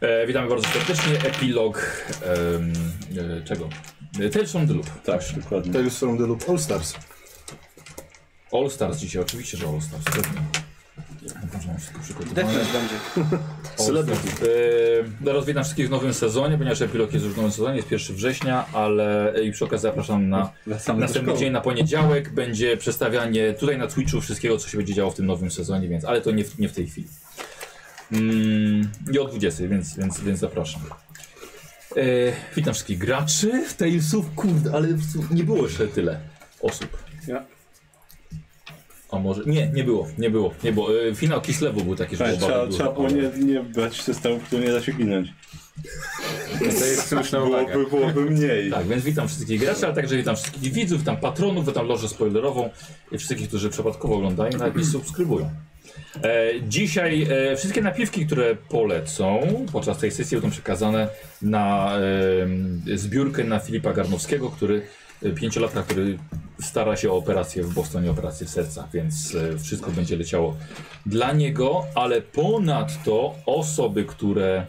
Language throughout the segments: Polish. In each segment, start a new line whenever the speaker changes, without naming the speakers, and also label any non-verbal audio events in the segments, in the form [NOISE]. E, witamy bardzo serdecznie. Epilog em, e, czego? E, Tales from the Loop.
Tak, dokładnie.
Tales from the Loop All Stars.
All Stars dzisiaj, oczywiście, że All Stars. Pewnie. Dobrze, mam wszystko przygotowane.
Deathmatch będzie.
Celebrity.
Yy, rozwitam wszystkich w nowym sezonie, ponieważ epilog jest już w nowym sezonie, jest 1 września, ale e, i przy okazji zapraszam na
Wracamy do
następny
szkoły.
dzień, na poniedziałek. Będzie przestawianie tutaj na Twitchu wszystkiego, co się będzie działo w tym nowym sezonie, więc, ale to nie w, nie w tej chwili. Mm, I o 20, więc, więc, więc zapraszam. Yy, witam wszystkich graczy w Talesów, kurde, ale w- nie było jeszcze tyle osób.
Ja.
A może... Nie, nie było, nie było, nie było. Yy, finał Kislewu był taki, że
Słuchaj,
było
Trzeba,
bardzo
trzeba
dużo,
było
ale-
nie, nie brać systemów, które nie da się ginąć.
To jest słuszna uwaga.
Byłoby, byłoby mniej.
Tak, więc witam wszystkich graczy, ale także witam wszystkich widzów, witam patronów, witam lożę spoilerową i wszystkich, którzy przypadkowo oglądają, nawet nie subskrybują. E, dzisiaj e, wszystkie napiwki, które polecą podczas tej sesji będą przekazane na e, zbiórkę na Filipa Garnowskiego, który e, pięciolatka, który stara się o operację w Bostonie, operację serca, więc e, wszystko będzie leciało dla niego, ale ponadto osoby, które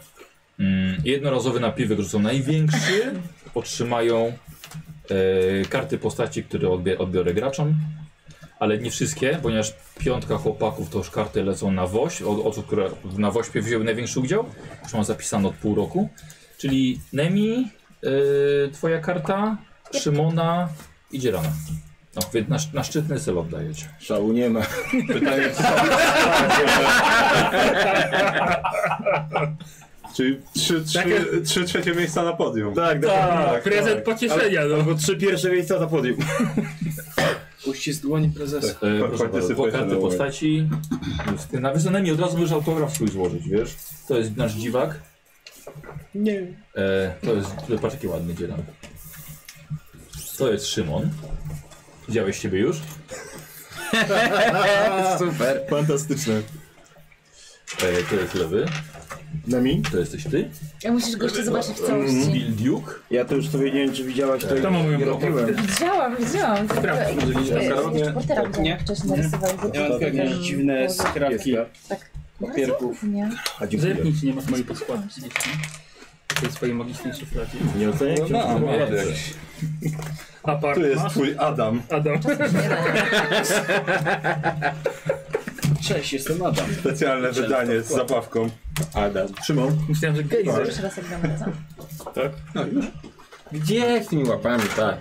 Mm, jednorazowy napiwek, że są największy, otrzymają e, karty postaci, które odbie, odbiorę graczom. Ale nie wszystkie, ponieważ piątka chłopaków to już karty lecą na woś, od osób, które na wośpie wzięły największy udział. Już mam zapisane od pół roku. Czyli Nemi, e, twoja karta, Szymona i Dzierana. No, więc na, na szczytny cel oddajecie.
Szału nie ma.
Pytanie, czy... Czyli trzy, trzy,
Takie-
trzy trzecie miejsca na podium.
Tak,
Tak, prezent pocieszenia, no.
Albo trzy pierwsze miejsca na podium.
Uścisk dłoni
Tak.
prezesa.
E,
Pa-
proszę bardzo,
partycypujcie
dwa karty
na łeb.
postaci. Jest Na wyznaniu od razu możesz autograf swój złożyć, wiesz? To jest nasz dziwak.
Nie.
E, to jest, to patrz jaki ładny dzielam. To jest Szymon. Widziałeś siebie już?
Super.
Fantastyczne.
E, to jest lewy.
Nami?
To jesteś ty.
Ja musisz go jeszcze zobaczyć w całości.
Bill Duke.
Ja to już sobie nie wiem, czy widziałaś
Tak.
to.
To mam moją
robiłem.
Widziałam, widziałam. To-
Prawda,
to-
że
to-
nie
to-
robię.
Reportera
Tak, nie?
widziałam wcześniej narysowałam.
Ja mam tylko jakieś dziwne skrawki.
Tak.
papierków.
Nie.
A dziękuję.
Zerknij, czy nie masz mojej podskładki gdzieś tam. W tej swojej magicznej szufladzie.
Nie oceniaj się.
No,
No,
no,
Apart
tu jest
masz?
twój Adam.
Adam.
Cześć, jestem Adam.
Specjalne wydanie z zabawką. Adam.
Szymon?
Myślałem, że gejzer.
Pierwszy raz jak dam razem.
Gdzie? Z tymi łapami, tak.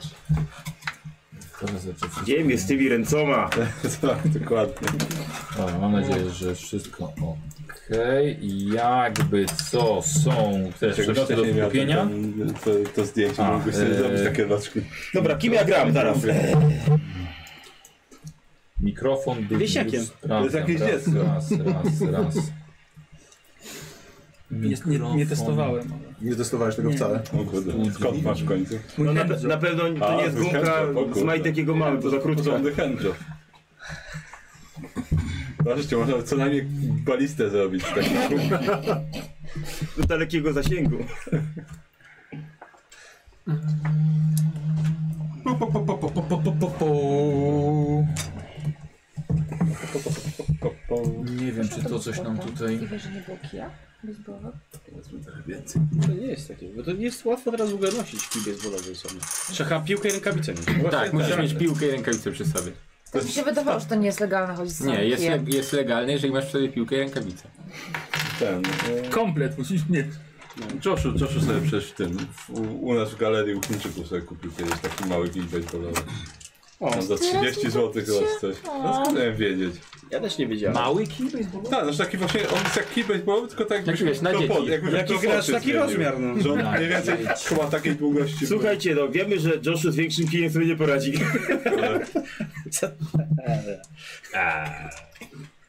Gdzie mnie z tymi ręcoma?
tak, dokładnie.
Dobra, mam nadzieję, że wszystko okej. Jakby co są też
Czegoś
przedmioty
wcześniej
do
miał ten,
kupienia.
ten, to, to zdjęcie,
A,
mógłbyś sobie
e,
zrobić takie roczki.
Dobra, kim ja gram teraz?
Mikrofon, dysk,
Wiesiakiem.
dysk, sprawdzam,
To jest jakieś
raz,
dziecko.
Raz, raz, raz.
Nie, nie, nie
Mikrofon.
testowałem. ale-
Nie testowałeś tego
Nie.
wcale.
O kurde, skąd masz w końcu?
Mój
No na,
hand-
na pewno to
A,
nie jest
z
gumka
chęcią, o kurde.
z majtek jego mamy, bo za krótko.
Porządny handjob. Zobaczcie, można co najmniej balistę zrobić. Tak. z takiej gumki.
Z dalekiego zasięgu.
Nie wiem, czy to coś nam tutaj...
Możliwe, że nie było kija? Bez głowy?
To nie jest takie, bo to nie jest łatwo teraz w ogóle nosić kibie z wodowej sobie. Trzeba piłkę i rękawicę mieć.
Tak,
musisz
mieć piłkę i rękawicę przy sobie.
To mi się wydawało, że to nie jest legalne chodzić z samym kijem.
jest legalne, jeżeli masz wtedy piłkę i rękawicę.
Ten, e,
Komplet musisz mieć.
Joshu, Joshu sobie przecież w tym, w, u, u nas w galerii u Chińczyków sobie kupił kiedyś taki mały kij baseballowy.
O,
Tam za 30 zł chyba czy coś. No skąd miałem wiedzieć?
ja też nie wiedziałem.
Mały kij baseballowy?
Tak, znaczy taki właśnie, on jest jak kij baseballowy, tylko tak jakbyś
wiesz, na
to
dzieci.
jakbyś
Jaki
to pod
gracz,
się
taki
zmienił.
rozmiar, no.
Że on mniej więcej chyba takiej długości
Słuchajcie, no wiemy, że Joshu z większym kijem sobie nie poradzi.
był. Ale-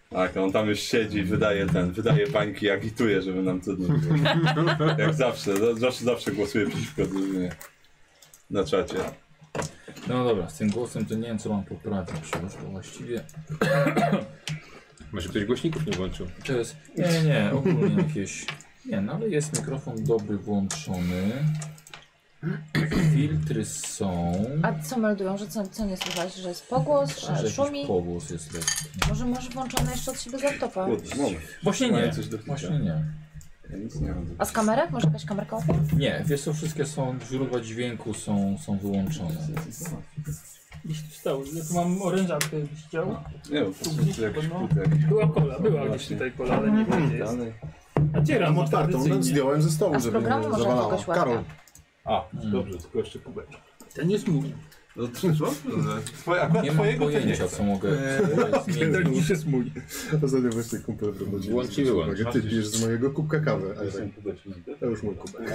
Tak, on tam już siedzi i wydaje ten, wydaje bańki, agituje, żeby nam trudno było.
[LAUGHS]
Jak zawsze, Josh zawsze głosuje przeciwko drużynie. Na czacie.
No dobra, z tym głosem to nie wiem co mam poprawić, bo już to właściwie
Może ktoś głośników nie włączył.
to jest... Nie, nie, nie, ogólnie jakieś... Nie, no ale jest mikrofon dobry włączony. Filtry są...
A co meldują, że co, co nie słychać? Że jest pogłos,
A, że
że
jakiś
szumi?
pogłos jest lekki.
Może masz włączone jeszcze od siebie z laptopa?
Kurde, moment.
Właśnie
Mają
nie,
coś do picia.
właśnie nie.
Ja nic nie mam.
A z kamerek? Może jakaś kamerka opie?
Nie, wiesz co, wszystkie są, źródła dźwięku są, są wyłączone.
Gdzieś tu stało. Ja tu mam orężatkę, byś chciał.
Nie wiem, po prostu jakiś
no.
putek.
Była kola, była gdzieś
Właśnie.
tutaj kola, ale nie wiem gdzie jest.
Dalej.
A dzieram
Mam otwartą, no, zdjąłem ze
A
stołu,
z
żeby nie
programu może
zawalała.
kogoś łapie.
Karol,
A, dobrze, tylko jeszcze kubeczek.
Ten jest mój.
No to co? Twoje, akurat
Nie mam
twojego to nie.
pojęcia, co mogę
ten
zmienić.
już jest mój. Ostatnio właśnie kumpel prowadził.
Włącz i
zwrócił
wyłącz.
uwagę, Ty pijesz z mojego kubka kawę, a ja tak, to już mój kubek.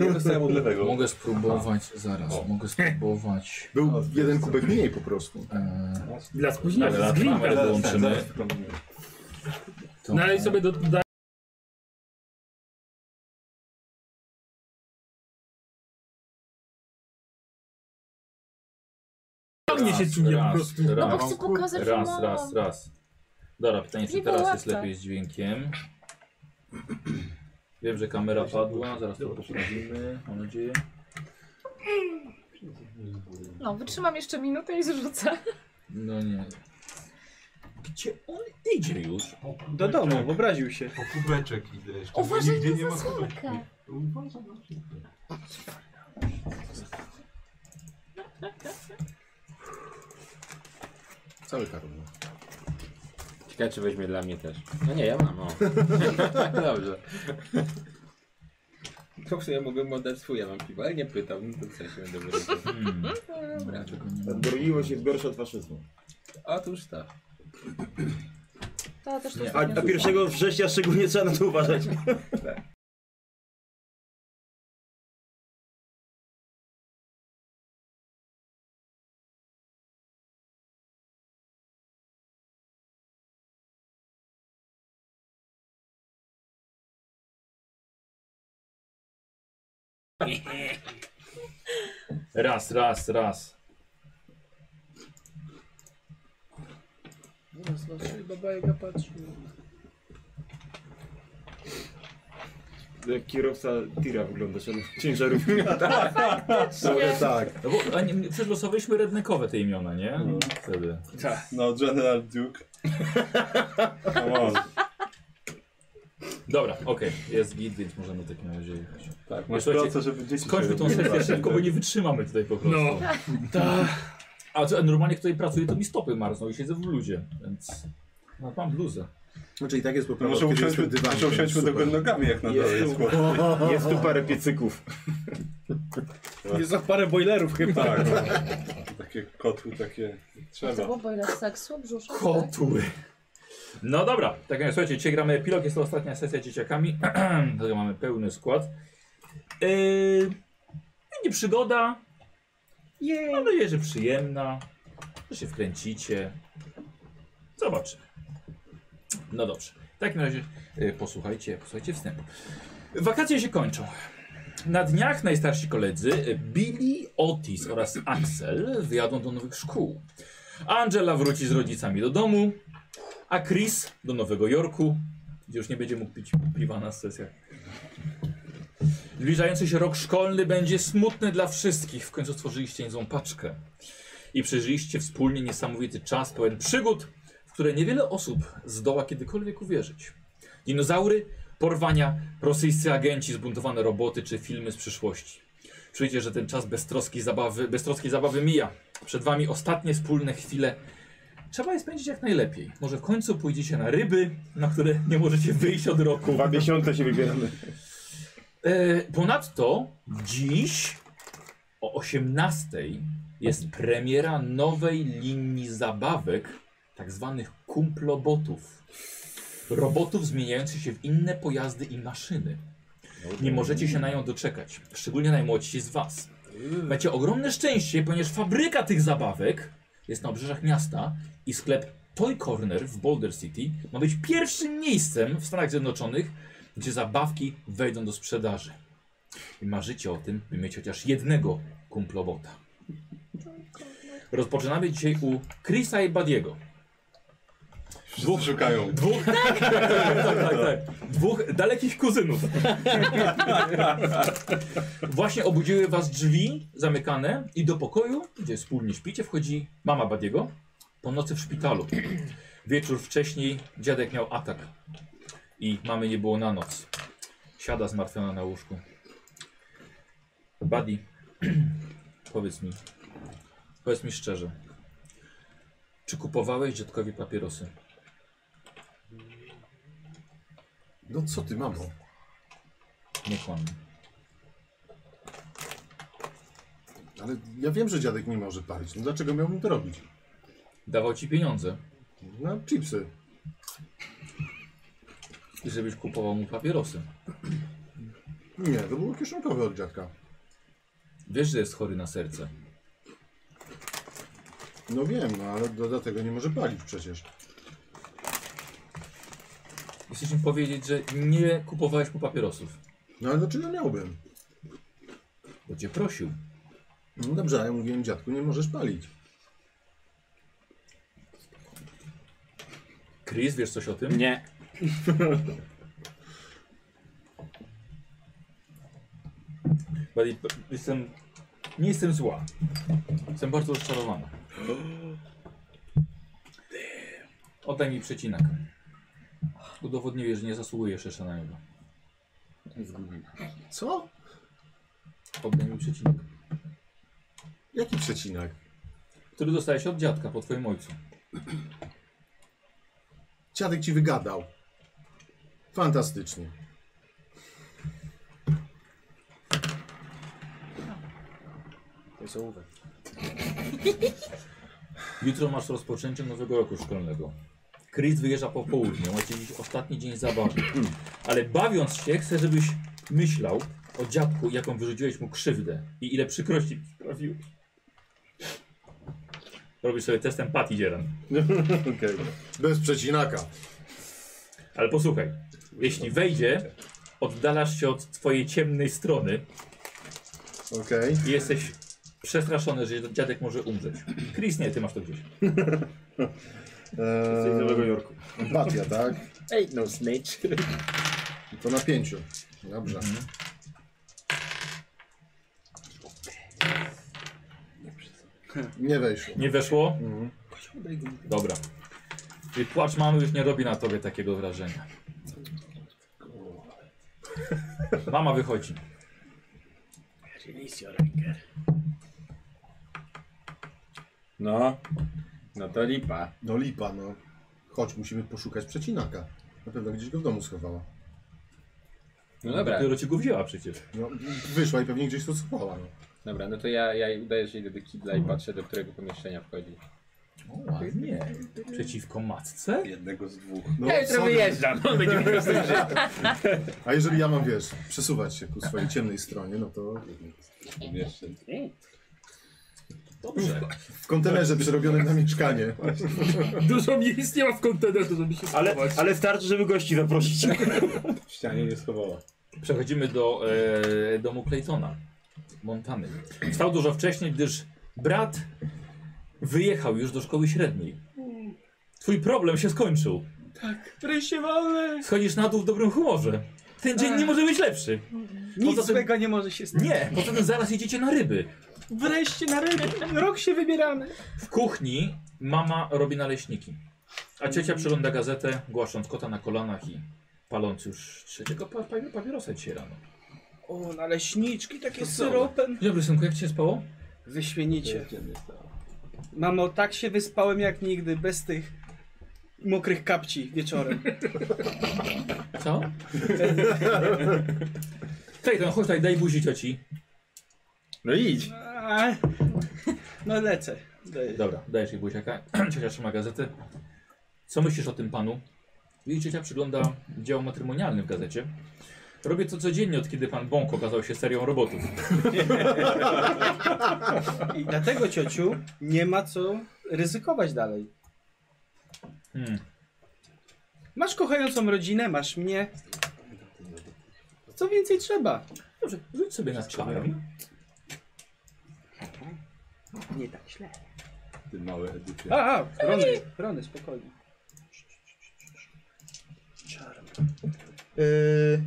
Nie dostałem od lewego.
Mogę spróbować, zaraz, mogę spróbować.
Był jeden kubek mniej po prostu.
E,
No,
Dla
Dobra,
spóźnienia, z
mamy
glinka.
do- Włączymy.
Zaraz, zaraz, zaraz.
to-
No
Nalej No, sobie do... da- Mnie się
Raz,
czuje po
raz,
prostu.
raz.
No bo chcę pokazać, że
Raz,
mam.
raz, raz. Dobra, pytanie, czy
Nie
teraz
było
jest
łatwe.
lepiej z dźwiękiem. [CLEARS THROAT] Wiem, że kamera padła, zaraz to poprawimy, mam nadzieję.
No, wytrzymam jeszcze minutę i zrzucę.
No nie. Gdzie on idzie już?
Do domu, wyobraził się.
Po kubeczek idę jeszcze. bo
Uważaj
nigdzie nie
na
ma kubeczków.
zasłonkę.
Uważam na wszystko.
Cały Karol.
no.
Ciekawe, czy weźmie dla mnie też. No nie, ja mam, o. [LAUGHS] Dobrze. To w sumie mogłem oddać swój, ja mam piwo, ale nie pytam, no to co się będę wyrobił.
Hmm.
Dobra,
Czego nie ma?
Odbroiło się gorsze od faszyzmu.
otóż tak.
To ja też to
Nie,
A, a 1 września szczególnie trzeba na to uważać.
Raz, raz, raz.
Zaraz na szyi baba Jaga patrzy.
Jak kierowca tira wygląda, ciężarówki.
Trochę tak.
No bo, a nie, przecież losowaliśmy rednekowe te imiona, nie? Wtedy.
No, General Duke. Come on.
Dobra, okej, jest git, więc możemy w takim razie jechać.
Tak, masz
Słuchajcie,
pracę, żeby dzieci
Skończmy
się tak?
tą
wyglądały.
sesję szybko, bo nie wytrzymamy tutaj po prostu.
No.
A co, normalnie kto tutaj pracuje, to mi stopy marzną i siedzę w ludzie, więc... No, mam bluzę.
Znaczy i tak jest
No
poprawa.
może
kiedy
usiądźmy,
jestem dywanem,
może usiądźmy do
super.
nogami, jak na dole jest
Jest tu,
chłop.
jest tu parę piecyków.
Jest za parę boilerów chyba.
Tak, no. [LAUGHS] Takie kotły, takie...
To
Trzeba.
było boiler seksu, brzuszek. tak?
Kotły. No dobra, tak jak słuchajcie, dzisiaj gramy epilog, jest to ostatnia sesja z dzieciakami. [CLEARS THROAT] Dlatego mamy pełny skład. Yy, będzie przygoda. Mam nadzieję, że przyjemna. Że się wkręcicie. Zobaczymy. No dobrze. W takim razie yy, posłuchajcie, posłuchajcie wstępu. Wakacje się kończą. Na dniach najstarsi koledzy yy, Billy, Otis oraz Axel wyjadą do nowych szkół. Angela wróci z rodzicami do domu, a Chris do Nowego Jorku, gdzie już nie będzie mógł pić piwa na sesjach. Zbliżający się rok szkolny będzie smutny dla wszystkich. W końcu stworzyliście niezłą paczkę. I przeżyliście wspólnie niesamowity czas pełen przygód, w które niewiele osób zdoła kiedykolwiek uwierzyć. Dinozaury, porwania, rosyjscy agenci, zbuntowane roboty czy filmy z przyszłości. Czujecie, że ten czas beztroskiej zabawy, beztroskiej zabawy mija. Przed wami ostatnie wspólne chwile. Trzeba je spędzić jak najlepiej. Może w końcu pójdziecie na ryby, na które nie możecie wyjść od roku.
Dwa miesiące się wybieramy.
E, ponadto dziś o 18:00 jest premiera nowej linii zabawek, tak zwanych kumplobotów. Robotów zmieniających się w inne pojazdy i maszyny. Nie możecie się na nią doczekać, szczególnie najmłodsi z Was. Macie ogromne szczęście, ponieważ fabryka tych zabawek jest na obrzeżach miasta i sklep Toy Corner w Boulder City ma być pierwszym miejscem w Stanach Zjednoczonych, gdzie zabawki wejdą do sprzedaży. I marzycie o tym, by mieć chociaż jednego kumplobota. Rozpoczynamy dzisiaj u Chrisa i Badiego.
Wszyscy szukają.
Dwóch, tak, tak, tak, tak. Dwóch dalekich kuzynów. Właśnie obudziły was drzwi zamykane i do pokoju, gdzie wspólnie śpicie, wchodzi mama Badiego po nocy w szpitalu. Wieczór wcześniej dziadek miał atak i mamy nie było na noc. Siada zmartwiona na łóżku. Buddy, [CLEARS THROAT] powiedz mi, powiedz mi szczerze, czy kupowałeś dziadkowi papierosy?
No co ty, mamo?
Nie kłam.
Ale ja wiem, że dziadek nie może palić. No dlaczego miałbym to robić?
Dawał ci pieniądze
Na chipsy.
i żebyś kupował mu papierosy.
Nie, to było kieszonkowe od dziadka.
Wiesz, że jest chory na serce.
No wiem, no ale do- dlatego nie może palić przecież.
Chcesz mi powiedzieć, że nie kupowałeś mu papierosów,
No ale dlaczego miałbym?
bo cię prosił.
No dobrze, a ja mówiłem dziadku, nie możesz palić.
Chris, wiesz coś o tym? [LAUGHS]
Nie.
Buddy, p- jestem, nie jestem zła. Jestem bardzo rozczarowana. Oddaj mi przecinek. Udowodniłeś, że nie zasługujesz jeszcze na niego.
Co?
Oddaj mi przecinek.
Jaki przecinek?
Który dostałeś od dziadka po twoim ojcu.
Dziadek ci wygadał. Fantastycznie.
To jest ołówek.
Jutro masz rozpoczęcie nowego roku szkolnego. Chris wyjeżdża po południu, macie dziś ostatni dzień zabawy. Ale bawiąc się, chcę, żebyś myślał o dziadku, jaką wyrzuciłeś mu krzywdę i ile przykrości mu sprawił. Robisz sobie test empatii, Dzieran.
Okej. Bez przecinaka.
Ale posłuchaj, jeśli wejdzie, oddalasz się od twojej ciemnej strony
Okej.
i jesteś przestraszony, że dziadek może umrzeć. Chris, nie, ty masz to gdzieś.
Jesteś z Nowego
Eee,
Jorku.
empatia, tak?
Ain't no snitch.
To na pięciu. Dobrze. Nie wejszło.
Nie weszło?
Mhm.
Dobra. Czyli płacz mamy już nie robi na tobie takiego wrażenia. Mama wychodzi.
Release your anger.
No. No to lipa.
No lipa, no. Chodź, musimy poszukać przecinaka. Na pewno gdzieś go w domu schowała.
No dobra,
Dopiero ci go wzięła przecież.
No, wyszła i pewnie gdzieś to schowała. No.
dobra, no to ja, ja udaję, że idę do kibla i patrzę, do którego pomieszczenia wchodzi.
O, ładnie. Przeciwko matce?
Jednego z dwóch.
No,
Ja jutro
sorry.
wyjeżdżam, no [LAUGHS] będzie mi
A jeżeli ja mam, wiesz, przesuwać się ku swojej ciemnej stronie, no to
Jeszcze.
Dobrze.
w kontenerze przerobionym na mieszkanie.
Dużo miejsc nie ma w kontenerze, żeby się
Ale,
schować.
ale starczy, żeby gości zaprosić.
W ścianie nie schowała.
Przechodzimy do e, domu Claytona, Montany. Wstał dużo wcześniej, gdyż brat wyjechał już do szkoły średniej. Twój problem się skończył.
Wreszcie mamy!
Schodzisz na dół w dobrym humorze. Ten dzień nie może być lepszy.
Nic
Poza tym-
złego nie może się stać.
Nie, poza tym zaraz idziecie na ryby.
Wreszcie na ryby. Rok się wybieramy.
W kuchni mama robi naleśniki, a ciocia przegląda gazetę, głaszcząc kota na kolanach i paląc już trzeciego pa pa papierosa dzisiaj rano.
O, naleśniczki takie z
same.
syropem.
Dzień Dobry synku, jak ci się spało?
Wyśmienicie. Mamo, tak się wyspałem jak nigdy, bez tych mokrych kapci wieczorem.
Co? [LAUGHS] Clayton, chodź tutaj, daj buzi cioci.
No idź.
A, No lecę. Daję.
Dobra, dajesz jej buziaka. [CLEARS THROAT] Ciocia trzyma gazetę. Co myślisz o tym panu? Jej ciocia przygląda dział matrymonialny w gazecie. Robię to codziennie, od kiedy pan Bąk okazał się serią robotów.
I dlatego, ciociu, nie ma co ryzykować dalej.
Hmm.
Masz kochającą rodzinę, masz mnie. Co więcej trzeba?
Dobrze, rzuć sobie na czarę.
Nie tak źle.
Ty mały Edypie.
A, a, Rony, Rony, spokojnie. Czarny. Y,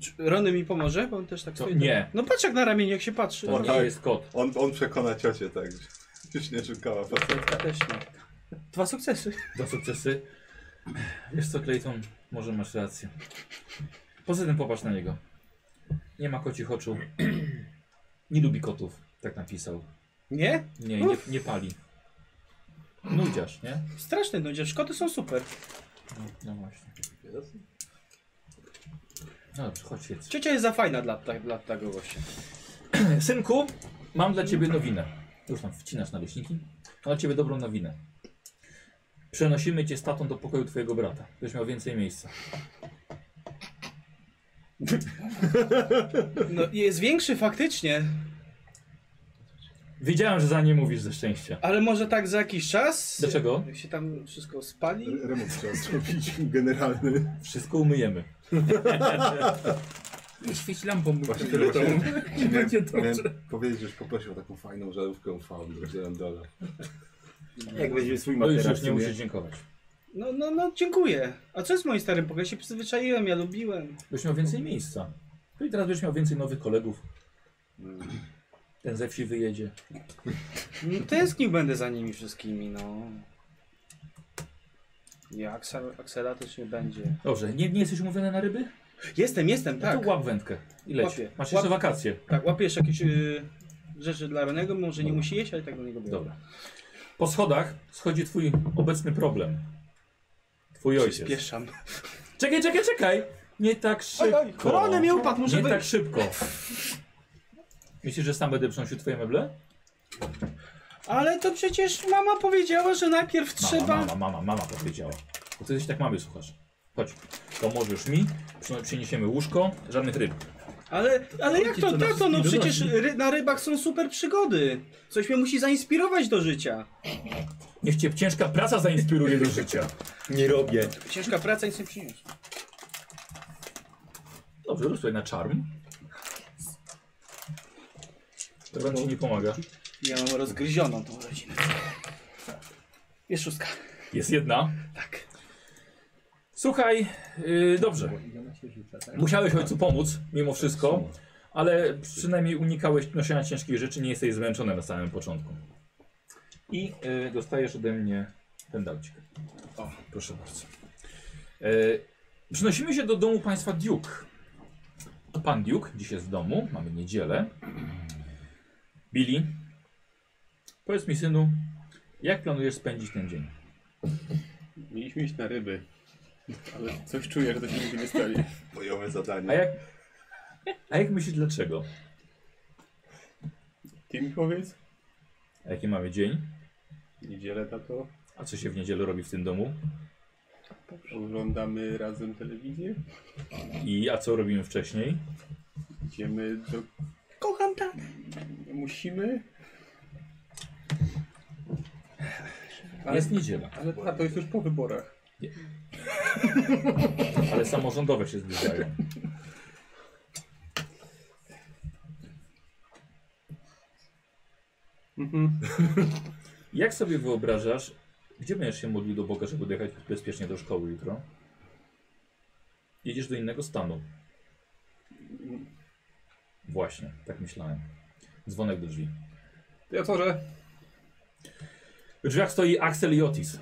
Czy Rony mi pomoże, bo on też tak
Co?
stoi.
Nie.
No patrz jak na ramieniu, jak się patrzy.
To nie jest kot.
On, on przekona ciocię tak, że już nie szukała faceta.
Też nie. Dwa sukcesy.
Dwa sukcesy. Wiesz co, Clayton, może masz rację. Poza tym popatrz na niego. Nie ma kocich oczu. Nie lubi kotów, tak napisał.
Nie?
Nie, nie, nie pali. Nudziarz, nie?
Straszny nudziarz. Koty są super.
No, no właśnie. No dobrze, chodź jedz.
Ciocia jest za fajna dla, ta, dla tego gościa.
Synku, mam dla ciebie nowinę. Już tam wcinasz naleśniki. Mam dla ciebie dobrą nowinę. Przenosimy cię z tatą do pokoju twojego brata. Będziesz miał więcej miejsca.
No jest większy faktycznie,
Wiedziałem, że za nie mówisz ze szczęścia.
ale może tak za jakiś czas.
Dlaczego?
Jak się tam wszystko spali.
Remont trzeba zrobić generalny.
Wszystko umyjemy. Nie Świeć lampą, bo
Właśnie
tyle to [LAUGHS]
właśnie-
będzie
Miałem
dobrze.
powiedzieć, żeś poprosił o taką fajną żarówkę UV w 1 dole.
Jak weźmie swój
No już,
materac.
już nie
sobie.
musisz dziękować.
No, no, no, dziękuję. A co jest w moim starym pokoju? Ja się przyzwyczaiłem, ja lubiłem.
Będziesz miał więcej miejsca. No i teraz będziesz miał więcej nowych kolegów.
Mm.
Ten ze wsi wyjedzie.
No, tęsknił będę za nimi wszystkimi, no. Ja, Aksel, Aksela też nie będzie.
Dobrze, nie, nie jesteś umówiony na ryby?
Jestem, jestem,
No
tak.
To łap wędkę i leć.
Łapię.
Masz jeszcze
Łap-
wakacje.
Tak, łapiesz jakieś y, rzeczy dla Renego, może nie musi jeść, ale tak do niego biorę.
Dobra. Po schodach schodzi twój obecny problem. Twój ojciec.
Spieszam.
Czekaj, czekaj, czekaj! Nie tak
Oj,
szybko.
oj, korony mi upadł, muszę
Nie
wyjść.
tak szybko. Myślisz, że sam będę przynosił twoje meble?
Ale to przecież mama powiedziała, że najpierw trzeba...
Mama, mama, mama, mama powiedziała. Bo ty się tak mamy słuchasz. Chodź, pomożesz mi, przyno- przyniesiemy łóżko, żadnych ryb.
Ale, ale jak to,
nas
tato? No
nie
przecież ry, na rybach są super przygody. Coś mnie musi zainspirować do życia.
Niech cię ciężka praca zainspiruje do życia.
Nie robię.
Ciężka praca nic nie przyniósł.
Dobrze, rób sobie na czarm. To wam ci nie pomaga.
Ja mam rozgryzioną tą rodzinę. Jest szóstka.
Jest jedna.
Tak.
Słuchaj, yy, dobrze. Musiałeś ojcu pomóc, mimo wszystko, ale przynajmniej unikałeś noszenia ciężkich rzeczy, nie jesteś zmęczony na samym początku. I yy, dostajesz ode mnie ten dałcik. O, proszę bardzo. Yy, przenosimy się do domu państwa Duke. Pan Duke dziś jest w domu, mamy niedzielę. Billy, powiedz mi synu, jak planujesz spędzić ten dzień?
Mieliśmy iść na ryby. Ale coś czuję, że to się nigdy nie stanie.
Bojowe
A
zadanie.
jak, a jak myślisz dlaczego?
Ty mi powiedz?
A jaki mamy dzień?
Niedzielę, tato.
A co się w niedzielę robi w tym domu?
Oglądamy razem telewizję.
I a co robimy wcześniej?
Idziemy do...
Kocham tak.
Musimy?
Ale jest niedziela,
Ale tato jest już po wyborach.
ale samorządowe się zbliżają.
Mhm.
[LAUGHS] Jak sobie wyobrażasz, gdzie będziesz się modlił do Boga, żeby dojechać bezpiecznie do szkoły jutro? Jedziesz do innego stanu.
Mm.
Właśnie, tak myślałem. Dzwonek do drzwi.
To ja tworzę.
W drzwiach stoi Axel i Otis.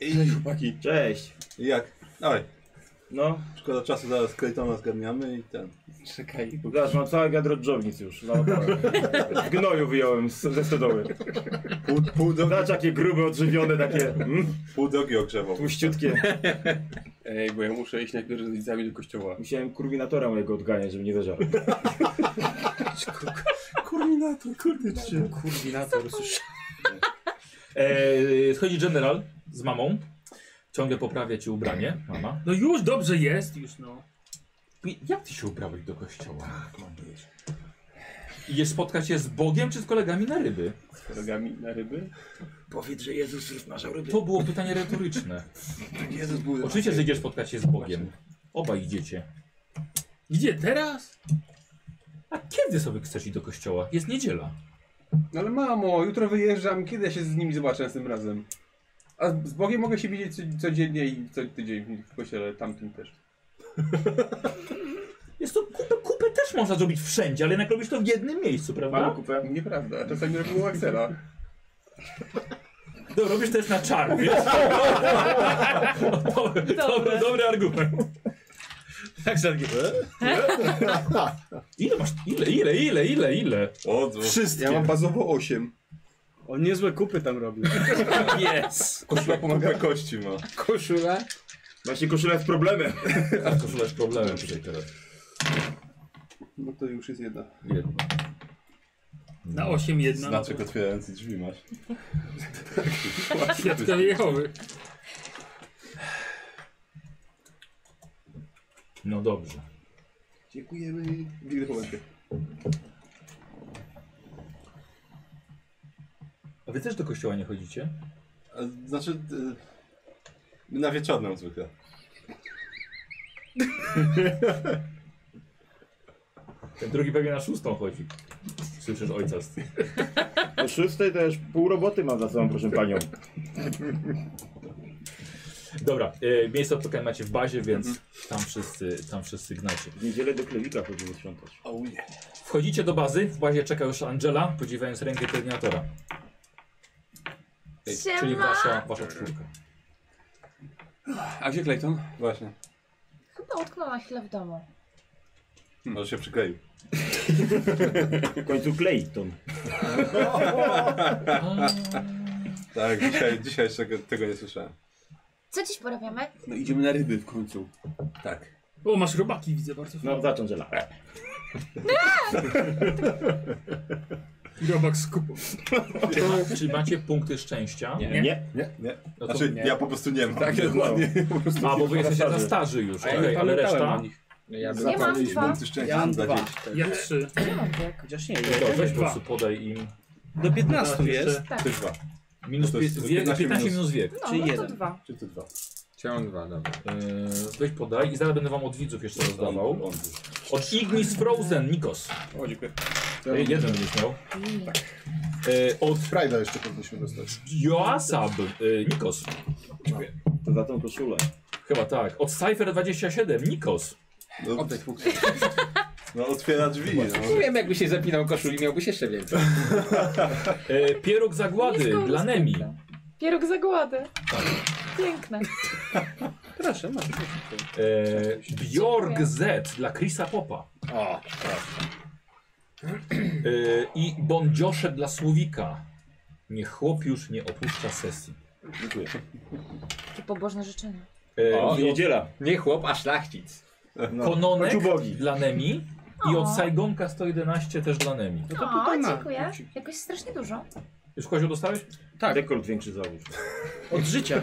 I
Chłopaki.
[LAUGHS] Cześć.
jak? Dawaj,
No,
szkoda czasu, zaraz Claytona zgarniamy i ten.
Czekaj.
pokaż, mam całe wiadro dżownic już. No, w gnoju wyjąłem z, ze stodoły.
Pół, pół, drogi,
Zobacz, jakie grube, odżywione, takie mm,
pół drogi ogrzewał.
tłuściutkie.
Ej, bo ja muszę iść najpierw z rodzicami do kościoła.
Musiałem kurwinatora mojego odganiać, żeby nie zażarł.
Kurminator, kurde cię.
Koordynator, słyszę.
Eee, schodzi general z mamą. Ciągle poprawia ci ubranie, mama.
No już, dobrze jest, już no.
I Jak ty się ubrałeś do kościoła?
Tak,
Idziesz spotkać się z Bogiem czy z kolegami na ryby?
Z kolegami na ryby.
Powiedz, że Jezus rozmażał ryby.
To było pytanie retoryczne. Tak,
Jezus był
Oczywiście, że idziesz spotkać się z Bogiem. Obaj idziecie.
Gdzie teraz?
A kiedy sobie chcesz iść do kościoła? Jest niedziela.
No ale mamo, jutro wyjeżdżam, kiedy ja się z nimi zobaczę następnym razem? A z Bogiem mogę się widzieć co- codziennie i co tydzień w kościele, tamtym też.
Jest to kupę, kupę też można zrobić wszędzie, ale jednak robisz to w
No,
jednym miejscu, prawda?
kupę.
Nieprawda, czasami robimy u Axela.
No, robisz test na czar, wiesz? dobry, dobry, dobry argument. Tak, Żargi. Ile masz? Ile, ile, ile, ile, ile?
O, to-
Wszystkie.
Ja mam bazowo 8.
O, niezłe kupy tam robił.
Jest!
koszula pomaga kości ma.
Koszula?
Właśnie koszula jest problemem.
A koszula jest problemem tutaj teraz.
No to już jest jedna.
Jedno.
Na 8 jedna. No,
Znaczek otwierający drzwi masz.
Świadkowie Jehowy.
No dobrze.
Dziękujemy. Biegnę po łebkę.
A wy też do kościoła nie chodzicie?
A, Znaczy... y, Na wieczorną zwykle.
Ten drugi pewnie na szóstą chodzi. Słyszysz ojca z
O szóstej to już pół roboty mam za sobą, proszę panią.
Dobra, e, miejsce spotkań macie w bazie, więc
Mhm.
tam wszyscy, tam wszyscy gnacie.
W niedzielę do klewika chodzimy sprzątać.
Wchodzicie do bazy, w bazie czeka już Angela, podziwiając rękę koordynatora. Ej,
Siema!
Czyli wasza, wasza czwórka.
A gdzie Clayton?
Właśnie.
Chyba utknął na chwilę w domu.
Może się przykleił.
W końcu Clayton.
Tak,
[LAUGHS]
dzisiaj, dzisiaj jeszcze tego- tego nie słyszałem.
Co dziś porabiamy?
No idziemy na ryby w końcu.
Tak.
O, masz robaki, widzę bardzo fajne.
No, zacząć żela.
Robak z kupą.
Czy, ma, czy macie punkty szczęścia?
Nie. Nie?
No to,
Znaczy, ja po prostu nie mam. Tak, [LAUGHS]
dokładnie.
a, bo wy jesteście za
starzy.
starzy już,
A ja
okej,
nie
ale
pamiętałem
reszta?
o nich.
No Ja bym...
Nie mam dwa.
Punkty
Ja
szczęścia
mam
dla
dwa.
dzieci.
Ja 3.
Nie mam wiek.
Chociaż nie,
To weź po
Dwa.
prostu podaj im.
do 15 jest.
Tak.
Ty dwa.
Minus
To
pie,
jest- to jest
wie,
15
15 minus wiek.
No,
Czyli
no to
jeden.
dwa.
Czy ty dwa?
Chciałem dwa, dobra.
Yy, weź podaj i zaraz będę wam od widzów jeszcze
On,
rozdawał.
on.
Od Ignis Frozen, Nikos.
O, dziękuję.
Yy, Jeden będziesz miał.
I
Yy, od
Frajda jeszcze powinniśmy dostać.
Joasab, yy, Nikos.
To za tą koszulę.
Chyba tak. Od Cypher 27, Nikos.
No, no otwiera drzwi. No.
Wiem, jakby się zapinał koszuli, miałbyś jeszcze więcej.
E, pieróg zagłady
Nisko
dla Nemi.
Pieróg zagłady.
Tak.
Piękne.
Proszę, masz.
E, Bjorg Z dla Chrisa Popa.
O,
E, I Bondziosze dla Słowika. Niech chłop już nie opuszcza sesji.
dziękuję.
Jakie pobożne życzenia.
E,
O,
i od
niedziela.
Nie chłop, a szlachcic.
No. Kononek
Chodź ubogi.
dla Nemi. I
O.
od Sajgonka 111 też dla Nemi.
No to
O,
tutaj ma.
dziękuję. Jakoś strasznie dużo.
Już kozioł dostałeś?
Tak.
Rekord większy załóż.
Od życia.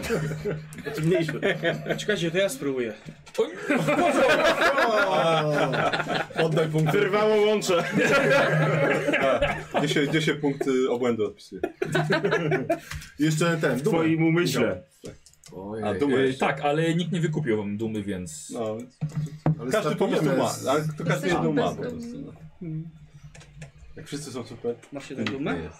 Znaczy mniejszy.
Czekajcie, to ja spróbuję.
Oj,
Oddaj punkty.
Wyrwało łącze.
Gdzie się, gdzie się punkt y, obłędu odpisuje?
Jeszcze ten,
W
dumę.
twoim umyśle.
A
e,
dumę.
tak, ale nikt nie wykupił wam dumy, więc...
No,
Ale
każdy po prostu
startujemy
ma.
z-
Ale to każdy
Jesteśmy
jedną ma
bez
po prostu. No. Jak wszyscy są super.
Masz
to
jedną
nikt nie
dumę?
jest.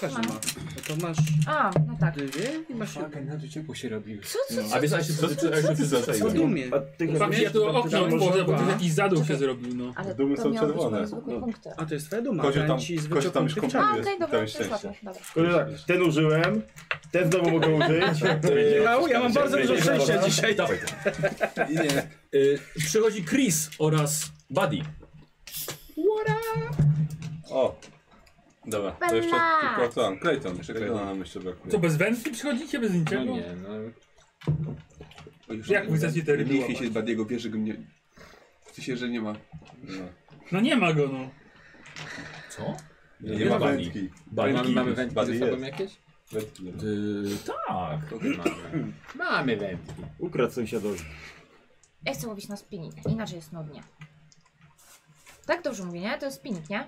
Każdy
Mam.
ma. No to masz
A, no tak.
dwie i masz jedną.
na to ciepło się robiło.
Co,
no.
co, co?
A więc a się
Co- co- co ty za-
Po dumie.
A ty
Patrz, ja tu okno otworzę, bo tu jakiś zadół się
Czekaj.
zrobił, no.
Ale
Dumy
to
są
miało być
czerwone.
moje zwykłe
No.
punkty.
A to jest twoja duma.
Kozio
Powiem
tam-
ci z
Kozio
wyciopu
tam już
tych
kąpie.
A,
czarnych.
okej, dobra,
Tam
to
jest
jest
szczęście.
ładne. Dobra.
Kurde, tak, ten użyłem, ten znowu mogę użyć.
Mału, ja mam bardzo dużo szczęścia dzisiaj.
Dawaj.
Nie.
Y, przychodzi Chris oraz Buddy.
O. Dobra, to jeszcze
Bella!
tylko to. Clayton, jeszcze Claytona nam jeszcze
Co,
brakuje.
bez wędki przychodzicie? Bez
No
niczego?
nie, no.
O, już
Jak wy chcecie te ryby
Mniej
łapać?
się z Badiego pierwszego mnie. W sensie, że nie ma.
No.
No nie ma go, no.
Co?
Nie,
Nie
ma
ma
wędki.
Buddy.
Mamy, mamy wędki
Buddy
ze sobą
jest.
jakieś?
Wędki nie ma.
Y, tak.
[CLEARS THROAT] Mamy. Mamy wędki.
Ukradł sąsiadowi.
Ja chcę łowić na spinning, inaczej jest nudnie. Tak dobrze mówię, nie? To jest spinning, nie?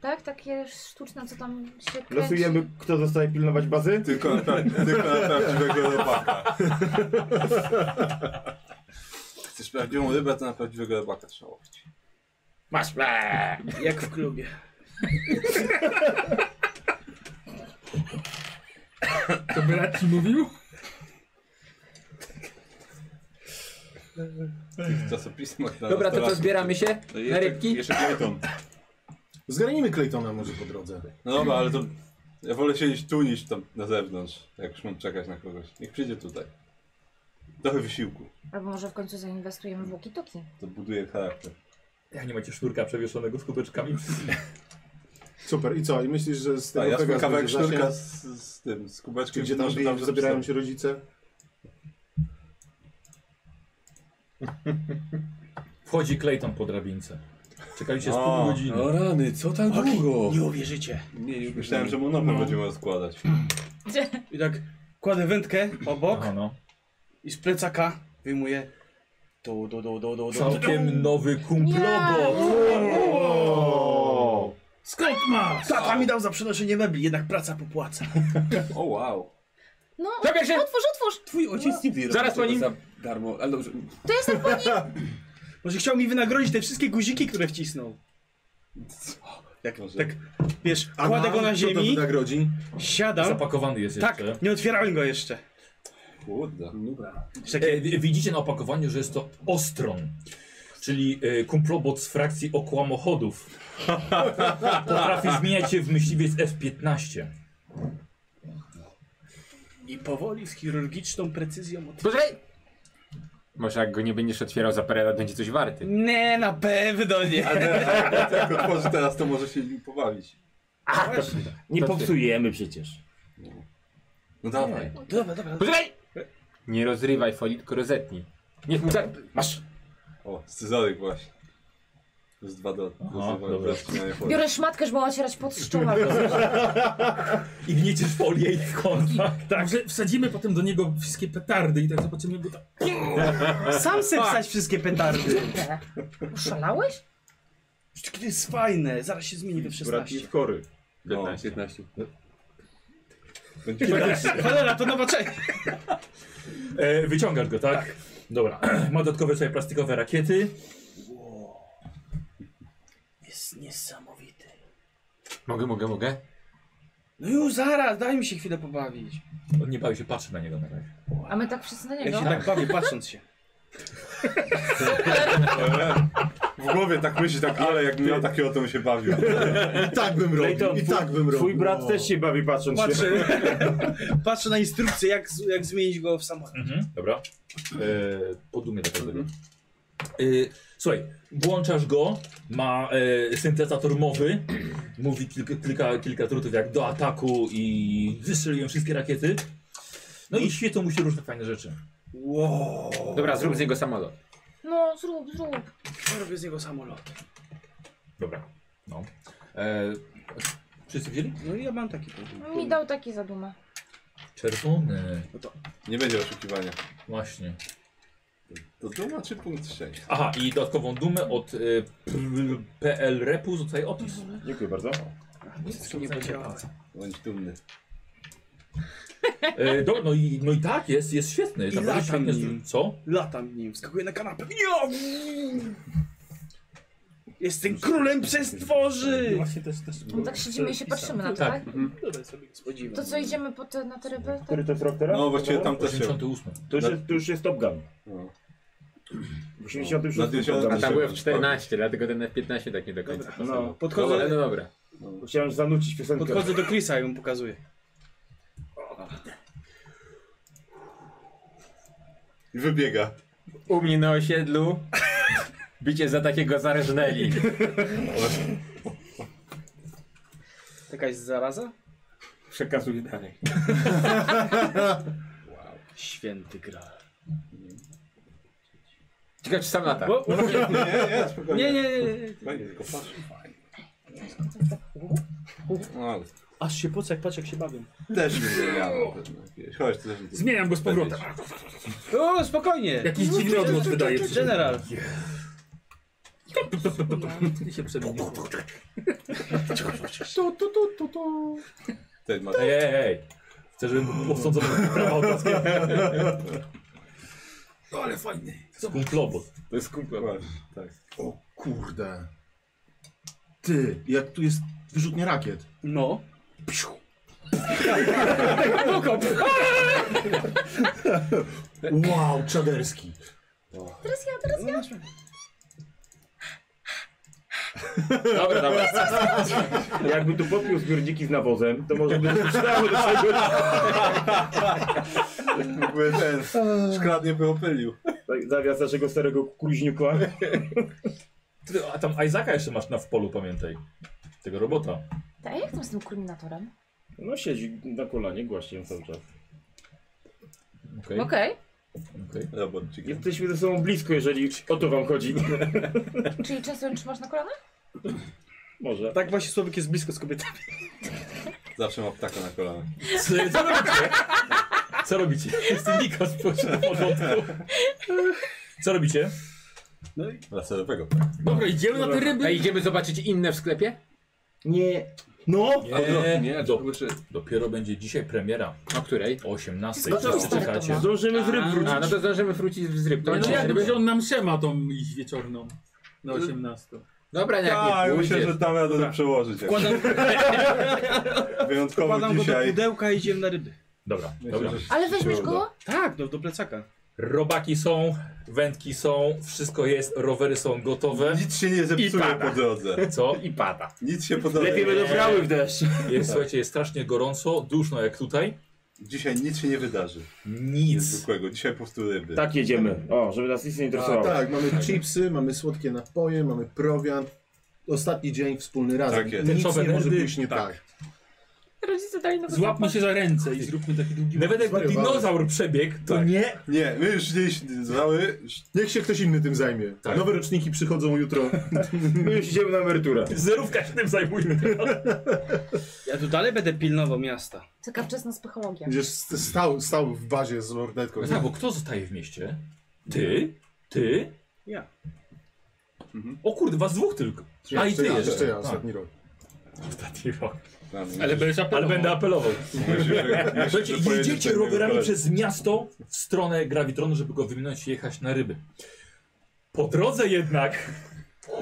Tak, takie sztuczne, co tam się kręci.
Losujemy, kto zostaje pilnować bazy?
Tylko na, pra- tylko na prawdziwego rybaka. Chcesz prawdziwą rybę, to na prawdziwego rybaka trzeba łowić.
Masz ble!
Jak w klubie.
To brat ci mówił?
W czasopismach na
Dobra, to co,
nastolatków.
zbieramy się?
No
Na
jeszcze-
rybki?
Jeszcze Clayton.
Zgarnijmy Claytona może po drodze.
No dobra, ale to Ja wolę siedzieć tu niż tam na zewnątrz, jak już mam czekać na kogoś. Niech przyjdzie tutaj. Trochę wysiłku.
Albo może w końcu zainwestujemy w walkie-talkie.
To buduje charakter.
Jak nie macie sznurka przewieszonego skuteczkami?
Super, i co? I myślisz, że z
A
tego
Tak, ja swój
Pegas
kawałek
będzie zasięg?
sznurka z, z tym, z
Czy
kubeczkiem.
gdzie tam
wnoszę
wie- zabierają
przy
się rodzice?
[LAUGHS] Wchodzi Clayton po drabince. Czekaliście z
O,
pół godziny.
o
rany, co tak długo?
Nie uwierzycie.
Nie, już
Myślałem, że mu nogę będziemy rozkładać.
I tak kładę wędkę obok
Aha, no.
i z plecaka wyjmuję. Do, do, do, do, do, do.
Całkiem nowy kumplobo.
Wow.
Skąd masz?
Tata Tak, mi dał za przenoszenie mebli, jednak praca popłaca.
O wow.
No,
Czekaj się!
otwórz, otwórz!
Twój ojciec nigdy nie
Zaraz
robił
po
tego
nim.
za darmo, ale dobrze.
To jestem po nim!
Może chciał mi wynagrodzić te wszystkie guziki, które wcisnął. Jak,
Może.
tak, wiesz,
A
kładę go na
kto to
ziemi, [LAUGHS]
wynagrodzi?
siadam.
Zapakowany jest
Tak,
jeszcze.
nie otwierałem go jeszcze.
Kurde.
Dobra.
Wiesz, takie-
E, wi- widzicie na opakowaniu, że jest to Ostron. Czyli e, kumplobot z frakcji okłamochodów. Potrafi zmieniać się w myśliwiec F-15.
I powoli, z chirurgiczną precyzją od...
Poczekaj! Może jak go nie będziesz otwierał za parę lat, będzie coś warty.
Nie, na pewno nie.
A teraz, jak otworzy teraz, to może się nim pobawić.
A, to,
Nie
to ty.
popsujemy przecież.
No dawaj.
Dobra, dobra.
Poczekaj! Nie rozrywaj folii, tylko rozetnij. Niech mu za... Masz!
O, scyzoryk właśnie. Plus dwa do...
dobra.
Biorę...
Biorę szmatkę, żeby ocierać pod szczoła.
I gnieciesz folię i w kątach.
Tak. Może wsadzimy potem do niego wszystkie petardy i tak zobaczymy, bo to...
Sam se wsadź wszystkie petardy.
Tyle. Oszalałeś?
Przecież to jest fajne, zaraz się zmieni we 16.
kory.
No,
15.
15.
Cholera, to nowaczek.
E, wyciągasz go, tak? Dobra. [CLEARS THROAT] Ma dodatkowe swoje plastikowe rakiety.
Jest niesamowity.
Mogę, mogę, mogę?
No już zaraz, daj mi się chwilę pobawić.
On nie bawi się, patrzy na niego na razie.
A my tak wszyscy na
Ja
No.
niego.
się tak bawię, patrząc się.
W głowie tak myśli, tak, ale jakbym miał takiego, to bym się
[LAUGHS]
bawił.
I tak bym robił,
Clayton,
i tak bym robił.
Twój brat
O.
też się bawi patrząc się.
Patrzę, [LAUGHS] patrzę na instrukcję, jak, z- jak zmienić go w samochód.
Mhm, dobra. E, podumie do każdego. E, słuchaj, włączasz go, ma e, syntezator mowy, mówi kilka, kilka, kilka trutów jak do ataku i wystrzeliłem wszystkie rakiety. No i świecą mu się różne fajne rzeczy.
Wow.
Dobra, zrób z niego samolot.
No, zrób, zrób.
Robię z niego samolot.
Dobra. No. E, wszyscy wzięli?
No i ja mam taki punkt.
On Mi dał taki za dumę.
Czerwony.
Nie będzie oszukiwania.
Właśnie.
To duma czy punkt szczęścia?
Aha, i dodatkową dumę od e, pl- PL Repu zostaje opis.
Dziękuję bardzo.
Nic tu nie podziałało.
Bądź dumny.
E, do, no, i, no i tak jest, jest świetny. Jest
I
naprawdę
latam
świetny. strój.
nim.
Co?
Latam nim, skakuję na kanapę. Ja! Jestem królem przestworzy!
Właśnie też... też
No tak siedzimy i się patrzymy na to,
Tak.
tak?
Dodaj sobie.
Spodziewam
To co, idziemy po te, na te ryby? Tak?
Który to jest rok teraz?
No właściwie tam też się...
88.
To już jest, to już jest Top Gun.
No.
W 86
Na
Top Gun.
A tam byłem w
Spoko.
14, dlatego ten F15 tak nie do końca.
No,
Dobra,
Podchodzę,
no dobra.
musiałem zanucić piosenkę.
podchodzę do Chrisa i mu pokazuję.
I wybiega.
U mnie na osiedlu [LAUGHS] bicie za takiego zarżnęli.
Taka jest zaraza?
Przekazuję
[LAUGHS]
dalej.
Święty Graal.
Ciekawe czy sam lata.
Bo,
Nie, nie, spokojnie.
nie, nie, nie.
Fajnie, tylko patrz. No ale
Aż się po jak patrz jak się bawię.
też mi wybiegamy. Chodź, ty też mi
Zmieniam go z powrotem.
O, spokojnie!
Jakiś dziwny odgłos wydaje.
General.
I się przemienił.
Ten ma...
Ej, ej, ej. Chcę, żebym osądzony był prawa autorskie.
No ale fajny.
Kumplobot.
To jest kumpel. Tak.
O kurde. Ty, jak tu jest wyrzutnie rakiet.
No.
Wow, czaderski.
Teraz ja, teraz ja.
Dobra, dobra.
Jakby tu podpił zbiorniki z nawozem, to może
[LAUGHS]
by się przydało do czegoś.
Jakby ten szkrat nie by opylił.
Tak, Zawias naszego starego kuźniuka.
Ty, a tam Izaka jeszcze masz na w polu, pamiętaj. Tego robota.
A jak tam z tym kulminatorem?
No siedzi na kolanie, głaści ją cały czas.
Okej.
Okej.
Okej.
Jesteśmy ze sobą blisko, jeżeli o to wam chodzi. [LAUGHS]
Czyli często ją trzymasz na kolanach?
Może.
Tak właśnie Słowik jest blisko z kobietami.
Zawsze ma ptaka na kolanach.
Co, co robicie? Co robicie? Jest Nika z porządku. Co robicie?
Laserowego ptaka.
Dobra, idziemy na te ryby.
A idziemy zobaczyć inne w sklepie?
Nie. No!
Nie,
nie,
do,
czy...
dopiero będzie dzisiaj premiera
O której?
o 18.
No to
Wszyscy czekacie.
Zdążymy w ryb wrócić.
A, no to zdążymy wrócić z ryb. To
No, no
będzie
jak
ryby.
będzie on nam siema tą iść wieczorną na 18.
Dobra, no jak
Tak,
nie
myślę,
pójdziesz.
że damy radę to przełożyć. jakoś. [LAUGHS]
Wkładam,
Wyjątkowo
wkładam go do
dzisiaj.
pudełka i idziemy na ryby.
Dobra, dobra.
Myślę, że się
Ale weźmiesz
uda.
go?
Tak, do, do plecaka.
Robaki są, wędki są, wszystko jest, rowery są gotowe.
No Nic się nie
I
zepsuje
pada.
po drodze.
Co?
I pada.
Nic się po drodze
Lepiej
nie...
będą brały w deszcz.
Jest, słuchajcie, jest strasznie gorąco, duszno jak tutaj.
Dzisiaj nic się nie wydarzy.
Nic.
Zwykłego. Dzisiaj po prostu ryby.
Tak jedziemy. O, żeby nas nic nie
A,
interesowało.
tak, mamy chipsy, mamy słodkie napoje, mamy prowiant. Ostatni dzień wspólny razem.
Tak jest.
Nic
Tęczowe
nie może
nerdy.
pójść nie tak.
Rodzice dali nowy
Złap mi
zapach.
się za ręce i zróbmy taki długi...
Nawet jakby
Zwariowałeś.
dinozaur przebiegł, to
Tak.
nie.
Nie, my już gdzieś znały.
[LAUGHS]
Niech się ktoś inny tym zajmie.
Tak.
Nowe roczniki przychodzą jutro.
My już idziemy na emeryturę.
Zerówka się tym
[LAUGHS]
zajmuje.
Ja tu dalej będę pilnował miasta.
Taka wczesna psychologia.
Będziesz st- stał, stał w bazie z lordetką.
Tak, bo kto zostaje w mieście? Ty? Ty?
Ja.
O kurde, was dwóch tylko. A i ty
ja,
jeszcze.
jeszcze ja,
Tak.
ostatni rok.
Ostatni rok.
Ale będziesz
Ale
apelował.
będę apelował. Słuchajcie,
Słuchajcie,
jedziecie
tak,
rowerami przez miasto w stronę Gravitronu, żeby go wyminąć i jechać na ryby. Po drodze jednak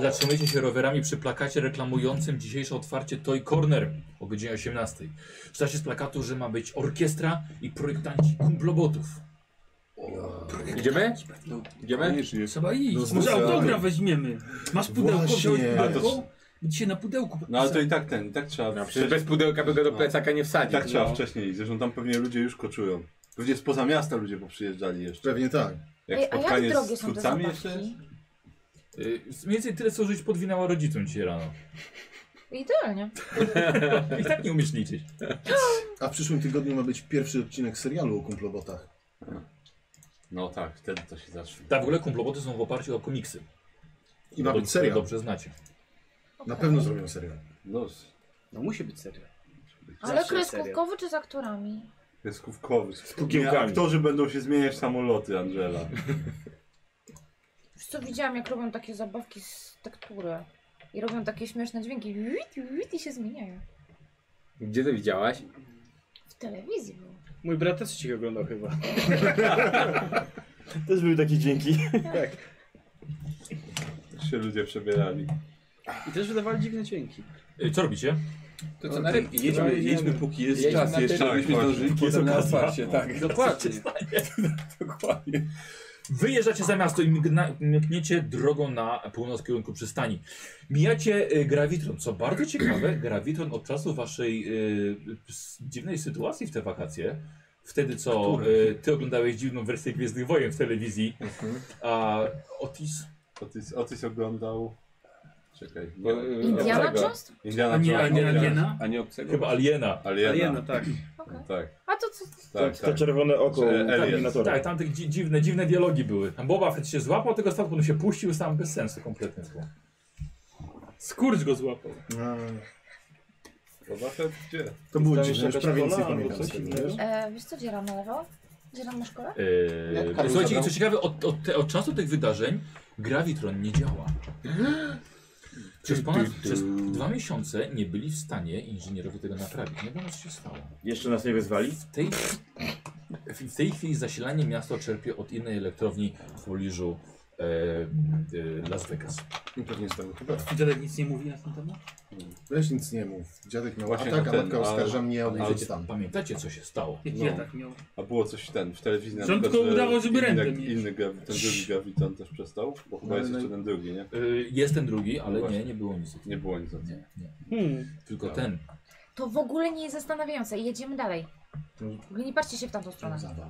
zatrzymujecie się rowerami przy plakacie reklamującym dzisiejsze otwarcie Toy Corner o godzinie 18. Czytacie z plakatu, że ma być orkiestra i projektanci kumplobotów.
Idziemy? Idziemy?
Trzeba iść.
No,
Może
zdecydowanie.
autograf weźmiemy. Masz pudełko
Właśnie.
wziąć
A
to-
pudełko? Dzisiaj na pudełku
No ale to
podpisać.
i tak ten, i tak trzeba.
No, przecież
przecież-
bez pudełka by go do plecaka nie No.
I
wsadzić.
tak trzeba wcześniej iść, zresztą tam pewnie ludzie już koczują. Pewnie spoza miasta ludzie poprzyjeżdżali jeszcze.
Pewnie tak.
Jak
Ej, a
spotkanie
jak drogie
z
są te
twórcami jeszcze jest?
zabawki?
Y, Mniej więcej tyle, co żyć podwinęła rodzicom dzisiaj rano.
Idealnie.
I tak nie umiesz liczyć.
A w przyszłym tygodniu ma być pierwszy odcinek serialu o kumplobotach.
No tak, wtedy to się zacznie.
Tak, w ogóle kumploboty są w oparciu o komiksy.
I ma
Dobrze-
być serial.
No Dobrze znacie.
Na pewno zrobią serial.
No,
No musi być serio.
Ale
Zawsze
kreskówkowy czy z aktorami?
jest kówkowy. Z
kukiełkami.
Aktorzy będą się zmieniać w samoloty, Angela.
Już co widziałam, jak robią takie zabawki z tektury. I robią takie śmieszne dźwięki. Wit, wit, I się zmieniają.
Gdzie to widziałaś?
W telewizji było.
Mój brat też ci oglądał chyba.
Też były takie dzięki.
Tak, się ludzie przebierali.
I też wydawali dziwne dźwięki.
Y, Co robicie?
No, To co na rybki?
Jedźmy,
Chyba
jedźmy, póki jest
Jedźmy
czas
na
jeszcze,
tyle.
żebyśmy
Tak,
zdążyli
właśnie.
potem na
Jest okazja.
otwarcie, tak.
Dokładnie.
Dokładnie.
Wyjeżdżacie za miasto i mgna- mkniecie drogą na północ w kierunku przystani. Mijacie y, Gravitron. Co bardzo ciekawe, [CLEARS THROAT] Gravitron od czasu waszej y, s- dziwnej sytuacji w te wakacje, wtedy co y, ty oglądałeś dziwną wersję Gwiezdnych Wojen w telewizji, a Otis...
Otis, Otis oglądał... Czekaj.
Bo,
Nie,
y,
Indiana
tego.
Jones?
Indiana
A nie, a
Jones.
nie, a nie, na?
A nie obcego?
Chyba Aliena.
Aliena.
Aliena, tak.
Okej.
Tak,
A to co?
tak,
To
tak.
czerwone oko
E, Alien.
eliminatora.
Tak, tam te dzi- dziwne, dziwne dialogi były. Tam Boba Fett się złapał tego statku, on się puścił sam bez sensu kompletnie. Było.
Skurcz go złapał.
No,
Boba Fett gdzie?
To było
Tam
dziwne,
jeszcze
Tak, już prawie nic
jakaś
nie
kola albo
pamiętam z
coś
tego,
innego?
wiesz?
E, wiesz co, dzieram na lewo? Dzieram na szkole?
Eee,
Karol
słuchajcie, i
zabrał?
co ciekawe, od, od, te, od czasu tych wydarzeń Gravitron nie działa. Przez ponad przez dwa miesiące nie byli w stanie inżynierowie tego naprawić. Nie wiadomo, co się stało.
Jeszcze nas nie wyzwali?
W tej, w tej chwili zasilanie miasto czerpie od innej elektrowni w pobliżu e, e, Las Vegas.
I pewnie z tego chyba.
I dziadek nic nie mówi na ten temat?
Weź nic nie mów. Dziadek miał
Właśnie
atak, a
ten,
matka
ale-
oskarża mnie o
ale
odejście tam.
Pamiętacie, co się stało?
Jak ja tak miał.
A było coś ten w telewizji. na
Rząd
przykład,
tylko
że
udało, żeby
inny-
rękę mieć.
Inny gawi, ten drugi gawiton też przestał? Bo chyba
No,
jest
no i-
jeszcze ten drugi, nie?
Y, jest ten drugi, ale
Właśnie.
nie, nie było nic. o tym.
Nie było nic o tym.
Nie, nie.
Hmm.
Tylko
No.
ten.
To w ogóle nie jest zastanawiające i jedziemy dalej.
Mm.
W ogóle Nie patrzcie się w tamtą stronę.
Zawał.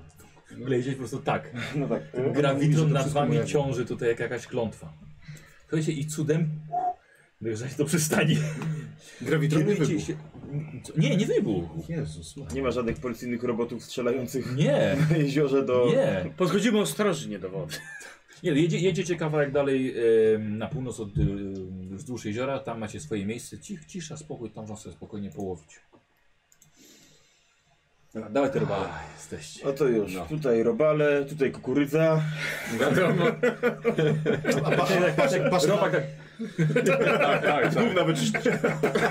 Wlezieć po prostu tak.
No tak.
Mówi, że to
Grawitron nad
wszystko
wami
moja wina.
ciąży tutaj jak jakaś klątwa. Słuchajcie, i cudem dojeżdżacie do przystani.
Grawitrony
Kierujecie
wybuch.
się- Co? Nie, nie wybuchł.
Jezus Maria.
Nie ma żadnych policyjnych robotów strzelających
Nie,
w jeziorze do...
nie.
Podchodzimy ostrożnie do wody.
Nie, no, jedzie, jedziecie kawałek dalej em, na północ od, y, wzdłuż jeziora, tam macie swoje miejsce. Cich, cisza, spokój, tam można sobie spokojnie połowić.
Dobra, dawaj te robale.
A, jesteście.
No to już.
No.
Tutaj robale, tutaj kukurydza. [LAUGHS]
Wiadomo.
[LAUGHS] A
[LAUGHS]
pa, patrz, jak patrz na...
tak.
Tak, tak, tak.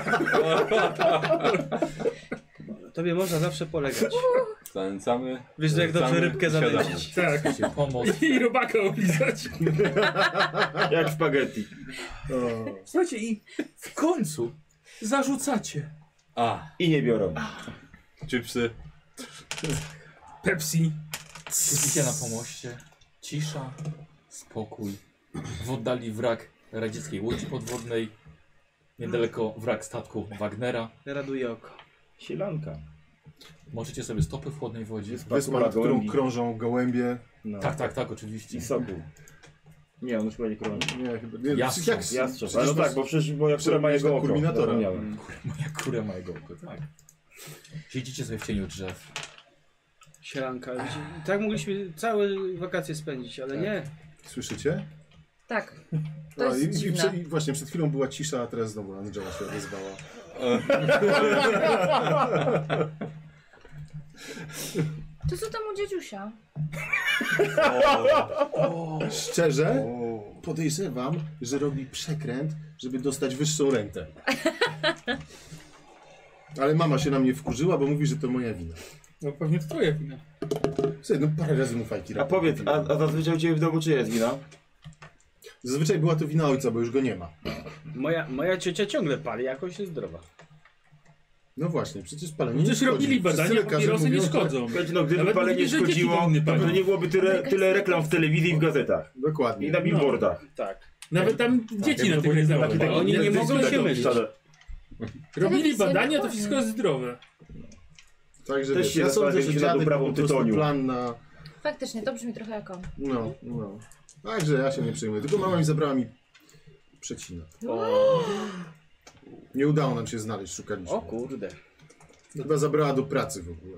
Tobie można zawsze polegać.
Zanęcamy.
Wiesz, jak dobrze
zanęcamy,
rybkę
siadamy.
zanęcić.
Tak. [LAUGHS]
Pomoc.
I robaka opisać.
Jak spaghetti.
O,
Słuchajcie, i w końcu zarzucacie
A,
I nie biorą.
chipsy.
Pepsi.
Siedzicie na pomoście. Cisza, spokój. W oddali wrak radzieckiej łodzi podwodnej. Niedaleko wrak statku Wagnera.
Raduje oko.
Sielanka.
Możecie sobie stopy w chłodnej wodzie.
Wyspa, nad którą krążą gołębie.
No.
Tak, tak, tak, oczywiście.
I soku. Nie, on już chyba nie krąży.
Nie, chyba... Nie,
Jastrząb,
Jastrząb.
przecież
Ale
to
tak, bo przecież moja
przecież
która ma
na
jego oko.
Kurminatora.
Zapomniałem.
Moja kurę ma jego oko, tak. Siedzicie sobie w cieniu drzew.
Sielanka. Tak mogliśmy całe wakacje spędzić, ale nie.
Słyszycie?
Tak. To
A,
jest
No i, i,
dziwne.
prze, I właśnie, przed chwilą była cisza, a teraz znowu Angela się odezwała.
To co tam u dziadziusia?
Szczerze, podejrzewam, że robi przekręt, żeby dostać
[LAUGHS]
wyższą rentę. Ale mama się na mnie wkurzyła, bo mówi, że to moja wina.
No pewnie to twoja wina.
Słuchaj, no parę razy mu fajki
A
robię.
powiedz, a, a zazwyczaj u Ciebie w domu czy jest wina?
Zazwyczaj była to wina ojca, bo już go nie ma.
Moja, moja ciocia ciągle pali, jakoś jest zdrowa.
No właśnie, przecież palenie
Przecież
szkodzi.
robili
Wszyscy
badania,
lekarze
papierosy nie
mówią, że-
szkodzą.
Słuchajcie, no gdyby
Nawet
palenie
mówili, że dzieci
szkodziło,
powinny palić.
to nie byłoby tyle, tyle reklam w telewizji i w gazetach. I
Dokładnie.
na billboardach.
Tak.
Nawet tam dzieci na
jakby
tych
to nie
rezerwach.
było.
nie-
Oni nie mogą się mylić.
Szczerze.
Robili
Telewizja
badania, to
dokładnie.
wszystko jest zdrowe.
Także
Też
wiesz,
się
ja sądzę, że
zastanawialiśmy nad
dziadek
uprawą
miał po prostu
tytoniu.
plan na...
Faktycznie, to brzmi trochę jako.
No, no. Także ja się nie przejmuję. Tylko mama mi zabrała mi przecina. Nie udało nam się znaleźć, szukaliśmy.
O kurde.
Chyba zabrała do pracy w ogóle.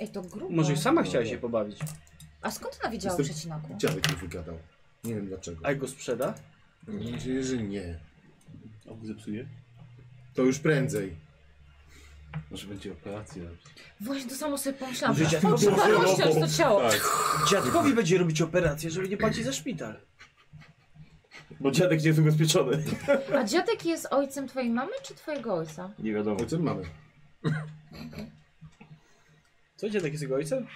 Ej, to grubo.
Może i sama chciała się pobawić.
A skąd ona wiedziała o
Jestem-
przecinaku?
Dziadek mi wygadał. Nie wiem dlaczego.
A jak go sprzeda?
Mam nadzieję, że nie.
Obu zepsuje?
To już prędzej.
Może będzie operacja.
Właśnie to samo sobie pomyślałam. [LAUGHS]
Że dziadek
Po
po
trzeba
prostu
rozciąć to ciało.
Tak.
Dziadkowi będzie robić operację, żeby nie płacić za szpital.
Bo dziadek nie jest ubezpieczony.
A dziadek jest ojcem twojej mamy czy twojego ojca?
Nie wiadomo.
O tym mamy.
Co dziadek jest jego ojcem?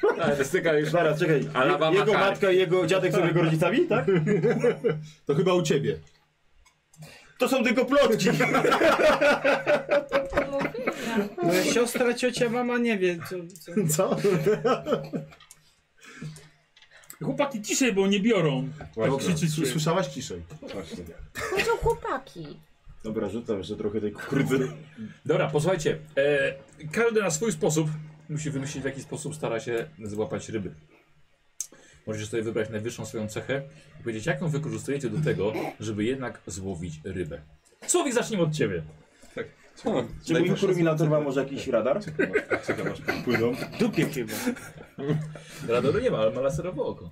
Tak.
Ale styka już
Zaraz, czekaj.
Alabama
jego
Harry.
matka i jego dziadek są jego rodzicami, tak?
To chyba u ciebie.
To są tylko plotki.
Mówiłam.
Moja No, siostra, ciocia, mama nie wie. Co, co.
Co?
Chłopaki ciszej, bo nie biorą. Tak
Właśnie.
Krzyczycie.
Sły- Słyszałaś ciszej. [LAUGHS]
Właśnie.
Powiedział chłopaki.
Dobra, rzucam jeszcze trochę tej kukurydzy.
Dobra, posłuchajcie. E, każdy na swój sposób musi wymyślić, w jaki sposób stara się złapać ryby. Możecie sobie wybrać najwyższą swoją cechę i powiedzieć, jaką wykorzystujecie do tego, żeby jednak złowić rybę. Słowik, zacznijmy od ciebie.
O,
Czy mój kurminator ma może jakiś radar? [LAUGHS]
Czekam aż płyną.
Dupie chyba.
Radoru no nie ma, ale ma laserowe oko.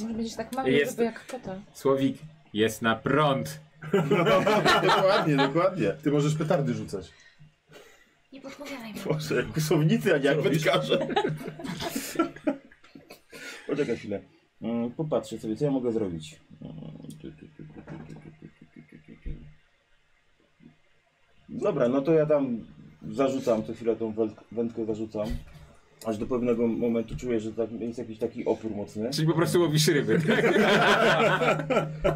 Może będziesz tak mały,
Jest-
żeby jak kota.
Słowik jest na prąd.
dokładnie, dokładnie. Ty możesz petardy rzucać.
Nie podpowiadaj mi.
Boże, kusownicy, a nie jak
Co robisz?
wędkarze. Poczekaj chwilę. Mm, Popatrzę sobie, co ja mogę zrobić. Dobra, no to ja tam zarzucam, co chwilę tą węd- wędkę zarzucam. Aż do pewnego momentu czuję, że tak, jest jakiś taki opór mocny.
Czyli po prostu łowisz
Tak,
ryby. tak?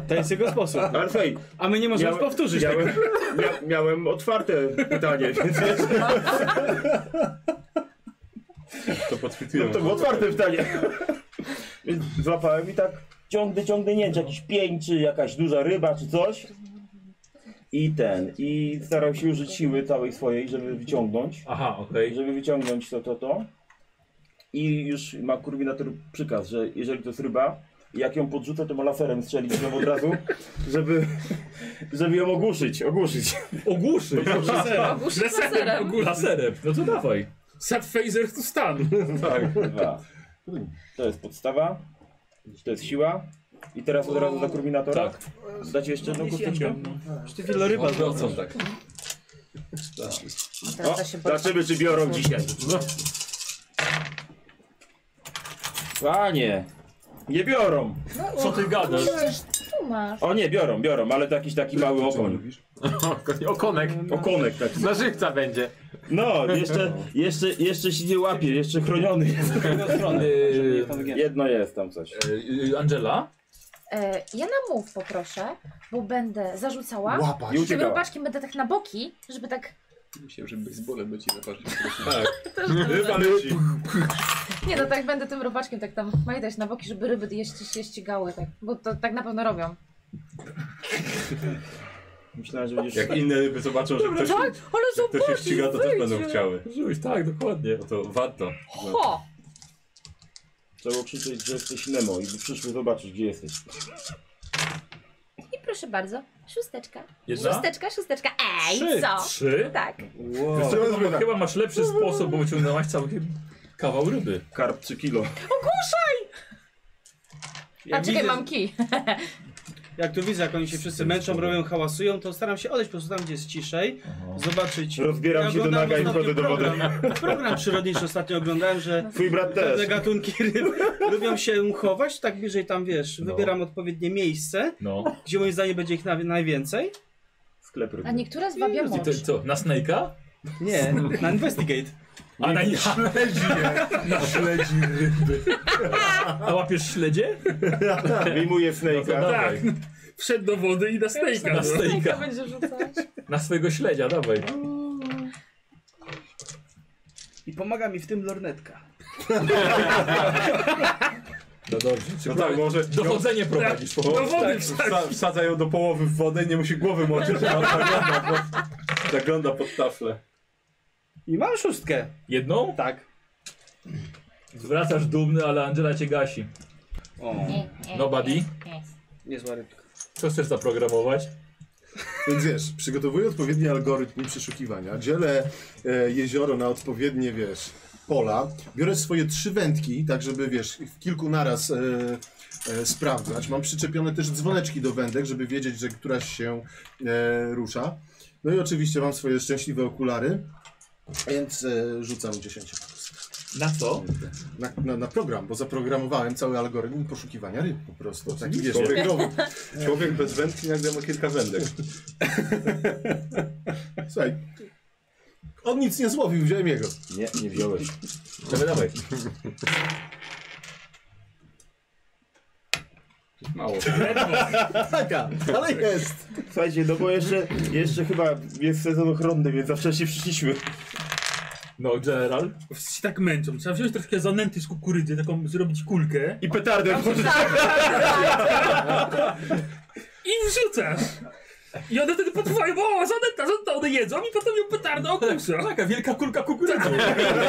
To jest jego sposób. Ale słuchaj,
A my nie możemy
miałem-
powtórzyć
miałem,
tego.
mia, miałem otwarte pytanie, więc
To
no,
podchwytyłem.
to było otwarte pytanie. [LAUGHS] Więc złapałem i tak ciągnę, ciągnę, nie wiem, czy jakiś pień, czy jakaś duża ryba, czy coś. I ten, i starał się użyć siły całej swojej, żeby wyciągnąć.
Aha, okej.
Żeby wyciągnąć to, to, to. I już ma kurwinator przykaz, że jeżeli to jest ryba, jak ją podrzucę, to ma laserem strzelić znowu od razu, żeby, [LAUGHS] żeby ją ogłuszyć, ogłuszyć.
Ogłuszyć?
Ogłuszyć laserem.
Laserem, no to dawaj.
Set phaser to stan.
Tak, dwa. To jest podstawa, to jest siła. I teraz od razu za kurminatora.
Tak.
Dacie jeszcze jedną kosteczkę?
Przecież ty wieloryba
Odwrócą tak.
Teraz da się
O, No. zobaczymy, czy biorą dzisiaj. Panie! Nie biorą!
Co ty gadasz?
Przecież tu masz.
O nie, biorą, biorą, ale to jakiś taki mały okoń.
Okonek.
Okonek taki.
Na żywca będzie.
No, jeszcze, jeszcze, jeszcze się nie łapie, jeszcze chroniony jest.
Yy,
Jedno jest tam coś.
yy, Angela?
E, ja na mów poproszę, bo będę zarzucała.
I
Tym
uciekała.
robaczkiem będę tak na boki, żeby tak...
Myślałem, że baseballem będzie zaparzyć.
Też
Ryba leci.
Nie no, tak będę tym robaczkiem tak tam majdać na boki, żeby ryby jeść, się ścigały, tak. Bo to tak na pewno robią.
Myślałem, że będziesz...
Jak inne ryby zobaczą, że ktoś,
Tak? Ale
że ktoś się
zobacz,
ściga, to też będą
wyjdzie.
chciały.
Żuś, tak, dokładnie.
No to warto. No.
Ho!
Trzeba krzyczeć, że jesteś Nemo i by przyszły zobaczyć, gdzie jesteś.
I proszę bardzo, szósteczka.
Jedna?
Szósteczka, szósteczka. Ej,
Trzy.
co?
Trzy?
Tak.
Wiesz co, chyba, chyba masz lepszy sposób, bo wyciągnęłaś całkiem kawał ryby.
Karp czy kilo.
Ja
A czekaj,
widzę,
mam kij.
Jak tu widzę, jak oni się wszyscy męczą, robią, hałasują, to staram się odejść po prostu tam, gdzie jest ciszej, zobaczyć.
Rozbieram się do
oglądałem
naga i
ostatnio
wchodzę do wody.
Program, program przyrodniczy ostatnio oglądałem, że
Twój brat
pewne
też.
gatunki ryb lubią się chować, tak bliżej tam wiesz, wybieram odpowiednie miejsce,
No.
gdzie moim zdaniem będzie ich na, najwięcej.
Sklep ryby.
A niektóre zwabią
I
mąż.
to, co, na snake'a?
Nie, na investigate.
A na nie śledzi, je. [LAUGHS] na śledzi ryby. A łapiesz śledzie?
Wyjmuję
No to
snake'a.
dawaj.
Wszedł do wody i na snejka.
Na
Jaka
snake'a.
będzie rzucać?
Na swojego śledzia, dawaj.
I pomaga mi w tym lornetka.
No dobrze. Czy
No tak, może
Dochodzenie prowadzisz po prostu.
wody wsadza, wsadza ją do połowy w wodę i nie musi głowy moczyć, a on zagląda, pod, zagląda pod taflę.
I mam szóstkę.
Jedną?
Tak.
Wracasz dumny, ale Angela cię gasi.
O,
Nobody?
niezła rybka.
Co chcesz zaprogramować?
Więc wiesz, przygotowuję odpowiedni algorytm przeszukiwania, dzielę e, jezioro na odpowiednie, wiesz, pola, biorę swoje trzy wędki, tak żeby, wiesz, w kilku naraz e, e, sprawdzać. Mam przyczepione też dzwoneczki do wędek, żeby wiedzieć, że któraś się e, rusza. No i oczywiście mam swoje szczęśliwe okulary, więc e, rzucam 10
Na co?
na, na, na program, bo zaprogramowałem cały algorytm poszukiwania ryb po prostu. Taki, wiesz,
Człowiek-
integrowy.
Człowiek
[LAUGHS]
bez wędki nagle ma kilka wędek.
Słuchaj, on nic nie złowił, wziąłem jego.
Nie, nie wziąłeś.
Dawaj, dawaj.
Mało.
Taka, [LAUGHS] ale jest.
Słuchajcie, no bo jeszcze, jeszcze chyba jest sezon ochronny, więc za wcześnie przyszliśmy.
No, general.
Wszyscy się tak męczą. Trzeba wziąć troszkę zanęty z kukurydzy, taką zrobić kulkę
I petardę może.
i wrzucasz. I one wtedy potrwają, o, zanęta, zanęta, one jedzą i potem ją petarda okusa.
Taka wielka kulka kukurydzy.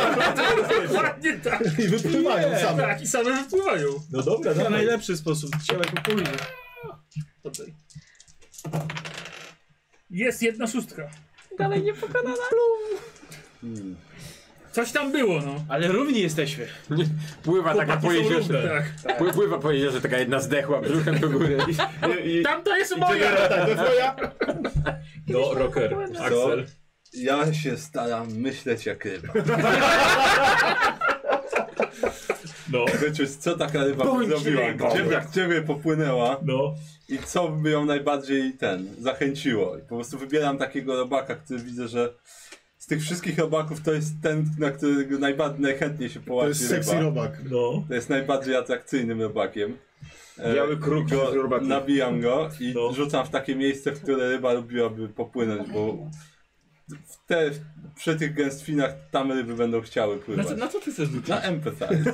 [LAUGHS] Dokładnie tak.
I wypływają
Nie,
same.
Tak, i same wypływają.
No dobra,
To
dawaj.
najlepszy sposób, ciała kukurydzy. Tutaj.
Jest jedna szóstka.
Dalej nie pokonana.
Coś tam było, no.
Ale równi jesteśmy.
Pływa taka
Chłopaki
po
są
jeziorze.
równe. Tak.
Pły- Pływa po jeziorze, taka jedna zdechła brzuchem do góry.
I, i,
Tamta jest moja!
No, rocker.
Tak.
Axel.
Ja się staram myśleć jak ryba.
[LAUGHS] No,
Wyczuć, co taka ryba
Bądź
zrobiła,
rybą.
gdzie, jak ciebie popłynęła
no.
i co by ją najbardziej ten zachęciło. I po prostu wybieram takiego robaka, który widzę, że z tych wszystkich robaków to jest ten, na którego najba- najchętniej się połapie
To jest sexy
ryba.
robak.
No.
To jest najbardziej atrakcyjnym robakiem. E,
Biały kruk
go,
z No. robakiem.
Nabijam go i rzucam w takie miejsce, w które ryba lubiłaby popłynąć, bo w te, w, przy tych gęstwinach tam ryby będą chciały
Na
pływać.
co, na co ty chcesz rzucić?
Na empathize.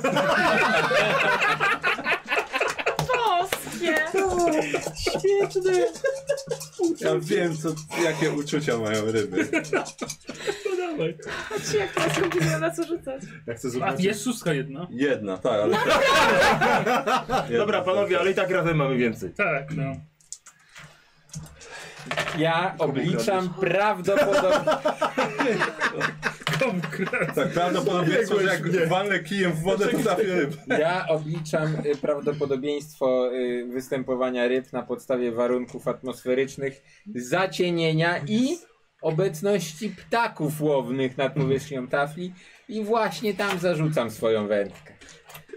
Boskie!
Świetny!
[LAUGHS]
Ja wiem, co, jakie uczucia mają ryby.
No dawaj.
Patrzcie, jak teraz będzie na co rzucać.
Ja chcę
A
zobaczyć.
jest szóstka jedna.
Jedna, tak, ale... Jedna,
Dobra, panowie, ale i tak razem mamy więcej.
Tak, no.
[LAUGHS] Ja obliczam prawdopodobnie...
Komu kres?
Tak, prawdopodobieństwo, że jak walnę kijem w wodę, to trafię ryb.
Ja obliczam y, prawdopodobieństwo y, występowania ryb na podstawie warunków atmosferycznych, zacienienia i obecności ptaków łownych nad powierzchnią tafli i właśnie tam zarzucam swoją wędkę.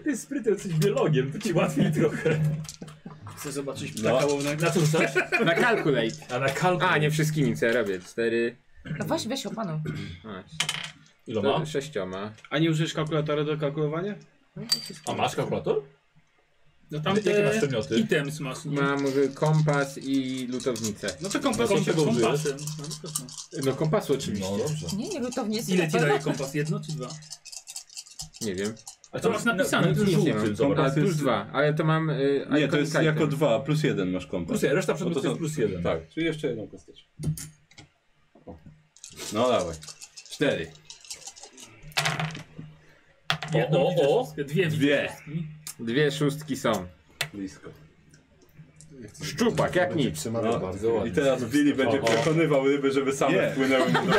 Ty jest sprytny, jesteś biologiem, to ci
[LAUGHS]
łatwiej trochę.
Chcę zobaczyć
No.
ptaka łownego.
Na co rzucasz?
Na calculate.
A na kalku.
A, nie wszystkimi, co ja robię. Cztery...
No weź, weź opanuj.
A,
Iloma?
to sześcioma.
A nie użyjesz kalkulatora do kalkulowania?
A masz kalkulator?
No tam
Jakie masz
te
E, przedmioty?
items masz. Nie?
Mam y, kompas i lutownicę.
No to kompas
No to
się
czego użyjesz?
kompasem. No, na pewno.
No kompasu oczywiście.
No dobrze.
Nie, nie lutownie jest
Ile ci daje kompas? Jedno czy dwa?
Nie wiem.
A
To masz napisane,
no,
to
Nic nie
żółty,
mam.
zobacz.
A,
Kompas
plus
jest-
dwa, ale to mam... y,
Nie, to jest
iconic
jako
item.
dwa, plus jeden masz kompas.
Plus jeden, reszta przedmiotów
No to
jest plus jeden.
Tak, czyli jeszcze jedną kosteczkę. O. No dawaj. Cztery.
Jedną
O, o,
widzę
o.
szóstkę, Dwie widzę
Dwie.
szóstki.
Dwie szóstki są.
Blisko.
Szczupak, jak
Będzie
nic.
przemawiał
No.
bardzo.
Bardzo
I
ładnie.
teraz Billy
O,
będzie
o.
przekonywał ryby, żeby same
Nie.
wpłynęły.
[LAUGHS]
mu do-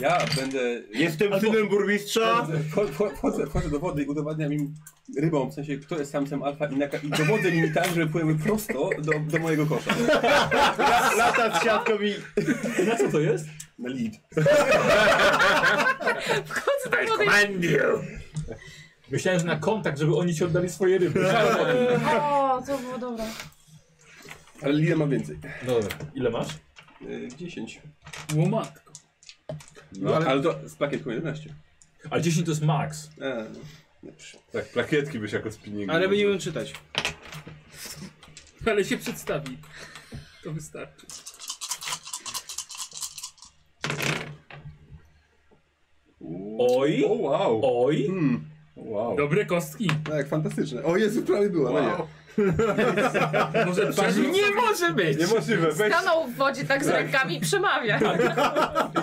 Ja będę...
Jestem synem burmistrza!
Wcho- wcho- Wchodzę, wchodzę do wody i udowadniam im rybom, w sensie kto jest samcem alfa i, naka- i dowodzę im tak, żeby płyły prosto do, do mojego kosza.
Lata z siatką i...
Na co to jest?
Na lid.
Wchodzę do wody.
Myślałem, że na kontakt, żeby oni ci oddali swoje
[LAUGHS]
ryby. Myślałem o tym.
O, to było dobre.
Ale lida ma więcej.
Dobra, ile masz?
Yy, 10.
Łomatko.
No,
No,
ale, ale to z plakietką 11.
A 10 to jest max.
E,
tak, plakietki byś jako spinning.
Ale by nie umiem czytać.
Ale się przedstawi. To wystarczy.
Oj,
O wow, Hmm.
oj.
wow.
Dobre kostki.
no jak fantastyczne. O Jezu, prawie była, no nie.
[LAUGHS]
Może przerzuć.
Nie może być!
Niemożliwe, weź.
Stanął w wodzie tak z rękami i przemawia.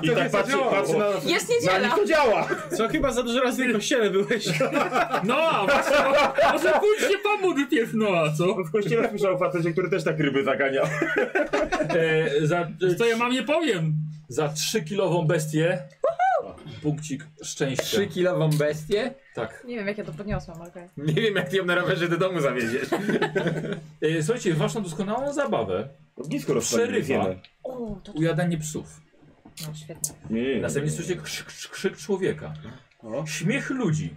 I tak patrzy, patrzy na...
Jest niedziela.
Co chyba za dużo razy w tym kościele byłeś.
No, a właśnie. mo- Może pójdź się pomógł pierw, no a co?
W kościele słyszał o facecie, który też tak ryby zaganiał.
E, za, e,
To ja mam nie powiem.
za 3-kilową bestię. Punkcik szczęścia.
Trzykilową bestię?
Tak.
Nie wiem, jak ja to podniosłam, ale okej.
Nie wiem, jak ty ją na rowerze do domu zawieziesz.
E, słuchajcie, waszą doskonałą zabawę
Ognisko
przerywa
rozpaliłem.
O, to
ujadanie psów.
no, świetnie.
Nie,
Następnie słyszycie krzyk, krzyk, krzyk człowieka.
O.
Śmiech ludzi.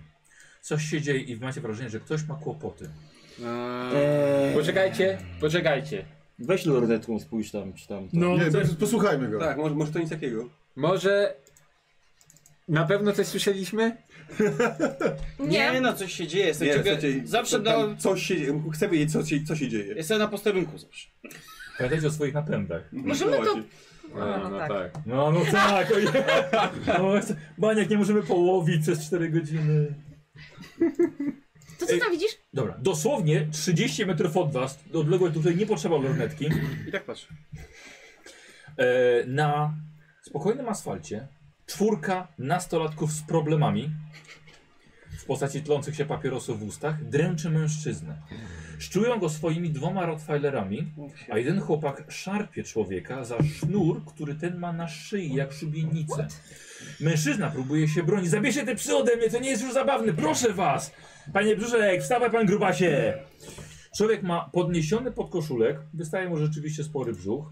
Coś się dzieje i macie wrażenie, że ktoś ma kłopoty.
E, Poczekajcie, poczekajcie.
Eee, Weź lornetką spójrz tam, czy tam.
No,
Nie,
coś-
posłuchajmy go.
Tak, może, może to nic takiego.
Może... Na pewno coś słyszeliśmy?
Nie,
no, coś się dzieje. Jestem
Nie,
ciekaw-
słuchajcie,
zawsze
tam- tam
na...
Coś się dzieje, chcę wiedzieć co się, co się dzieje.
Jestem na posterunku zawsze.
Pamiętajcie o swoich napędach.
możemy
Mm,
to... A, no tak.
No, no tak, ojej. No, Maniak, nie możemy połowić przez 4 godziny.
To co tam widzisz?
Dobra, dosłownie 30 metrów od was, odległość, do której nie potrzeba lornetki,
I tak patrz.
e, na spokojnym asfalcie czwórka nastolatków z problemami w postaci tlących się papierosów w ustach dręczy mężczyznę. Szczują go swoimi dwoma rottweilerami, a jeden chłopak szarpie człowieka za sznur, który ten ma na szyi jak szubienicę. Mężczyzna próbuje się bronić. Zabierzcie te psy ode mnie, to nie jest już zabawne, proszę was! Panie Brzuszek, wstawaj pan grubasie! Człowiek ma podniesiony podkoszulek, wystaje mu rzeczywiście spory brzuch,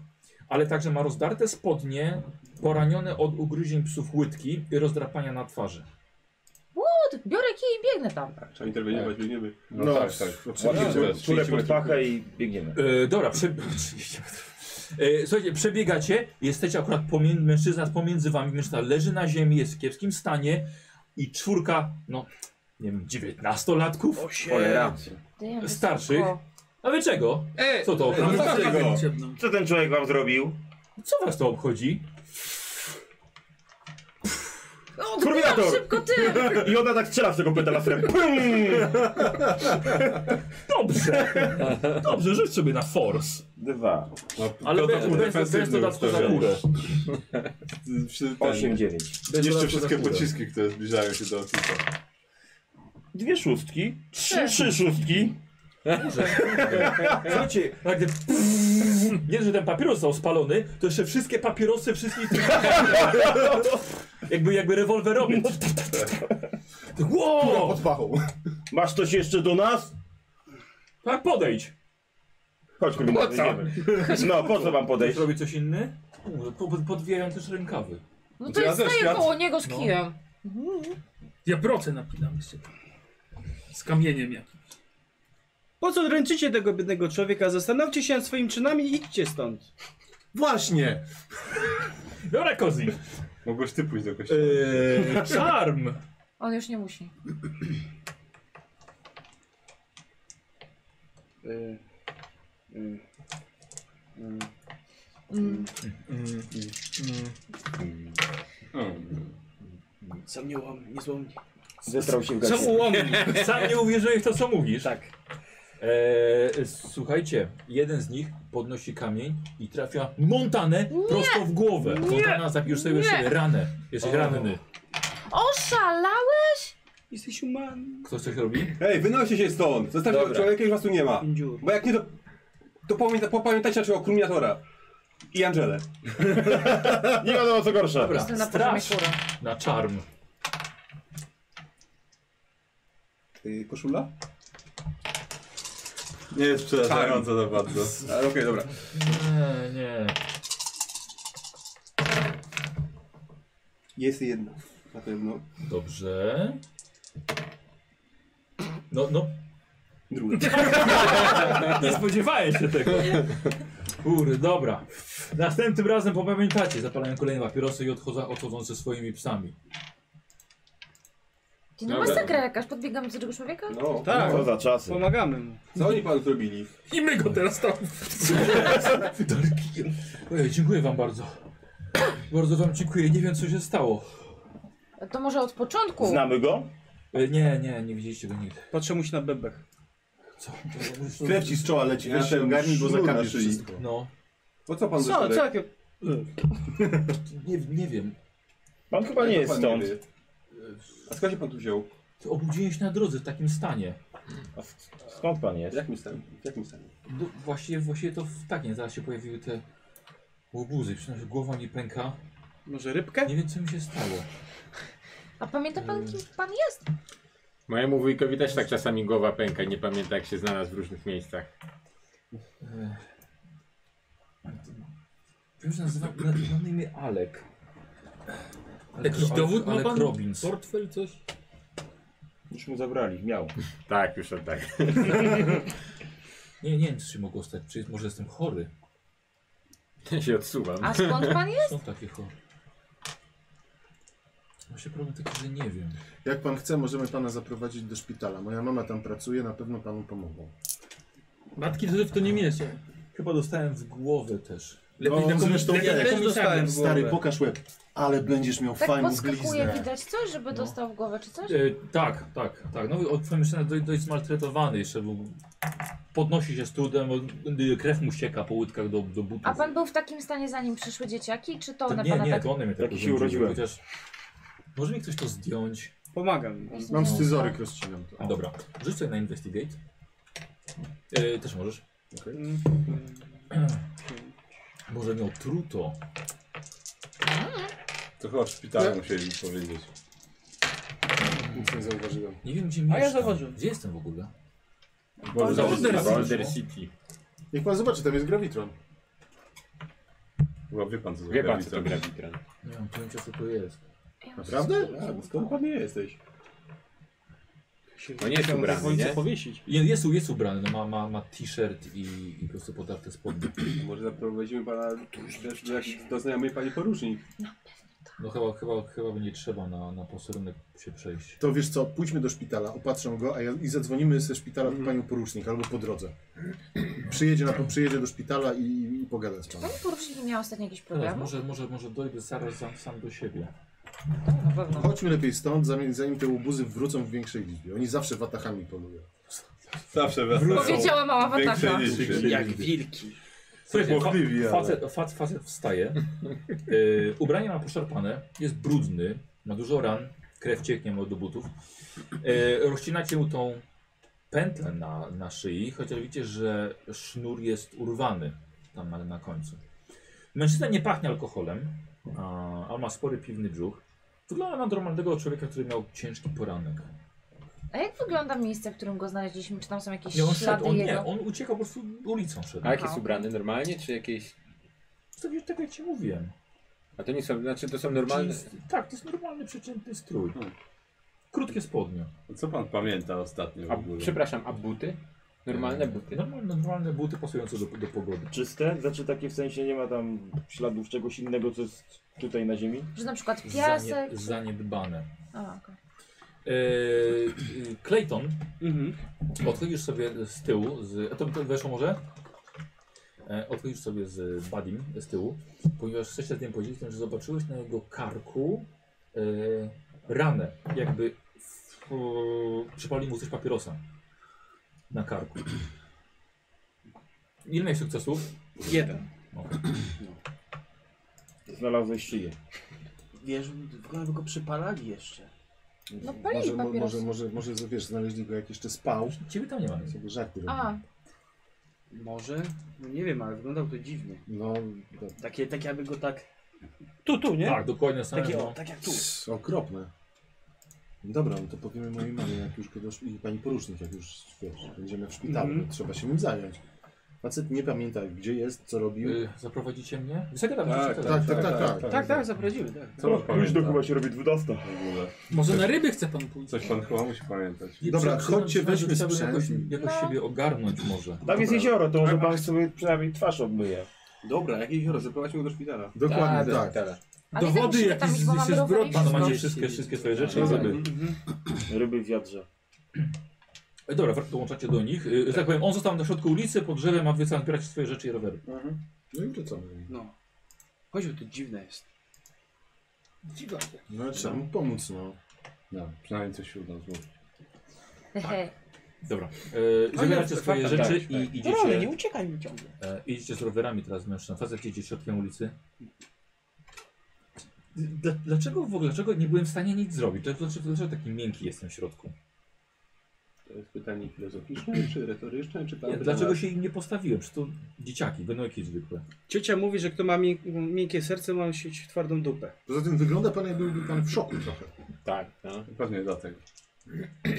ale także ma rozdarte spodnie, poranione od ugryzień psów łydki i rozdrapania na twarzy.
Od, biorę kij i biegnę tam.
Tak, trzeba interweniować, biegniemy.
No,
No,
tak, tak.
oczywiście.
Łapiesz go,
Czurę
trzydzieści metrów.
pod
E, [LAUGHS]
pachę i biegniemy.
Yy, dobra, przy... 30 metrów. E, słuchajcie, przebiegacie, jesteście akurat pomiędzy, mężczyzna pomiędzy wami, mężczyzna leży na ziemi, jest w kiepskim stanie i czwórka, no nie wiem, dziewiętnastolatków,
Cholera.
starszych. A wy czego? Co to
no
obchodzi?
co tego? Co ten człowiek wam zrobił?
Co was to obchodzi?
O,
Kurwiator!
szybko ty!
I ona tak strzela z tego petala frem. Pum!
Dobrze. Dobrze, rzuć sobie na force.
Dwa.
Ale bez, bez, bez, dodatku za górę.
Osiem, dziewięć.
Jeszcze wszystkie pociski, które zbliżają się do Otisa.
Dwie szóstki. Trzy, trzy szóstki.
Słuchajcie, no gdy nie, że ten papieros został spalony, to jeszcze wszystkie papierosy wszystkich tych... jakby, jakby rewolwerowy. Wow! No,
Pod pachą.
Masz coś jeszcze do nas?
Tak, podejdź.
Chodź, kurwa,
Po co?
wyjdziemy. No, po co wam podejść?
Zrobi coś inny? Po- po- Podwijam też rękawy.
No to
Ja
jest
też,
staję
ja-
koło niego z
no.
kijem.
Ja procę napinam się. Z kamieniem jakim.
Po co dręczycie tego biednego człowieka? Zastanówcie się nad swoimi czynami i idźcie stąd.
Właśnie!
Dobra, Kozi.
Mogłeś ty pójść do kościoła.
Czarm!
On już nie musi. Mm.
Sam nie łam, nie złomni.
Zetrał się w
Sam
gacie.
ułomni.
Sam nie uwierzyłeś w to, co mówisz. Tak. słuchajcie, jeden z nich podnosi kamień i trafia Montanę prosto w głowę.
Nie!
Montana zapisz sobie
Nie!
jeszcze ranę. Jesteś ranny.
Oszalałeś?
Jesteś human.
Ktoś coś robi?
Ej, wynoście się stąd! Zostawcie tego
Dobra.
człowieka, już was tu nie ma. Bo jak nie, to, to pamięta, popamiętajcie raczej o Kruminatora. I Angelę.
Nie wiadomo co gorsze.
Dobra,
Jestem na poziomie
strasz
kura.
na czarm.
Yy, koszula?
Nie jest
przerażająco za bardzo. [LAUGHS] Ale Okej, dobra.
Nie, nie.
Jest jedna. Na pewno.
Dobrze. No, no.
Druga.
[LAUGHS] Nie spodziewałeś się tego. Kurde, dobra. Następnym razem popamiętacie, zapalają kolejne papierosy i odchodzą, odchodzą ze swoimi psami.
Ty no
Dobra.
masakra jakaś, podbiegam do tego człowieka?
No.
Tak.
Co za czasy.
Pomagamy mu.
Co oni panu zrobili?
I my go teraz tam.
Ojej, dziękuję wam bardzo. Bardzo wam dziękuję. Nie wiem co się stało.
To może od początku?
Znamy go?
E, Nie, nie, nie widzieliście go nigdy.
Patrzę mu się na bebek.
Co?
Krew ci z czoła leci,
Ja
weź się
ten
ogarnij, bo
sznur na
zakapiesz
szyi.
wszystko.
No.
Po co pan
Co,
zrobił?
co jakie?
Nie, nie wiem.
Pan chyba nie jest stąd.
A skąd się pan tu wziął?
Ty Obudziłem się na drodze w takim stanie.
A s- Skąd pan
W
jest?
jakim stanie? W jakim stanie?
No, właściwie, właściwie to w takim. Zaraz się pojawiły te łobuzy. Przynajmniej głowa mi pęka.
Może rybkę?
Nie wiem co mi się stało.
A pamięta pan, kim pan jest?
Mojemu wujkowi też tak czasami głowa pęka, nie pamięta jak się znalazł w różnych miejscach.
Wiem, że nazywa na, na na imię Alek. Alek-
Jakiś
Alek-
dowód ma
Alek
pan?
Robbins.
Portfel, coś?
Już mu zabrali, miał.
Tak, [LAUGHS] już oddaję.
Nie, nie wiem, czy mogło stać. Czy może jestem chory?
Ja się odsuwam.
A skąd pan jest?
Są takie chory. Właśnie problem taki, że nie wiem.
Jak pan chce, możemy pana zaprowadzić do szpitala. Moja mama tam pracuje, na pewno panu pomogą.
Matki to w to nie mieszam.
Chyba dostałem w głowę też.
No,
taką-
zresztą
lepiej
wiesz.
taką
dostałem w
Stary,
głowę.
pokaż łeb, ale będziesz miał
Tak
[LAUGHS] fajną No.
podskakuje,
bliznę.
widać coś, żeby dostał w głowę, czy coś?
E, tak, tak, tak. No od przemyślenia dość, dość zmaltretowany jeszcze był. Podnosi się z trudem, y, krew mu ścieka po łydkach do, do butów.
A pan był w takim stanie, zanim przyszły dzieciaki, czy to
To,
na
nie,
pana
nie,
tak...
to one mnie tak
Taki się
urządziły,
urodziłem.
Chociaż... Może mi ktoś to zdjąć.
Pomagam. mu.
No.
no.
Mam scyzoryk, rozcinam to.
Dobra, rzuć sobie na investigate. E, też możesz.
Mm.
Może miał no, truto.
To chyba w szpitalu musieli powiedzieć.
Nic nie zauważyłem.
Nie wiem gdzie
A ja
mieszkam.
zauważyłem.
Gdzie jestem w ogóle?
Może
Boulder
zaraz-
Boulder City.
Jak pan zobaczy, tam jest grawitron.
Chyba wie pan co
Wie pan co
zrobił.
to grawitron.
Nie mam pojęcia co to jest.
No
Naprawdę?
A, Skąd pan nie jesteś?
No nie jest ubrany, nie?
powiesić.
Je- Jest, jest ubrany, no, ma, ma, ma t-shirt i, i po prostu podarte spodnie.
Może zaprowadzimy pana też do, jakiejś- do znajomej pani porucznik.
No chyba, chyba, chyba by nie trzeba na, na posterunek się przejść.
To wiesz co, pójdźmy do szpitala, opatrzę go a ja, i zadzwonimy ze szpitala do panią porucznik albo po drodze. Przyjedzie, na, przyjedzie do szpitala i, i pogada z panem.
Pani porucznik miała ostatnio jakiś
Teraz
problem?
może, może, może dojdę zaraz sam, sam do siebie.
Na pewno.
Chodźmy lepiej stąd, zanim, zanim te łobuzy wrócą w większej liczbie. Oni zawsze watachami polują.
Zawsze
Powiedziała mała wataka.
Jak wilki.
Słuchajcie, fa
Możliwie, ale-
facet, fac- facet wstaje. Yy, ubranie ma poszarpane, jest brudny, ma dużo ran, krew cieknie mu do butów. Yy, rozcinacie mu tą pętlę na, na szyi, chociaż widzicie, że sznur jest urwany tam na, na końcu. Mężczyzna nie pachnie alkoholem, a, ale ma spory piwny brzuch. Wygląda na normalnego człowieka, który miał ciężki poranek.
A jak wygląda miejsce, w którym go znaleźliśmy? Czy tam są jakieś
Nie, on
ślady
szedł, on nie,
jego?
on uciekał po prostu ulicą szedł.
A jak jest
Aha.
ubrany? Normalnie czy jakieś...
Zostawię tego, jak ci mówiłem.
A to nie są, znaczy to są normalne...
Jeans. Tak, to jest normalny, przeciętny strój. Krótkie spodnie.
No Co pan pamięta ostatnio w
A,
ogóle?
przepraszam, a buty?
No.
Normalne buty?
Normalne, normalne buty pasujące do, do pogody.
Czyste? Znaczy takie w sensie nie ma tam śladów czegoś innego, co jest tutaj na ziemi?
Że na przykład
Zanie,
piasek?
zaniedbane.
A, okej.
Eee, y, Clayton,
Mhm.
odchodzisz sobie z tyłu, z, a to to weszło może? E, odchodzisz sobie z Badim z tyłu, ponieważ chcesz się z nim podzielić, tym, że zobaczyłeś na jego karku e, ranę, jakby w, przypali mu coś papierosa na karku. Ile miałeś sukcesów?
Jeden.
Znalazłeś szyję.
Wiesz, w ogóle by go przypalali jeszcze.
No
Może,
pali
mo-
papieros.
może, może, może wiesz, znaleźli go jak jeszcze spał.
Ciebie tam nie ma.
Sobie żarty robił.
A,
Może? No nie wiem, ale wyglądał to dziwnie.
No, to,
Takie, tak jakby go tak...
Tu, tu, nie?
Tak, dokładnie same.
Takie,
no.
o, tak jak tu.
Pss, okropne. Dobra, no to powiemy mojej mamie, jak już go dosz... i pani porucznik, jak już wiesz, będziemy w szpitalu,
Mhm.
no trzeba się nim zająć. Facet nie pamięta, gdzie jest, co robił.
Y, zaprowadzicie mnie? Sekretarz,
Tak,
sekretarz.
tak, tak, tak, tak.
Tak, tak, zaprowadzimy, tak.
Co pan
Już
pamięta
do Kuba się robi 12.
w ogóle?
Może na ryby chce pan pójść?
Coś pan chyba musi pamiętać.
Dobra,
Przyznam,
chodźcie,
przyznam, że
weźmy
chciałbym
sprzęt.
Jakoś, jakoś siebie ogarnąć może.
Tam jest jezioro, to
Tak.
może pan sobie przynajmniej twarz obmyje.
Dobra, jakie jezioro, zaprowadźmy go do szpitala.
Dokładnie
do
tak.
szpitala.
ale
Do
i tak
wody
musimy
jakiś
tam iść, bo mamy
się
rower i
zwrot.
Pan
wszystko.
macie wszystkie, wszystkie swoje rzeczy i
Dobra. Mhm.
zaby.
Ryby w wiadrze.
E, Dobra, dołączacie do nich. E, że Tak powiem, on został na środku ulicy, pod drzewem, a wy sam zbierać swoje rzeczy i rowery.
No i wracamy.
No. Chodźmy, to dziwne jest.
Dziwa.
No trzeba mu pomóc, no.
No, przynajmniej coś się uda złożyć.
Hehe.
Tak.
Dobra. E, zabieracie swoje rzeczy i
No ale nie
idziecie,
uciekaj mi ciągle.
e, idziecie z rowerami teraz mężczyzna. Facet idzie środkiem ulicy. Dla, dlaczego w ogóle, dlaczego nie byłem w stanie nic zrobić? Dlaczego, dlaczego taki miękki jestem w środku?
To jest pytanie filozoficzne, czy retoryczne, czy pan...
Nie, dlaczego się im nie postawiłem? Czy to dzieciaki, będą jakieś zwykłe?
Ciocia mówi, że kto ma mięk- miękkie serce, ma mieć twardą dupę.
Poza tym wygląda pan, jakby był pan w szoku trochę.
Tak, no.
Pewnie dlatego.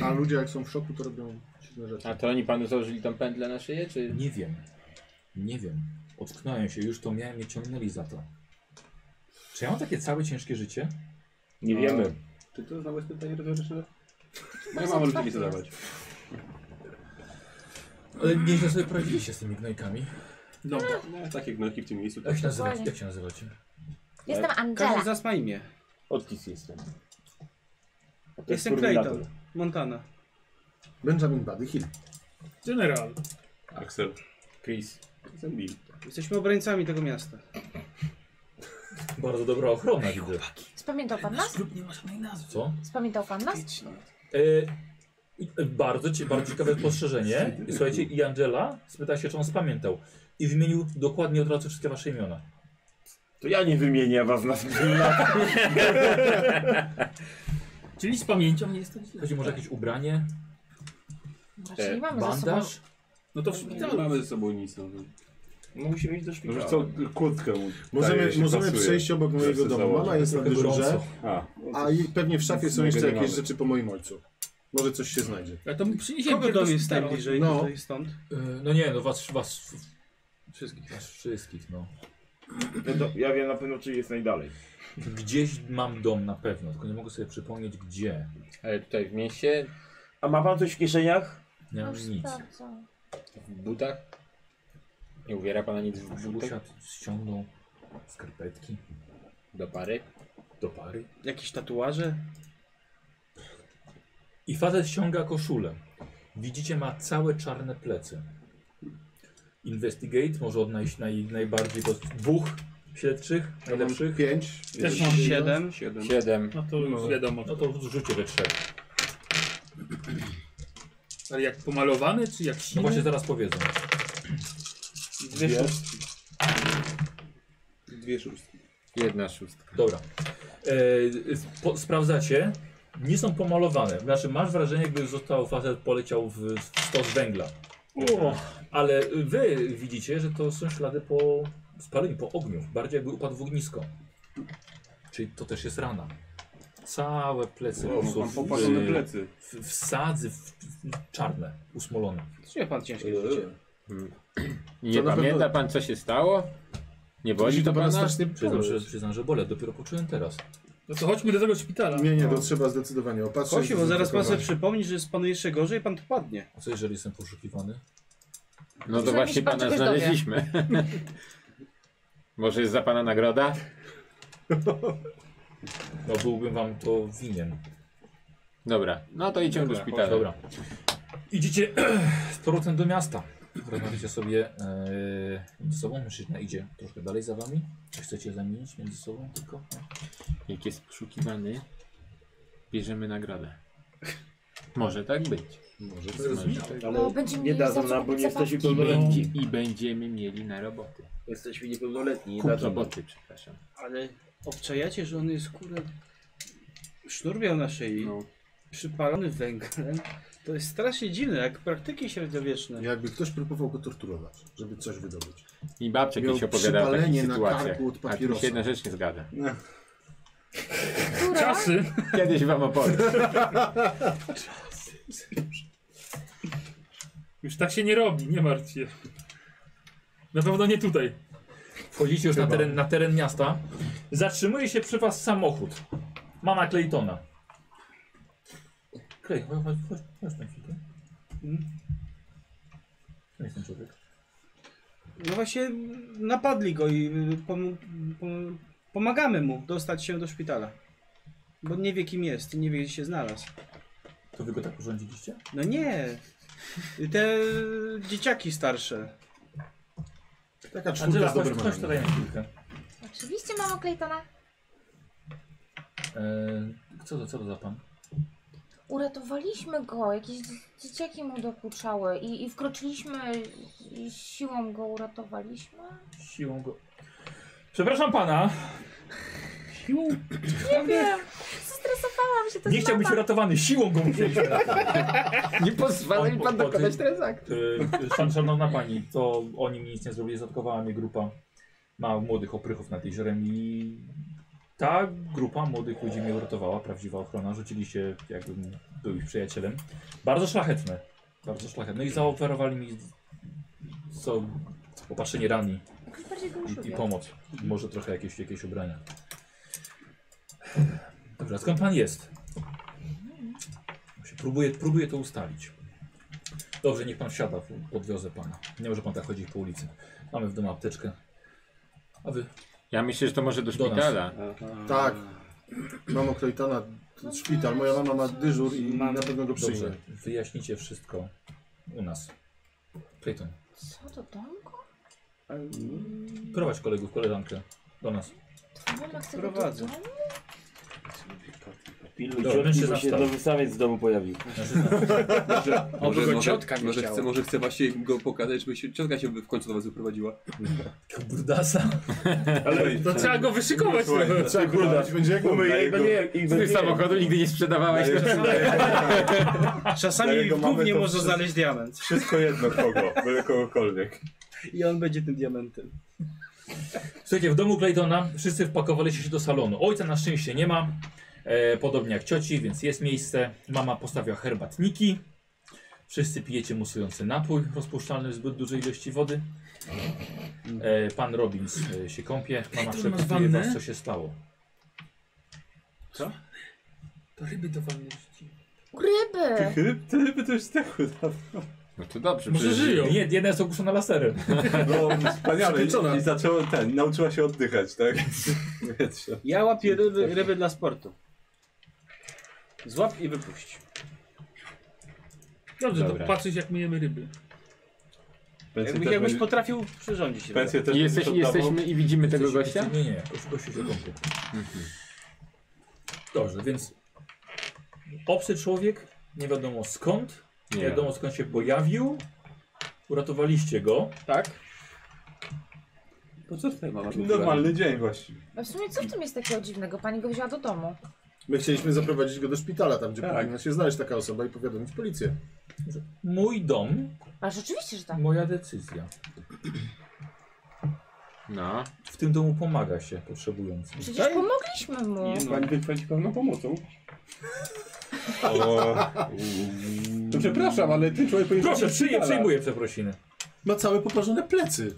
A ludzie jak są w szoku, to robią dziwne rzeczy.
A to oni panu założyli tą pętlę na szyję, czy...
Nie wiem. Nie wiem. Ocknąłem się, już to miałem, mnie ciągnęli za to. Czy ja mam takie całe ciężkie życie?
Nie wiemy.
Czy to znowu jest pytanie retoryczne? Moja
jest
mama lubi
otwarte
mi zadawać.
Ale nieźle sobie poradziliście z tymi gnojkami.
Dobra. No, tak jak gnojki w tym miejscu.
Jak
Tak.
się nazywacie?
Dokładnie.
Jak się nazywacie?
Jestem
Każdy z
Angela.
nas ma imię.
Odkis jestem. A to jest
Jestem
koordynator.
Clayton. Montana.
Benjamin Buddy Hill.
General.
Axel.
Chris.
Jestem Bill.
Jesteśmy obrońcami tego miasta.
Bardzo dobra ochrona widzę.
Spamiętał pan nas?
Klub nie ma żadnej nazwy.
Co?
Spamiętał pan nas?
E, i- e, bardzo, cie, bardzo ciekawe spostrzeżenie. I Słuchajcie, i Angela spytała się, czy on spamiętał. I wymienił dokładnie od razu wszystkie wasze imiona.
To ja nie wymienię was na
Czyli z pamięcią nie jest tak źle.
Chodzi może jakieś ubranie,
Raczej nie mamy ze sobą.
bandaż?
No to w szpitalu mamy ze sobą nic. No.
No musimy iść do
Może
szpitala.
co, kurtkę mu
Możemy,
daje, Tak, się
możemy
pasuje.
przejść obok mojego
Zawsze
domu.
założę.
Mama jest na
Trochę
dyżurze,
gorąco.
A,
a i pewnie w szafie są
Nie
jeszcze
gadamy.
jakieś rzeczy po moim ojcu. Może coś się znajdzie.
Ja to przyniesiemy
Kogo dom jest najbliżej
No.
tutaj stąd?
E, no nie, no was, was,
Wszystkich.
was wszystkich, no.
No to ja wiem na pewno, czy jest najdalej.
Gdzieś mam dom na pewno, tylko nie mogę sobie przypomnieć gdzie.
Ale tutaj w mieście...
A ma pan coś w kieszeniach?
Nie mam No nic.
W butach? Nie uwiera pana nic w butach?
Usiadł, ściągnął skarpetki
Do pary?
do pary.
Jakieś tatuaże?
I facet ściąga koszulę. Widzicie, ma całe czarne plecy. Investigate może odnaleźć naj, najbardziej po prostu dwóch śledczych, najlepszych.
Pięć.
Też mam siedem.
Siedem.
Siedem.
No to już wiadomo.
No to rzucie we trzech.
Ale jak pomalowany, czy jak siny?
No właśnie zaraz powiedzą.
Dwie szóstki.
Dwie szóstki.
Jedna szóstka.
Dobra. E, sp- po, sprawdzacie. Nie są pomalowane. Znaczy masz wrażenie, jakby został facet poleciał w, w stos węgla.
O,
Ale wy widzicie, że to są ślady po spaleniu, po ogniu. Bardziej jakby upadł w ognisko. Czyli to też jest rana. Całe plecy
Wow,
po
mam
prostu
popalone plecy.
W, w sadzy, w, w, czarne, usmolone.
Co ja pan ciężkie życie?
Nie
To na
pamięta
pewno-
pan co się stało? Nie boli
Musi
to
to pana
pana?
strasznie
Przyznam, że,
boleć.
przyznam, że bolę. Dopiero poczułem teraz.
no to chodźmy do tego szpitala.
Nie, nie, to trzeba zdecydowanie opatrzyć.
Kosiu, bo zaraz pan sobie
zdezynfekować.
przypomni, że jest panu jeszcze gorzej i pan tu padnie.
A co jeżeli jestem poszukiwany?
No to
Przynajmniej
właśnie
się pan
pana
czegoś dowie.
[LAUGHS]
znaleźliśmy. Może jest za pana nagroda?
No byłbym wam to winien.
Dobra, no to idziemy do
Dobra,
szpitala.
Dobra. Idziecie [CLEARS THROAT] z powrotem do miasta. Rozmawiacie sobie e, między sobą. Mężczyzna idzie troszkę dalej za wami. Czy chcecie zamienić między sobą tylko?
Jak jest poszukiwany, bierzemy nagrodę. Może tak być.
Może to
Może
zrozumieć.
tak.
O, będziemy
nie
No, mieli za
dadzą
co
nam, bo nie
kupić
jesteśmy
zabawki.
I,
pełnoletni.
będzie, I będziemy mieli na roboty.
Jesteśmy niepełnoletni, nie
Kup
dadzą nam.
roboty, przepraszam.
Ale obczajacie, że on jest kurde... Sznur miał na szyi,
No.
przypalony węglem. To jest strasznie dziwne, jak praktyki średniowieczne.
Jakby ktoś próbował go torturować, żeby coś wydobyć.
I babcia
Miał
kiedyś opowiadała o takich
przypalenie na
sytuacjach.
karku od
A tu
papierosa.
się jedna rzecz nie zgadza.
Która?
Czasy.
Kiedyś wam opowiem.
Już tak się nie robi, nie martw się. Na pewno nie tutaj.
Wchodzicie już na teren, na teren miasta. Zatrzymuje się przy was samochód. Mana Claytona. Clay, chodź, chodź, chodź, chodź na chwilkę. Hmm?
Mm.
Kim jest ten człowiek?
No właśnie napadli go i y, pom pom pomagamy mu dostać się do szpitala. Bo nie wie kim jest i nie wie gdzie się znalazł.
To wy go tak urządziliście?
No nie. Te dzieciaki
[LAUGHS]
starsze.
Taka czwórka
Angela,
z
chodź,
dobrym
chodź tutaj na chwilkę.
Oczywiście mamo Claytona.
Eee, co, to, co to za pan?
Uratowaliśmy go, jakieś dzie- dzieciaki mu dokuczały i, i wkroczyliśmy i siłą go uratowaliśmy.
Siłą go... Przepraszam pana,
Siłą.
Nie wiem, zestresowałam się, to
nie
jest
chciał być
mama.
uratowany, siłą go musieliśmy ratować.
Nie pozwala mi pan
Po- po-
dokonać
po-
teraz aktu.
Yy, Szan, szanowna pani, to oni mi nic nie zrobili, zatkowała mnie grupa ma młodych oprychów nad jeziorem i ta grupa młodych ludzi mnie uratowała, prawdziwa ochrona. Rzucili się, jakbym był ich przyjacielem. Bardzo szlachetne, bardzo szlachetne No i zaoferowali mi co, opatrzenie rani
Jakoś bardziej go
i, i
uszubię.
pomoc. Może trochę jakieś, jakieś ubrania. Dobra, skąd pan jest? Właśnie Próbuję, próbuję to ustalić. Dobrze, niech pan wsiada, podwiozę pana. Nie może pan tak chodzić po ulicy. Mamy w domu apteczkę. A wy?
Ja myślę, że to może do
Do nas.
szpitala.
Tak. Mamo Claytona, szpital. Moja mama ma dyżur i
Mam-
na pewno go przyjmie.
Dobrze, wyjaśnicie wszystko u nas. Clayton,
Co do domku?
prowadź kolegów, koleżankę do nas.
Mama chce go do
Prowadzę.
domu?
Pilnuj
Dobra,
ciotki,
mężczyzna
bo się
wstał.
nowy samiec z domu pojawił.
Oby go
może-
ciotka nie
może chce,
chciała.
może chce właśnie go pokazać, żeby się, ciotka się w końcu do was wyprowadziła.
Burdasa.
Ale
To No, trzeba go wyszykować trochę.
Trzeba go dać, będzie jak
Umyj
umyj.
jej, no nie, i
Z tych samochodu nigdy nie sprzedawałeś.
Czasami
Dlatego
w
mamy
gównie
to
może
wszystko.
znaleźć diament.
[LAUGHS] Wszystko jedno kogo, byle kogokolwiek.
I on będzie tym diamentem.
Słuchajcie, w domu Claytona wszyscy wpakowaliście się do salonu. Ojca na szczęście nie ma, e, podobnie jak cioci, więc jest miejsce. Mama postawiła herbatniki. Wszyscy pijecie musujący napój rozpuszczalny w zbyt dużej ilości wody. E, pan Robbins e, się kąpie. Mama
Clayton, masz
przepytuje was,
wannę?
co się stało.
To ryby do wanny
Ryby!
Ryby, te ryby to już zdechły dawno.
No to dobrze.
Może żyją. Nie, jedna jest ogłuszona laserem.
No wspaniale.
Przypieczona.
I, I zaczęło ten, nauczyła się oddychać, tak? Wiecie.
Ja łapię ryby, ryby dla sportu. Złap i wypuść.
Dobrze,
Dobra.
to patrzeć jak myjemy ryby.
Pensje
Jakby,
też
jakbyś
będzie-
potrafił przyrządzić ryby.
Pensje też
I jesteś,
będzie przed
jesteśmy
tobą.
i widzimy tego
Jesteś-
gościa? Mhm.
Nie, nie, gościu się kąpie. Dobrze, więc obcy człowiek, nie wiadomo skąd, nie,
Nie.
wiadomo skąd się pojawił, uratowaliście go.
Tak.
Po co tutaj mama?
Normalny dzień właściwie.
No w sumie co w tym jest takiego dziwnego? Pani go wzięła do domu.
My chcieliśmy zaprowadzić go do szpitala, tam gdzie
Tak.
powinna się znaleźć taka osoba i powiadomić policję.
Mój dom,
A rzeczywiście, że tak.
moja decyzja.
No.
W tym domu pomaga się potrzebującym.
Przecież pomogliśmy mu.
no,
Jest pani wychwalić pewną pomocą.
O,
To przepraszam, ale ten człowiek powinien
Proszę,
trafić do
przyję,
szpitala.
przyjmuję przeprosiny.
Ma całe poparzone plecy.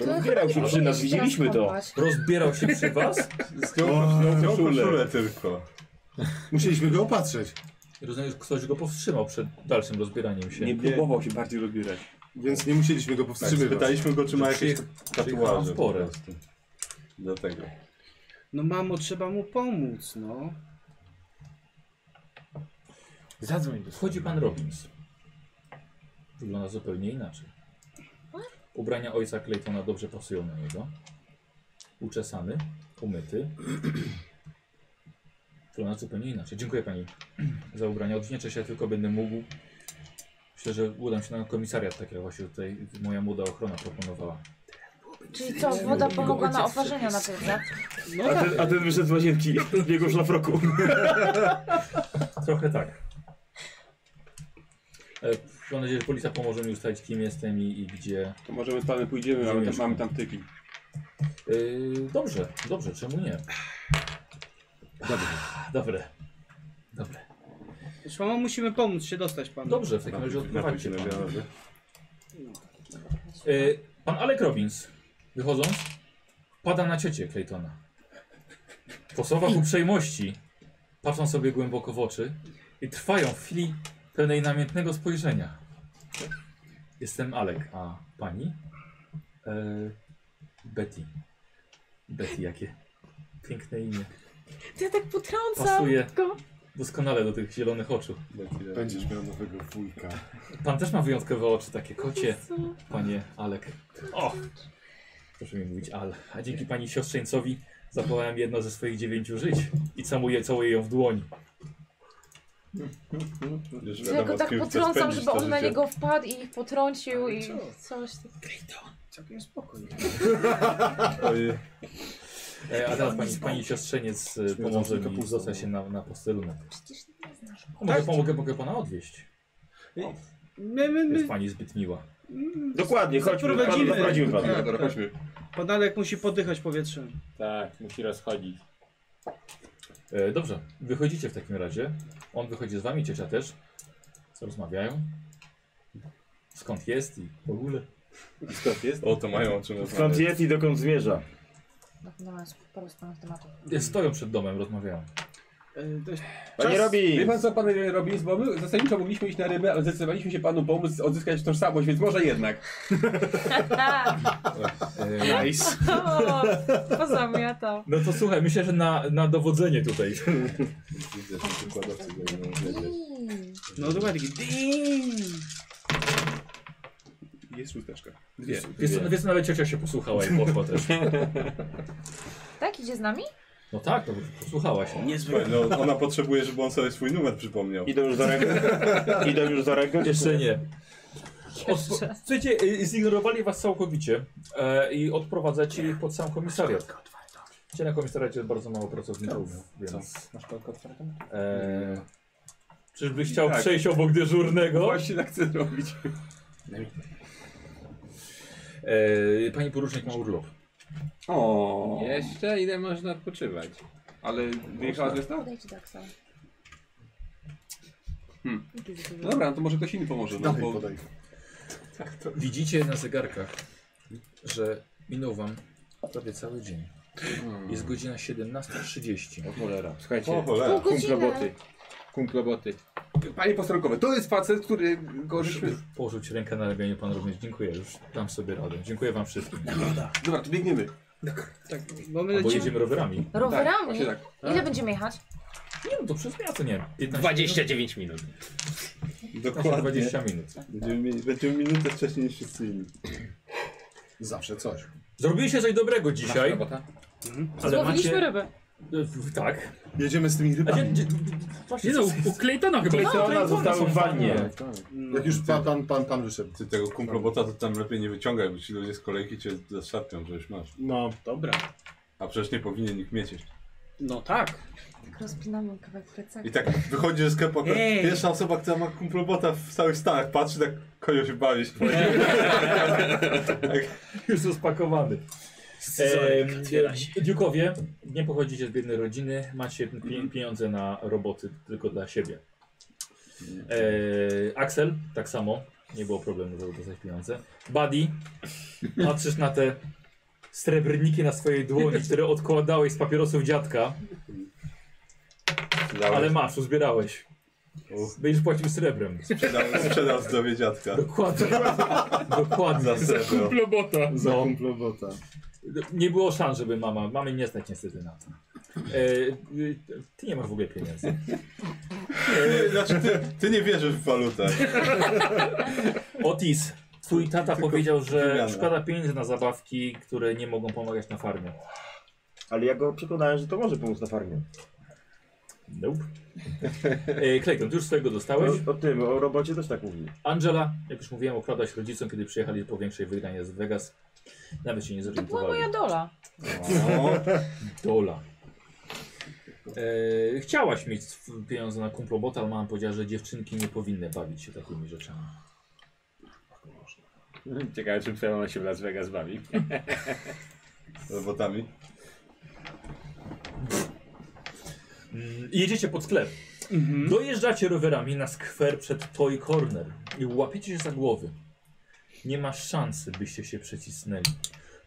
Rozbierał
się przy nas, widzieliśmy to.
Rozbierał się przy was?
No,
Zdjął
koszulę.
koszulę tylko.
Musieliśmy go opatrzyć,
Rozumiem, że ktoś go powstrzymał przed dalszym rozbieraniem się.
Nie próbował się bardziej rozbierać.
więc nie musieliśmy go
Tak,
powstrzymywać.
spytaliśmy go, czy ma jakieś
Przyje- przyjechała
tatuaże
w
po
porę.
prostu. Dlatego.
No mamo, trzeba mu pomóc, no.
Zadzwoń do
Wchodzi pan Robbins. Wygląda zupełnie inaczej. Ubrania ojca Claytona dobrze pasują na niego. Uczesany, umyty. Wygląda zupełnie inaczej. Dziękuję pani za ubrania. Odwdzięczę się, jak tylko będę mógł. Myślę, że udam się na komisariat, tak jak właśnie tutaj moja młoda ochrona proponowała.
Czyli co, woda pomogła na oparzenia na pewno.
No
A
tak.
ten, a ten wyszedł z łazienki w jego szlafroku.
Trochę tak. E, Mam nadzieję, że policja pomoże mi ustalić, kim jestem i, i gdzie.
To możemy z panem pójdziemy, ale tam mamy tam tyki.
Yy, dobrze, dobrze, czemu nie? Dobre. Dobre. Dobre.
Wiesz, mamo, musimy pomóc się dostać panu.
Dobrze, w takim razie
Napił się
odprowadźcie
na
pan.
białe.
Yy, pan Alek Robbins, wychodząc, pada na ciocię Claytona. Po słowach uprzejmości patrzą sobie głęboko w oczy i trwają w chwili pełnej namiętnego spojrzenia. Jestem Alek, a pani? Yy, Betty. Betty, jakie piękne imię.
To ja tak potrącam
Pasuje.
go.
Doskonale do tych zielonych oczu.
Będziesz miał nowego wujka.
Pan też ma wyjątkowe oczy, takie kocie,
Jezu.
panie Alek. O! Proszę mi mówić Al. A dzięki pani siostrzeńcowi zachowałem jedno ze swoich dziewięciu żyć i całuję, całuję ją w dłoni.
Już
Że
wiadomo,
ja go
z
tak
kim chce
potrącam,
spędzić
żeby
to
on na
życie.
niego wpadł i ich potrącił i coś. tak- tam.
Całkiem spokojnie.
Ojej.
E, a teraz pani, pani siostrzeniec e, pomoże mi zostać się na, na posterunek.
Przecież ty nie znasz.
A Mogę, pomogę, mogę pana odwieźć.
My, my,
Jest
my,
pani zbyt miła.
Dokładnie, chodźmy,
Zaprowadzimy.
panu, zaprowadzimy panu.
Tak.
No, dobra, chodźmy.
pan Alek musi podychać powietrzem.
Tak, musi rozchodzić.
E, dobrze, wychodzicie w takim razie. On wychodzi z wami, ciocia też. Co rozmawiają? Skąd jest i w ogóle?
Skąd jest? O, to mają o czym
Skąd
rozmawiać.
jest i dokąd zmierza?
No, no, jest paru wspaniałych
[LAUGHS]
tematów.
E, Stoją przed domem, rozmawiają.
E, to jest-
Panie
Wie
robi!
pan co pan robi? Bo my zasadniczo mogliśmy iść na ryby, ale zdecydowaliśmy się panu pomóc odzyskać tożsamość, więc może jednak.
E,
Nice.
O, [LAUGHS] pozamiatał.
no to słuchaj, myślę, że na, na dowodzenie tutaj.
Widzę, że wykładowcy będą wiedzieć.
Mm.
No dokładnie taki ding.
Jest szósteczka. Dwie.
Wiesz, co, wiesz, co, nawet ciocia się posłuchała i poszła [LAUGHS] też.
Tak, idzie z nami?
No tak, no, posłuchała się.
Niezwykle.
Słuchaj, No, ona potrzebuje, żeby on sobie swój numer przypomniał.
Idę już za
[LAUGHS]
rękę. Idę już za rękę.
Jeszcze nie. Odpo- Słuchajcie, y, zignorowali was całkowicie e, i odprowadzacie ich pod sam komisariat. Gdzie na komisariacie jest bardzo mało pracowników, więc...
Masz kolkę otwartą?
E, czyżbyś chciał
Tak.
przejść obok dyżurnego?
Właśnie tak chcę zrobić.
E, pani porucznik ma urlop.
O.
Jeszcze ile można odpoczywać?
Ale wyjechała z miasta?
Podejdź do Aksa.
Hmm. Dobra, no to może ktoś inny pomoże. No,
Dalej
bo...
podaj.
Widzicie na zegarkach, że minął wam prawie cały dzień. Jest godzina 17.30.
Słuchajcie,
O
Pół
cholera.
godziny.
roboty. kumploboty.
Panie postronkowe, to jest facet, który go żeśmy...
Położyć rękę na ramieniu pan również. Dziękuję, już dam sobie radę. Dziękuję wam wszystkim.
No,
Dobra, to biegniemy.
Tak, bo my
Albo
lecimy-
jedziemy rowerami.
Tak,
No,
Rowerami?
właśnie tak.
Ile będziemy jechać?
Nie no, to przez miasto nie.
29 minut.
Dokładnie.
20 minut.
Będziemy, mieli- będziemy minutę wcześniej niż wszyscy inni.
Zawsze coś.
Zrobiliście coś dobrego dzisiaj. Ale
Złowiliśmy
macie...
rybę.
E, Tak.
Jedziemy z tymi rybami.
Nie no, u- u Claytona chyba.
Claytona zostały w wannie.
Tak, tak. Jak już pan, pan, pan, pan wyszedł.
Ty tego kumplobota to tam lepiej nie wyciągaj, bo ci ludzie z kolejki cię zaszarpią, że już masz.
No.
Dobra.
A przecież nie powinien ich mieć jeszcze.
No tak.
Tak rozpinamy kawałek plecaka.
I tak wychodzi ze sklepu, akurat
Ej.
pierwsza osoba, która ma kumplobota w całych Stanach, patrzy tak, kojo się bawić.
Już rozpakowany.
Scyzoryk otwiera
Dziukowie, nie pochodzicie z biednej rodziny, macie pie- pieniądze na roboty tylko dla siebie. E, Axel, tak samo, nie było problemu, żeby dostać pieniądze. Buddy, patrzysz na te srebrniki na swojej dłoni, które odkładałeś z papierosów dziadka, ale masz, uzbierałeś. Będziesz płacił srebrem.
Sprzedał, sprzedał zdrowie dziadka.
Dokładnie. Dokładnie.
Za srebro.
No.
Za kumplobota.
Nie było szans, żeby mama. Mamy nie stać niestety na to. E, y, ty nie masz w ogóle pieniędzy.
Ty, znaczy, ty, ty nie wierzysz w walutę.
Otis, twój tata powiedział, że
wymiana.
szkoda pieniędzy na zabawki, które nie mogą pomagać na farmie.
Ale ja go przekonałem, że to może pomóc na farmie.
Nope. E, Clayton, ty już swojego dostałeś.
O, o tym, o robocie też tak mówi.
Angela, jak już mówiłem, okradłaś rodzicom, kiedy przyjechali po większej wygranie z Vegas. Nawet się nie
To była
zorientowali.
moja dola.
O, dola. E, chciałaś mieć sw- pieniądze na kumplobota, ale mama powiedziała, że dziewczynki nie powinny bawić się takimi rzeczami.
Ciekawe, czym twoja mama się w Las Vegas bawi.
Robotami.
Mm, Jedziecie pod sklep. Mhm. Dojeżdżacie rowerami na skwer przed Toy Corner i łapiecie się za głowy. Nie ma szansy, byście się przecisnęli.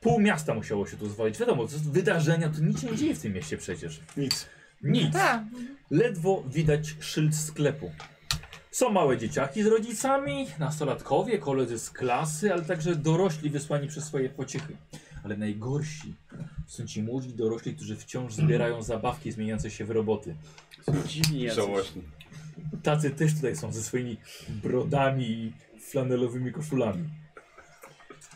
Pół miasta musiało się tu zwalić. Wiadomo, to wydarzenia to nic się nie dzieje w tym mieście przecież.
Nic.
Nic.
Tak.
Ledwo widać szyld sklepu. Są małe dzieciaki z rodzicami, nastolatkowie, koledzy z klasy, ale także dorośli wysłani przez swoje pociechy. Ale najgorsi są ci młodzi dorośli, którzy wciąż zbierają zabawki zmieniające się w roboty.
Dziwni jacyś.
Żałośni.
Tacy też tutaj są ze swoimi brodami i flanelowymi koszulami.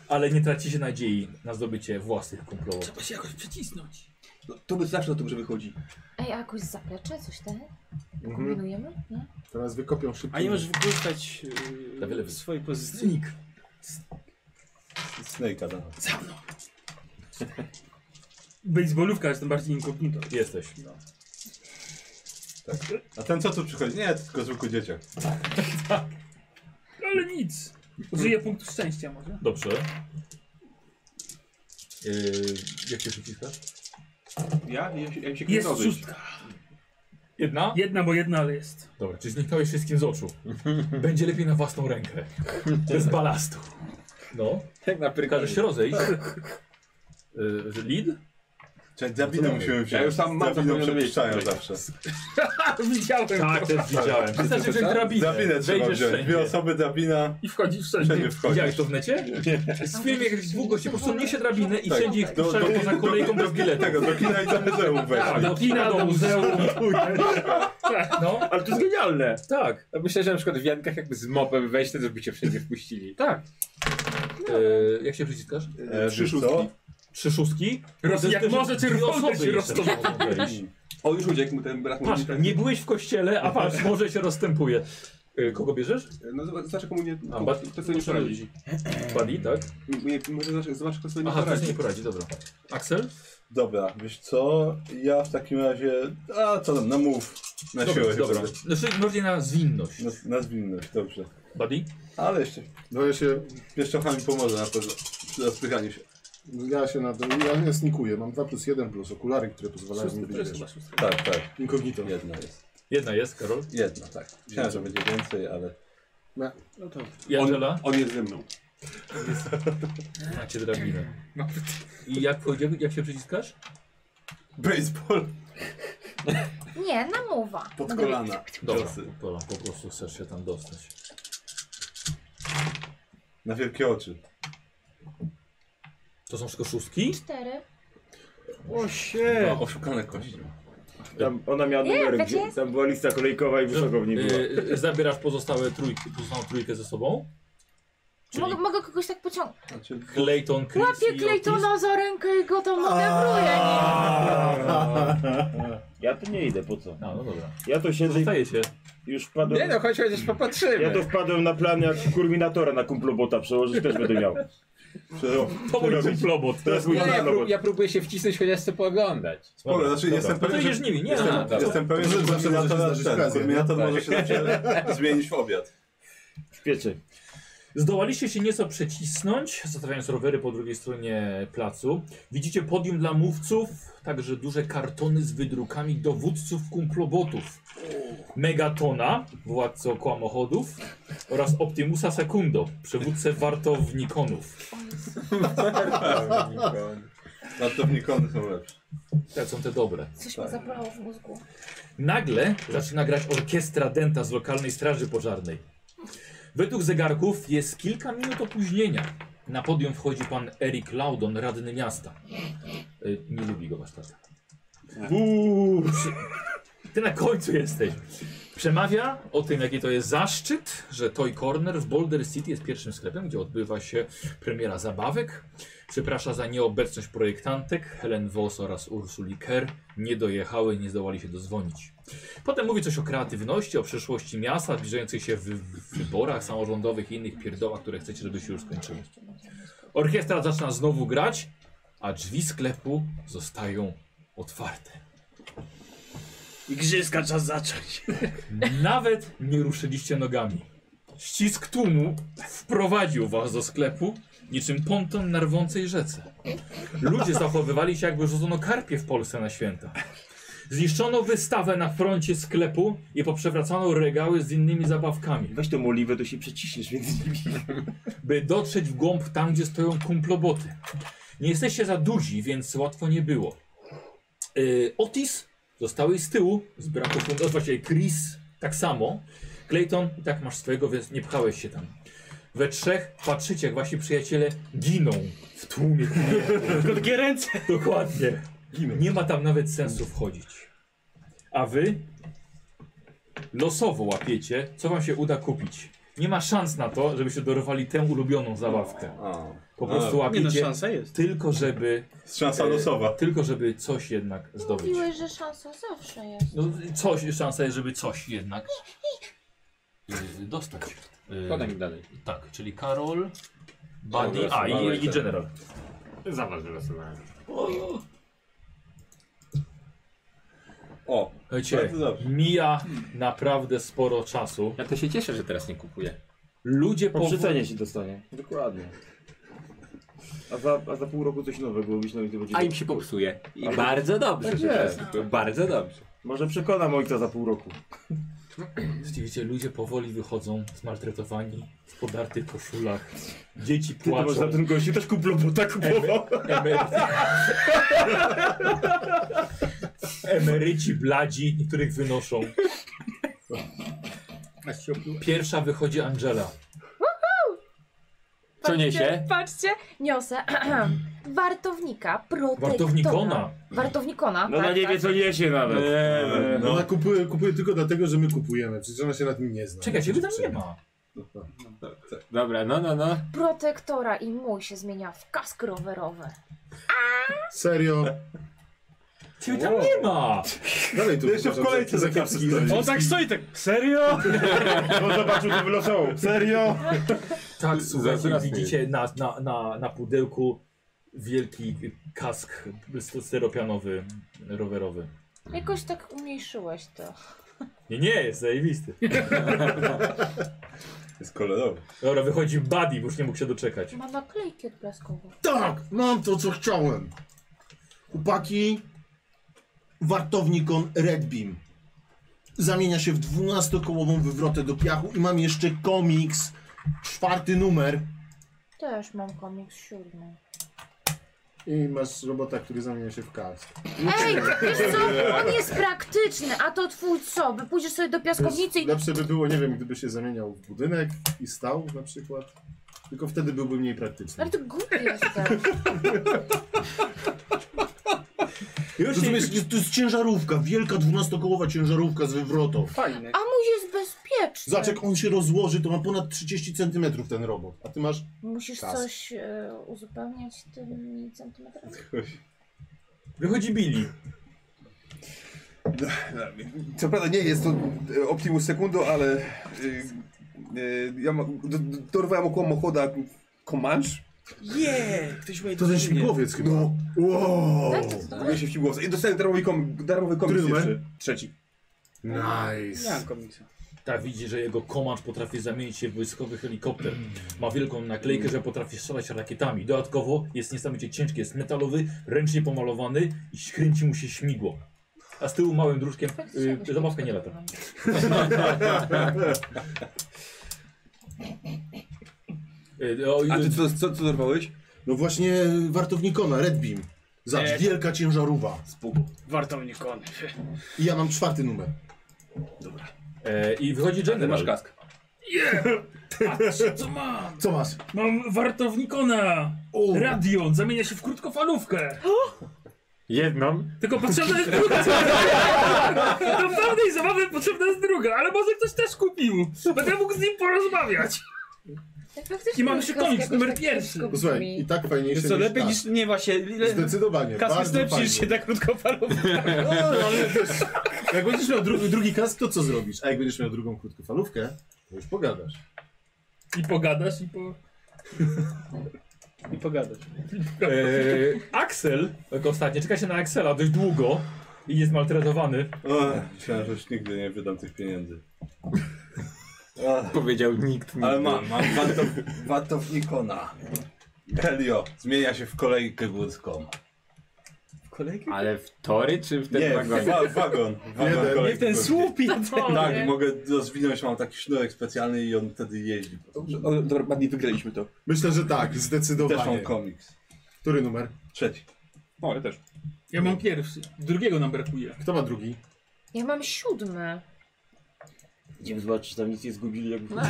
Ale nie tracicie nadziei na zdobycie własnych kumplowów.
Trzeba się jakoś przycisnąć. No, to by zawsze dobrze wychodzi.
Ej, a jakoś zaplecze, coś tego?
Mhm.
Kombinujemy? Nie?
Teraz wykopią szybko.
A nie możesz wykorzystać
Na wiele
yy, swojej pozycji. Znik.
Snake'a da.
Za mną.
Baseballówka, jestem bardziej inkognito. No.
Jesteś.
Tak. A ten co tu przychodzi? Nie, to tylko zwykły dzieciak.
Ale nic. Żyję punktu szczęścia może.
Dobrze. Yy, jak się przyciskasz?
Ja? Ja się, ja się
Jest
kręcę.
szóstka.
Jedna?
Jedna, bo jedna, ale jest.
Dobra, czy zniknąłeś wszystkim z
[LAUGHS]
oczu? Będzie lepiej na własną rękę. Bez
Tak.
balastu. No.
Tak na
Każesz się rozejść.
Tak.
Yy, lead?
Cześć, Dabidę musimy wziąć.
No Ja już sam mam
Dabidę
zapomniane
przepuszczają
miejsce.
zawsze.
Widziałem
Tak, też widziałem. Wystarczy wziąć drabinę.
Drabinę trzeba
Wejdziesz
wziąć. Dwie
wszędzie.
osoby, drabina.
I wchodzisz wszędzie.
Wszędzie
Widziałeś
wchodzisz.
to w necie? Z filmie jakichś dwóch gości po prostu niesie drabinę i
Tak.
wszędzie ich
Do, do,
puszczają poza
do,
kolejką
do,
bez
do,
biletu.
tego, do kina i do muzeum
Tak,
weszli.
do kina, do muzeum. No,
Ale to jest genialne!
tak.
No myślę, że na przykład w Jankach jakby z mopem wejść, to by cię wszędzie wpuścili.
Tak. E, jak się przyciskasz?
E,
Trzy
wiesz co?
szóstki.
Trzy szóstki?
Roz-
To jest
jak
też-
może
dwie
czerwone
osoby
się
jeszcze
roztopią.
mogą wejść.
O, już uciekł mu ten brat
Patrz,
mówi tak.
nie byłeś w kościele, a patrz, może się rozstępuje. E, Kogo bierzesz?
No zobacz, zobacz komu nie...
A,
komu-
ba-
kto sobie nie poradzi.
Buddy, tak?
Nie, może zobacz, zobacz kto sobie nie
Aha, ktoś
poradzi.
nie poradzi, dobra. Axel?
Dobra, wiesz co? Ja w takim razie... A co tam, na mów. Na
Dobra,
siłę.
dobra.
chyba.
Znaczy, bardziej na zwinność.
Na, na zwinność, dobrze.
Buddy?
Ale jeszcze
No ja się,
pieszczochami pomoże na pewno. Przy rozpychaniu się.
ja się na to, ja nie snikuję. Mam 2 plus 1 plus okulary, które pozwalają mi
Szósty, to
być
jest
wiesz,
chyba szósty.
Tak, tak.
inkognito.
Jedna jest.
Jedna jest, Karol.
Jedna, tak. Myślałem, że będzie więcej, ale...
No,
No to
I Angela?
On jest ze mną.
Macie drabinę. I jak, powiedział- jak się przyciskasz?
Baseball.
Nie, No namuwa.
Pod kolana.
Dobra,
Ciosy.
po, po prostu chcesz się tam dostać.
Na wielkie oczy.
To są wszystko szóstki?
Cztery.
O się!
No, oszukane kości.
Tam ona miała
Nie,
numer,
tak
gdzie,
jest.
tam była lista kolejkowa i wysoko w niej była.
Y, y, zabierasz pozostałe trójki, pozostałą trójkę ze sobą? Czyli
Mogę, mogę kogoś tak pociągnąć.
Clayton, Chris
Łapię
i Otis.
Claytona za rękę i go tam manewruję.
Ja tu nie idę, po co?
No, no dobra.
Ja to siedzę
Zostaje się.
Już wpadłem...
Nie no, chodź chociaż popatrzymy.
Ja to wpadłem na plan jak kurminatora na kumplobota przełożyć, też będę miał.
To mój
Przerobić.
kumplobot.
To jest mój
ja, ja, prób,
kumplobot.
ja próbuję się wcisnąć chociaż co pooglądać.
Spoko,
Dobra,
znaczy
dobra.
jestem
No
pewien,
to
że...
jeżdżnimi, nie,
jestem,
no, dobra.
jestem pewien, że
Zawsze może się
Terminator,
zdarzyć
ten,
frazję, nie?
Terminator
Tak.
może się zawsze zmienić w obiad.
W piecie.
Zdołaliście się nieco przecisnąć, zostawiając rowery po drugiej stronie placu. Widzicie podium dla mówców, także duże kartony z wydrukami dowódców kumplobotów. Megatona, władcy okłamochodów oraz Optimusa Secundo, przywódcę wartownikonów.
Latownikony są lepsze.
Te są te dobre.
Coś
Tak.
mi zabolało w mózgu.
Nagle zaczyna grać orkiestra denta z lokalnej straży pożarnej. Według zegarków jest kilka minut opóźnienia. Na podium wchodzi pan Eric Laudon, radny miasta. Y, Nie lubi go wasz tata.
Uuu.
Ty na końcu jesteś. Przemawia o tym, jaki to jest zaszczyt, że Toy Corner w Boulder City jest pierwszym sklepem, gdzie odbywa się premiera zabawek. Przeprasza za nieobecność projektantek Helen Voss oraz Ursuli Kerr. Nie dojechały, nie zdołali się dozwonić. Potem mówi coś o kreatywności, o przyszłości miasta, zbliżających się w, w wyborach samorządowych i innych pierdołach, które chcecie, żeby się już skończyły. Orkiestra zaczyna znowu grać, a drzwi sklepu zostają otwarte.
Igrzyska czas zacząć.
Nawet nie ruszyliście nogami. Ścisk tłumu wprowadził was do sklepu niczym ponton na rwącej rzece. Ludzie zachowywali się jakby rzucono karpie w Polsce na święta. Zniszczono wystawę na froncie sklepu i poprzewracano regały z innymi zabawkami,
Weź tą oliwę, to się przeciśniesz między nimi.
by dotrzeć w głąb tam, gdzie stoją kumploboty. Nie jesteście za duzi, więc łatwo nie było. Yy, Otis zostałeś z tyłu, z braku funduszy, właściwie Chris tak samo. Clayton, i tak masz swojego, więc nie pchałeś się tam. We trzech patrzycie, jak wasi przyjaciele giną w tłumie. [LAUGHS]
Krótkie ręce.
Dokładnie. Nie ma tam nawet sensu wchodzić. A wy losowo łapiecie, co wam się uda kupić. Nie ma szans na to, żebyście dorwali tę ulubioną zabawkę.
O.
Po
No,
prostu
Nie no,
łapiecie
szansa jest.
tylko żeby,
Szansa losowa.
tylko żeby coś jednak zdobyć.
Mówiłeś, że szansa zawsze jest.
No coś, szansa jest, żeby coś jednak y, dostać. Y,
Podaj mi dalej.
Tak, czyli Karol, Buddy,
Dobra,
a i, i
słuchajcie.
General.
Za was wylosowałem.
O,
Słuchajcie,
bardzo dobrze.
mija naprawdę sporo czasu.
Ja to się cieszę, że teraz nie kupuję.
Ludzie
Po
powoli...
przycenie się dostanie. Dokładnie. A za, a za pół roku coś nowego myślę, i to będzie...
A im się popsuje. I
Ale-
bardzo dobrze, że
Tak
teraz
jest.
nie kupuję. Bardzo dobrze.
Może przekonam ojca za pół roku.
Widzicie, ludzie powoli wychodzą zmaltretowani w podartych koszulach. Dzieci
Ty to może
płaczą.
na tym gościu też kumplobota kupował.
Emeryci, emeryci bladzi, niektórych wynoszą.
No,
Pierwsza wychodzi Angela.
Co niesie?
Patrzcie, patrzcie, niosę [CLEARS THROAT] wartownika, protektora.
Wartownikona.
Wartownikona,
No ona
tak,
nie
tak.
wie co niesie nawet.
Eee,
Ona
no.
kupuje, kupuje tylko dlatego, że my kupujemy. Przecież ona się nad tym nie zna.
Czekaj, ciebie tam nie ma.
Dobra, no, no, no.
Protektora i mój się zmienia w kask rowerowy.
Serio?
Ciebie tam nie ma!
Dalej tu
Jeszcze w
uważam,
kolejce
za
za
kiepski
kapsy stoi.
za-
On tak stoi, tak. Serio?
On zobaczył, co wylosował. Serio?
Tak, słuchajcie,
zaraz nie.
widzicie na, na, na, na pudełku wielki kask steropianowy, rowerowy.
Jakoś tak umniejszyłeś to.
Nie, nie, jest zajebisty.
Jest kolorowy.
Dobra, wychodzi Buddy, bo już nie mógł się doczekać.
Ma naklejki odblaskowe.
Tak, mam to, co chciałem. Chłopaki, wartownikon Red Beam. Zamienia się w 12-kołową wywrotę do piachu i mam jeszcze komiks, czwarty numer.
Też mam komiks siódmy.
I masz robota, który zamienia się w kask.
Ej,
Znaczy-
wiesz co? On jest praktyczny, a to twój co? By pójdziesz sobie do piaskownicy i...
No-
Lepsze by było, nie wiem, gdyby się zamieniał w budynek i stał na przykład. Tylko wtedy byłby mniej praktyczny.
Ale to głupie jest tak.
Rozumiesz, jest, to jest ciężarówka, wielka dwunastokołowa ciężarówka z wywrotą.
A mój jest
Znaczy,
bezpieczny.
Zobacz, jak on się rozłoży, to ma ponad 30 cm ten robot. A ty masz.
Musisz
kask.
coś e, uzupełniać tymi centymetrami.
Wychodzi Billy.
Co prawda nie jest to e, Optimus Sekundo, ale e, e, ja ma, do, do, dorwałem około Mochoda Comanche.
Jeee, ktoś ma
To ten śmigłowiec chyba. No. Wow.
Tak, to jest dobre.
Mówię się w śmigłowce. I dostałem darmowy, kom, darmowy komiks
Który
jeszcze.
numer?
Trzeci.
Nice.
Nie mam komiksa.
Tak, widzi, że jego komand potrafi zamienić się w wojskowy helikopter. Ma wielką naklejkę, że potrafi strzelać rakietami. Dodatkowo jest niesamowicie ciężki, jest metalowy, ręcznie pomalowany i kręci mu się śmigło. A z tyłu małym druczkiem y, zabawka nie lata. [LAUGHS] Y, o,
A
y,
ty co, co, co dorwałeś?
No właśnie wartownikona, Red Beam. Zobacz,
Nie.
wielka ciężarówka.
Wartownik kony.
I ja mam czwarty numer.
E, I wychodzi general. Masz
kask.
Yeah! Patrz, co mam?
Co masz?
Mam wartownikona. Radion zamienia się w krótkofalówkę.
Jedną.
Tylko potrzebna jest druga. Do pełnej zabawy potrzebna jest druga, ale może ktoś też kupił. Będę mógł z nim porozmawiać.
tak,
I mam jeszcze komiks numer pierwszy.
Słuchaj, i tak fajniejsze
Wiesz co,
niż
lepiej
tak.
niż... Nie właśnie... le-
Zdecydowanie,
Kask jest
bardzo
lepszy niż
fajnie.
się tak krótko
No, ale wiesz, jak będziesz miał drugi, drugi kask, to co zrobisz? A jak będziesz miał drugą krótkofalówkę, to już pogadasz.
I pogadasz i po...
I pogadasz.
Eee, Axel, jako ostatni, czeka się na Axela dość długo i jest maltretowany.
Ech, E, Myślałem, że już nigdy nie wydam tych pieniędzy.
Powiedział nikt.
Ale mam, mam wartow, wartownikona. Helio, zmienia się w kolejkę górską.
Kolejkę?
Ale w tory czy w ten
Nie,
wagon?
w wa- wagon. wagon
Jeden.
kolejki
Nie w ten
górskiej.
słupik.
Tak, mogę rozwinąć, mam taki sznurek specjalny i on wtedy jeździ.
O, dobra, ładnie wygraliśmy to.
Myślę, że tak,
Też mam
zdecydowanie.
komiks.
Który numer?
Trzeci.
No, ja też.
Ja mam pierwszy. Drugiego nam brakuje.
Kto ma drugi?
Ja mam siódmy.
Idziemy zobaczyć, czy tam nic nie zgubili. Jakby...
No,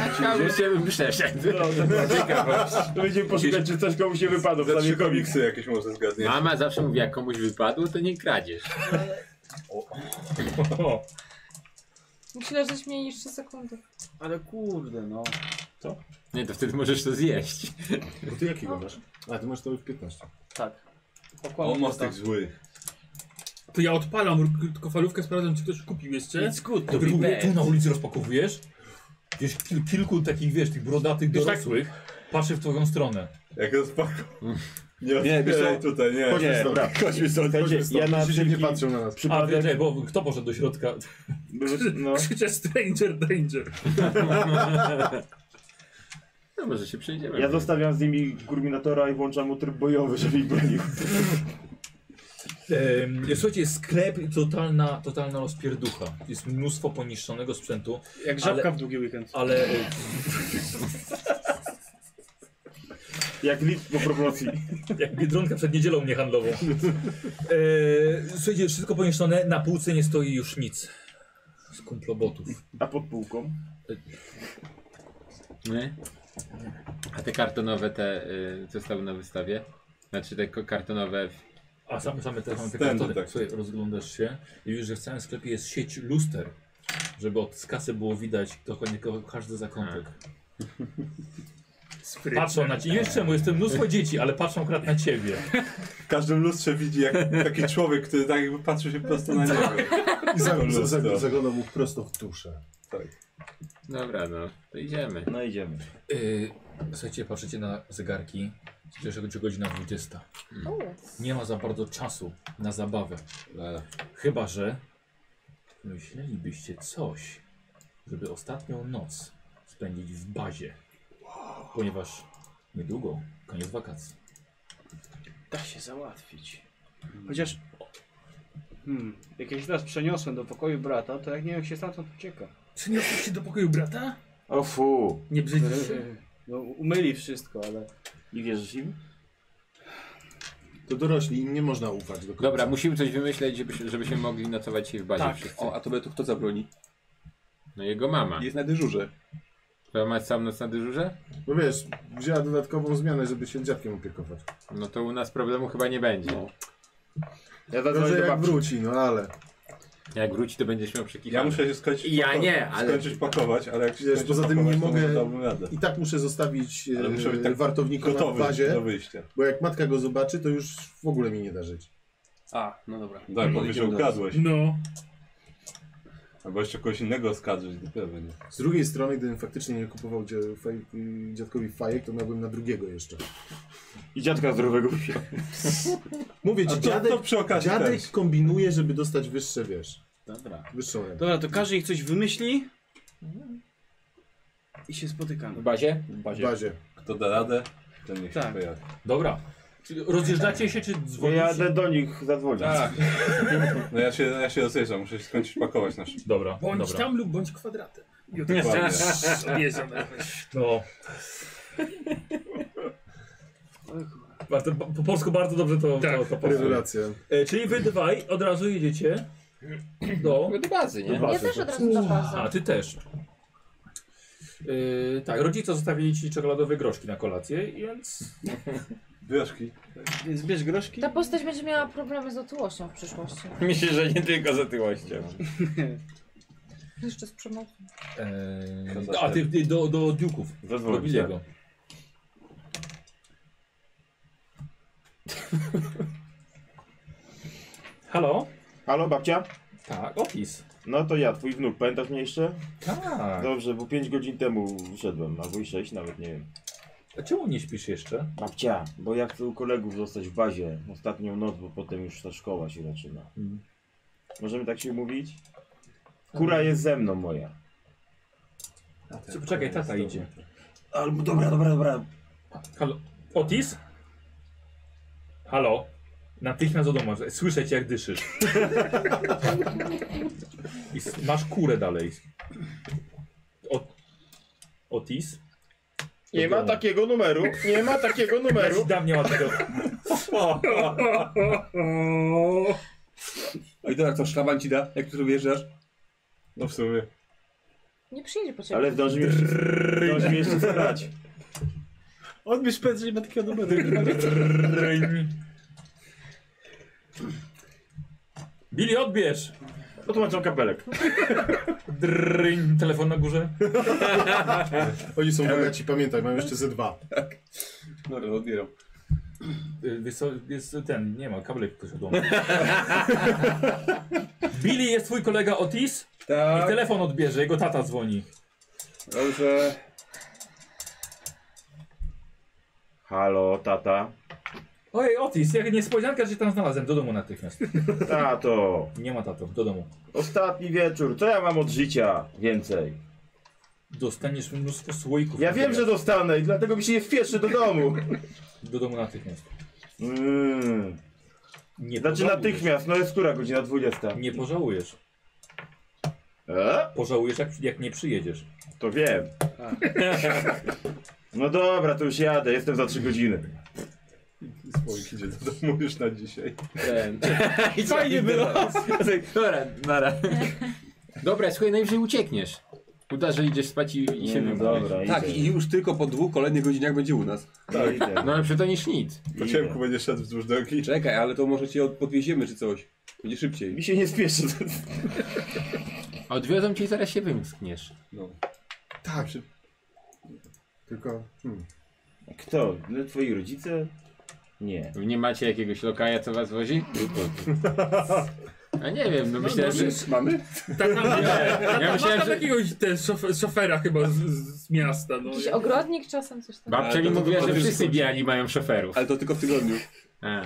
chciałbym się przeszedł.
No, to była ciekawość. To będziemy poszukać, czy coś komuś się wypadło.
Za trzy komiksy jakieś może zgadniesz.
Mama zawsze mówi, jak komuś wypadło, to nie kradziesz.
Myślę, żeś mieli jeszcze sekundy.
Ale kurde, no.
Nie, to wtedy możesz to zjeść.
Bo ty jakiego masz? A ty masz to w 15.
Tak.
On ma z tych złych.
To ja odpalam krótkofalówkę, sprawdzam czy ktoś kupił jeszcze.
It's To tu, tu na ulicy rozpakowujesz? Wiesz, kil, kilku takich, wiesz, tych brodatych
Wiesz, tak-
dorosłych patrzy w twoją stronę.
Jak rozpakuj. Nie,
Nie,
nie
wiesz co?
tutaj, nie.
Chodźmy
nie,
stąd. Chodźmy stąd,
Chodźmy
chodźmy
stąd.
stąd.
Wszyscy
Wszyscy
nie
nie
patrzą na nas.
A
[LAUGHS]
tak.
wiecie, bo kto poszedł do środka?
No. Krzyczę Stranger Danger.
No może się przejdziemy.
Ja zostawiam z nimi Gurminatora i włączam mu tryb bojowy, żeby ich bronił.
Em, Słuchajcie, jest sklep i totalna, totalna rozpierducha. Jest mnóstwo poniszczonego sprzętu.
Jak żabka w długi weekend.
Ale... e,
Jak lip po promocji.
Jak biedronka przed niedzielą niehandlową. E, słuchajcie, wszystko poniszczone, na półce nie stoi już nic. Z kumplobotów.
A pod półką?
Nie? A te kartonowe, te, y, co stały na wystawie? Znaczy te ko- kartonowe...
A same, same te same te
Stędy,
kartony. Słuchaj, rozglądasz się i widzisz, że w całym sklepie jest sieć luster, żeby od kasy było widać dokładnie ko- każdy zakątek. Patrzą na ciebie. Jeszcze mu jest to mnóstwo dzieci, ale patrzą akurat na ciebie.
W każdym lustrze widzi jak taki człowiek, który tak jakby patrzy się prosto na niego.
I za, za,
Lustro.
za, zaglądał mu prosto w duszę.
Dobra, no, to idziemy.
No idziemy.
Yy, słuchajcie, patrzycie na zegarki. Widzicie, że godzina 20.
Mm.
Nie ma za bardzo czasu na zabawę. Chyba, że myślelibyście coś, żeby ostatnią noc spędzić w bazie. Ponieważ niedługo koniec wakacji.
Da się załatwić. Chociaż... Hmm, jak ja się teraz przeniosłem do pokoju brata, to jak nie wiem, jak się stamtąd ucieka.
Przyniosłeś się do pokoju brata?
O fu.
Nie brzydzisz się?
No, umyli wszystko, ale...
Nie wierzysz im?
To dorośli, im nie można ufać do końca.
Dobra, musimy coś wymyśleć, żebyśmy, żebyśmy mogli nocować się w bazie
Tak.
wszyscy.
O, a tobie to kto zabroni?
No jego mama.
Jest na dyżurze.
To ma sam noc na dyżurze?
No wiesz, wzięła dodatkową zmianę, żeby się dziadkiem opiekować.
No to u nas problemu chyba nie będzie.
Ja
zadzwonię do
Gorzej jak
babci.
wróci, no ale...
Jak wróci, to będziesz miał przekichane.
Ja muszę się skończyć
I ja
pako-
nie, ale...
skończyć pakować, ale jak się
Wiesz,
skończy
poza tym
pakować,
nie
to
mogę,
dałbym radę.
i tak muszę zostawić
Ale muszę
e,
być tak
wartownika na
gotowy
bazie,
do wyjścia.
bo jak matka go zobaczy, to już w ogóle mi nie da żyć.
A, no dobra.
Tak, bo że ukradłeś.
No.
Albo jeszcze kogoś innego oskarżyć, dopiero będzie.
Z drugiej strony, gdybym faktycznie nie kupował dzia faj y, dziadkowi fajek, to miałbym na drugiego jeszcze.
I dziadka zdrowego wziął.
Mówię
A
ci,
to-
dziadek,
to przy okazji
dziadek
też.
kombinuje, żeby dostać wyższe, wiesz,
Dobra.
wyższą rentę.
Dobra, to każdy ich coś wymyśli. I się spotykamy.
W bazie?
W
bazie. bazie.
Kto da radę, ten niech się
Tak.
pojawi.
Dobra. Czy rozjeżdżacie się, czy dzwonicie?
Jadę do nich zadzwonić.
Tak. No ja się, ja się rozejrzę, muszę się skończyć pakować na szybko.
Dobra,
Bądź tam lub bądź kwadratem. I od
Dokładnie.
Obieziam jakoś.
No. Bardzo, po polsku bardzo dobrze to, to,
Tak.
to pasuje.
Rewelacja.
E, czyli wy dwaj od razu jedziecie do...
Do bazy, nie?
Ja też od razu na bazę.
A, ty też. E, tak, rodzice zostawili ci czekoladowe groszki na kolację, więc...
Wioszki.
Zbierz groszki.
Ta postać będzie miała problemy z otyłością w przyszłości.
Myślę, że nie tylko z otyłością.
Jeszcze z przemocą.
E, a, ty ty do, do Duke'ów, do
Zadzwonić,
Billiego. Halo?
Halo, babcia?
Tak, opis.
No to ja, twój wnuk, pamiętasz mnie jeszcze?
Tak.
Dobrze, bo 5 godzin temu wyszedłem, albo i 6, nawet nie wiem.
A czemu nie śpisz jeszcze?
Babcia, bo ja chcę u kolegów zostać w bazie ostatnią noc, bo potem już ta szkoła się zaczyna.
Mhm.
Możemy tak się mówić? Kura jest ze mną moja.
Co, poczekaj, tata idzie.
Albo dobra, dobra, dobra.
Halo? Otis? Halo? Natychmiast do domu. Słyszę cię jak dyszysz. I s- masz kurę dalej. Ot Otis?
Nie ma takiego numeru, nie ma takiego
Ja ci
numeru.
dam nie ma tego.
Oj, dobra, co szlaban ci da, jak tu wyjeżdżasz?
No w sumie.
Nie przyjedzie po ciebie.
Ale zdążymy jeszcze, zdążymy jeszcze spać.
Odbierz pędzel, że nie ma takiego numeru.
Billy, odbierz!
Otłumaczam kapelek.
Drryń. Telefon na górze.
Oni są bogaci, pamiętaj, mam jeszcze ze dwa.
no,
Dobra, odbieram.
Y, Wiesz co, jest ten, nie ma, kabelek
[LAUGHS]
ktoś odłączył. Billy jest twój kolega Otis i
Tak,
telefon odbierze, jego tata dzwoni.
dobrze.
Halo, tata.
Ojej, Otis, jak niespodzianka, że cię tam znalazłem. Do domu natychmiast.
Tato,
Nie ma tato, do domu.
ostatni wieczór, co ja mam od życia więcej?
Dostaniesz mnóstwo słoików.
Ja wiem, że dostanę i dlatego mi się nie spieszy do domu.
Do domu natychmiast.
Mm.
Nie
Znaczy
pożałujesz.
natychmiast, no jest która godzina? 20.
Nie pożałujesz.
E?
Pożałujesz, jak, jak nie przyjedziesz.
To wiem. No dobra, to już jadę, jestem za 3 godziny.
Słoik idzie do domu już na dzisiaj.
Ten. Fajnie było. Dobra, nara. Dobra, słuchaj, najwyżej uciekniesz. Uda, że idziesz spać i, i się
no
wybrać.
dobra,
Tak,
idę.
i już tylko po dwóch kolejnych godzinach będzie u nas.
Tak.
Idę.
No lepsze to niż nic.
Po ciemku będzie szedł wzdłuż drogi.
Czekaj, ale to może cię od- podwieziemy czy coś. Będzie
Mi
szybciej.
się nie spieszy.
A Odwiozą cię i zaraz się wymskniesz.
No.
Tak. Tylko, hmm.
Kto? No, twoi rodzice? Nie.
Nie macie jakiegoś lokaja, co was wozi? A nie wiem, no myślę, że...
Mamy?
Tata ma,
Ja
tata ma
myślałem,
tam
że...
jakiegoś ten szof- szofera chyba z, z miasta. No.
Jakiś ogrodnik czasem coś tam.
Babcia
Ale
mi
to- to-
mówiła,
to-
że
to-
wszyscy biali mają szoferów.
Ale to tylko w tygodniu.
A.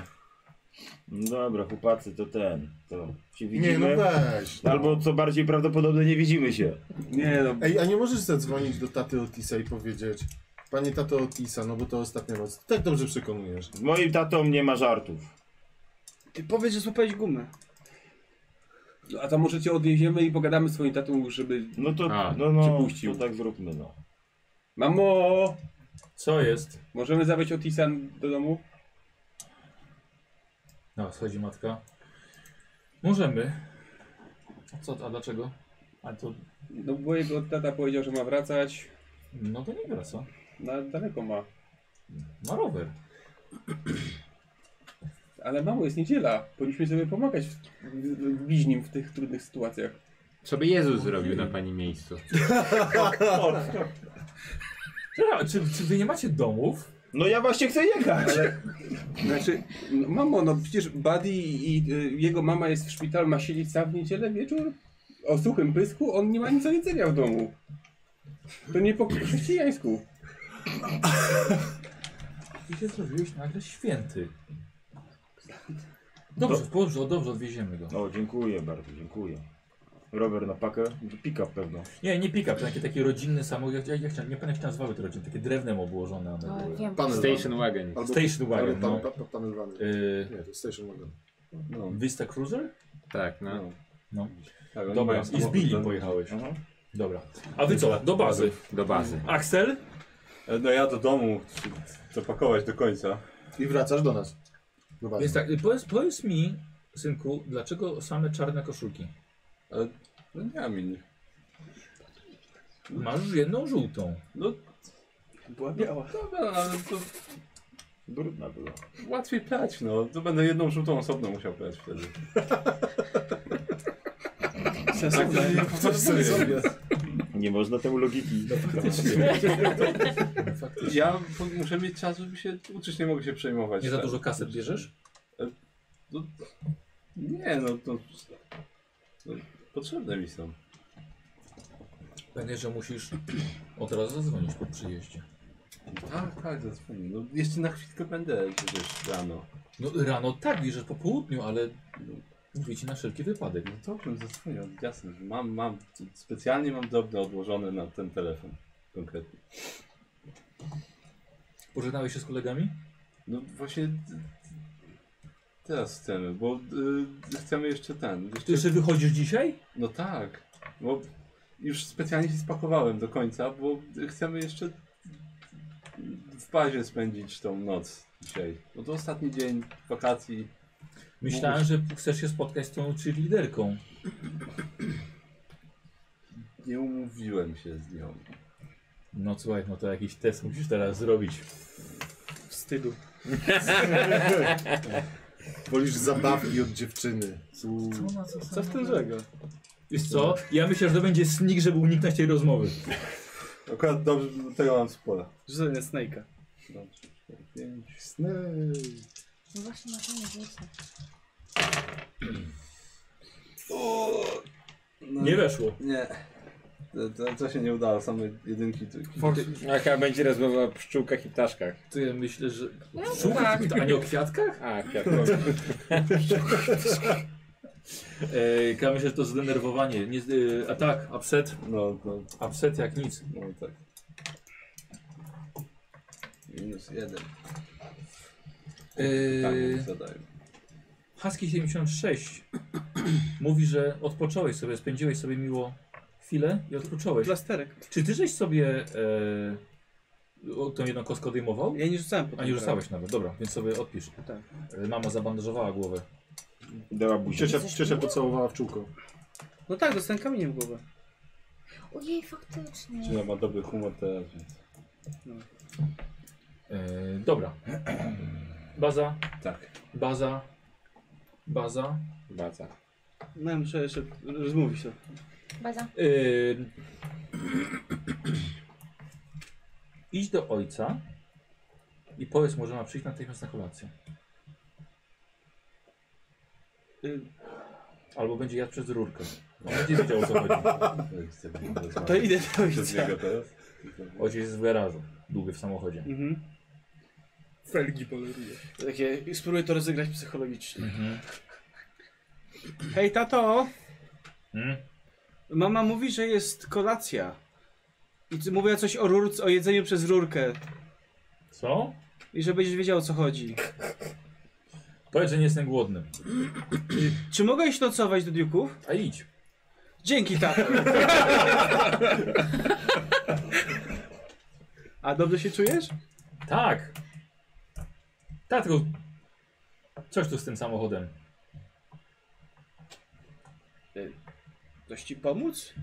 No dobra, chłopacy, to ten. To się
Nie, no
widzimy.
tak.
weź. No.
Albo co bardziej prawdopodobne, nie widzimy się.
Nie no.
Ej, a nie możesz zadzwonić do taty Otisa i powiedzieć, panie tato Otisa, no bo to ostatnia noc. Tak dobrze przekonujesz.
Z moim tatą nie ma żartów.
Ty powiedz, że złapałeś gumę.
No, A to może cię odwieziemy i pogadamy z twoim tatą, żeby...
No to,
A,
no, no,
przypuścił.
to tak zróbmy, no.
Mamo!
Co jest?
Możemy zabrać Otisa do domu?
No, schodzi matka. Możemy. A co, a dlaczego? A to,
No bo jego tata powiedział, że ma wracać.
no to nie wraca.
Na daleko ma.
Ma rower.
Ale mało jest niedziela. Powinniśmy sobie pomagać w, w, w bliźnim w tych trudnych sytuacjach.
Co by Jezus zrobił na pani miejscu?
Dobra, czy, czy wy nie macie domów?
No ja właśnie chcę jechać.
Ale, znaczy, no, mamo, no przecież Buddy i y, jego mama jest w szpitalu, ma siedzieć sam w niedzielę wieczór? O suchym pysku? On nie ma nic do jedzenia w domu. To nie po chrześcijańsku.
Ty się zrobiłeś nagle święty. Dobrze, dobrze, dobrze, odwieziemy go.
O, dziękuję bardzo, dziękuję. Rower na pakę? Pick-up pewno.
Nie, nie pick-up, taki, taki rodzinny samochód. Jak, jak, jak, chciałem- nie pamiętam jak się nazywały te rodziny, takie drewnem obłożone. One
O,
były.
wiem.
Panel
Station wagon.
Albo-
Station wagon,
Pan,
no.
pan, pan, panel wagon.
Y,
Nie, to Station Wagon.
No,
Vista Cruiser?
Tak, no.
No.
tak, oni
Dobra,
mają
i z
samochód,
Billy
ten-
pojechałeś.
Aha.
Dobra. A wy co? Do bazy.
Do bazy.
Axel?
E, No ja do domu, chcę- chcę pakować do końca.
I wracasz do nas. No
Więc
właśnie.
tak, y, powiedz, powiedz mi, synku, dlaczego same czarne koszulki?
Ale no nie mam innych.
Masz już jedną żółtą.
No
Była biała.
dobra, ale to
Brudna była.
łatwiej prać, no. To będę jedną żółtą osobną musiał prać wtedy.
Sensowne.
Tak, no,
Coś sobie zrobię.
Nie można temu logiki. [LAUGHS]
Faktycznie.
Ja po- muszę mieć czas, żeby się uczyć, nie mogę się przejmować.
Nie za
Tak.
dużo kaset bierzesz?
No, nie, no to... No, potrzebne mi są.
Pewnie, że musisz od razu zadzwonić po przyjeździe.
Tak, tak, zadzwonię. No jeszcze na chwilkę będę przecież rano.
No rano tak, bierzesz po południu, ale mówię ci na wszelki wypadek.
No dobrze, zadzwonię, jasne. Mam, mam, specjalnie mam drobne odłożone na ten telefon konkretnie.
Pożegnałeś się z kolegami?
No właśnie... t- Teraz chcemy, bo y, chcemy jeszcze ten.
Ty jeszcze wychodzisz dzisiaj?
No tak, bo już specjalnie się spakowałem do końca, bo chcemy jeszcze w bazie spędzić tą noc dzisiaj. Bo to ostatni dzień wakacji.
Myślałem,
Mógłbyś-
że chcesz się spotkać z tą czy liderką.
Nie umówiłem się z nią.
No słuchaj, no to jakiś test musisz teraz zrobić.
Wstydu.
Wolisz zabawki od dziewczyny.
Co w tym złego?
Wiesz co? Ja myślę, że to będzie snik, żeby uniknąć tej rozmowy.
Akurat dobrze, tego mam z pola.
Rzucę na Snake'a.
No właśnie na koniec rzucę.
No,
Nie weszło.
Nie. To, to, to się nie udało, same jedynki. tu-
Jaka będzie rozmowa o pszczółkach i ptaszkach?
To ja myślę, że...
No,
Słuchaj, a nie o kwiatkach?
A, kwiatkowie.
E, ja myślę, że to zdenerwowanie. Nie, z- e, a tak, upset.
No, no,
Upset jak nic.
no tak. Minus jeden. Tak,
E,
zadaję.
Husky 76 mówi, że odpocząłeś sobie, spędziłeś sobie miło chwilę i odpocząłeś.
Plasterek.
Czy ty żeś sobie e, o, tą jedną kostkę odejmował?
Ja nie rzucałem po
A nie rzucałeś nawet, dobra, więc sobie odpisz.
Tak.
E, Mama zabandażowała głowę.
Dała buzię.
Cieszę, cieszę pocałowała w czółko.
No tak, dostałem kamieniem w głowę.
Ojej, faktycznie.
Czy ma dobry humor teraz, więc...
E, dobra. [CLEARS THROAT] Baza,
Tak.
baza, baza.
Baca.
No muszę jeszcze rozmówić to.
Baza.
E, idź do ojca i powiedz mu, że ma przyjść natychmiast na kolację.
Y,
Albo będzie jadł przez rurkę. On będzie wiedział o co chodzi.
[LAUGHS]
To idę do
Tak.
Przez
ojca.
niego teraz?
Ojciec jest w garażu, długi w samochodzie.
Mhm.
Felgi poleruje.
Takie, i spróbuję to rozegrać psychologicznie. Hej tato,
Mm?
mama mówi, że jest kolacja. I ty- mówiła coś o rurce, o jedzeniu przez rurkę.
Co?
I że będziesz wiedział o co chodzi.
Powiedz, że nie jestem głodny.
Czy mogę iść nocować do Duków?
A idź.
Dzięki tak. tato. A dobrze się czujesz?
Tak. Tak, tylko Coś tu z tym samochodem.
Coś ci pomóc?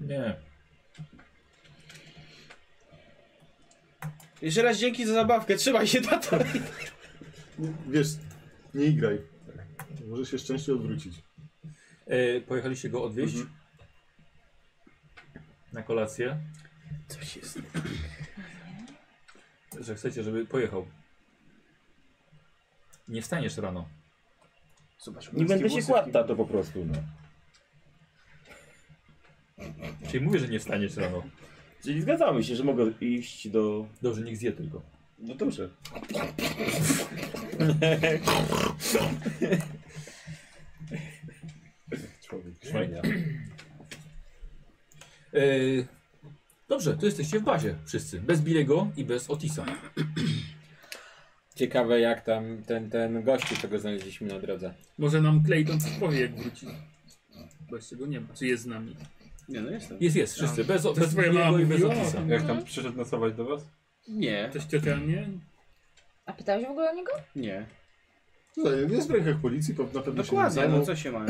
Nie.
Jeszcze raz dzięki za zabawkę, trzymaj się tato.
Wiesz, nie igraj. Może się szczęście odwrócić.
E, pojechaliście go odwieźć?
Mhm.
Na kolację?
Coś jest.
Że chcecie, żeby pojechał. Nie wstaniesz rano.
Zobacz,
Nie będę się kładł, tato, po prostu, no.
Czyli mówię, że nie wstaniesz rano.
Czyli zgadzamy się, że mogę iść do...
Dobrze, niech zje tylko.
No dobrze.
Człowiek.
Fajnie. E, dobrze, to jesteście w bazie wszyscy. Bez Bilego i bez Otisa.
Ciekawe jak tam ten, ten gościu, co go znaleźliśmy na drodze.
Może nam Clayton coś powie, jak wróci. Bo jeszcze go nie ma. Czy jest z nami?
Nie, no jestem.
Jest, jest, wszyscy. Bez,
To
bez
twoja
Bilego
mama
i bez
mówiła?
Otisa.
Jak tam przyszedł nocować do was?
Nie.
Coś ciocia nie?
A pytałeś w ogóle o
[LAUGHS]
niego?
Nie.
Słuchaj, jest w rękach policji, to na pewno się
Dokładnie,
nie
no
zdało.
co się ma.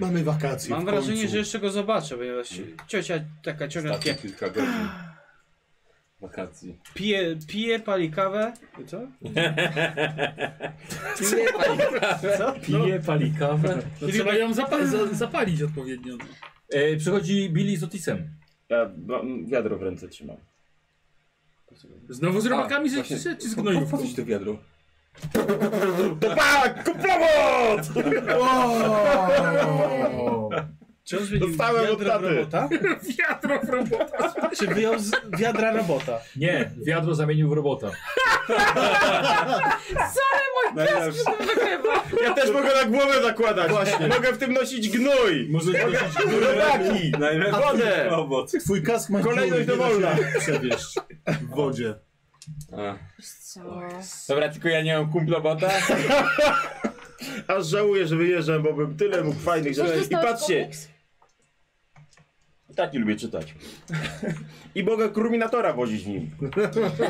Mamy wakacje
Mam
w
wrażenie,
końcu.
że jeszcze go zobaczę, ponieważ ciocia taka ciągle
Ostatnie
pije,
kilka godzin wakacji.
pije, pije, pali kawę. I [LAUGHS] Co?
Pije, pali kawę.
Co?
Pije, pali kawę.
No trzeba ją zapa za zapalić odpowiednio. no.
E, przychodzi Billy z Otisem.
Ja mam wiadro w ręce trzymam.
Znowu z robakami ze
właśnie.
czy
No
Po,
z
po
gnojówką?
co ci to wiadro? To tak! Kupowoc!
Czy on zmienił
Dostałem od
wiadro w
taty.
robota?
Wiatro w robota.
Czy wyjął z wiadra robota?
Nie, wiadro zamienił w robota.
Sorry, mój
Najlepszy.
to wygrywa.
Ja też mogę na głowę zakładać.
Właśnie.
Mogę w tym nosić gnój.
Może nosić gnój.
Robaki.
Najlepszy
Wodę.
robot.
[LAUGHS] Twój kask ma
Kolejność
dziurę, nie da się
dowolna.
przewieźć w wodzie.
[LAUGHS]
A,
Co?
Dobra, tylko ja nie mam kumplobota.
[LAUGHS] Aż żałuję, że wyjeżdżam, bo bym tyle mógł fajnych rzeczy. I patrzcie, tak nie lubię czytać. [LAUGHS] I mogę kruminatora wozić nim.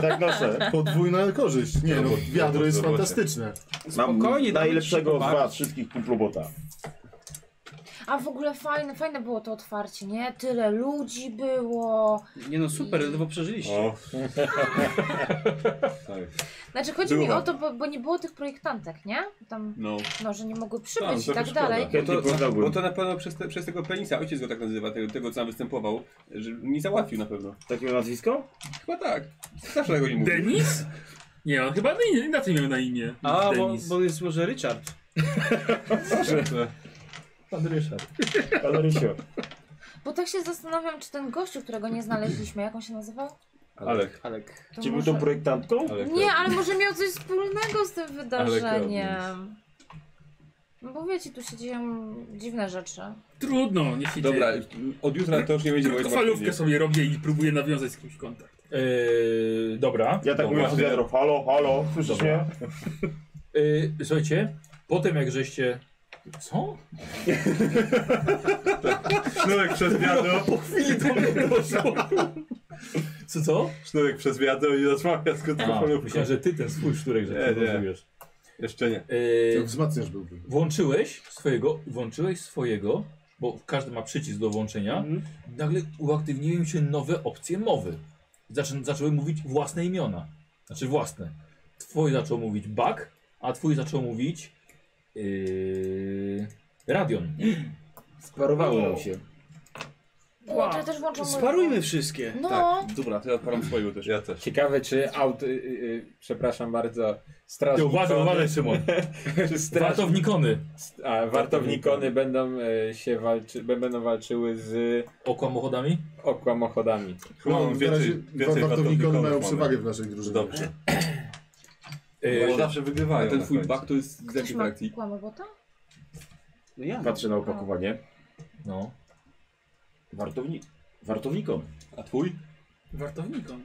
Tak noszę.
Podwójna korzyść. Nie no, wiadro jest fantastyczne.
Mam
Spokojnie, damy
najlepszego
ci
z
pobawić.
was wszystkich kumplobota.
A w ogóle fajne, fajne było to otwarcie, nie? Tyle ludzi było.
Nie no super, ledwo przeżyliście.
[LAUGHS]
o. tak.
Znaczy chodzi mi
Było.
o to, bo, bo nie było tych projektantek, nie? Tam,
No.
no, że nie mogły
Tam,
przybyć i
trochę
tak
szkoda.
dalej.
Bo
Chętnie
to,
poznałbym.
bo to na pewno przez, te, przez tego penisa, ojciec go tak nazywa, tego, tego co nam występował, że nie załatwił na pewno.
Takie nazwisko?
Chyba tak. Zawsze tego nie mówił.
Denis? Nie, on chyba nie- inaczej miał na imię.
A, bo,
Denis.
bo jest może Richard.
Pan Ryszard.
Ale Rysio.
Bo tak się zastanawiam, czy ten gościu, którego nie znaleźliśmy, jak on się nazywał?
Alek.
Alek.
Czy był
może-
tą projektantką?
Alek.
Nie, ale może miał coś wspólnego z tym wydarzeniem. No Bo wiecie, tu się dzieją dziwne rzeczy.
Trudno, nie się
Dobra,
dzieje.
od jutra to już nie będzie mojego
Krótkofalówkę
martwienia.
sobie robię i próbuję nawiązać z kimś kontakt.
E, dobra.
Ja tak
dobra.
mówię przez wiadro. Halo, halo, słyszysz
Dobra.
mnie?
[LAUGHS] Y, słuchajcie, potem jak żeście... Co?
Sznurek przez
[LAUGHS]
wiadro,
Co, co?
sznurek przez wiadro i rozmawia z
A,
krótkofalówką.
myślałem, że ty ten swój szturek, że
Nie,
ty
nie.
rozumujesz.
Jeszcze nie.
Y,
Jak wzmacniasz byłby.
włączyłeś swojego, włączyłeś swojego, bo każdy ma przycisk do włączenia.
Mhm.
Nagle uaktywniły się nowe opcje mowy. Zaczę, zaczęły mówić własne imiona. Znaczy własne. Twój zaczął mówić Bak, a twój zaczął mówić yy, Radion.
No.
Sparowało nam się.
O, to ja też włączam mój-
Sparujmy wszystkie.
No,
tak.
Dobra, to ja odpalam swojego też.
Ja też.
Ciekawe czy aut... Y, y, y, przepraszam bardzo. Straż
Ty uważaj,
Nikony-
uważaj Szymon.
Czy straż...
Wartownikony.
A, wartownikony będą y, się walczy... będą walczyły z
Okłamochodami?
okłamochodami.
Chyba mam
No, na razie
więcej, więcej
wartownikony mają
mamy.
przewagę w naszej drużynie.
Dobrze. Bo
Yy,
zawsze
A
wygrywają.
ten
na
twój
końcu.
bug to jest z
ktoś
jakiej
ma
frakcji?
kłamobota?
No ja.
Patrzę na opakowanie.
no.
Wartownik. Wartownikom.
A twój?
Wartownikom.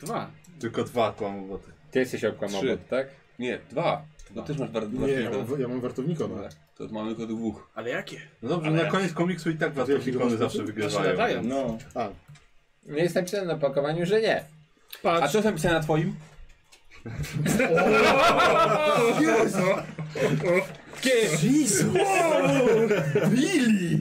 Dwa.
Tylko dwa kłamowoty.
Ty jesteś okłamobot,
Trzy.
tak?
Nie, dwa. No też masz bardzo
Nie, ja mam, ja mam wartownikona.
To mamy tylko dwóch.
Ale jakie?
No dobrze, na koniec komiksu i tak wartownikony zawsze wygrywają.
Nadają.
No.
A,
Jest napisane na opakowaniu, że nie. A
Patrz,
co jest napisane na twoim?
Jezu!
Jezu! Billy!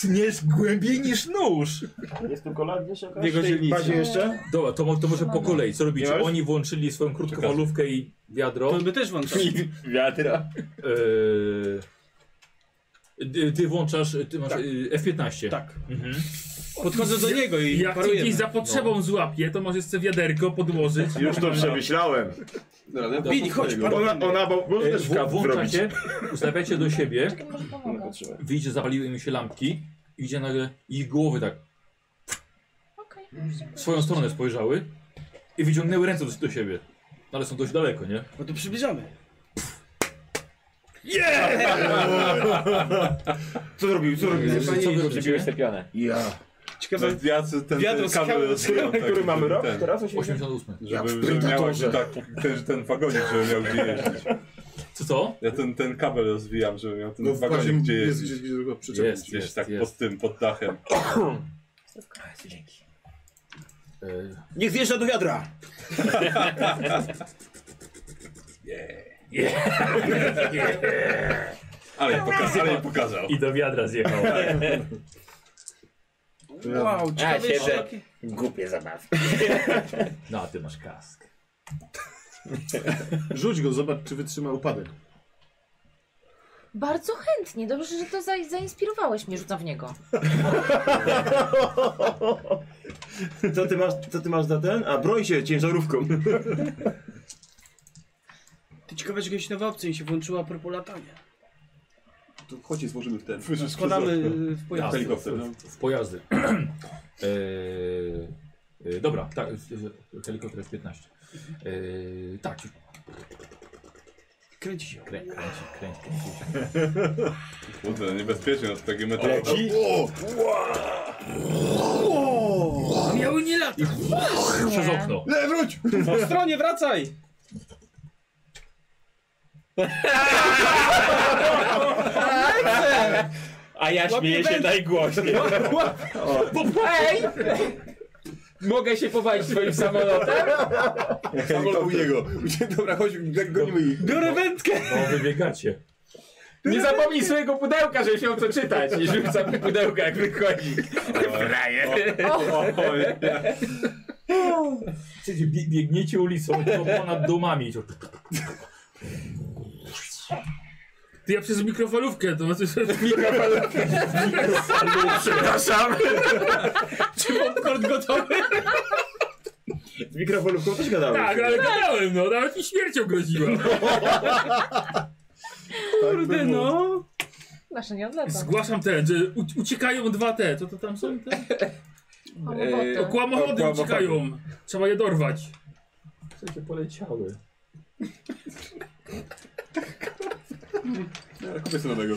Tniesz głębiej niż nóż!
Jest tu kolak gdzieś jakaś?
Nie
W tej
gościelicy.
bazie jeszcze?
Dobra, to, mo- to może po kolei, co robicie?
Miałeś?
Oni włączyli swoją krótkowolówkę i wiadro.
To my też włączamy.
Wiadra. Yy, Ty, ty włączasz, ty masz y, F15. Tak. Mhm.
Podchodzę do niego i
Jak cię
parujemy.
gdzieś za potrzebą złapie, to możesz sobie wiaderko podłożyć.
Już to przemyślałem.
Bili, chodź,
Ona, ona bo może też
Włą-
kaw zrobić.
Yy, Włączacie, ustawiacie do siebie. Widzicie, zapaliły im się lampki. i Widzicie nagle ich głowy tak w swoją stronę spojrzały i wyciągnęły ręce do, do siebie. Ale są dość daleko, nie?
No to przybliżamy.
Co zrobił? Co zrobił?
Co wy robicie?
Ja.
Ciekawe,
No, ja co- ten,
Wiatr
ten
z
kabel
kabel-
odsyłam,
który
tak,
mamy
ten-
rok?
ten.
Teraz 80?
88.
Ja w
Żeby, żeby miał
prytatorze.
tak, ten, ten wagonik, żeby miał gdzie jeździć.
Co to?
Ja ten, ten kabel rozwijam, żeby miał ten
No w razie
wagonik gdzie
jest
jeździć.
gdzieś, gdzie go przyczepić.
Jest, jest, tak pod tym, pod dachem.
Niech wjeżdża do wiadra!
Ale pokazał, ale pokazał.
I do wiadra
[LAUGHS]
zjechał.
Wow,
Tak. Ja
ciekawe
siedzę.
środki.
Głupie zabawy.
[LAUGHS] No, a ty masz kask.
Rzuć go, zobacz, czy wytrzyma upadek.
Bardzo chętnie, dobrze, że to za, zainspirowałeś mnie, rzucam w niego.
Co ty masz, co ty masz za ten? A broń się ciężarówką.
Ty ciekawe, że jakaś nowa opcja mi się włączyła a propos latania.
To chodźcie, złożymy w ten.
Wkładamy y, w
Ja,
pojazd.
helikopter,
w-
no.
w- W pojazdy. [CLEARS THROAT] Eee, e, dobra, tak, e, helikopter F-15. Eee, tak, już-
Kręci się.
krę, kręci, kręci, kręci.
Kurde, niebezpiecznie, no to takie metalowe.
Leci?
Miały nie latać.
Przez okno.
Nie, wróć!
Po stronie, wracaj! Lecę!
A ja śmieję się najgłośniej. Ej! Mogę się powalić swoim samolotem?
To u niego. Dobra, chodź, gonimy ich.
Biorę wędkę!
No, wybiegacie.
Nie zapomnij swojego pudełka, żeby się co czytać. I rzucam pudełka, jak wychodzi. Frajer.
Słuchajcie, bie- Biegniecie ulicą, to ponad domami.
Ty ja przez mikrofalówkę, to znaczy, że...
Mikrofalówkę.
Przepraszam.
Czy popcorn gotowy?
Z mikrofonówką też gadałeś. No.
Tak, ale gadałem, no, nawet mi śmiercią groziła.
Kurde no!
Nasze nie odlata.
Zgłaszam ten, że u- uciekają dwa te, co to tam są te?
e,
Łomoboty.
O, kłamochody
Okłamochody.
uciekają. Trzeba je dorwać.
Słuchajcie, poleciały.
Kupię sobie nowego.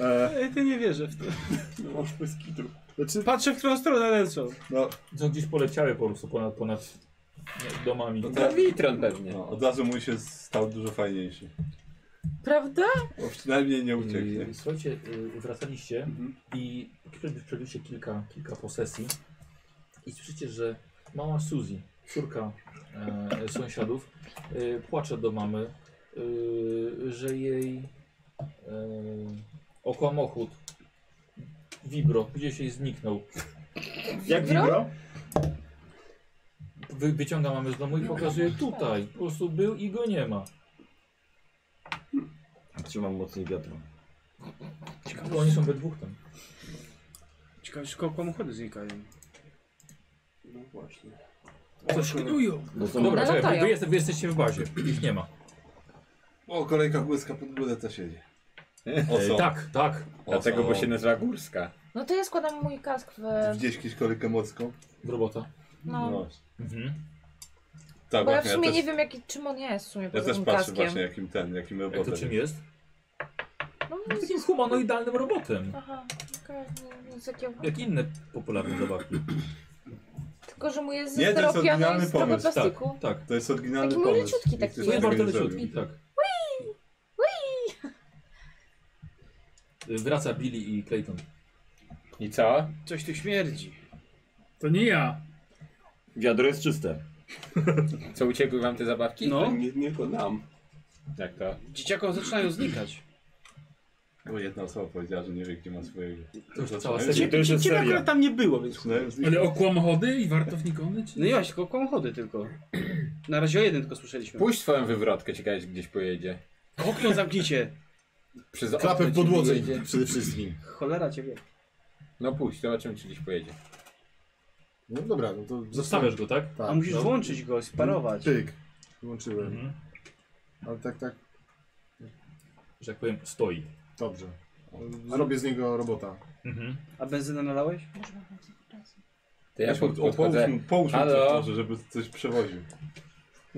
E,
Ej, ty nie wierzę w to.
No, bez kitu.
znaczy,
Patrzę, w którą stronę lecą.
No,
Co gdzieś poleciały po prostu ponad, ponad domami.
To Witron pewnie.
No, od razu mój się stał dużo fajniejszy.
Prawda?
Bo przynajmniej nie ucieknie.
Yy, Słuchajcie, yy, wracaliście
Mhm.
i przebi- przebyliście kilka, kilka posesji i słyszycie, że mała Suzy, córka e, sąsiadów, e, płacze do mamy, e, że jej e, okłamochód, vibro, gdzieś jej zniknął.
Jak wibro?
Wy, wyciąga mamy z domu i pokazuje tutaj. Po prostu był i go nie ma.
Trzymam mocniej wiatru.
Bo oni są we dwóch tam.
Ciekawe, że komuchody znikają.
no właśnie.
Coś knują.
Bo są...
Dobra,
No,
czekaj,
latają.
wy, jeste- wy jesteście w bazie. Ich nie ma.
O, kolejka głyska pod górę też jedzie. O
E,
co?
tak, tak.
Dlatego, bo się nazywa Górska.
No to ja składam mój kask w...
Widziałeś kiedyś kolejkę mocką?
Robota.
No,
Mhm.
Tak,
bo ja w
właśnie,
sumie
ja
nie
też,
wiem jaki, czym on jest w sumie
ja
poza
też
tym
patrzę
kaskiem.
właśnie jakim ten, jakim
Jak to
robotem.
czym jest?
No,
No,
jest...
takim humanoidalnym robotem.
Aha, okej, nie- nic takiego.
Jak inne popularne zabawki.
Tylko, że mu jest
Nie, to
ze
jest
steropianu i
oryginalny
z trochę
pomysł, tak.
plastiku.
Tak.
To jest oryginalny
Taki
pomysł.
maleciutki
Nikt
taki
jeszcze
To jest
tego
bardzo
nie
leciutki,
zrobił.
tak. Y, Wraca Billy i Clayton.
I co?
Coś tu śmierdzi.
To nie ja.
Wiadro jest czyste.
Co uciekły wam te zabawki?
No.
Nie, nie tylko nam.
Jak to?
Dzieciakom zaczynają znikać.
Bo jedna osoba powiedziała, że nie wie, gdzie ma swojego.
To już cała
Zaczynają?
seria.
To już jest
Ciebie
seria.
akurat tam nie było, więc
No,
Zaczynają z nich-
Ale okłamchody i wartownikony? Czy...
No i właśnie, tylko kłamchody tylko. Na razie o jeden tylko słyszeliśmy.
Puść swoją wywrotkę, ciekawe czy gdzieś pojedzie.
Okno zamknijcie.
Przez
Klapę
okno
w
ci
podłodze
wyjedzie.
przede wszystkim.
Cholera cię wie.
No puść, zobaczymy czy gdzieś pojedzie.
No dobra, no to
Zostawiasz go, tak?
Tak,
A musisz
no.
włączyć go, sparować.
Tyk. Włączyłem. Ale tak, tak,
Że jak powiem, stoi.
dobrze. Zrobię z niego robota.
Mhm.
A benzynę nalałeś?
To ja
Weź mu-
pod,
o, Połóż
podchodzę.
mu, połóż mu coś
Halo?
może, żeby coś przewoził.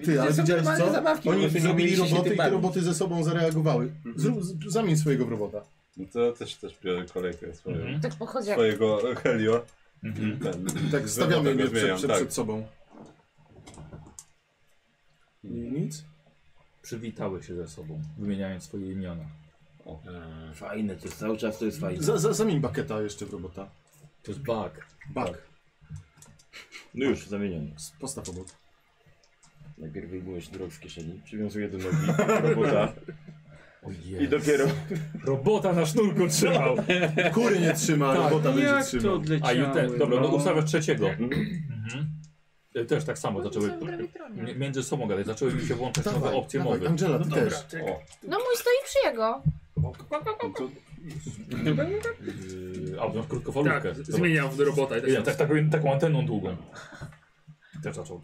Ty, ale
Są
widziałeś
normalne
co?
zabawki, po
Oni
prostu nie
zrobili
mieli się
roboty
tym
i te
bawić.
roboty ze sobą zareagowały. Zrób, z- zamień swojego w robota.
No to ja też, też biorę kolejkę swoją.
Mhm.
Tak pochodzi jak...
Swojego e, Helio.
Mhm.
Ten-
Tak,
tego
stawiamy je przed,
zmieniam,
przed,
tak.
przed sobą. I nic?
Przywitały się ze sobą, wymieniając swoje imiona.
Fajne, to jest cały czas to jest fajne.
Za, za, zamień baketa jeszcze w robota.
To jest bug.
Bak.
No już, zamieniam.
Postaw obok.
Najpierw wyjmuję śrubę z kieszeni, przywiązuję do nogi
[LAUGHS]
robota i dopiero...
Robota na sznurku trzymał.
[LAUGHS] Kury nie trzyma,
Tak.
robota będzie
Jak to
trzymał.
A i
odleciały,
ten, dobra, no
no.
ustawiasz trzeciego. Mhm. E, Też tak samo,
No,
zaczęły
są w gravitronie.
mi- między sobą gadać, zaczęły mi się włączać nowe
Dawaj,
opcje
dawaj,
mowy.
Angela, ty też.
O,
No mój stoi przy jego.
Yy, A, masz krótkofalówkę.
Tak, zmieniam w robota i tak
Nie,
samo.
tak, taką, taką anteną długą. Też zaczął.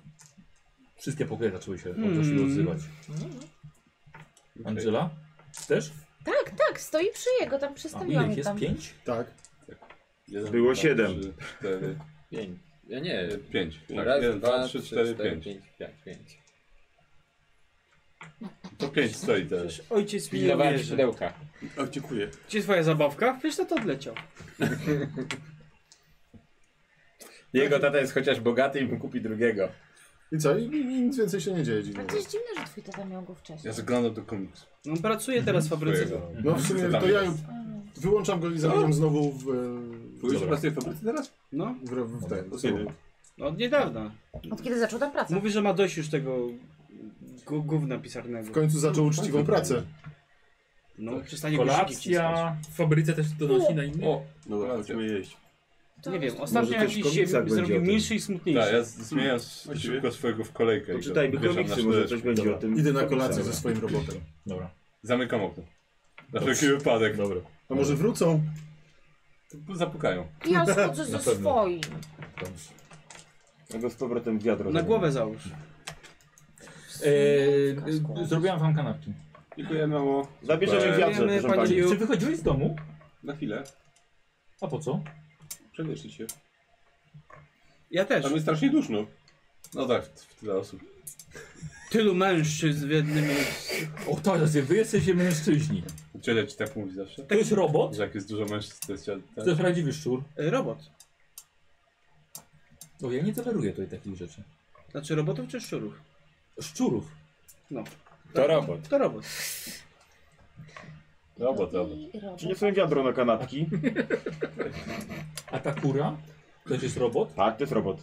Wszystkie pokoje zaczęły się
Mm.
zaczęły odzywać. Angela? Też?
Tak, tak, stoi przy jego, tam
A
przystawiłam
ile
mi
ich jest?
tam.
Pięć?
Tak.
jeden,
Było
dwa,
siedem.
trzy, cztery,
Pięć. Ja nie.
Pięć. Tak,
Raz,
jeden, dwa, trzy, cztery, pięć.
pięć, pięć, pięć.
To pięć stoi teraz.
Ojciec mi nie
Pilnowałem
wierzy.
pudełka.
O, dziękuję.
Gdzie twoja zabawka? Przecież to to odleciał.
Jego tata jest chociaż bogaty i mu kupi drugiego.
I co? I, i nic więcej się nie dzieje
Ale
dziwnego.
to jest dziwne, że twój tata miał go wcześniej.
Ja zaglądam do komiksu.
No on
Mhm,
pracuje teraz w fabryce.
Twojego.
No w sumie
Co tam
to ja
jest?
wyłączam go i zamieniam znowu w, e,
Pójdziesz pracuje w fabryce teraz?
No,
w, w, w ten.
Kiedy?
no od niedawna.
Od kiedy zaczął tam pracę?
Mówi, że ma dość już tego gu- gówna pisarnego.
W końcu zaczął uczciwą pracę.
No, przestanie go szyki
Kolacja w fabryce też donosi na inne.
O,
Dobra, chodźmy
Tak,
jeść.
Nie wiem, ostatnio
Może też
jakiś się
komiksach będzie o
zrobił
tym.
milszy i smutniejszy.
Tak, ja z- zmieniam s-
Właściwie.
szybko swojego w kolejkę. i go
Poczytajmy
wieszam na
komiksy, może
sznureczku.
coś będzie o tym.
Idę na kolację ze swoim robotem.
Dobra.
Zamykam okno. Na wszelki wypadek.
Dobra.
A może wrócą?
To Zapukają.
I
[LAUGHS]
ja schodzę ze
Na pewno.
swoim.
Dobrze.
Ja go z powrotem w wiadro.
Na głowę załóż.
Yy,
Eee, zrobiłam wam kanapki.
Dziękuję mało.
Zabierzemy
Super.
wiadrze,
Dziękujemy,
proszę
pani
pani.
Ju.
Czy wychodziłeś z domu?
Na chwilę.
A po co?
Przewieszyć się.
Ja też.
Tam jest strasznie duszno.
No tak, w- w tyle osób.
Tylu mężczyzn w jednym miejscu.
O, to jest, wy jesteście mężczyźni.
Ciocia ci tak mówi zawsze?
To jest robot?
Że jak jest dużo mężczyzn, to jest cia-
To
tak?
jest prawdziwy szczur.
E, Robot.
No ja nie toleruję tutaj takich rzeczy.
Znaczy robotów czy szczurów?
Szczurów.
No.
To robot.
To robot.
Dobra, dobra.
I robię.
Czy nie sobie wiadro na kanapki?
A ta kura? To też jest robot?
Tak, to jest robot.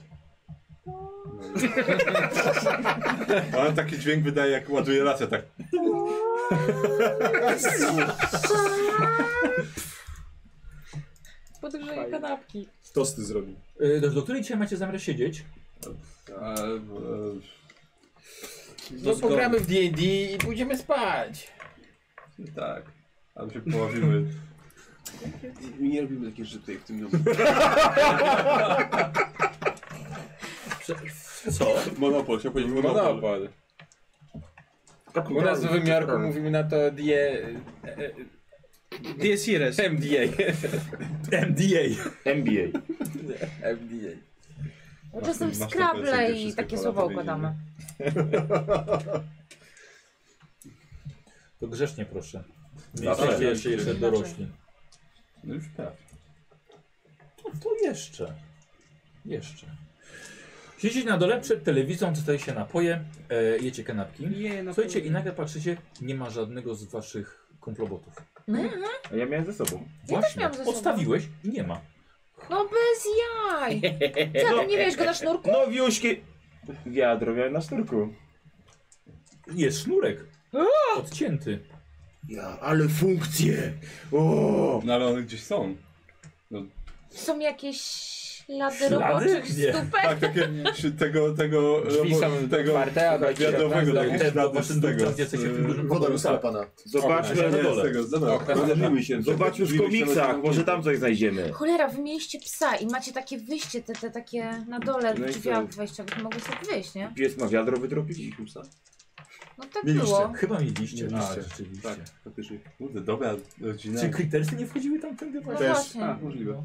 Tak.
Ona taki dźwięk wydaje, jak ładuje lasę, tak.
Podgrzeje kanapki.
Tosty zrobił.
Yy, do, do której dzisiaj macie zamiar siedzieć?
A, e,
No pogramy w D&D i pójdziemy spać.
Tak. Tam się poławimy.
[LAUGHS] My nie robimy takich rzeczy tutaj w tym domu.
Co?
Monopol, chciał powiedzieć monopol.
Monopol. U nas w Nowym Jorku mówimy na to D... e, e,
Jest Ires.
[LAUGHS] MDA.
MDA.
MBA.
MDA.
Bo czasem
Masz- masz taką
skrable
recenzję
i
wszystkie
takie
pola
słowa
wymienione.
układamy.
To grzecznie proszę. Nie
Zawsze.
jesteście jeszcze, jeszcze dorośli.
No już tak.
To, to jeszcze. Jeszcze. Siedzieć na dole przed telewizją, dostaje się napoje, e, jecie kanapki.
No
Je, na
Słuchajcie, i nagle patrzycie, nie ma żadnego z waszych kumplobotów.
A ja miałem ze sobą.
Ja też miałam ze sobą.
Odstawiłeś i nie ma.
No bez jaj! Co, ty nie wiesz go na sznurku?
No wiuśki! Wiadro miałem na sznurku.
Jest sznurek. Odcięty.
Ja, ale funkcje! O!
No ale one gdzieś są. No,
Są jakieś ślady
Ślady?
roboczych
Nie.
stópek?
tak, takie przy- tego, tego,
Drzwi
robo-
są
tego
otwarte, a dojdzie
wiadowego,
do
takie ślady z tego.
Woda rozklepana.
Zobaczmy,
Zobaczmy,
ale z tego, z tego.
Zobaczmy się. Zobaczmy w komiksach, może tam coś znajdziemy.
Cholera, wy mieliście psa i macie takie wyjście, te, te takie na dole
No i
drzwiach
co?
wejściowych, mogłeś sobie wyjść, nie?
Pies ma wiadro wytropić i psa.
No tak
Mieliście.
było.
Chyba mieliście. A,
Mieliście.
rzeczywiście.
Tak, faktycznie. Kurde, dobra rodzina.
Czy klitersy nie wchodziły tam tędy
No
Też.
właśnie.
tak.
A, możliwe.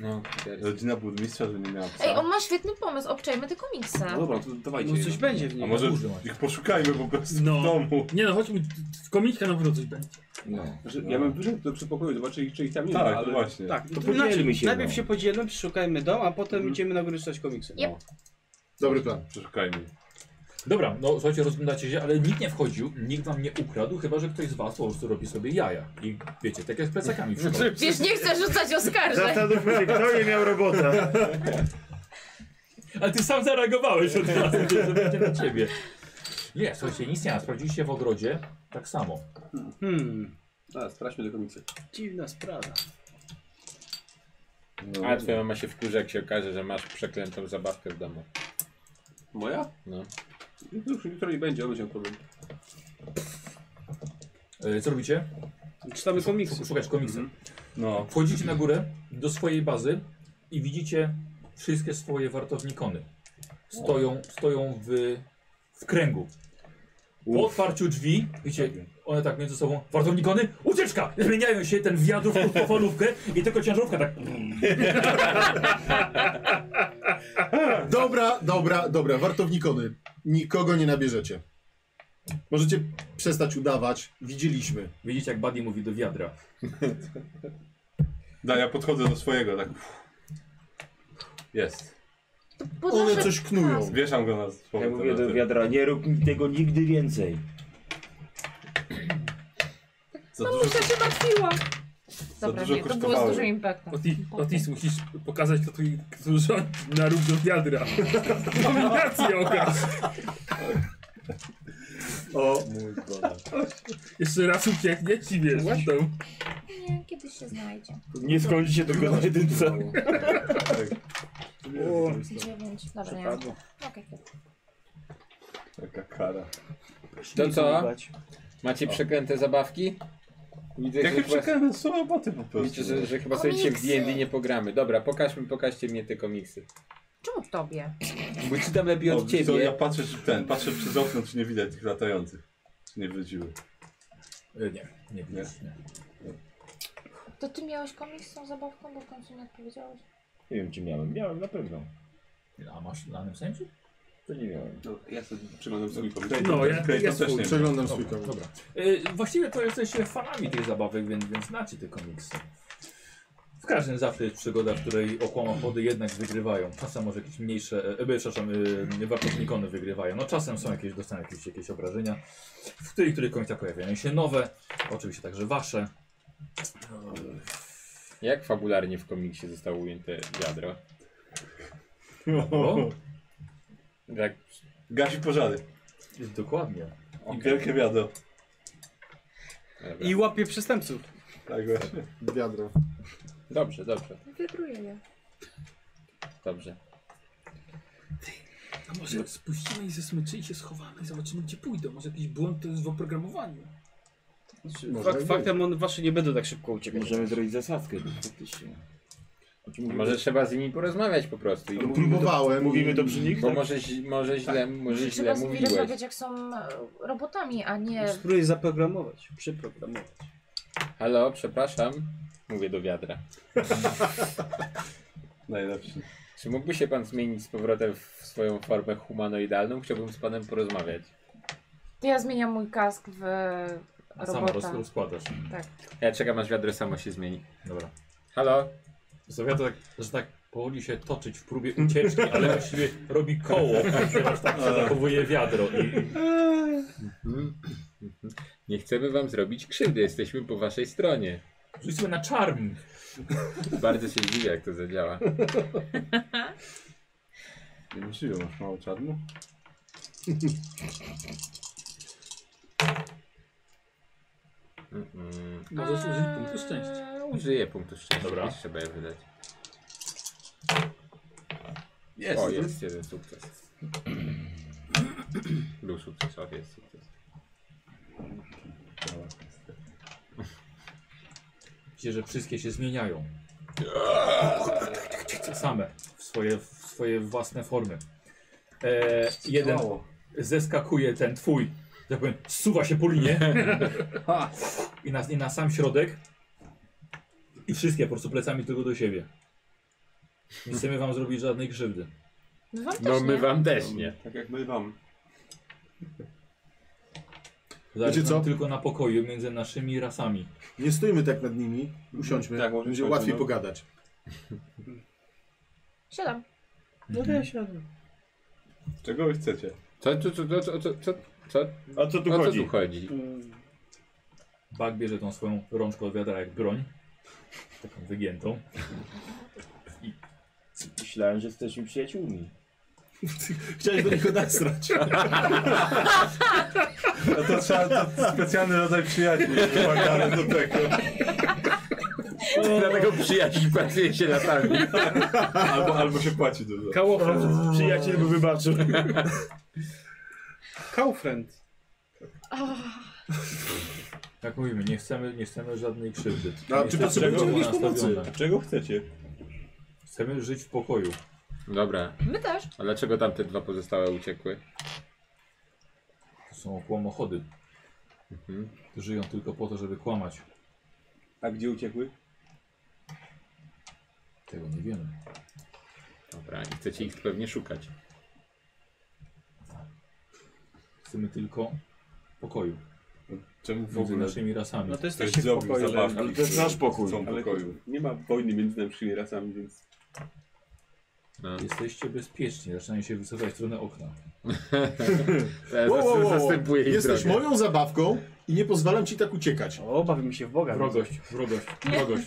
No, rodzina burmistrza, że nie miała psa.
Ej, on ma świetny pomysł, obczajmy te komiksy.
No dobra, to dawajcie.
No coś będzie w
A
nim.
może
Dużo.
ich poszukajmy po prostu
No.
w domu.
Nie no, chodźmy, w kominikach na pewno coś będzie.
No.
Znaczy, Ja bym wyszedł do przepokoju, zobaczył ich, czy ich tam nie ma,
Tak,
ale...
właśnie.
Tak,
To
to znaczy,
podzielmy się,
najpierw
no.
się podzielmy, przeszukajmy dom, a potem idziemy na górę czytać komiksy.
Yep.
Dobry plan.
Przeszukajmy.
Dobra, no słuchajcie, rozglądacie się, ale nikt nie wchodził, nikt wam nie ukradł, chyba że ktoś z was po prostu robi sobie jaja. I wiecie, tak jak z plecakami w szkole.
Wiesz, nie chcę rzucać oskarżeń.
Zastanówmy się, kto nie miał robotę.
Ale ty sam zareagowałeś od razu, że będzie na ciebie. Nie, słuchajcie, nic nie ma. Sprawdziliście w ogrodzie, tak samo.
Hmm,
Tak,
A, sprawdźmy do komiksy.
dziwna sprawa.
No.
A twoja mama się wkurzy, jak się okaże, że masz przeklętą zabawkę w domu.
Moja?
No.
Już jutro nie będzie, on będzie miał problem.
E, Co robicie?
Czytamy komiksy.
Szukasz komiksa.
No.
Wchodzicie na górę do swojej bazy i widzicie wszystkie swoje wartownikony. Stoją, stoją w, w kręgu. Po otwarciu drzwi, wiecie, one tak między sobą, wartownikony, ucieczka! Zmieniają się ten wiadr w krótkofalówkę i tylko ciężarówka tak...
Dobra, dobra, dobra. Wartownikony. Nikogo nie nabierzecie. Możecie przestać udawać. Widzieliśmy.
Widzicie jak Buddy mówi do wiadra.
Da, ja podchodzę do swojego, tak. Jest.
Podnoszę...
knują.
Wieszam go na
Ja
swoją
mówię do
toaletę.
wiadra, nie rób mi tego nigdy więcej.
Za dużo,
Mamusia się martwiła. Dobra,
dużo
nie, to było z
kosztowały.
dużym impaktem.
Otis, Otis musisz pokazać to twój rząd na róg do wiadra. Kombinację okaz.
O,
mój Boże.
Jeszcze raz uciekniesz i wiesz. to-
Nie, kiedyś się znajdzie.
Nie skończy się tylko na jedynce.
Dziewięć. Dobra, nie.
Przepadło.
Okej.
Taka kara.
To co? Macie przeklęte zabawki? Widzę,
Jakie
chyba-
przekrętne są roboty po prostu.
Widzicie, że, że chyba sobie się w
Komiksy.
D&D nie pogramy. Dobra, pokażmy, pokażcie mnie te komiksy.
Czemu tobie?
Bo czytam lepiej
O,
od
wiesz co, ja
ciebie.
patrzę czy ten, patrzę przez okno, czy nie widać tych latających. Czy nie wróciły.
E, Nie, nie widzisz. Nie.
To ty miałeś komiks z tą zabawką, bo w końcu nie odpowiedziałeś.
Nie wiem, czy miałem. Miałem na pewno.
A masz na danym sensie?
To nie miałem.
No, ja sobie przeglądam swój komiks.
No, ja,
Klej, to
ja
też nie
swój.
wiem.
Przeglądam swój
Dobra,
komiks.
dobra. E, właściwie to jesteście fanami tych zabawek, więc, więc znacie te komiksy. W każdym zawsze jest przygoda, w której okłamopody jednak wygrywają. Czasem może jakieś mniejsze, e, e, przepraszam, e, wartownikony wygrywają. No czasem są jakieś, dostają jakieś, jakieś obrażenia. W których, których komiksach pojawiają się nowe, oczywiście także wasze.
Jak fabularnie w komiksie zostało ujęte wiadro?
O,
Jak...
Gasi pożary.
dokładnie.
I wielkie wiadro.
Dobra.
I łapie przestępców.
Tak właśnie.
Wiadro.
Dobrze, dobrze,
Wybruję je.
dobrze.
A może spuścimy ich ze smyczy i się schowamy i zobaczymy gdzie pójdą. Może jakiś błąd to jest w oprogramowaniu.
Może
Fakt,
i
faktem on wasze nie będą tak szybko uciekać.
Możemy zrobić zasadzkę, faktycznie. Znaczy,
A
mówimy-
Może trzeba z nimi porozmawiać po prostu. I...
Próbowałem.
Mówimy
i-
to przy nich?
Bo
tak?
może, ź- może źle, może
Trzeba
źle
z nimi
mówiłeś.
rozmawiać jak są e, robotami, a nie...
Spróbuj zaprogramować, przyprogramować.
Halo, przepraszam. Mówię do wiadra.
Najlepszy.
Czy mógłby się pan zmienić z powrotem w swoją formę humanoidalną? Chciałbym z panem porozmawiać.
To ja zmieniam mój kask w
A sama roz,
robota.
rozkładasz.
Tak.
Ja czekam aż wiadro samo się zmieni.
Dobra.
Halo?
Zostawia to tak, że tak powoli się toczyć w próbie ucieczki, ale właściwie robi koło, [LAUGHS] ponieważ tak się zachowuje wiadro. I...
Nie chcemy wam zrobić krzywdy, jesteśmy po waszej stronie.
Rzuć sobie na czarm.
Bardzo się dziwię, jak to zadziała.
Nie myśliwe, masz mało czarnu?
Mm-mm.
Możesz użyć punktu szczęścia.
Eee, Użyję punktu szczęścia,
Dobra.
Dobra. trzeba je wydać.
Jest.
O, jest jeden sukces. Był sukces, o, jest sukces.
Widzicie, że wszystkie się zmieniają.
Eee.
Same, w swoje, w swoje własne formy. E, jeden zeskakuje ten twój, tak powiem, zsuwa się po
[LAUGHS]
linie i na, i na sam środek i wszystkie po prostu plecami tylko do siebie. Nie chcemy wam zrobić żadnej krzywdy.
My wam też
No my
nie.
wam też nie.
Tak jak my wam.
Zależy
Wiecie co?
nam tylko na pokoju między naszymi rasami.
Nie stójmy tak nad nimi, usiądźmy,
Tak, może
będzie
chodźmy,
łatwiej
no.
pogadać.
Siadam.
No to ja siadam.
Czego wy chcecie?
Co, co, co, co, co, co, co?
A co tu
o
chodzi?
co tu chodzi?
Bak bierze tą swoją rączkę od wiadra jak broń. Taką wygiętą.
Myślałem, że jesteśmy przyjaciółmi.
Chciałeś do nich odesrać.
No to trzeba to specjalny rodzaj przyjaciół, wymagany do tego.
[LAUGHS] Dlatego przyjaźń pracuje się latami.
Albo, albo się płaci dużo.
Kałofra. Przyjaciel by
[LAUGHS]
wybaczył.
Kaufrend.
Jak Tak mówimy, nie chcemy, nie chcemy żadnej krzywdy.
A
Nie
czy
chcemy
potrzebujecie
żadnego
jakiejś pomocy?
nastawiona.
Czego chcecie?
Chcemy żyć w pokoju.
Dobra,
My też.
a dlaczego tam te dwa pozostałe uciekły?
To są kłamochody.
Mhm.
Żyją tylko po to, żeby kłamać.
A gdzie uciekły?
Tego nie wiemy.
Dobra, i chcecie ich pewnie szukać.
Chcemy tylko pokoju.
Czemu w
Między
ogóle?
naszymi rasami.
No to
Ktoś
jesteście w
zrobił
pokoju.
zabawki,
ale-
to jest nasz pokój.
Chcą
Ale
pokoju.
nie ma wojny między naszymi rasami, więc
No.
Jesteście bezpieczni. Zaczynają się wycofać w stronę okna.
Ja
Wow, wow, wow, wow.
zastępuję ich
Jesteś
E, drogę.
moją zabawką i nie pozwalam ci tak uciekać.
O, bawimy się w Boga.
Wrogość, wrogość, wrogość.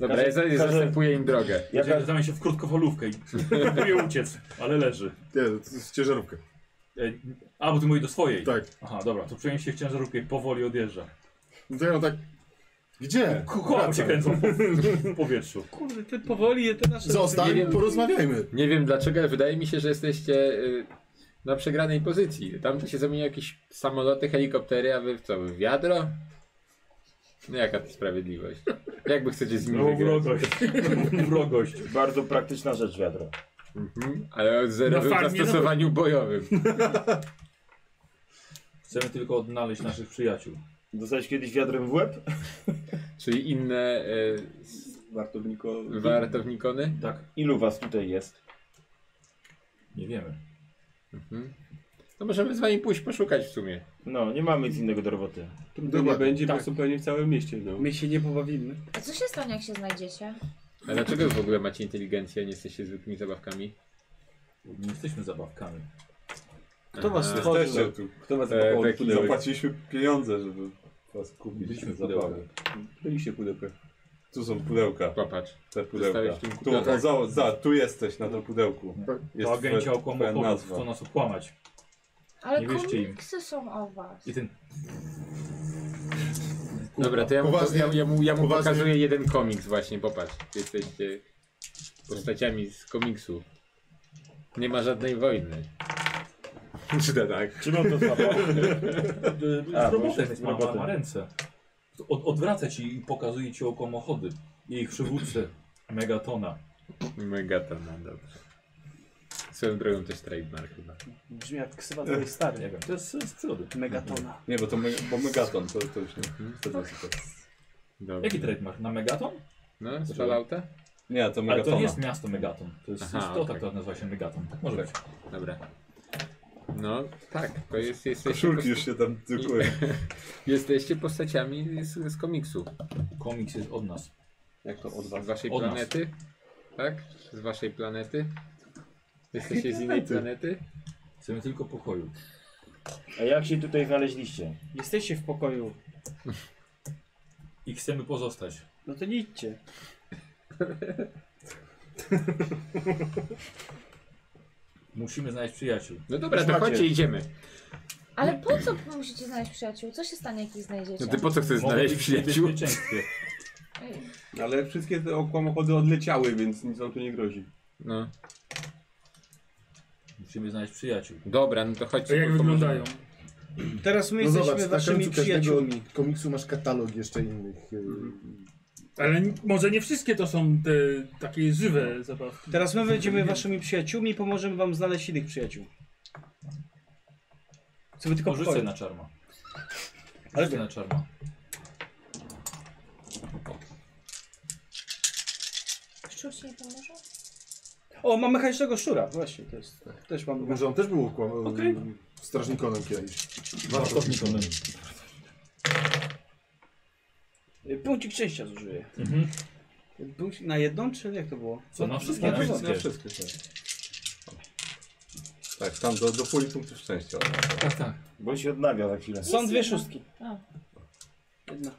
Dobra, ja za- zastępuję im drogę.
Ja Zamiast się w krótkofalówkę i [LAUGHS] próbuję uciec, ale leży.
Nie, to jest ciężarówkę.
E, A, bo ty mówi do swojej.
Tak.
Aha, dobra, to przenieś się w ciężarówkę i powoli odjeżdża.
No to ja mam tak... Gdzie?
Koła się
Wracam.
kręcą po- w powietrzu.
Kurde, ty powoli je te nasze...
Zostań,
Nie wiem.
porozmawiajmy.
Nie wiem dlaczego, ale wydaje mi się, że jesteście y, na przegranej pozycji. Tam to się zamieniają jakieś samoloty, helikoptery, a wy w co, w wiadro? No jaka to sprawiedliwość? Jakby chcecie z nimi
No,
wygrać?
wrogość. [LAUGHS] Wrogość.
Bardzo praktyczna rzecz wiadro.
Mhm, ale o
No
zerowym
tak,
Na farmie,
zastosowaniu bojowym.
Chcemy tylko odnaleźć naszych przyjaciół.
Dostałeś kiedyś wiadrem w łeb?
Czyli inne y, s-
wartowniko...
wartownikony?
Tak,
Ilu was tutaj jest?
nie wiemy.
Mhm. To możemy z wami pójść poszukać w sumie.
No, nie mamy nic innego do roboty.
Trudno nie
Dokładnie.
będzie,
Tak.
bo są pewnie w całym mieście, no.
My się nie pobawimy.
A co się stanie, jak się znajdziecie?
A dlaczego wy w ogóle macie inteligencję, a nie jesteście zwykłymi zabawkami?
Nie jesteśmy zabawkami.
Kto was
Eee,
Aha.
stworzył?
Jesteście tu.
Kto was
E,
zapakował
tak,
w pudełek?
Zapłaciliśmy pieniądze, żeby was kupić.
Byliśmy w
Zabawy.
pudełku.
Byliście pudełkę.
Tu są pudełka.
Popatrz.
Te pudełka.
Zostawiasz tym
Tu,
pudełku.
o, za, za, tu jesteś na tym pudełku.
To agenci
twoja- twoja
okłamochorów
nazwa.
chcą nas okłamać.
Ale
Nie wierzcie im.
komiksy są o was.
I ten
Dobra, to ja mu,
Poważnie.
ja, ja mu, ja mu
Poważnie.
pokazuję jeden komiks właśnie, popatrz. Jesteście postaciami z komiksu. Nie ma żadnej wojny. Czy to tak?
Czym on to złapał?
A,
A,
y, z
bo już
robotem
jest
ma, ma, ma
robotem.
ręce. Od, odwraca ci i pokazuje ci okłamochody. Jej przywódcy. Megatona.
Megata, no dobrze. Swoją drogą też trademark chyba.
Brzmi jak ksywa twojej
Nie
Eee.
stary.
wiem, to jest z przyrody.
Megatona.
Nie, bo to me, bo megaton, to, to już nie. Wtedy jest to.
Dobrze.
Jaki trademark? Na Megaton?
No, z Fallouta?
Nie, to
Ale to
megatona.
nie jest miasto Megaton. To jest
Aha,
istota,
okej.
która nazywa się Megaton. Tak może być.
Dobra. No, tak, to jest, jesteście,
Koszulki już się tam tykują.
jesteście postaciami z, z komiksu.
Komiks jest od nas.
Jak to od waszej
Od nas.
planety? tak? Z waszej planety? Jesteście [LAUGHS] z innej planety?
Chcemy tylko pokoju.
A jak się tutaj znaleźliście?
Jesteście w pokoju.
I chcemy pozostać.
No to nie idźcie.
Musimy znaleźć przyjaciół.
No dobra, to chodźcie, idziemy.
Ale po co musicie znaleźć przyjaciół? Co się stanie, jak ich znajdziecie?
No ty po co chcesz
Mogą
znaleźć
być
przyjaciół?
Ej,
Ale wszystkie te okłamochody odleciały, więc nic nam tu nie grozi.
No.
Musimy znaleźć przyjaciół.
Dobra, no to chodźcie.
A jak
bo to
wyglądają?
Teraz my
No
jesteśmy
zobacz, na
waszymi
końcu
przyjaciółmi.
każdego komiksu masz katalog jeszcze innych. y,
Ale n- może nie wszystkie to są te takie żywe zabawki.
Teraz my będziemy waszymi przyjaciółmi i pomożemy wam znaleźć innych przyjaciół. Co wy tylko
Rzucę
pokoju.
na czarma.
Ale
Rzucę na czarma.
Szczur ci nie pomoże?
O, mam mechanicznego szczura. Właśnie, to jest. Też mam.
Może on też był kłam- strażnikiem kiedyś.
Wartownikiem.
Y, Punkcik szczęścia zużyję.
Mhm.
Punkcik- Na jedną, czy jak to było?
Co, na wszystkie?
Na
no, wszystkie. Tak, tam do, do puli punktów szczęścia.
Tak, tak.
Bo się odnawia za chwilę.
Są
Jest
dwie
jedna.
szóstki.
A,
Jedna.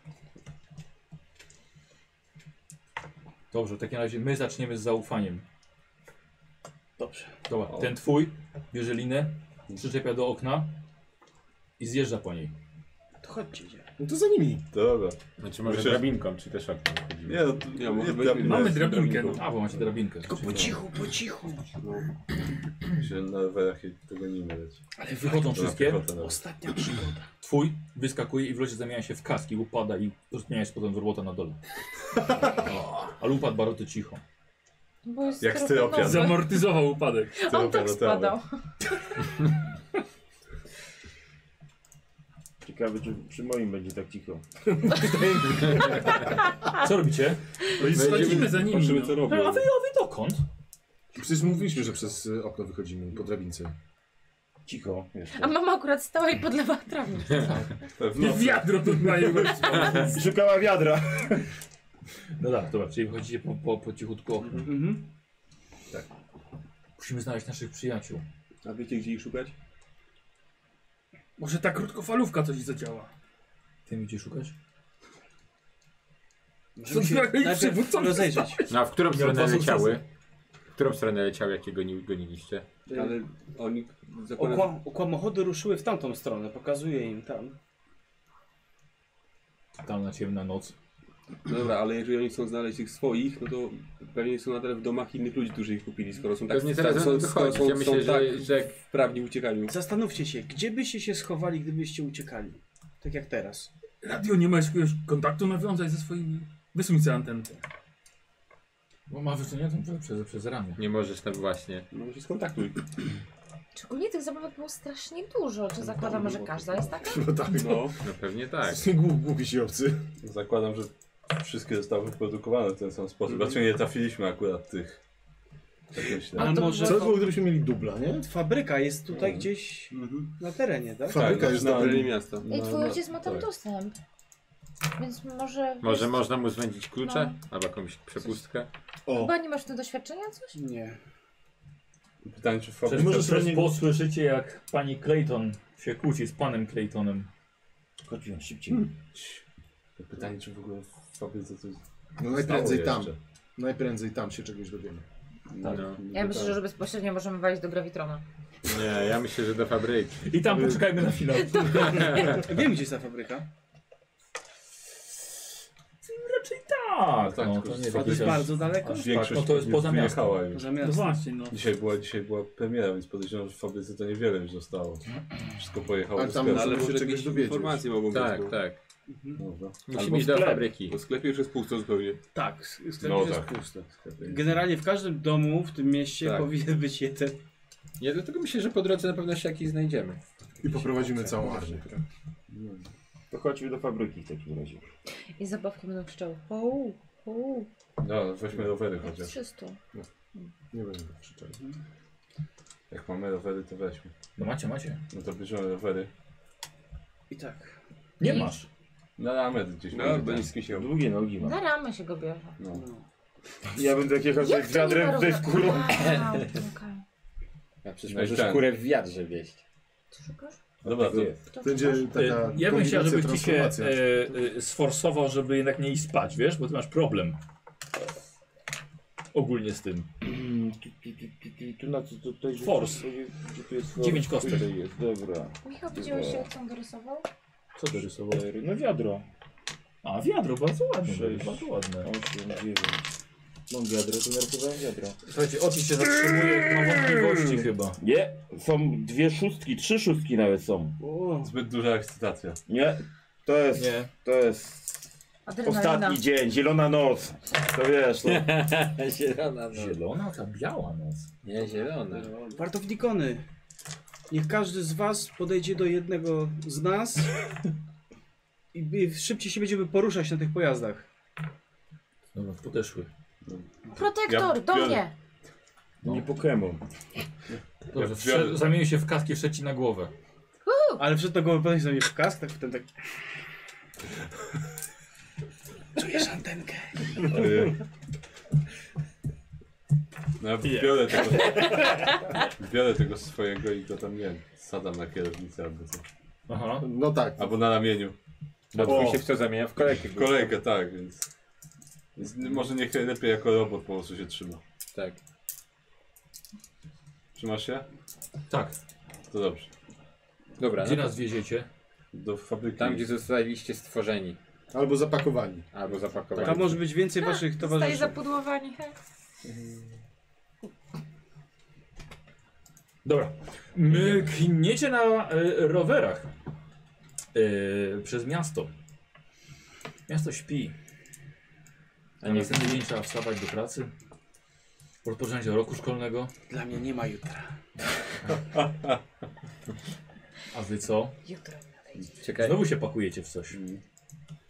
Dobrze, w takim razie my zaczniemy z zaufaniem.
Dobrze.
Dobra, ten twój bierze linę, przyczepia do okna i zjeżdża po niej.
To chodźcie, idzie.
No to za nimi.
Dobra.
Znaczy może
Myślę, że-
drabinką, czy też oknem chodzimy.
Nie, no, to,
Nie, może
nie,
być-
drabinę.
Mamy
Z
drabinkę.
drabinką.
A, bo macie drabinkę.
Tylko No, po cichu, po cichu.
No, się na rowerach i tego nie widać.
Ale wychodzą
Dobra,
wszystkie.
piechota, dobra.
Ostatnia przygoda.
Twój wyskakuje i w locie zamienia się w kaski, upada i rozmienia się potem w robota na [LAUGHS] dole. O, Ale upadł bardzo cicho.
Bo jest
Jak
styropianowy.
styropian.
[LAUGHS]
Zamortyzował upadek.
On tak
Styropianowy.
spadał.
Ciekawe, czy przy moim będzie tak cicho.
Co robicie?
No i schodzimy za nimi.
Patrzymy
no.
co
No,
robią.
a wy, a wy dokąd?
Przecież mówiliśmy, że przez y, okno wychodzimy po drabince. [LAUGHS]
Cicho.
A mama akurat stała i podlewała trawnik.
W
I
nocy.
wiadro tu mają.
Szukała wiadra.
No tak, dobra, czyli wychodzicie po, po, po cichutku oknem.
[LAUGHS] Mhm.
Musimy znaleźć naszych przyjaciół.
A wiecie gdzie ich szukać?
Może ta krótkofalówka coś zadziała.
Ty mi gdzie szukać?
Musimy się
Zabiorę ich
najpierw
przywódcą.
rozejrzeć.
No a w którą
dwa
stronę
sukcesy.
leciały? W którą stronę leciały, jakie goni, goniliście?
Ale oni zakładają...
Okłam, okłamochody ruszyły w tamtą stronę, pokazuję im tam.
Tam na ciemna noc.
No dobra, ale jeżeli oni chcą znaleźć ich swoich, no to pewnie są nadal w domach innych ludzi, którzy ich kupili, skoro są tak...
Pewnie teraz
są-
będą
są-
wychodzić.
są-
no Ja
są
myślę, że-
tak
że-
wprawni w uciekaniu.
Zastanówcie się, gdzie byście się schowali, gdybyście uciekali? Tak jak teraz.
Radio, nie masz jakiegoś kontaktu nawiązać ze swoimi? Wysuń sobie antenkę.
Bo ma wysuniętą przez, przez, przez ramię.
Nie możesz, no właśnie.
No się skontaktuj.
Szczególnie tych zabawek było strasznie dużo. Czy zakładamy, że każda jest taka?
No tak.
No.
No pewnie tak.
Głupi, głupi ci obcy.
Zakładam, że wszystkie zostały wyprodukowane w ten sam sposób.
Mhm.
Dlaczego nie trafiliśmy akurat tych? Tak myślę.
A
to
może
Co by było, gdybyśmy mieli dubla, nie?
fabryka jest tutaj gdzieś
Mhm.
na terenie, tak?
Fabryka
no,
Tak,
jest
na
na-
terenie miasta.
I
no,
twój ojciec ma tam
tak.
dostęp. Więc może...
Może można mu zwędzić klucze?
No.
Albo jakąś przepustkę?
O,
Chyba nie masz tu doświadczenia coś?
Nie.
Pytanie, czy
Przez,
fabryka...
możesz
przez, przez
na niego-
posłyszycie jak pani Clayton się kłóci z panem Claytonem.
Chodźmy szybciej.
Pytanie, czy w ogóle w fabryce coś
no najprędzej
Stało
tam.
jeszcze.
Najprędzej tam się czegoś dowiemy.
No.
Ja myślę, że bezpośrednio możemy walić do grawitrona.
Nie, ja myślę, że do fabryki.
I tam poczekajmy na finał.
Wiem, gdzie jest ta fabryka.
Raczej tak.
Tak,
tak,
no,
tylko
to nie
z
jest
To jest
jakiś aż-
bardzo daleko.
aż-
Większość
no to jest
nie
poza miastem.
wyjechała już.
Może
No
miasto.
właśnie, no.
Dzisiaj była, dzisiaj była premiera, więc podejrzewam, że w fabryce to niewiele już zostało. Wszystko pojechało
Ale
do
tam
sklepu.
Ale
No, Ale
się
może
czegoś
jakieś
dowiedzieć.
informacje mogą być. no.
Tak,
bo-
tak.
Dobra.
Musimy
Albo
iść do
sklep.
fabryki.
Bo sklep już jest pusto zupełnie.
Tak, s- sklep
No
już jest
tak.
pusty.
Sklep-
Generalnie w każdym domu w tym mieście
Tak.
powinien być jeden.
Nie, dlatego myślę, że po drodze na pewno się jakiś znajdziemy.
I poprowadzimy całą armię.
To chodźmy do fabryki w takim razie.
I zabawki będą krzyczały. Ouu, ouu,
No, weźmy rowery
jak
chociaż.
300.
Nie będę krzyczał.
Jak mamy rowery, to weźmy.
No macie, macie.
No to bierzemy rowery.
I tak.
Nie
I-
masz.
Na Amed gdzieś tak.
No,
będzie
będzie
tam.
z kimś się
Długie nogi
Na
mam.
ramę się go bierze.
No.
Ja bym tak jechał
Jak
z
to nie
wiadrem,
warunki?
ze skórą.
A, okej.
A przecież
No i
możesz
ten.
kurę w wiadrze wieść.
Dobra, to...
Będzie taka
Y, Ja bym chciał, żebyś ci się
transformacja.
e, e, sforsował, żeby jednak nie iść spać, wiesz, bo ty masz problem. Ogólnie z tym.
Mm, tu- tu- tu- tu- tu- Tu na co to, to jest...
Force.
Gdzie tu jest force?
Dziewięć kostek.
Tutaj jest, dobra.
Michał, widziałeś jak on dorysował?
Co dorysował?
Cztery, No wiadro.
A, wiadro, bardzo ładne.
Sześć,
Bardzo ładne.
8, 9. Mam wiadro, to narysowałem wiadro.
Słuchajcie, Otis się zatrzymuje, ma wątpliwości chyba.
Nie, są dwie szóstki, trzy szóstki nawet są.
Zbyt duża ekscytacja.
Nie, to jest,
Nie.
to jest
Adrenalina.
ostatni dzień, zielona noc. To wiesz, no.
zielona noc.
Zielona, ta biała noc.
Nie, zielona.
Wartownikony, niech każdy z was podejdzie do jednego z nas i by- szybciej się będziemy poruszać na tych pojazdach.
Dobra, podeszły.
Protektor,
Ja
do
biorę.
mnie!
Nie Pokémon.
Dobrze,
Ja biorę.
wszedł, zamienił się w kaski, wszedł ci na głowę.
Ale wszedł na głowę podejść do mnie w kask, tak potem tak... Czujesz antenkę.
[LAUGHS]
Y, No ja biorę tego, biorę tego swojego i go tam, nie wiem, sadam na kierownicę albo co.
Aha.
No tak.
Albo na ramieniu.
Bo twój się w co zamienia? W kolejkę.
Kolejkę, tak, więc... więc może niech lepiej jako robot po prostu się trzyma.
Tak.
Trzymasz się?
Tak.
To dobrze.
Dobra,
Gdzie
no to
nas wieziecie?
Do fabryki.
tam gdzie zostaliście stworzeni.
Albo zapakowani.
Albo zapakowani.
Tam może być więcej waszych
Zostaje
towarzyszy.
zapudłowani.
Dobra. My kniecie na e, rowerach e, przez miasto. Miasto śpi. A
nie-
następny dzień trzeba wstawać do pracy. Rozpocząć roku szkolnego.
Dla mnie nie ma jutra.
A wy co?
Jutro mi nadejdzie.
Czekaj,
Znowu się pakujecie w coś.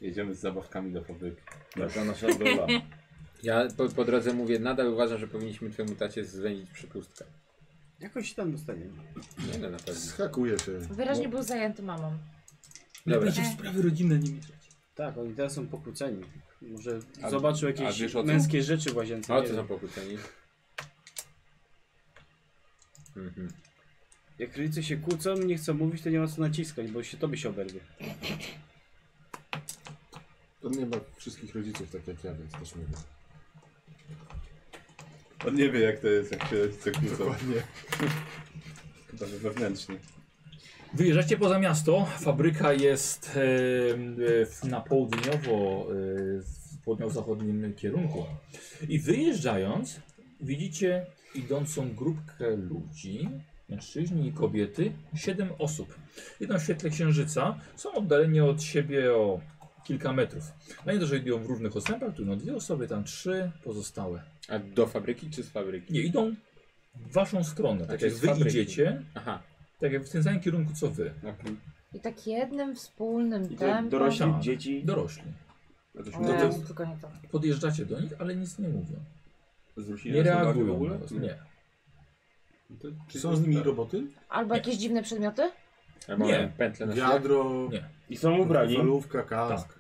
Jedziemy z zabawkami do fabryki.
Taka nasza dola.
ja po, po drodze mówię, nadal uważam, że powinniśmy twojemu tacie zwędzić przypustkę.
Jakoś tam dostaniemy.
Nie no, na pewno.
Skakuje się.
Wyraźnie był zajęty mamą.
Dobra.
będzie w
sprawy rodzinne nie mieszać.
Tak, oni teraz są pokłóceni. Może
A-
zobaczył
a
jakieś
wiesz o co?
męskie rzeczy w łazience.
O,
nie
co
wiem.
są pokłóceni? Mhm.
Jak rodzice się kłócą i nie chcą mówić, to nie ma co naciskać, bo się tobie się oberwie.
To nie ma wszystkich rodziców tak jak ja, więc też nie wiem.
On nie wie jak to jest, jak się rodzice kłócą.
Dokładnie.
[LAUGHS] Chyba, że wewnętrznie.
Wyjeżdżacie poza miasto. Fabryka jest e, e, w- na południowo, e, w południowo-zachodnim kierunku. I wyjeżdżając, widzicie idącą grupkę ludzi, mężczyźni i kobiety, siedem osób. Idą w świetle księżyca, są oddaleni od siebie o kilka metrów. Na nie to, że idą w równych odstępach, tu no dwie osoby, tam trzy pozostałe.
A do fabryki czy z fabryki?
Nie, idą w waszą stronę, tak
czy
jak
Znaczy z
wy
fabryki?
idziecie,
Aha.
tak jak w tym samym kierunku co wy.
I tak jednym wspólnym
I to
tempem.
dorośli
Tak.
dzieci.
Dorośli.
O,
No to-
tylko nie to.
Podjeżdżacie do nich, ale nic nie mówią.
Zwrócili
Nie
nas uwagę w
reagują.
ogóle?
na was, Nie.
To-
Czy są z
Tak.
nimi roboty?
Albo
Nie.
jakieś dziwne przedmioty?
Ja mam
Nie.
pętlę na szyi.
Wiadro,
Nie.
I są ubrani.
falówka, kask.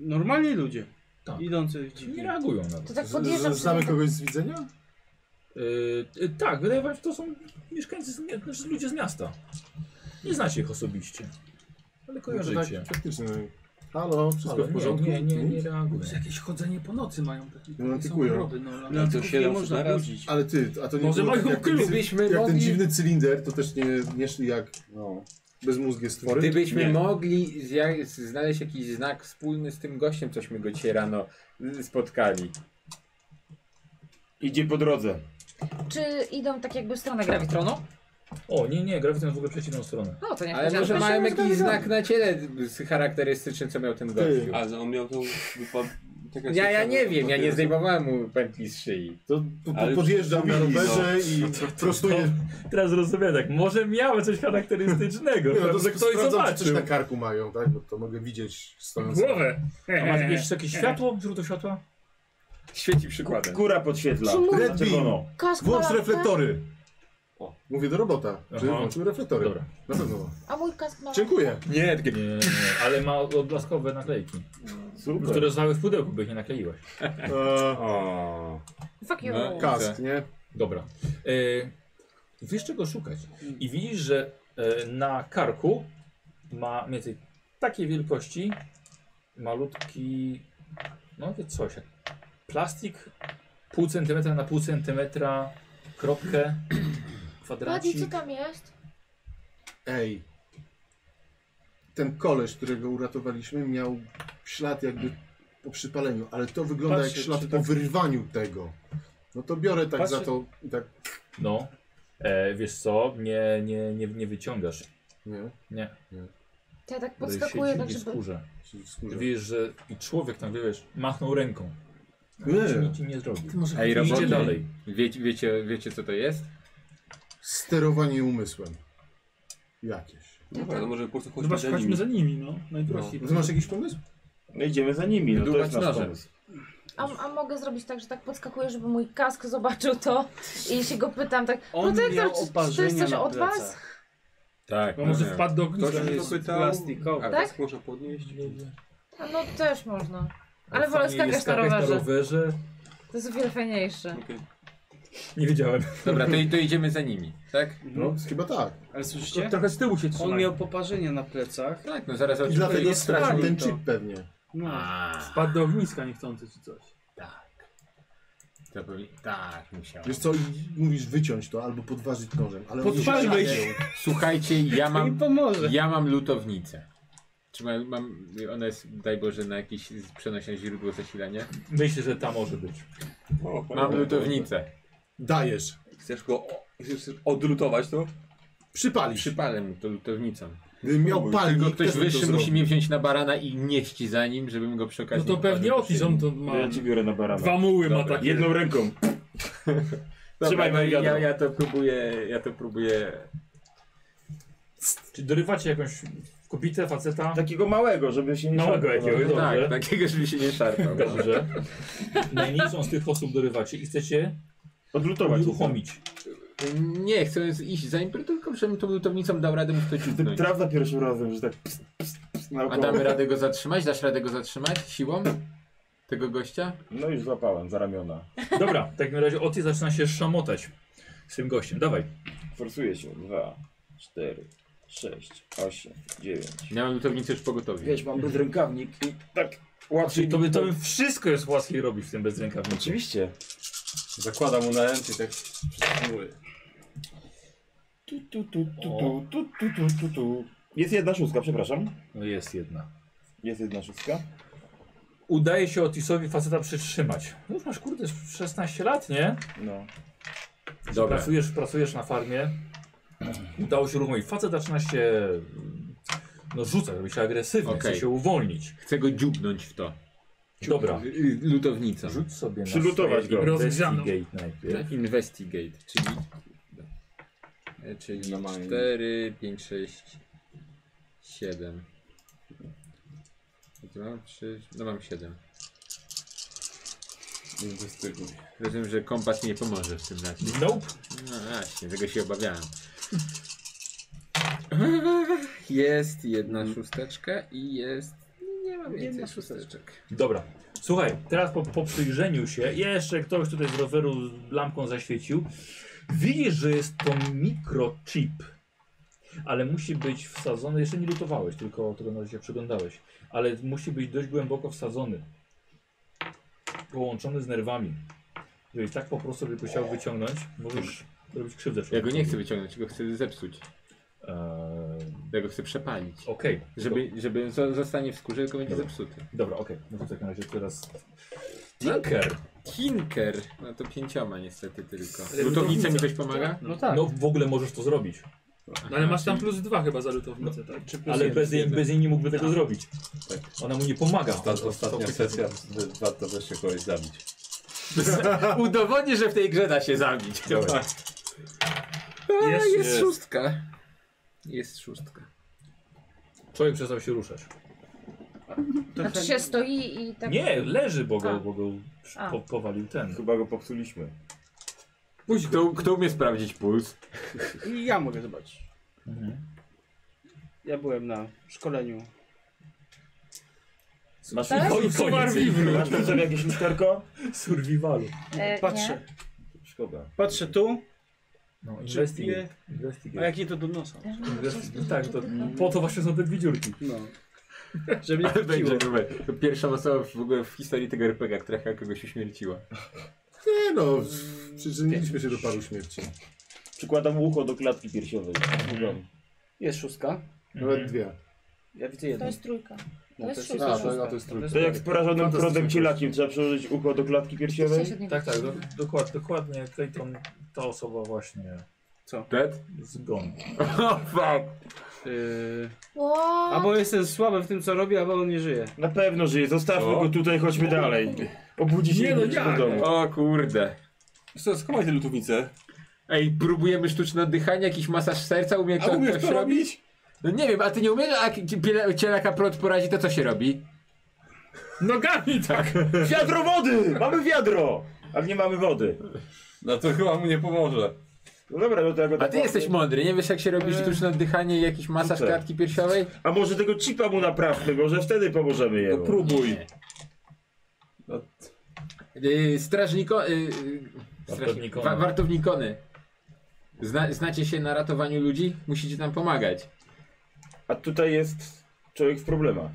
Normalni ludzie.
Tak.
Idący
Nie
dziwnie.
reagują na
To
was.
tak
Z-
podjeżdżam
z- Znamy
przy-
kogoś z widzenia?
Yy, yy, tak, wydaje wam się, to są mieszkańcy, z, mi- znaczy ludzie z miasta. Nie znacie ich osobiście. Ale
No to
kojarzycie.
tak, faktycznie. no i- Halo, wszystko
Ale
w
nie,
porządku?
nie, nie, nie
Nic?
reagują.
Jakieś chodzenie po nocy mają takie.
No, antykują.
samochody, no, ale-
No to się nie
siedzą
można
teraz.
budzić.
Ale ty, a to nie
Może
było tak
mają
jak, ten,
klub,
cy-
byśmy
jak ten
mogli-
dziwny cylinder, to też nie, nie szli jak bezmózgie stwory.
Gdybyśmy
Nie.
mogli zja- znaleźć jakiś znak wspólny z tym gościem, cośmy go dzisiaj rano y, spotkali.
Idzie po drodze.
Czy idą tak jakby w stronę grawitronu?
O, nie, nie, grafiton w ogóle przeciwną stronę.
No to nie
Ale
wiedziałam.
może
Proszę,
mają
nie
jakiś
zgadzam.
znak na ciele y, charakterystyczny, co miał ten gościu.
A, że on miał tą wypad... taka
Ja, ja
taka-
nie wiem, ja nie zdejmowałem mu pętli z szyi.
To po, po,
Ale
podjeżdżam na
mówili,
rowerze i prostuję.
Teraz rozumiem, tak, może miały coś charakterystycznego,
[LAUGHS] Nie, no to sprawdzam, czy coś na karku mają, tak? Bo to mogę widzieć stojąc.
Głowę.
A masz jakieś, jakieś światło, źródło światła?
Świeci przykładem.
Góra podświetla.
Czy mój-
no?
Na czerwono.
Kask ma
Włącz
lampę?
reflektory. Mówię do robota, że
Aha.
włączył reflektory.
Dobra.
Na pewno ma.
A mój kask ma...
Dziękuję.
Eee.
Nie, takie... nie, nie, nie, ale ma odblaskowe naklejki.
Super.
Które zostały w pudełku, by ich nie nakleiłaś.
Eee.
Fuck you.
No,
Kask, nie?
Dobra. E, wiesz czego szukać. I widzisz, że e, na karku ma mniej więcej takiej wielkości malutki, no wie coś, jak plastik pół centymetra na pół centymetra, kropkę,
[CLEARS THROAT] Badi, co
kwadracik.
tam jest?
Ej. Ten koleś, którego uratowaliśmy, miał ślad jakby po przypaleniu, ale to wygląda
Patrzę,
jak ślad
czy tak-
po wyrwaniu tego. No to biorę tak
Patrzę-
za to i tak.
No, e, wiesz co, nie, nie, nie, nie wyciągasz. E,
Nie?
Nie.
To ja tak
Bo siedzi
podskakuję, tak
i
żeby...
skórze. Wiesz, że i człowiek tam, wiesz, machnął ręką.
Nie.
Nic ci nie zrobił.
Ty może-
Ej,
Idzie
roboty.
dalej.
Wiecie, wiecie, wiecie co to jest?
Sterowanie umysłem. Jakieś.
tak-
Dobra, no może po prostu chodźmy
Zobacz,
za
chodźmy
nimi.
za nimi, no. Najprościej.
No. Ty masz jakiś pomysł?
No idziemy za nimi, no to
Dłubać
jest nasz
nożem.
pomysł.
A, a mogę zrobić tak, że tak podskakuję, żeby mój kask zobaczył to i się go pytam tak,
On
protektor,
miał
czy, czy to jest
oparzenia
coś
na
od was?
plecach.
Tak.
Bo może
nie.
wpadł do ogniska.
Ktoś
jest
jest pytał,
plastikowy.
a
Tak?
tak? można podnieść?
A No też można. Ale wolę
Fajnie jest
skakać na
skakać
rowerze.
rowerze.
To jest o wiele fajniejsze.
Nie wiedziałem.
Dobra, to, to idziemy za nimi, tak?
Mhm.
No, chyba tak.
Ale słyszycie?
Trochę z tyłu się trzymaj.
On miał poparzenia na plecach.
Tak, no zaraz
I
Znaczy,
oczywiście
dlatego
jest
stracił ten
straszny.
chip pewnie.
No.
Wpadł do ogniska niechcący czy coś.
tak. To powi- Tak, musiałem.
Wiesz co, i mówisz wyciąć to albo podważyć nożem, ale oni się
Podważyć.
czają.
Słuchajcie, ja
To mi
mam,
No pomoże.
ja mam lutownicę. Czy mam, mam, ona jest, daj Boże, na jakieś z- przenośne źródło zasilania?
Myślę, że ta może być.
Mam lutownicę.
Dajesz.
Chcesz go o- chcesz odlutować to?
Przypalisz.
Przypalę mu to lutownicą.
Gdybym miał palnik,
Tylko ktoś
też bym to
wyższy
zrobił.
musi mnie wziąć na barana i nieść za nim, żebym go przy
No
okazji...
to pewnie Otis, on to ma
To ja ci biorę na barana.
No. dwa muły ma
Dobra.
takie.
Jedną ręką.
Dobra,
Trzymaj
no i
moje
ja,
gadło.
ja to próbuję, ja to próbuję...
Czy dorywacie jakąś kobitę, faceta?
Takiego małego, żeby się nie
Małego
szarpał. no,
jakiegoś, dobrze.
Tak, takiego, żeby się nie szarpał. no.
Dobrze. Najmniejszą z tych osób dorywacie i chcecie
Odlutować.
uruchomić.
Nie, chcę iść za nim, tylko żebym tą lutownicą dał radę mu w to
Ty
dziutnąć.
traf za pierwszym razem, że tak pst, pst, pst,
A
naokoło.
damy radę go zatrzymać? Dasz radę go zatrzymać siłą? Tego gościa?
No już złapałem za ramiona.
Dobra, w takim razie Otis zaczyna się szamotać z tym gościem. Dawaj.
Forsuje się. Dwa, cztery, sześć, osiem, dziewięć.
Miałem lutownicę już pogotowie.
Wiesz, mam bezrękawnik i tak łatwiej.
Znaczy,
Czyli tobie, tobie wszystko jest łatwiej robić w tym bez rękawniku.
Oczywiście.
Zakładam mu na ręce i tak przytrzymuję.
Tu, tu, tu, tu, tu, tu, tu, tu, tu, tu. Jest jedna szóstka, przepraszam.
No jest jedna.
Jest jedna szóstka.
Udaje się Otisowi faceta przytrzymać. No już masz kurde 16 lat, nie?
No.
Dobra.
Pracujesz, pracujesz na farmie. Udało się uruchomić. Facet zaczyna się no, rzucać, robi się agresywny,
Okej.
chce się uwolnić.
Chcę go dziubnąć w to.
Dobra,
Y, y, Lutownicą.
rzuć sobie na
Przylutować
swoje
go.
investigate
Rozgrzaną.
najpierw.
Investigate, czyli... e, Czyli
Na mine.
4, 5, 6, 7. Gdzie mam? 3, no mam 7.
Nie wystyguj.
Rozumiem, że kompas nie pomoże w tym razie.
Nope.
No właśnie, tego się obawiałem. Jest jedna szósteczka i jest... Nie mam więcej
Jedna
szósteczek.
Dobra. Słuchaj, teraz po, po przyjrzeniu się, jeszcze ktoś tutaj z roweru lampką zaświecił. Widzisz, że jest to mikrochip, ale musi być wsadzony, jeszcze nie lutowałeś, tylko tylko na razie się przyglądałeś, ale musi być dość głęboko wsadzony, połączony z nerwami. Jeżeli tak po prostu by chciał wyciągnąć, możesz robić krzywdę.
Ja go nie chcę
człowiekowi.
wyciągnąć, go chcę zepsuć.
Eee,
Ja go chcę przepalić.
Okej.
Żeby, żeby zo- zostanie w skórze, tylko będzie
Dobra.
zepsuty.
Dobra, okej. No to w takim razie teraz... Tinker!
Tinker! No to pięcioma niestety tylko.
Ale
Lutownica mi
lutownica.
ktoś pomaga?
No tak.
No w ogóle możesz to zrobić.
No ale masz tam plus dwa chyba za lutownicę, tak?
Ale bez jej, bez niej nie mógłby tego zrobić.
Tak.
Ona mu nie pomaga.
Ta ostatnia sesja, w- warto też się kogoś zabić.
Udowodni, że w tej grze da się zabić.
Dobra.
A,
Jest,
jest,
jest.
szóstka. Jest szóstka.
Człowiek przestał się ruszać.
Znaczy się stoi i tak...
Nie, leży, bo
A.
go, bo go
A.
po, powalił ten.
Chyba go popsuliśmy.
Kto, kto umie sprawdzić puls?
Ja mogę zobaczyć. Ja byłem na szkoleniu.
Masz
Tak?
No
Koniec,
Survivalu.
Masz tam sobie jakieś lusterko?
Survivalu.
E,
Patrzę.
Szkoda.
Patrzę tu.
No,
Czy
investigate.
piję? A
investigate.
jakie to do nosa?
Investi- no tak, to, po to właśnie są te dwie dziurki.
No. Żeby nie
Ale [LAUGHS]
wróciło.
będzie numer. To pierwsza osoba w ogóle w historii tego RPG, która chyba kogoś uśmierciła.
Nie no, przyczyniliśmy się do paru śmierci.
Przykładam ucho do klatki piersiowej.
Jest szóstka.
Nawet dwie.
Ja widzę
To
jedną.
jest trójka. To jest
jest
szóstka.
A, to- a to jest trójka.
To jak z porażonym
Fantastyczny
prodem
gość.
cielakiem trzeba przełożyć ucho do klatki piersiowej?
Tak, tak, do, dokładnie, dokładnie Clayton, ta osoba właśnie.
Co?
[LAUGHS] Ted?
Zgon.
Oh, fuck.
Yy,
Wow.
albo jestem słaby w tym co robię, albo on nie żyje.
Na pewno żyje, zostawmy
Co?
go tutaj, chodźmy dalej. Obudzi się
Nie
i
no,
wróci
jak?
do domu.
O kurde.
Co, skąd masz lutownicę?
Ej, próbujemy sztuczne oddychanie, jakiś masaż serca, umie
A
to
umiesz
ktoś
to
robi?
robić?
No nie wiem, a ty nie umiesz, a k- piele- cielaka prąd porazi, to co się robi?
Nogami tak.
Wiadro wody! Mamy wiadro! Ale nie mamy wody.
No to chyba mu nie pomoże.
No dobra, no to ja go
A
tak
ty
łapię.
jesteś mądry, nie wiesz jak się robi sztuczne oddychanie i jakiś masaż
No tak.
Super.
klatki piersiowej?
A może tego chipa mu naprawmy, może wtedy pomożemy
No
jemu.
Próbuj.
Yy, strażniko... Yy,
Wartownikony.
Wa wartownikony. Zna znacie się na ratowaniu ludzi? Musicie nam pomagać.
A tutaj jest człowiek w problemach.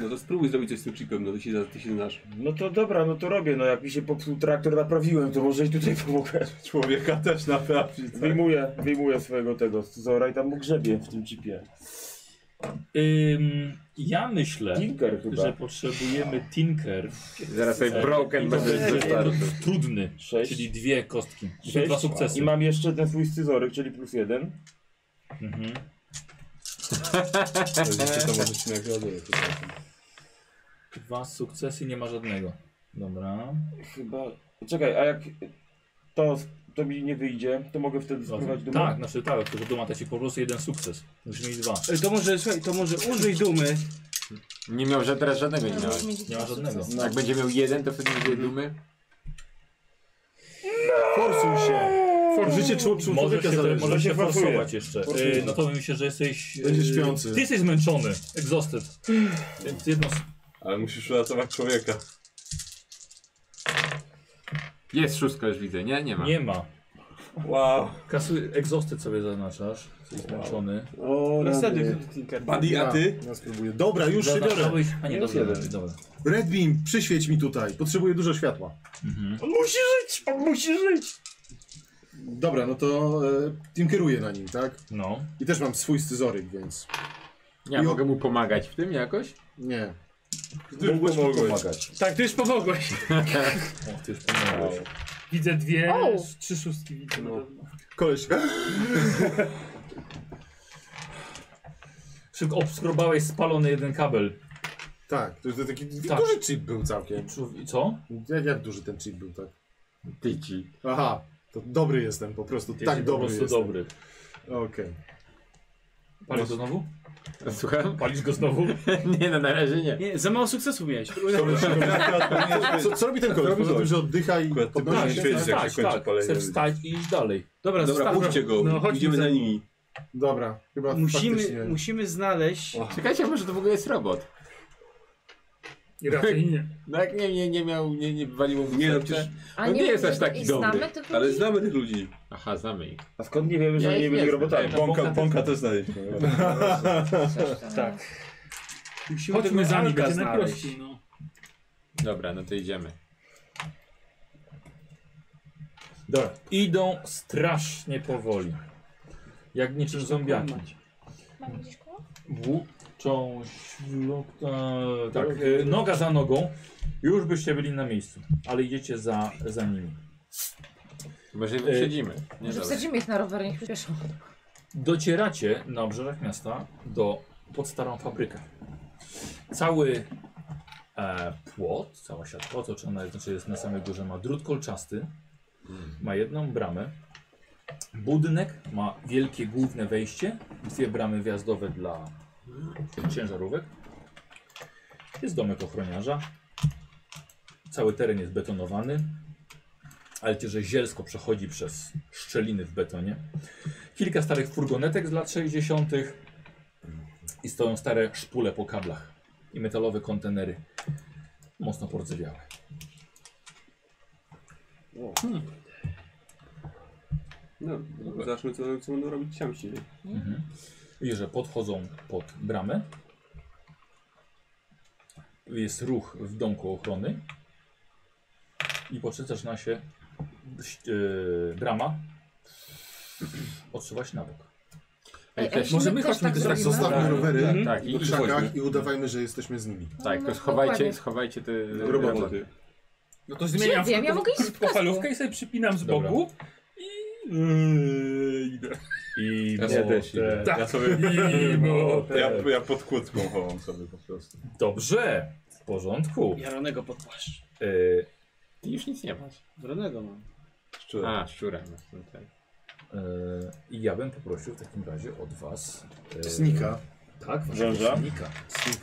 No to spróbuj zrobić coś z tym chipem, no ty się, ty się znasz.
No to dobra, no to robię, no jak mi się popsuł traktor, naprawiłem, to może i tutaj pomogę.
Człowieka też naprawić. Tak?
Wyjmuję, wyjmuję swojego tego zora i tam mu grzebie w tym chipie.
Ym, ja myślę,
Tinker chyba.
że potrzebujemy Tinker.
Zaraz sobie
E,
broken
i to
będę
będzie
dostarczył.
Trudny,
Sześć.
czyli dwie kostki. I to
Sześć.
dwa sukcesy.
I mam jeszcze ten swój scyzoryk, czyli plus jeden.
Mhm.
To może się nagrodę.
Dwa sukcesy, nie ma żadnego. Dobra.
Chyba... Czekaj, a jak to, to mi nie wyjdzie, to mogę wtedy spływać do
Tak, znaczy tak, tylko duma to ci po prostu jeden sukces. Musisz mieć dwa.
Ej, To może, słuchaj, to może użyj dumy.
Nie miał ża- teraz żadnego nie miałeś.
Nie ma żadnego.
Jak będzie miał jeden, to wtedy będzie dumy.
Forsuj się.
Życie człowieka może się,
zależy.
może się
się forsuje.
forsować jeszcze.
Forsuje.
Yy, no to myślę, że jesteś...
Będziesz śpiący.
Ty jesteś zmęczony. Exhausted. Więc jedno... s-
Ale musisz uratować człowieka.
Jest szóstka już widzę, nie? Nie ma.
Nie ma.
Wow.
Kasy exhausted sobie zaznaczasz. Jesteś zmęczony.
O,
Następny
rany.
klinker.
Buddy, a ty?
Ja spróbuję. Dobra, już się biorę.
Zaznaczałeś? A nie,
Minus
dobrze,
jeden.
dobrze, dobra.
Red Beam, przyświeć mi tutaj. Potrzebuję dużo światła.
Mhm.
On musi żyć, on musi żyć!
Dobra, no to e, tinkeruję na nim, tak?
No.
I też mam swój scyzoryk, więc
Ja mogę mu pomagać w tym jakoś?
nie.
Mogłeś mu
pomagać.
Tak, ty już pomogłeś.
O, ty już pomogłeś.
Widzę dwie,
O!
z- trzy szóstki widzę. na pewno.
Koleś,
Szybko obskrobałeś spalony jeden kabel.
tak, to jest taki
Tak.
duży chip był całkiem.
Czu- I co?
Jak, jak duży ten chip był, tak?
Tyci.
Aha, to dobry jestem po prostu,
Jesteś
tak
po
dobry
prostu
jestem.
dobry.
Okej.
Palisz go znowu? Tak,
Słucham? [LAUGHS]
Palisz go znowu?
nie no, na razie nie.
Nie, za mało sukcesów miałeś.
Co, co robi ten koleś? Poza tym, że oddycha i
Akurat ty
podnosi
powinieneś
się.
wiedzieć, jak
tak,
się kończy
tak.
palenie.
Chcę wstać i iść dalej.
Dobra,
Dobra,
zostawmy.
pójdźcie go.
No, chodźmy
Idziemy
za-
za nimi.
Dobra, chyba
Musimy,
faktycznie.
musimy znaleźć.
Czekajcie, może to w ogóle jest robot.
I raczej nie.
No jak nie, nie, nie miał, nie, nie waliło mu
Nie, no
serce.
przecież-
A
On nie jest aż
mówię,
taki
i
dobry.
Znamy tych
Ale
ludzi?
znamy tych ludzi.
Aha, znamy ich.
A skąd nie wiemy, że
Ja
oni nie
ich
byli
nie
robotami?
tak.
znam.
Tak, Bąka, bąka też znaleźliśmy.
Coś tam.
Tak. Musimy
Chodźmy
tego
za nimi,
Alka
będzie
znaleźć.
najprościej, no.
Dobra, no to idziemy.
Dobra. Idą strasznie powoli. Jak niczym zombiaki.
Mamy gdzieś koło?
Włóczą ślub... e, Tak, e, noga za nogą. Już byście byli na miejscu, ale idziecie za, za nimi.
Może wyprzedzimy. Nie
Y, Może
dobra.
wsadzimy ich na rower, niech przyspieszą.
Docieracie na obrzeżach miasta do pod starą fabrykę. Cały e, płot, cała siatka otoczona znaczy jest na samej górze, ma drut kolczasty, ma jedną bramę. Budynek ma wielkie główne wejście, dwie bramy wjazdowe dla ciężarówek. Jest domek ochroniarza. Cały teren jest betonowany. ale cię, że zielsko przechodzi przez szczeliny w betonie. Kilka starych furgonetek z lat 60. i stoją stare szpule po kablach i metalowe kontenery, mocno pordzewiałe.
Hmm. No, zobaczmy co, co będą robić ciamsi.
Mhm. Widzisz, że podchodzą pod bramę. Jest ruch w domku ochrony. I poczty zaczyna się ś- yy, brama odsuwać na bok.
Ej, ej,
Może my
my też
chodźmy
tak
też
Tak,
tak
zrobimy?
zostawmy rowery
Tak,
tak,
tak,
i,
i-
w krzakach
chodźmy.
i udawajmy, że jesteśmy z nimi.
Tak,
No,
to schowajcie,
dokładnie.
schowajcie te
Roboty.
No to zmieniam
Siedzę, ja mogę iść w kasku.
krótkofalówkę i sobie przypinam z
Dobra.
boku i yy, idę.
I
Ja
bo-
sobie też idę.
Tak.
Ja sobie...
I bo-
Ja, ja pod kłódką chowam sobie po prostu.
Dobrze, w porządku.
Jaronego podpłaszcz.
Yy,
Ty już nic nie masz.
Jaronego mam.
Szczurę.
A, szczura masz. No tak.
yy, I ja bym poprosił w takim razie od was... Yy,
E, Snika.
Tak,
Węża?
waszego snika.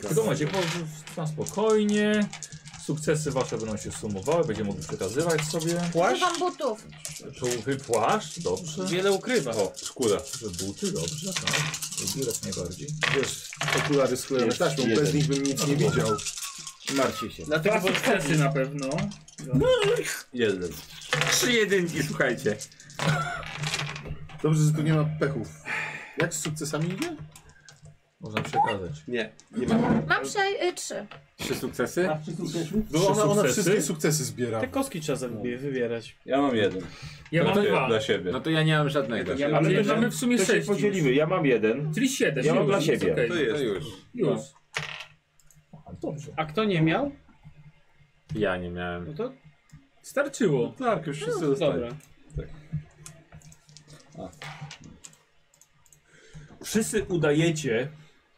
Tylko macie, bo bo- na spokojnie. Sukcesy wasze będą się sumowały, będziemy mogli przekazywać sobie.
Używam butów.
Czołówy płaszcz, dobrze.
Wiele ukrywa.
O, skóra.
Że buty, dobrze, tak. Ubierać najbardziej.
Wiesz, okulary sklejone
Jest
taśmą,
jeden.
bez nich bym nic nie widział.
Martw się.
Dlatego
Dwa sukcesy na pewno.
Jeden.
Trzy jedynki, słuchajcie.
Dobrze, że tu nie ma pechów. Jak z sukcesami idzie?
Można przekazać.
Nie, nie ma.
Mam prze, y, trzy.
Trzy sukcesy.
Bo ona, ona
sukcesy?
wszystkie sukcesy zbiera.
Te kostki trzeba zabie- wybierać.
Ja mam jeden.
Ja
dla,
mam
siebie,
dwa.
dla siebie.
No to ja nie mam żadnego.
Ja mam
Ale
jeden.
to
mamy w sumie
To się
sześć.
podzielimy, ja mam jeden.
już. Czyli siedem.
Ja mam
Już,
dla
jest
siebie.
okej.
To jest.
To już.
Już.
A, dobrze.
A kto nie miał,
Ja nie miałem.
no to
Starczyło.
Tak, już wszyscy zostali.
dobra.
Wszyscy udajecie,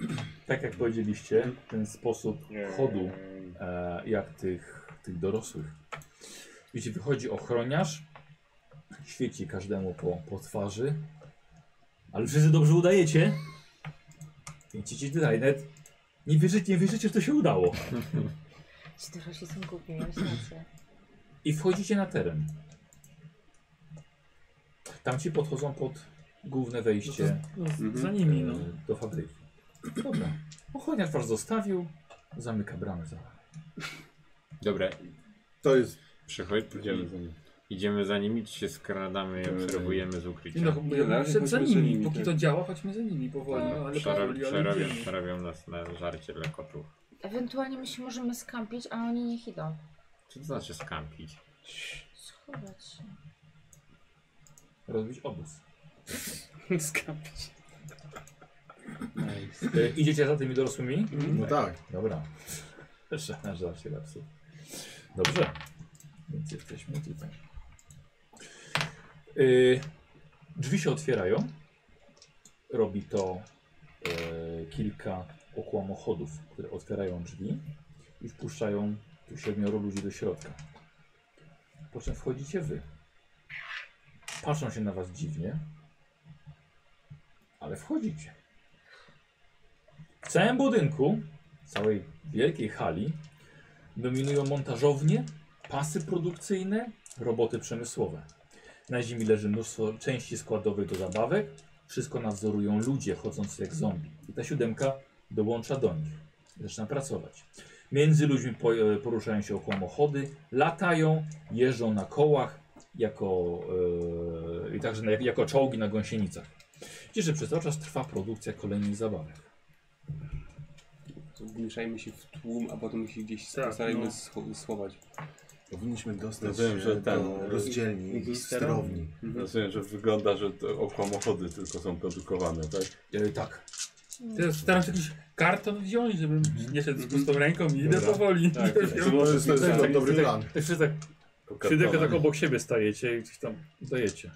[CLEARS THROAT] tak jak powiedzieliście, ten sposób chodu e, jak tych, tych dorosłych. Wiecie, wychodzi ochroniarz, świeci każdemu po, po twarzy, ale wszyscy dobrze udajecie. Wiecie, tutaj net. Nie wierzycie, nie wierzycie, że to się udało.
Ci dorośli są głupi, miałeś rację.
I wchodzicie na teren. Tamci podchodzą pod główne wejście.
No, z- Za nimi, no.
E, do fabryki. Dobra. Ochoniarz was zostawił, zamyka bramę za wami.
Dobra,
To jest
przychodź.
Idziemy za nim.
Idziemy za nimi, czy się skradamy i obserwujemy z ukrycia.
I no,
Nie, na razie
przed za
chodźmy za
nimi.
nimi,
Póki
tak.
to działa, chodźmy za nimi powoli. No, ale
Przera-
powoli, ale
przerabią,
idziemy.
przerabią nas na żarcie dla kotów.
Ewentualnie my się możemy skampić, a oni niech idą.
Co to znaczy skampić?
Schować się.
Rozbić obóz.
Skapić.
E, idziecie za tymi dorosłymi?
No tak.
Dobra. Szana żarcie dla psów. Dobrze. Więc jesteśmy tutaj. Y, drzwi się otwierają. Robi to e, kilka okłamochodów, które otwierają drzwi i wpuszczają tu siedmioro ludzi do środka. Po czym wchodzicie wy. Patrzą się na was dziwnie, ale wchodzicie. W całym budynku, w całej wielkiej hali, dominują montażownie, pasy produkcyjne, roboty przemysłowe. Na ziemi leży mnóstwo części składowych do zabawek. Wszystko nadzorują ludzie chodzący jak zombie. I ta siódemka dołącza do nich. Zaczyna pracować. Między ludźmi po- e, poruszają się okłamochody, latają, jeżdżą na kołach jako, e, i także na, jako czołgi na gąsienicach. Widzicie, że przez cały czas trwa produkcja kolejnych zabawek.
To Wmieszajmy się w tłum, a potem się gdzieś
Tak,
postarajmy
no.
scho- schować.
Powinniśmy dostać
Rozumiem,
się
że ten-
do rozdzielni i sterowni.
Mhm.
Rozumiem, że wygląda, że to okłamochody tylko są produkowane, tak?
E, tak.
Teraz staram się jakiś karton wziąć, żebym nie szedł z pustą ręką i idę powoli.
Tak,
Wiesz,
tak.
ja-
To jest, to jest
Tak, tak,
dobry
[LAUGHS] tak.
plan.
Tak wszyscy tak, siódemkę tak obok siebie stajecie i gdzieś tam dajecie.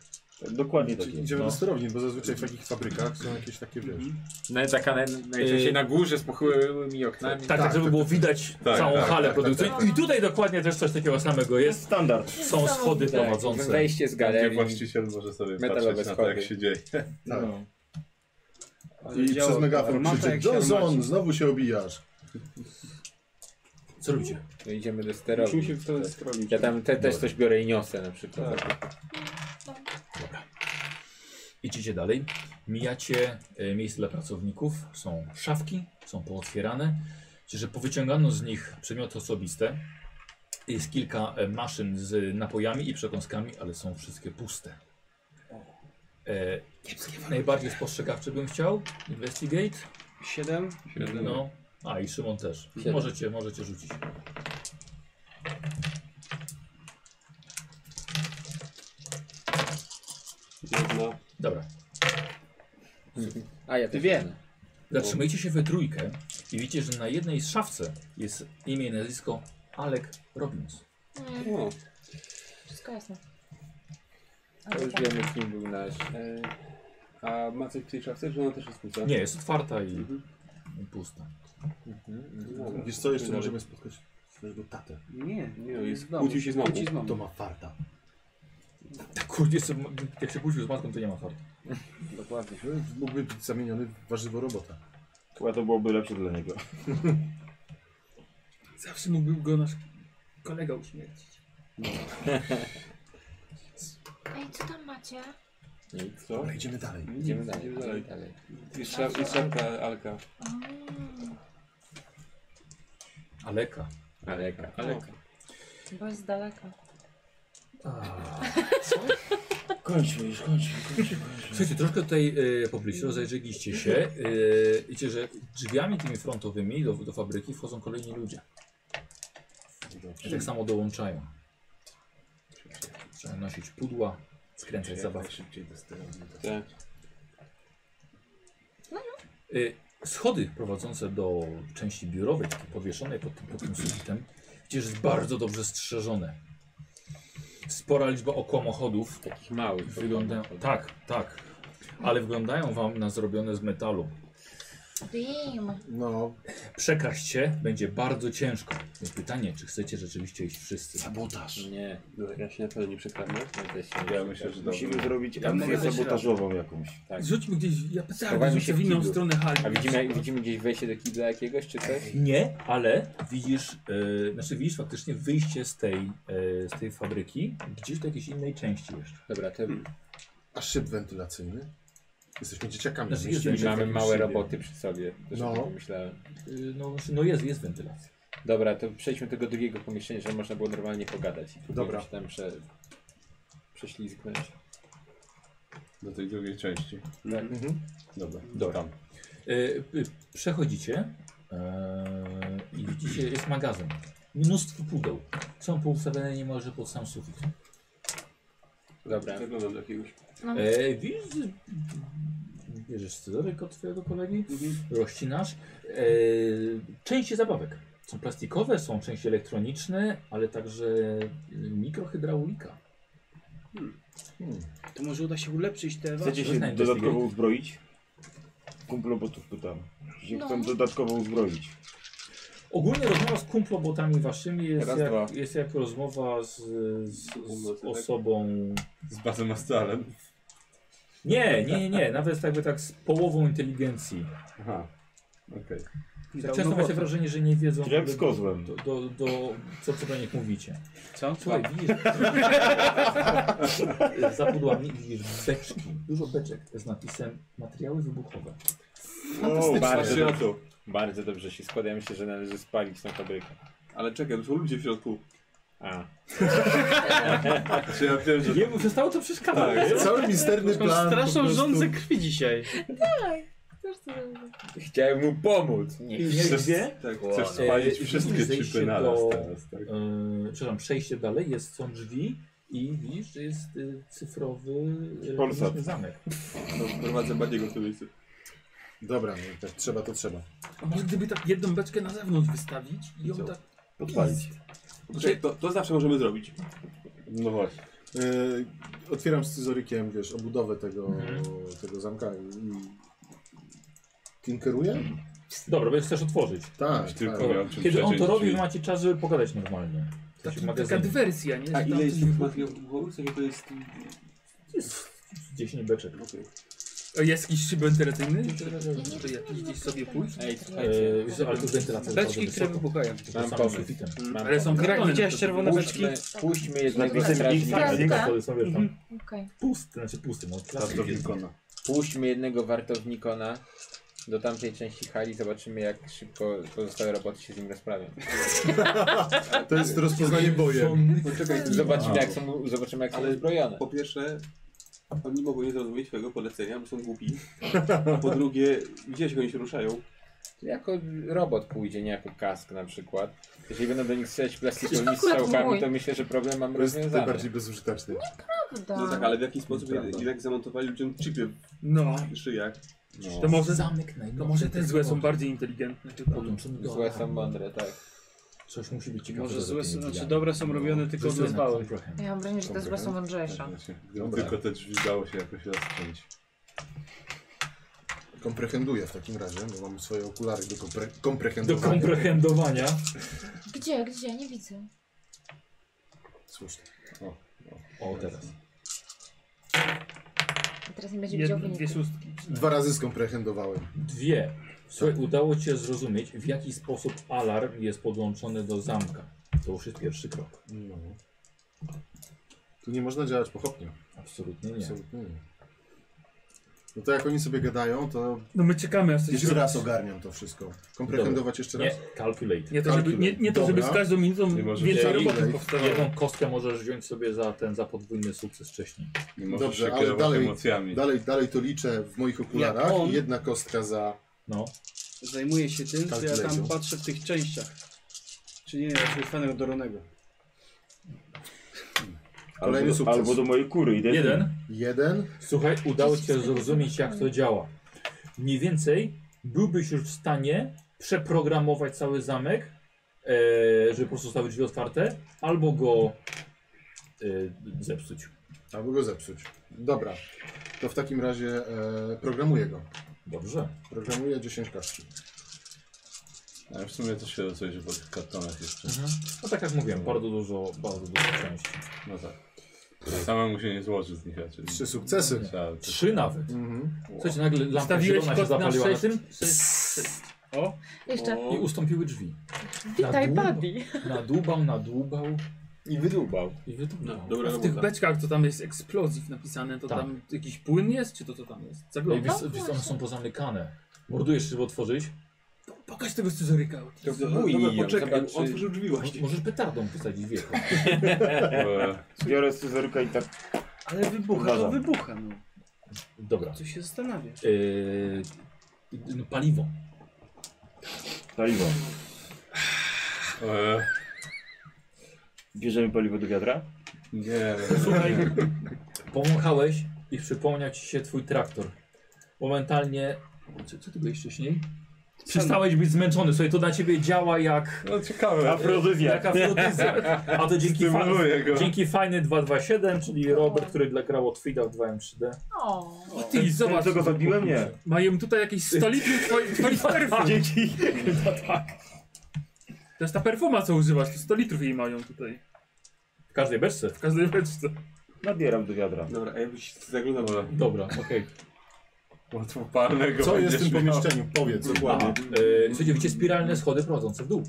Dokładnie tak
Czyli
jest.
Idziemy
No.
do sterowni, bo zazwyczaj w takich fabrykach są jakieś takie, wiesz...
No i taka naj, najczęściej
Yy.
na górze z pochyłymi oknami.
Tak, tak, żeby było widać
tak,
całą
tak,
halę
tak,
produkcyjną.
tak, tak.
I tutaj dokładnie też coś takiego samego
Jest
jest.
standard.
Są schody
Tak,
prowadzące.
Wejście z
Gdzie
galerii.
właściciel może sobie
Metalowe
patrzeć na to, jak
schody.
się dzieje. [LAUGHS]
Tak.
No.
I
Działa-
przez megafon
armata
krzyczy,
jak się
Johnson,
armaci.
znowu się obijasz.
tak.
Co robicie?
To idziemy do sterowni.
Musimy się w stronę schronić.
Ja tam te, też coś biorę i niosę na przykład.
Idziecie dalej, mijacie e, miejsce dla pracowników, są szafki, są pootwierane, Widzicie, że powyciągano z nich przedmioty osobiste. Jest kilka e, maszyn z napojami i przekąskami, ale są wszystkie puste. E, najbardziej spostrzegawczy bym chciał, investigate.
7.
No, a i Szymon też.
Siedem.
Możecie, możecie rzucić.
Jedna.
Dobra.
A ja wiem.
Zatrzymajcie się we trójkę i widzicie, że na jednej z szafce jest imię i nazwisko Alek Robbins.
Mm. Wszystko jasne.
To już wiemy kim był nasz.
E, a ma coś w tej szafce, że ona też jest pusta?
Nie, jest otwarta i,
Mhm.
i pusta.
Mhm.
Wiesz co, jeszcze możemy spotkać swojego tatę.
Nie,
Nie, no, jest,
w domu.
kłócił się z mamą.
Kłócił mamą.
To ma farta.
Tak kurde, sobie- jak się kłócił z matką, to nie ma farta.
Dokładnie. Mógłby być zamieniony w warzywo robota.
Chyba to byłoby lepsze dla niego.
Zawsze mógłby go nasz kolega uśmiercić.
Ej, co tam macie?
Nic.
Co?
Ale idziemy dalej.
Idziemy
Nic,
dalej.
idziemy dalej.
dalej.
Jest szaf- jest szafka Alka.
Mm.
Aleka.
Aleka. Aleka.
Bo jest z daleka.
Kończmy już, kończmy, kończmy, kończmy.
Słuchajcie, troszkę tutaj e, pobliżu rozejrzyliście się. E, wiecie, że drzwiami tymi frontowymi do, do fabryki wchodzą kolejni ludzie. I tak samo dołączają. Trzeba nosić pudła, skręcać zabaw.
Szybciej do sterowni.
Tak.
Y, Schody prowadzące do części biurowej, takiej powieszonej pod tym, pod tym sufitem, gdzie jest bardzo dobrze strzeżone. Spora liczba okłamochodów.
Takich małych.
Wyglądają, tak, tak. Ale wyglądają wam na zrobione z metalu.
Dim.
No,
Przekraść się będzie bardzo ciężko. Więc Pytanie, czy chcecie rzeczywiście iść wszyscy?
sabotaż.
Nie. No,
No, ja się na pewno nie przekradnę.
Ja też się
Ja myślę,
nie
że
przekradam.
dobrze.
Musimy zrobić
Ja
akcję
mówię, że
sabotażową
ślad. jakąś.
Tak.
Rzućmy gdzieś, ja pytałem,
Chowajmy
rzućmy w inną
kiblu.
stronę hali.
A widzimy, widzimy gdzieś wejście do kibla jakiegoś czy coś?
Nie, ale widzisz, yy, znaczy widzisz faktycznie wyjście z tej, y, z tej fabryki, gdzieś do jakiejś innej części jeszcze.
Dobra, to
Hmm.
A szyb wentylacyjny? Jesteśmy dzieciakami.
Znaczy,
myślimy
jest-
tak
mamy
jak
małe
siebie.
roboty przy sobie. Też
No.
o tym pomyślałem.
Y, no, znaczy, no jest, jest wentylacja.
Dobra, to przejdźmy do tego drugiego pomieszczenia, żeby można było normalnie pogadać. Próbujemy
Dobra.
się tam prze... prześlizgnąć.
Do tej drugiej części.
Tak.
Dobra.
Dobra.
Tam.
E, y, Przechodzicie e, i widzicie, jest magazyn. Mnóstwo pudeł. Są poustawione niemalże pod sam sufit.
Dobra.
Zaglądam do jakiegoś.
Mam
E, widzisz, bierzesz scyzoryk od twojego kolegi, rozcinasz. E, części zabawek. Są plastikowe, są części elektroniczne, ale także y, mikrohydraulika.
To może uda się ulepszyć te
Chcecie
wasze.
się
Zaczynaj
dodatkowo
investigate.
uzbroić? Kumplobotów pytam. Czy się
No.
chcą dodatkowo uzbroić?
Ogólnie rozmowa z kumplobotami waszymi jest,
Raz, dwa.
jak, jest jak rozmowa z, z, z osobą
Z Bazem Astralem.
Nie, nie, nie, nawet jakby tak z połową inteligencji.
Aha. Okej.
Tak
no
często macie wrażenie, że nie wiedzą
Czyli jak z
do,
kozłem.
do, do, do co, co do nich mówicie.
Co?
Słuchaj, widzisz, [LAUGHS] za pudłami widzisz beczki, dużo beczek z napisem materiały wybuchowe.
O,
Bardzo,
Patrzcie na
dobrze,
to.
bardzo dobrze się składa. Ja myślę, że należy spalić tą fabrykę.
Ale czekaj, to są ludzie w środku.
A.
Czy ja wiem, że...
Nie, bo przestało to przeszkadzać.
Tak.
Cały misterny
Mam
plan. po
straszną
prostu-
żądzę krwi dzisiaj.
Daj. Chcesz co zrobić?
Chciałem mu pomóc. Nie.
Wiesz gdzie?
Tak, chcesz
E,
spalić
i
wszystkie
zejście
chipy na raz
do-
teraz, tak?
Yy, przepraszam, przejście dalej, jest, są drzwi i widzisz, że jest y, cyfrowy y,
Polsat.
właśnie zamek.
No, prowadzę Badiego w tym miejscu.
Dobra, no, tak trzeba, to trzeba.
A może gdyby tak jedną beczkę na zewnątrz wystawić i ją
Co?
tak... Znaczy,
Podpalić.
Czekaj, to, to zawsze możemy zrobić.
No właśnie.
Yy, otwieram scyzorykiem, wiesz, obudowę tego, tego zamka i... Tinkeruję?
Dobra, więc chcesz otworzyć.
Tak,
Tylko
tak.
miał czym
Kiedy on to
przeciąć
robi,
drzwi.
wy macie czas, żeby pogadać normalnie. W
Taki,
sensie
taka
magazynie.
dywersja, nie?
A
Że
ile
no, tam
jest
coś-
tych materiałów głowy? W sensie to jest...
Jest 10 beczek.
Okej.
O, Jest jakiś szyb wentylacyjny? To ja gdzieś sobie pójść?
Eee, wiesz co, ale tu już wentylacja
Beczki,
bardzo
które
wysoko.
wybuchają.
Mam
Samym
pomysł.
sufitem.
Mam
Ale są
pomysł.
kartony.
Widziałeś czerwone
Puśćmy-
beczki?
puśćmy
Jest
jednak
napisane
strażnika.
X, X, X, to jest, no wiesz, tam.
Mhm. Okej.
Pusty, znaczy pusty, no. plastik jest.
Puśćmy jednego wartownikona do tamtej części hali, zobaczymy jak szybko pozostałe roboty się z nim rozprawią.
To jest rozpoznanie bojem.
Poczekaj,
Zobaczmy jak są, zobaczymy jak są
Ale
uzbrojone.
Po pierwsze, oni mogą nie zrozumieć twojego polecenia, bo są głupi. A po drugie, widziałeś jak oni się ruszają.
Jako robot pójdzie, nie jako kask na przykład. Jeśli będą do nich strzelać plastikowymi
Akurat mój.
strzałkami, to myślę, że problem mamy
To jest
rozwiązany.
najbardziej bezużyteczny.
Prawda.
No tak, ale w jaki sposób
Nieprawda.
jednak zamontowali ludziom chipy
No.
w szyjach?
To może zamyknę. No. To może te Znaczy, złe są bardziej inteligentne. tylko-
Potem są
Złe są mądre, tak.
Coś musi być ciekawego.
Może
za
złe
tymi
są, znaczy
drzwiami.
dobre są robione tylko
Rzucę
dla
na
zbałych.
prochem.
Ja mam wrażenie, że te złe są mądrzejsze.
Gdyby tylko te drzwi dało się jakoś rozpiąć.
Komprehenduję w takim razie, bo mam swoje okulary do kompre
Do
komprehendowania.
komprehendowania.
Gdzie, gdzie? Nie widzę.
Słusznie.
O, teraz.
A Teraz nie będzie widział
Jed- Dwie
wyniku.
szóstki.
Dwa razy skomprehendowałem.
Dwie. Słuchaj, udało ci się zrozumieć, w jaki sposób alarm jest podłączony do zamka. To już jest pierwszy krok.
No. Tu nie można działać pochopnie.
Absolutnie nie.
Absolutnie nie. No to jak oni sobie gadają, to
No my czekamy aż coś
jeszcze
zrobi.
raz ogarniam to wszystko. Komprehendować jeszcze raz?
Nie, calculate.
Nie to, żeby, nie, nie to, żeby z
Dobra.
każdą minutą
Nie możesz
więcej
Jeżeli
roboty powstawało.
Jedną kostkę możesz wziąć sobie za ten, za podwójny sukces wcześniej.
Nie możesz
Dobrze,
się
ale
kierować
dalej,
emocjami.
dalej, dalej to liczę w moich okularach.
Jak on-
i Jedna kostka za...
No.
Zajmuję się tym, co ja
Kalkulacją.
tam patrzę w tych częściach. Czyli nie wiem, czy jest fanem Doronego.
Kolejny
albo, do,
sukces.
albo do mojej kury idę.
Jeden.
Jeden.
Słuchaj, udało ci się zrozumieć, jak to działa. Mniej więcej byłbyś już w stanie przeprogramować cały zamek, e, żeby po prostu zostały drzwi otwarte, albo go e, zepsuć.
Albo go zepsuć. Dobra. To w takim razie e, programuję go.
Dobrze.
Programuję 10 kostki.
Ale w sumie to się rozejrzy po tych kartonach jeszcze.
No tak jak mówiłem, bardzo dużo, bardzo dużo części.
No tak. Samemu się nie złoży z nich raczej. Tak,
Trzy sukcesy.
Trzeba-
Trzy nawet.
Mhm.
Słuchajcie, nagle lampka
Stawiłeś
zielona się
kod na
zapaliła na
sześć-
O,
Jeszcze.
i ustąpiły drzwi.
Witaj,
Nadłubał,
Buddy.
nadłubał, nadłubał
I wydłubał.
i wydłubał.
No, dobra, w tych beczkach, to tam jest eksplozji napisane, to
Tak.
tam jakiś płyn jest, czy to co tam jest?
Ej, wiesz,
Zaglądasz.
wiesz, one są pozamykane. Mordujesz, żeby otworzyć?
Pokaż tego scyzoryka.
To
Dobra,
No,
bój ją,
poczekaj,
zobaczy-
on otworzył drzwi właśnie.
Możesz petardą wysadzić wieką.
Eee,
Biorę scyzoryka i tak.
Ale wybucha, to
Uważam.
wybucha, no.
Dobra.
Co się zastanawia?
Eee, no, paliwo.
Paliwo.
eee,
Bierzemy paliwo do wiadra?
Nie.
Słuchaj, powąchałeś i przypomniał ci się twój traktor. Momentalnie... Co, co ty byłeś wcześniej? Przestałeś być zmęczony, słuchaj, to na ciebie działa jak...
[LAUGHS] No ciekawe.
Afrodyzjak.
Jak afrodyzjak. A to dzięki, fa
Stymuluje go.
dzięki fajny 227, czyli Robert, który dla grał od Fida w 2M3D.
O.
O ty,
Ten,
zobacz.
co go zabiłem? Nie.
Mają tutaj jakieś stoliki twoi- [LAUGHS] twoich perfum. tak.
Dzięki.
To jest ta perfuma, co używasz, to 100 litrów jej mają tutaj.
W każdej beczce.
W każdej beczce.
Nabieram do wiadra.
Dobra, a jakbyś zaglądał.
Dobra.
Dobra, okej.
Łatwopalnego
Co jest w tym
będziesz miał.
pomieszczeniu? Powiedz
Okay.
dokładnie.
Yy, Słuchajcie, widzicie spiralne schody prowadzące w dół.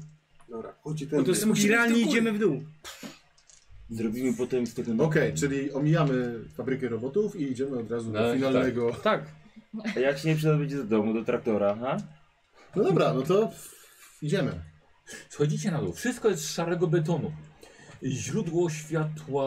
Dobra, chodźcie
No
ten.
to spiralnie
idziemy
idziemy w dół.
Zrobimy potem z tego.
Okej, czyli omijamy fabrykę robotów i idziemy od razu
No,
do finalnego.
Tak.
A jak się nie przyda będzie do domu, do traktora, ha?
No dobra, no to idziemy.
Schodzicie na dół. Wszystko jest z szarego betonu. Źródło światła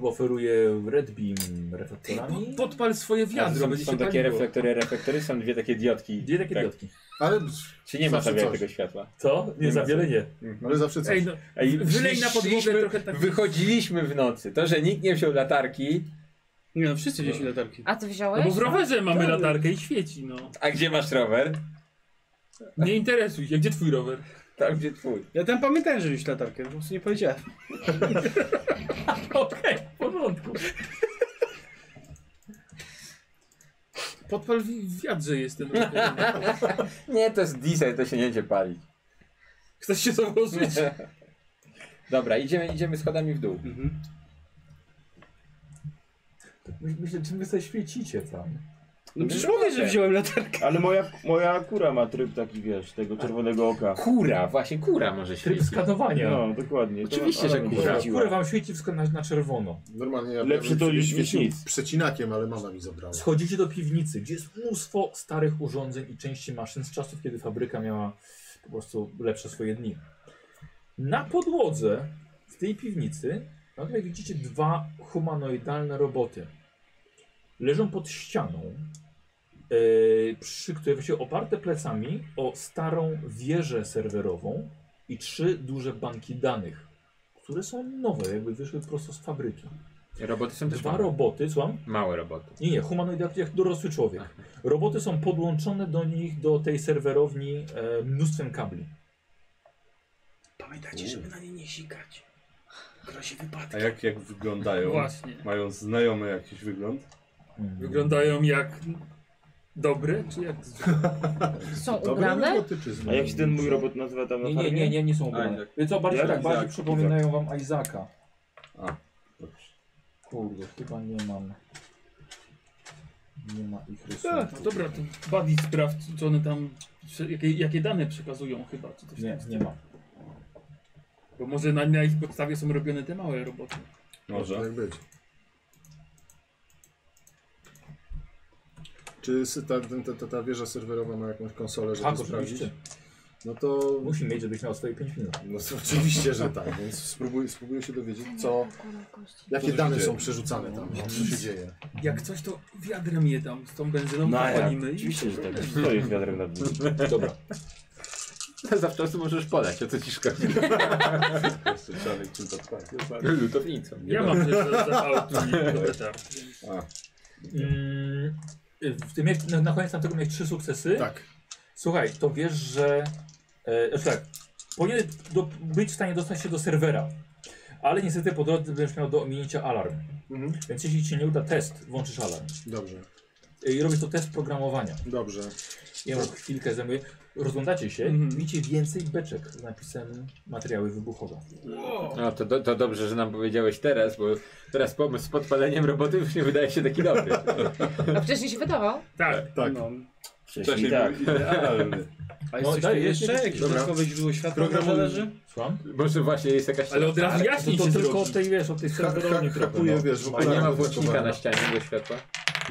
oferuje red beam reflektorami.
Podpal swoje
A,
wiadro,
Są,
będzie
są
się
takie
paliło.
reflektory, reflektory, są dwie takie diodki.
Gdzie takie
Tak.
diodki?
Ale,
Czy nie ma
Zawsze
zabijać
coś.
tego światła?
Co? Nie,
Nie
za
ma
wiele
co.
nie.
ale zawsze coś.
Ej, no,
Ej,
wylej na podłogę
szliśmy-
trochę tak.
Wychodziliśmy w nocy. To, że nikt nie wziął latarki,
Nie no, wszyscy wzięli latarki.
A ty
No
wziąłeś?
bo w rowerze mamy
Tak.
latarkę i świeci, no.
a gdzie masz rower?
Nie interesuj się, gdzie twój rower? [LAUGHS]
Tam, gdzie twój.
Ja tam pamiętałem, że wziąć latarkę, po prostu nie powiedziałem.
Okej, w porządku. Podpal wi- w wiadrze
[LAUGHS]
jestem.
Nie, to jest diesel, to się nie będzie palić. [LAUGHS]
Chcesz się
No.
założyć?
Dobra, idziemy, idziemy schodami w dół.
Myślę, czy wy zaświecicie tam.
No przecież mówię, że wziąłem latarkę.
Ale moja, moja kura ma tryb taki, wiesz, tego czerwonego oka.
Kura, właśnie kura może się.
Tryb skanowania.
No, dokładnie. To
Oczywiście,
ona
że
mi
kura.
poleciła.
Kurę wam świeci wska- na, na czerwono.
Normalnie ja
Lepszy
bym
to
sobie
niż
świecił
nic.
przecinakiem, ale mama mi zabrała.
Schodzicie do piwnicy, gdzie jest mnóstwo starych urządzeń i części maszyn z czasów, kiedy fabryka miała po prostu lepsze swoje dni. Na podłodze w tej piwnicy nagle widzicie dwa humanoidalne roboty. Leżą pod ścianą, yy, przy której właściwie oparte plecami o starą wieżę serwerową i trzy duże banki danych, które są nowe, jakby wyszły prosto z fabryki.
Roboty są też
Dwa
małe.
roboty, słucham?
Małe roboty.
[LAUGHS] Nie, nie, humanoid jak- jak dorosły człowiek. Roboty są podłączone do nich, do tej serwerowni e, mnóstwem kabli.
Pamiętajcie, żeby na nie nie sikać. Grozi wypadek.
A jak, jak wyglądają?
Właśnie.
Mają znajomy jakiś wygląd?
Wyglądają jak dobre, czy jak
Są ubrane?
A jak się ten mój robot nazywa tam na
Nie, nie,
farmie?
nie, nie, nie są ubrane.
Isaac.
Więc o, bardziej,
Jak
tak, bardziej
Isaac?
przypominają wam Izaka.
A,
Kurde, chyba nie mam. Nie ma ich rysunków.
Tak, dobra, to Buddy sprawdź, czy one tam, czy, jakie, jakie dane przekazują chyba, czy coś
Nie,
tam.
nie ma.
Bo może na, na ich podstawie są robione te małe roboty.
może.
Tak być. Czy sy- ta, ta, ta, ta wieża serwerowa ma jakąś konsolę, żeby
Tak,
to sprawdzić?
oczywiście.
No to...
Musi mieć, żebyś miał swoje 5 minut.
No to [LAUGHS] oczywiście, że tak, więc spróbuję, spróbuję się dowiedzieć, co... Jakie
się
dane
dzieje?
są przerzucane tam, no, co się dzieje.
Jak coś, to wiadrem je tam z tą benzyną
No, ja,
popalimy i...
oczywiście, że tak. To jest wiadrem nad nim.
Dobra.
Zawczasu możesz podać, o co ci [LAUGHS] szkodzi.
Jeszcze trzeba mieć czym to spać.
No, Lutownicą.
Ja
no.
mam też za-
[LAUGHS]
zapał tu
Tak,
A,
Mm, w tym, jak- na, na koniec tamtego miałeś trzy sukcesy.
Tak.
Słuchaj, to wiesz, że. E, znaczy tak, powinien do, być w stanie dostać się do serwera, ale niestety po drodze będziesz miał do ominięcia alarm.
Mhm.
Więc jeśli ci się nie uda test, włączysz alarm.
Dobrze,
E, I robisz to test programowania.
dobrze.
Ja już chwilkę zajmuję. Rozglądacie się,
Mhm.
widzicie więcej beczek z napisem materiały wybuchowe.
No to, do, to dobrze, że nam powiedziałeś teraz, bo teraz pomysł z podpaleniem roboty już nie wydaje się taki dobry.
A wcześniej się wydawał?
Tak,
Tak.
No.
wcześniej
tak.
był idealny.
A jest
No,
coś
daj,
tu
jest
jeszcze?
jakiś-
Jakieś
dobra.
dodatkowe źródło światła
Programuj.
może leży?
Słucham?
Może właśnie jest jakaś...
ale od razu jaśniej
to
się
tylko
zrobi.
od tej, wiesz, od tej serwerowni trochę.
Hakuję,
no.
wiesz, w
A
ogóle
nie ma włącznika na ścianie do światła?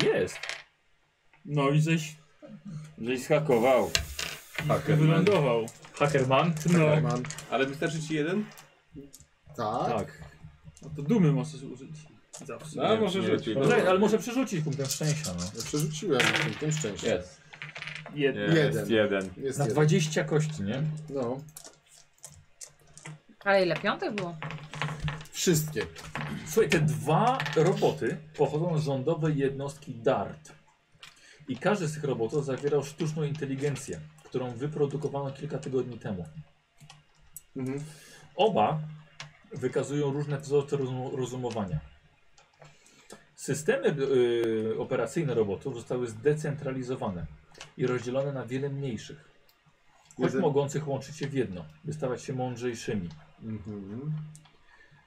Jest.
No i żeś
Żeś skakował. Tak,
Hakerman.
wylądował.
Hackerman?
No,
Mam.
Ale wystarczy ci jeden?
Tak.
Tak.
no to dumy możesz użyć. Zawsze.
No, może rzucić.
No, ale może przerzucić punktem szczęścia, no.
Ja przerzuciłem tym, tym szczęściem.
Jest.
Jedno.
Jeden.
Jest jeden.
Jest
Na
jeden.
20 kości, nie?
No,
Ale ile piątek było?
wszystkie.
Słuchaj, te dwa roboty pochodzą z rządowej jednostki DART. I każdy z tych robotów zawierał sztuczną inteligencję, którą wyprodukowano kilka tygodni temu.
Mhm.
Oba wykazują różne wzorce rozum rozumowania. Systemy y, operacyjne robotów zostały zdecentralizowane i rozdzielone na wiele mniejszych, choć
Jeden.
mogących łączyć się w jedno, by stawać się mądrzejszymi.
Mhm.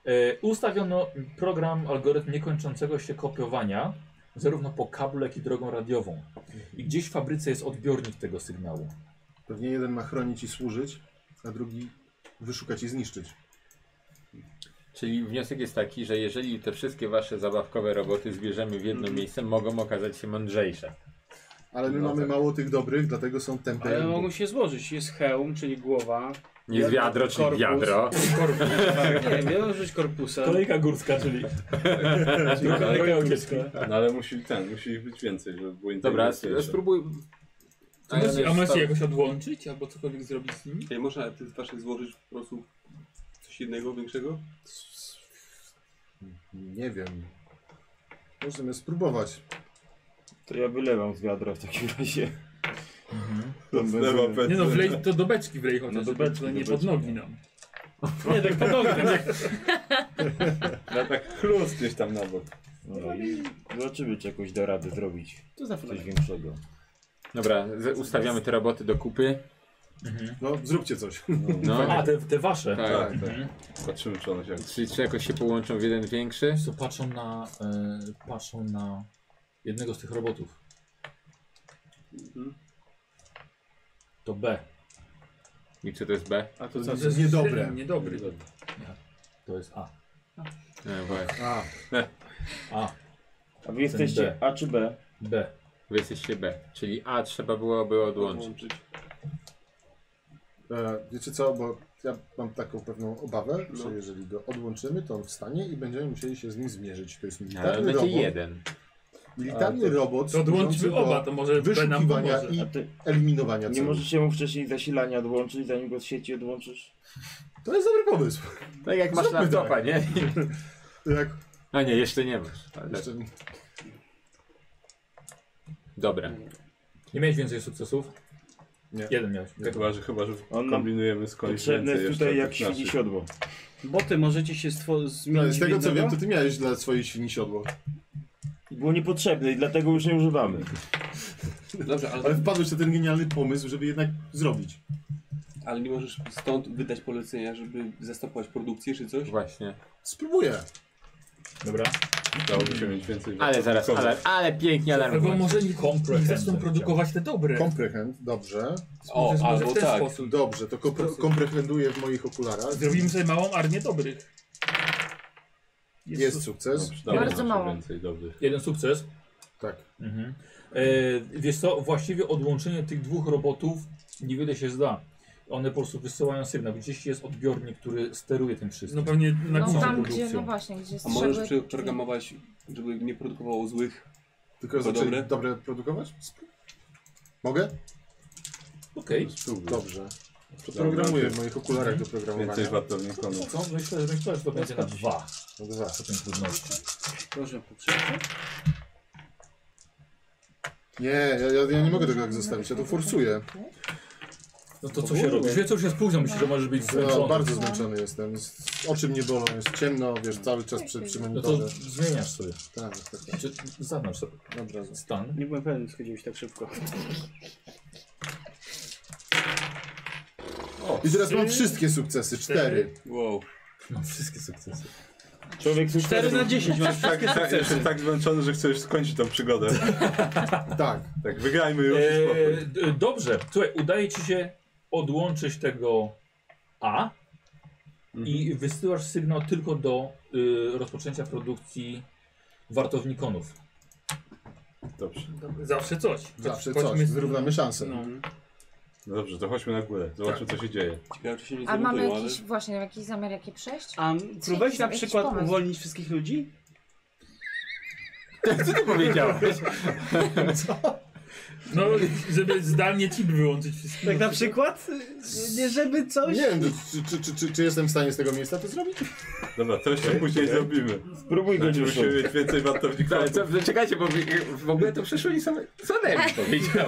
E, Ustawiono program algorytm niekończącego się kopiowania, zarówno po kablu, jak i drogą radiową. I gdzieś w fabryce jest odbiornik tego sygnału.
Pewnie jeden ma chronić i służyć, a drugi wyszukać i zniszczyć.
Czyli wniosek jest taki, że jeżeli te wszystkie wasze zabawkowe roboty zbierzemy w jedno miejsce, mogą okazać się mądrzejsze.
Ale my
No
mamy
tak.
mało tych dobrych, dlatego są tempy.
Ale mogą się złożyć. Jest hełm, czyli głowa.
Nie jest wiadro, czyli
Korpus.
wiadro.
Korpus. Nie wiem, ja rzuć korpusa.
Kolejka górska,
[LAUGHS]
czyli
Kolejka No ale musi ten, musi ich być więcej, żeby było
Dobra,
interesujące.
sp- spróbuj.
A, masz, a masz
sta-
je jakoś odłączyć albo cokolwiek zrobić z nimi?
Czyli można ty wasze złożyć po prostu coś jednego, większego?
Nie wiem. Możemy spróbować.
To ja wylewam z wiadra w takim razie.
To zlewa pędzle.
Nie no, wlej to do beczki wlej chociaż,
No do
żeby
beczki,
to
do
nie
beczki, no.
pod nogi
nie.
nam. Nie, tak pod nogi nam.
Ja tak chlust gdzieś tam na bok.
No i zobaczymy, czy jakoś da radę zrobić
To za
coś
fajne.
większego.
Dobra, z- ustawiamy te roboty do kupy.
No, zróbcie coś.
No,
A, te, te wasze.
tak. Mhm.
Tak, tak. Patrzymy, czy one się...
Czy, czy jakoś się połączą w jeden większy?
Co patrzą na, e, patrzą na jednego z tych robotów. To B.
I czy to jest B?
A
to co, to
[LAUGHS]
jest niedobre.
Niedobry.
To jest A.
E, właśnie.
A. A.
A wy jesteście A czy B?
B.
Wy jesteście B. Czyli A trzeba byłoby odłączyć.
E, wiecie co, bo ja mam taką pewną obawę, że jeżeli go odłączymy, to on wstanie i będziemy musieli się z nim zmierzyć. To jest
Ale
militarny
będzie
robot.
jeden.
Militarny
A, to-
robot
to odłączmy
służący do
oba, to może B nam
wyszukiwania
pomoże.
i
A ty-
eliminowania
Nie
celów.
możecie mu wcześniej zasilania odłączyć, zanim go z sieci odłączysz?
To jest dobry pomysł. [LAUGHS]
Tak jak masz
Zróbmy
laptopa,
tak.
nie?
Jak...
A nie, jeszcze nie masz. Ale...
Jeszcze nie.
Dobra.
Nie miałeś więcej sukcesów?
Nie.
Jeden miałeś.
Chyba, że, chyba, że
On nam
kombinujemy z koleś
potrzebne
więcej
jest tutaj
jeszcze
jak
tych naszych.
świni siodło.
Boty możecie się stwo- zmienić.
No, z tego
w
co
jednego?
wiem, to ty miałeś dla swojej świni siodło.
Było niepotrzebne i dlatego już nie używamy.
Dobrze, ale,
Ale wpadłeś na ten genialny pomysł, żeby jednak zrobić.
ale nie możesz stąd wydać polecenia, żeby zastopować produkcję czy coś?
Właśnie.
Spróbuję.
Dobra.
Dałoby się mieć więcej.
Ale zaraz, ale, ale pięknie alarm.
Albo może nie
Comprehend
zaczną produkować te dobre.
Comprehend, dobrze.
O,
Może
albo
w ten
tak.
sposób. Dobrze, to kompre- komprehenduję w moich okularach.
Zrobimy sobie małą armię dobrych.
Jest, sukces.
Bardzo mało.
Jeden sukces.
Tak.
Mhm. E, wiesz co, właściwie odłączenie tych dwóch robotów niewiele się zda. One po prostu wysyłają sygnał. Gdzieś jest odbiornik, który steruje tym wszystkim.
No pewnie na
No
górze.
tam gdzie, no właśnie, gdzie
A możesz
strzegły-
przeprogramować, żeby nie produkowało złych,
Tylko
tylko
zaczęli
dobre?
dobre? produkować? Spr- Mogę?
Okej.
Spróbuj.
Dobrze. To programuję w moich okularach do programowania.
Więcej wartownych konów.
Co? no, Myślę, że myślę, że to będzie na dwa.
No dwa.
Po tym trudności.
Proszę, poprzeczkę.
Nie, ja, ja, ja nie mogę tego tak zostawić, ja to forsuję.
No to co się robi? Wie co już jest późno, myślę, że możesz być zmęczony.
No, bardzo zmęczony jestem. Z- Oczy mnie bolą, jest ciemno, wiesz, cały czas przy, przy
No to
monitorze.
zmieniasz sobie.
Tak, tak, tak.
Znaczy, zaznacz sobie
Dobra.
stan.
Nie byłem pewien, schodziłeś tak [LAUGHS] szybko.
I teraz mam wszystkie sukcesy, cztery.
Wow.
Mam wszystkie sukcesy.
Człowiek sukces.
4 na 10 masz
Tak,
wszystkie
tak,
sukcesy.
jestem tak zmęczony, że chcę już skończyć tą przygodę.
Tak.
Tak, wygrajmy już. spokój.
Eee, d- dobrze, słuchaj, udaje ci się odłączyć tego A i wysyłasz sygnał tylko do y, rozpoczęcia produkcji wartownikonów.
Dobrze.
Zawsze coś.
Zawsze
Chodźmy
coś,
z-
zrównamy szanse.
No.
No dobrze, to chodźmy na górę. Zobaczmy, co się dzieje.
Ciekawe, czy się nie
A mamy
zamontują, ale...
jakiś, właśnie, jakiś zamiar, jakie przejść?
A próbowałeś na
Jakiś
przykład
pomysł.
uwolnić wszystkich ludzi?
Co ty
[LAUGHS]
powiedziałeś?
No, żeby zdalnie chip wyłączyć wszystkie.
Tak na przykład? Nie żeby coś...
No Nie wiem, czy, czy, czy, czy, czy jestem w stanie z tego miejsca to zrobić?
Dobra, to
Tak.
jeszcze później zrobimy.
Spróbuj go
Znaczy, musimy
dziuszą.
mieć więcej wartowników.
Ale co, czekajcie, bo w- w ogóle to przeszło i same... Co Nemi
[LAUGHS]
powiedział?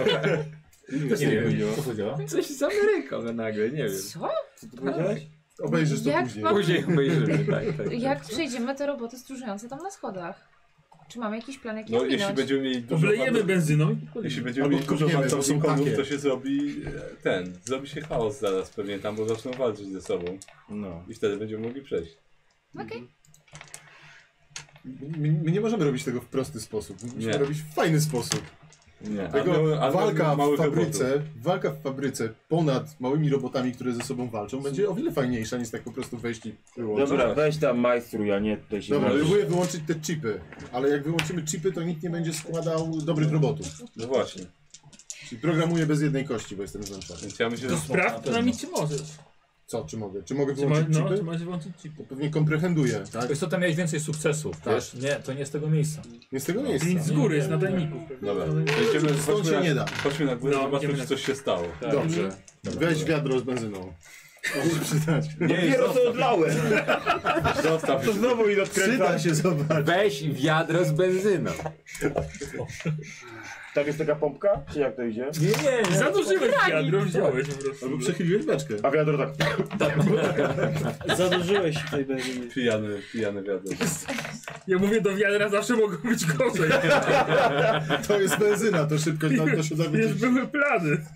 Nie, wiem, co powiedziała?
Coś z Ameryką na nagle, nie wiem.
Co?
Co ty powiedziałeś?
Obejrzysz to
Jak
później.
pan-
Później obejrzymy, tak, tak.
[LAUGHS] Jak przejdziemy te roboty stróżujące tam na schodach? Czy mamy jakiś plan, jak je
No, jeśli
ominąć?
będziemy mieli dużo
Oblejemy
wartowników,
benzyną i
jeśli
podpalimy.
będziemy
Albo
mieli dużo
kuchniemy, bo są
wartowników,
takie.
to się zrobi e, ten. Zrobi się chaos zaraz pewnie tam, bo zaczną walczyć ze sobą.
No.
I wtedy będziemy mogli przejść.
Okej.
My, my nie możemy robić tego w prosty sposób. Musimy
Nie.
robić w fajny sposób.
Nie,
Tego
a miały- a miały
walka, w
małych
fabryce,
robotów.
walka w fabryce ponad małymi robotami, które ze sobą walczą, będzie o wiele fajniejsza niż tak po prostu wejść i wyłączyć.
Dobra, weź tam majstru, ja nie tutaj się
Dobra,
męczę.
próbuję wyłączyć te chipy, ale jak wyłączymy chipy, to nikt nie będzie składał dobrych robotów.
No właśnie.
Czyli programuję bez jednej kości, bo jestem zmęczony.
Więc ja myślę,
To
że
sprawdź przynajmniej, czy możesz.
Co, czy mogę? Czy mogę
Czy, ma,
wyłączyć
no, czy
chipy?
możesz włączyć chip.
To pewnie komprehenduję, tak?
Wiesz co, tam miałeś więcej sukcesów,
Tak.
wiesz? Nie, to nie z tego miejsca.
Nie z tego
Nic z
miejsca.
góry, jest na tajniku.
Dobra, wejdziemy,
Stąd
chodźmy,
się
na,
nie da.
chodźmy na górę,
No,
zobaczmy,
idziemy
czy
na-
coś się stało.
Dobrze. Tak. Mhm. Weź wiadro z benzyną. Może się przydać.
Dopiero co odlałem.
Zostaw
To
już.
znowu i
Przyda
odkręcam.
się, zobacz.
Weź wiadro z benzyną.
Tam Tak jest taka pompka? Czy jak to idzie?
Nie, nie, nie.
Zanurzyłeś wiadro, wziąłeś po prostu.
Albo przechyliłeś beczkę.
A wiadro tak.
Zadłużyłeś się tutaj benzyny.
Pijany, pijany wiatr.
Ja mówię, do wiadra zawsze mogło być gorzej.
To jest benzyna, to szybko to, to się da
Już były plany.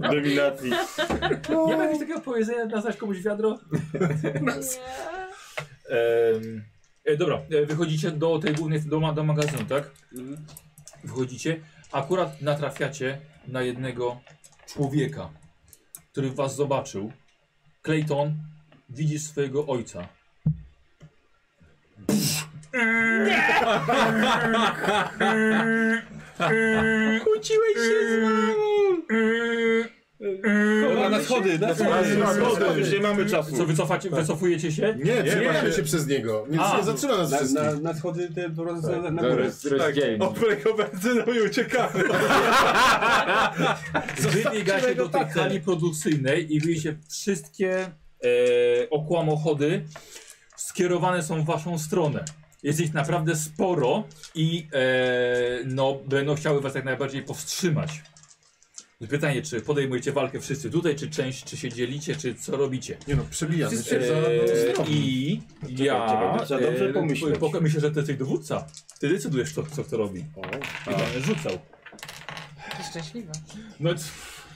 Dominacji.
Nie ma jakiegoś takiego powiedzenia, nazwać komuś wiadro? Em, e, dobra, e, wychodzicie do tej głównej, do, ma- do magazynu, tak? Wychodzicie. akurat natrafiacie na jednego człowieka, który was zobaczył. Clayton, widzisz swojego ojca.
Kłóciłeś się z mamą!
Dobra, na schody, na schody,
na schody.
Już nie mamy czasu. Co, wycofacie, wycofujecie się?
Nie, trzymamy się przez niego. Nie,
A.
nie zatrzyma nas
Na,
wszystkich.
na, na schody te po prostu na,
No
na
Dobra,
górę.
tak.
Oplego benzyną i uciekamy.
Wybiegacie do tej hali produkcyjnej i widzicie wszystkie e, okłamochody skierowane są w waszą stronę. Jest ich naprawdę sporo i e, no, będą chciały was jak najbardziej powstrzymać. Pytanie, czy podejmujecie walkę wszyscy tutaj, czy część, czy się dzielicie, czy co robicie?
Nie no, przebijamy się za
Eee,
za-
I ja.
czekaj, trzeba dobrze
eee,
pomyśleć.
poko- Myślę, że ty jesteś dowódca. Ty decydujesz, co, co kto robi. I będę rzucał.
Ty szczęśliwa.
No,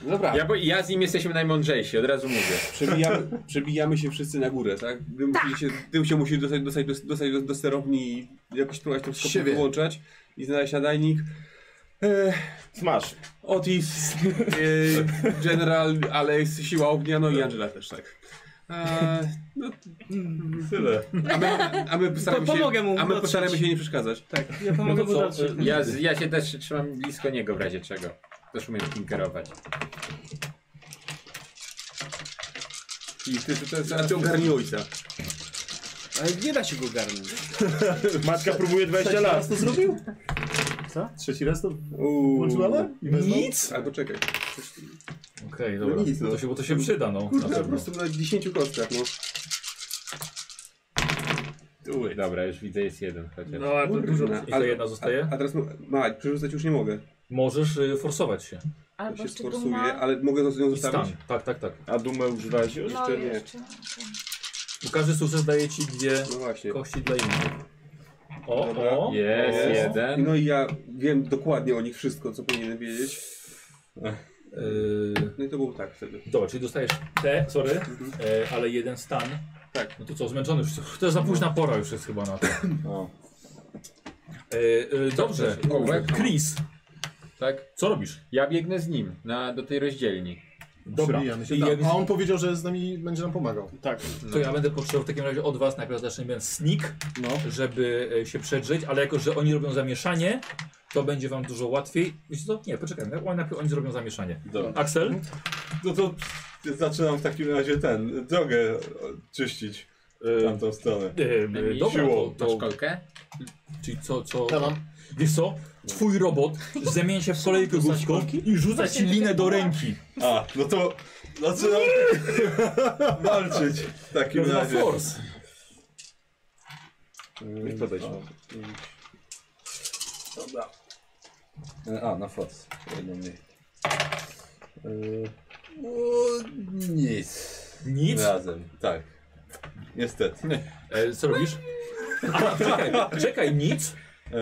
Dobra.
Ja, bo ja z nim jesteśmy najmądrzejsi, od razu mówię.
Przebijamy, przebijamy się wszyscy na górę, tak? Wy musicie, ty się musisz dostać, dostać, do- dostać do, do sterowni i jakoś próbować tą skopę
Siebie.
wyłączać i znaleźć nadajnik.
Smash.
Otis, e, General, Alex, Siła Ognia, no i Angela też, tak. A, no,
Tyle.
a my, a my postaramy,
Po- pomogę
się,
mu
a my
dotrzeć.
postaramy się nie przeszkadzać.
Tak, ja pomogę
No to
mu
co,
dotrzeć.
y,
Ja, z- ja się też trzymam blisko niego w razie czego. Też umiem kim kierować.
I ty, ty, ty, ty, ty ogarnij ojca.
Ale nie da się go garnąć.
Matka próbuje 20 lat.
to zrobił?
Co?
Trzeci raz to
Uuu.
włączyła? I wezwał?
Nic? Albo czekaj.
Okej,
No
dobra.
nic, no.
To się, bo to się przyda, no.
Kurde, po
na pewno.
prostu na 10 kostkach, no.
Dobra, już widzę, jest jeden chociaż.
No, ale to dużo.
I to jedna zostaje?
A, a teraz mu- mać, przerzucać już nie mogę.
Możesz y, forsować się.
To
Albo
się
jeszcze
sforsuje,
duma.
ale mogę z nią
I stan.
zostawić.
Tak, tak, tak.
A dumę używałeś już?
No
czy nie?
jeszcze.
Bo każdy sukces daje ci dwie
No właśnie.
kości dla innych. O,
Dobra.
o.
Jest
o.
jeden.
No i ja wiem dokładnie o nich wszystko, co powinienem wiedzieć.
Yy,
No i to było tak wtedy.
dobra, czyli dostajesz te, sorry, e, ale jeden stan.
Mhm. Tak.
No to co, zmęczony już. To jest za późna pora już jest chyba na to.
No.
E, e, dobrze.
Ołówek?
Chris,
Tak?
co robisz?
Ja biegnę z nim na, do tej rozdzielni.
Dobra.
Przebijamy się.
I
Tam.
jak,
A on powiedział, że z nami będzie nam pomagał.
Tak.
to ja będę potrzebował w takim razie od was najpierw zacznę ten sneak,
No.
żeby e, się przedrzeć, ale jako, że oni robią zamieszanie, to będzie wam dużo łatwiej. Wiecie co? Nie, poczekajmy. Oni najpierw oni zrobią zamieszanie.
Dobra.
Aksel?
Mhm.
No to zaczynam w takim razie ten, drogę e, czyścić w tamtą stronę.
E, e, dobra,
Siłą.
to, to,
Szkolkę?
Czyli co, co...
Ja mam.
Wiesz co? Twój robot zamienia się w kolejkę górską i rzuca ci linę do ręki.
A, no to zaczynam [LAUGHS] walczyć w takim
Nazywa
razie.
force.
Yy,
Podejdź.
a, yy. Dobra. Yy, A, na force. Jedno mniej. Yy, o, Nic.
Nic.
Razem, tak. Niestety.
E, co robisz? A, czekaj, czekaj, nic.
E,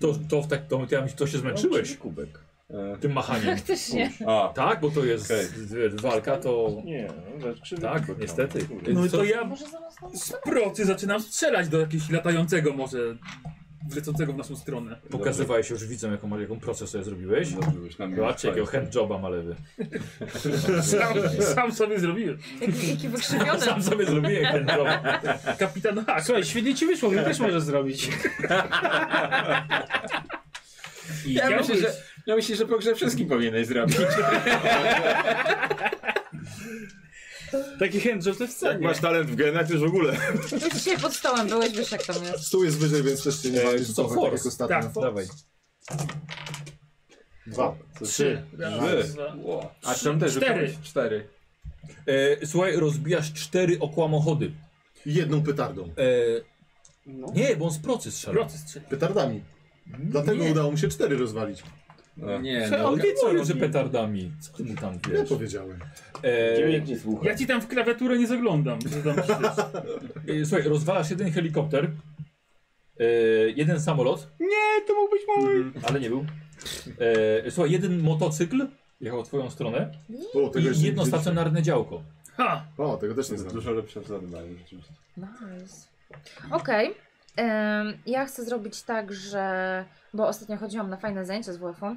To, to, w tak, to, to, ja- to się zmęczyłeś
Kubek.
e,
tym machaniem.
Faktycznie.
A,
Tak, bo to jest
Okej.
z- walka, to...
Nie, no, zobacz, krzywy kubek
Tak,
mam.
niestety.
Kurde.
No i to
Co-
ja
Może zaraz tam
z procy zaczynam strzelać do jakiegoś latającego może, lecącego w naszą stronę.
Pokazywałeś już widzom, jaką, jaką proces sobie zrobiłeś.
Dobrze, byś na mnie
Zobaczcie, jakiego
wpadł.
handjoba ma lewy. [LAUGHS]
Sam, sam sobie zrobiłem.
[LAUGHS] Jaki, jaki [LAUGHS] wykrzywiony.
Sam sobie zrobiłem handjoba.
Kapitan Hack.
Słuchaj, świetnie ci wyszło, mnie też możesz zrobić.
I
Ja,
ja
myślę, że, ja myślę, że po grze wszystkim powinieneś zrobić.
Taki handjob to wcale
Jak
nie.
masz talent w genach, to już w ogóle.
Już dzisiaj pod stołem byłeś, wiesz jak tam jest.
Stół jest wyżej, więc też się nie
Eee,
walisz.
co,
Zobacz, jak
force?
ostatnio.
Tak, force.
[LAUGHS] Dawaj.
Dwa.
Trzy.
Raz, dwa.
Ło.
A czemu też
Cztery.
rzucałeś? Cztery.
E, słuchaj, rozbijasz cztery okłamochody.
Jedną petardą.
E,
No.
nie, bo on z procy strzela.
Proces strzela.
Petardami. Dlatego udało mu się cztery rozwalić.
No.
Nie,
Prze-
no.
On wie co
robi.
że petardami. Co ty mu tam
Ja
wiesz?
powiedziałem.
E,
nie słucha.
Ja ci tam w klawiaturę nie zaglądam. co
[LAUGHS]
tam przecież.
e, słuchaj, rozwalasz jeden helikopter, e, jeden samolot,
Nie, to mógł być mój.
ale nie był. E, słuchaj, jeden motocykl jechał w twoją stronę
O,
i
tego jeszcze
jedno
nie widzieliśmy.
stacjonarne działko.
Ha!
O, tego też
To
nie
jest
znam.
dużo lepsze wzory mają rzeczywiście.
Nice. Okej. Em, ja chcę zrobić tak, że. Bo ostatnio chodziłam na fajne zajęcia z WF-u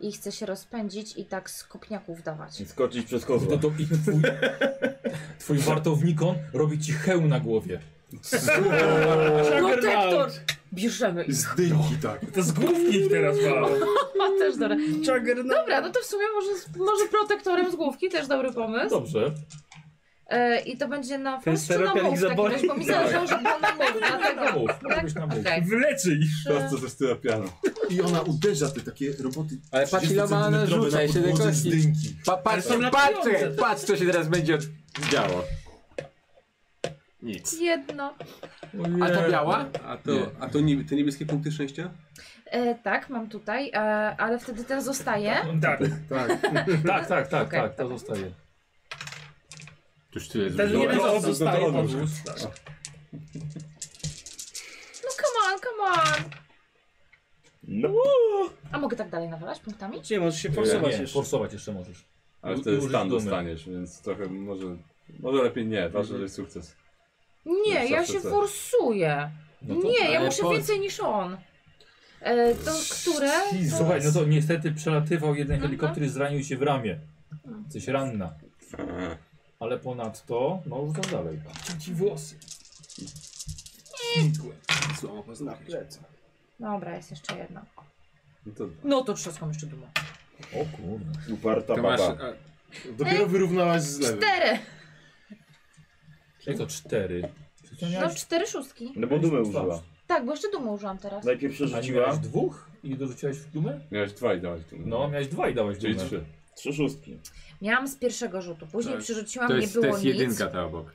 i chcę się rozpędzić i tak z kopniaków dawać.
Skoczyć przez kozła. To, to i
[LAUGHS]
twój, twój wartownikon robi ci hełm na głowie.
Protektor! Bierzemy ich.
dyjki, tak. To z główki teraz ma.
O, też dobre. Dobra, no to w sumie może, może protektorem z główki też dobry pomysł.
Dobrze.
E, I to będzie na
Ten
first czy na
stereotyp
move w takim
zaboli.
razie, bo mi zależało, żeby było Tak. na move, dlatego...
Robisz na mów.
Okej.
Wyleczy ich.
To,
co ze piano. I ona uderza te takie roboty.
Ale patrz ile ma ona
30-centymetrowe
rzuca,
na
jeszcze tylko...
podłodze z dynki.
Pa, patrz, patrz, patrz, co się teraz będzie działo. Nic.
Jedno.
A ta biała?
A to, a to niebie, te niebieskie punkty szczęścia?
E, tak, mam tutaj, e, ale wtedy ten zostaje.
Tak.
Tak, tak, tak, tak,
Okej.
tak, to zostaje.
Tuż tyle
Ten
zrobiłem.
jeden
to odwróć,
zostaje
to odwróć.
odwrót. Tak.
No come on, come on.
No.
A mogę tak dalej nawalać punktami?
Nie, możesz się
Nie,
forsować
nie,
jeszcze.
forsować jeszcze możesz.
Ale
U-
wtedy
użyć
stan
dumy.
dostaniesz, więc trochę może... Może lepiej nie, ważne, że jest sukces.
Nie, ja
Zawsze
się
tak.
forsuję.
No to-
nie, ja
ale
muszę
po-
więcej niż on. E, to które?
I
To...
Słuchaj, no to niestety przelatywał jeden
Mhm.
helikopter i zranił się w ramię. Jesteś ranna. Ale ponadto, no rzucam dalej.
Ci włosy.
Złama paznokcie.
Dobra, jest jeszcze jedna.
No to...
No to trzaskam jeszcze dumą.
O kurde.
Uparta
To masz-
baba.
Dopiero wyrównałaś z lewym.
Cztery!
Jak to cztery? Przecież nie
No
miałeś-
cztery szóstki.
No bo dumę użyła.
Tak, bo jeszcze dumą użyłam teraz.
Najpierw
A nie miałeś dwóch i dorzuciłeś w dumę?
Miałeś dwa i dałaś tu.
No, miałeś dwa i dałeś
Czyli
dumę.
trzy.
Trzy szóstki.
Miałam z pierwszego rzutu, później
To jest-
przerzuciłam,
to
nie
jest, to
było
jest
nic.
jedynka ta obok.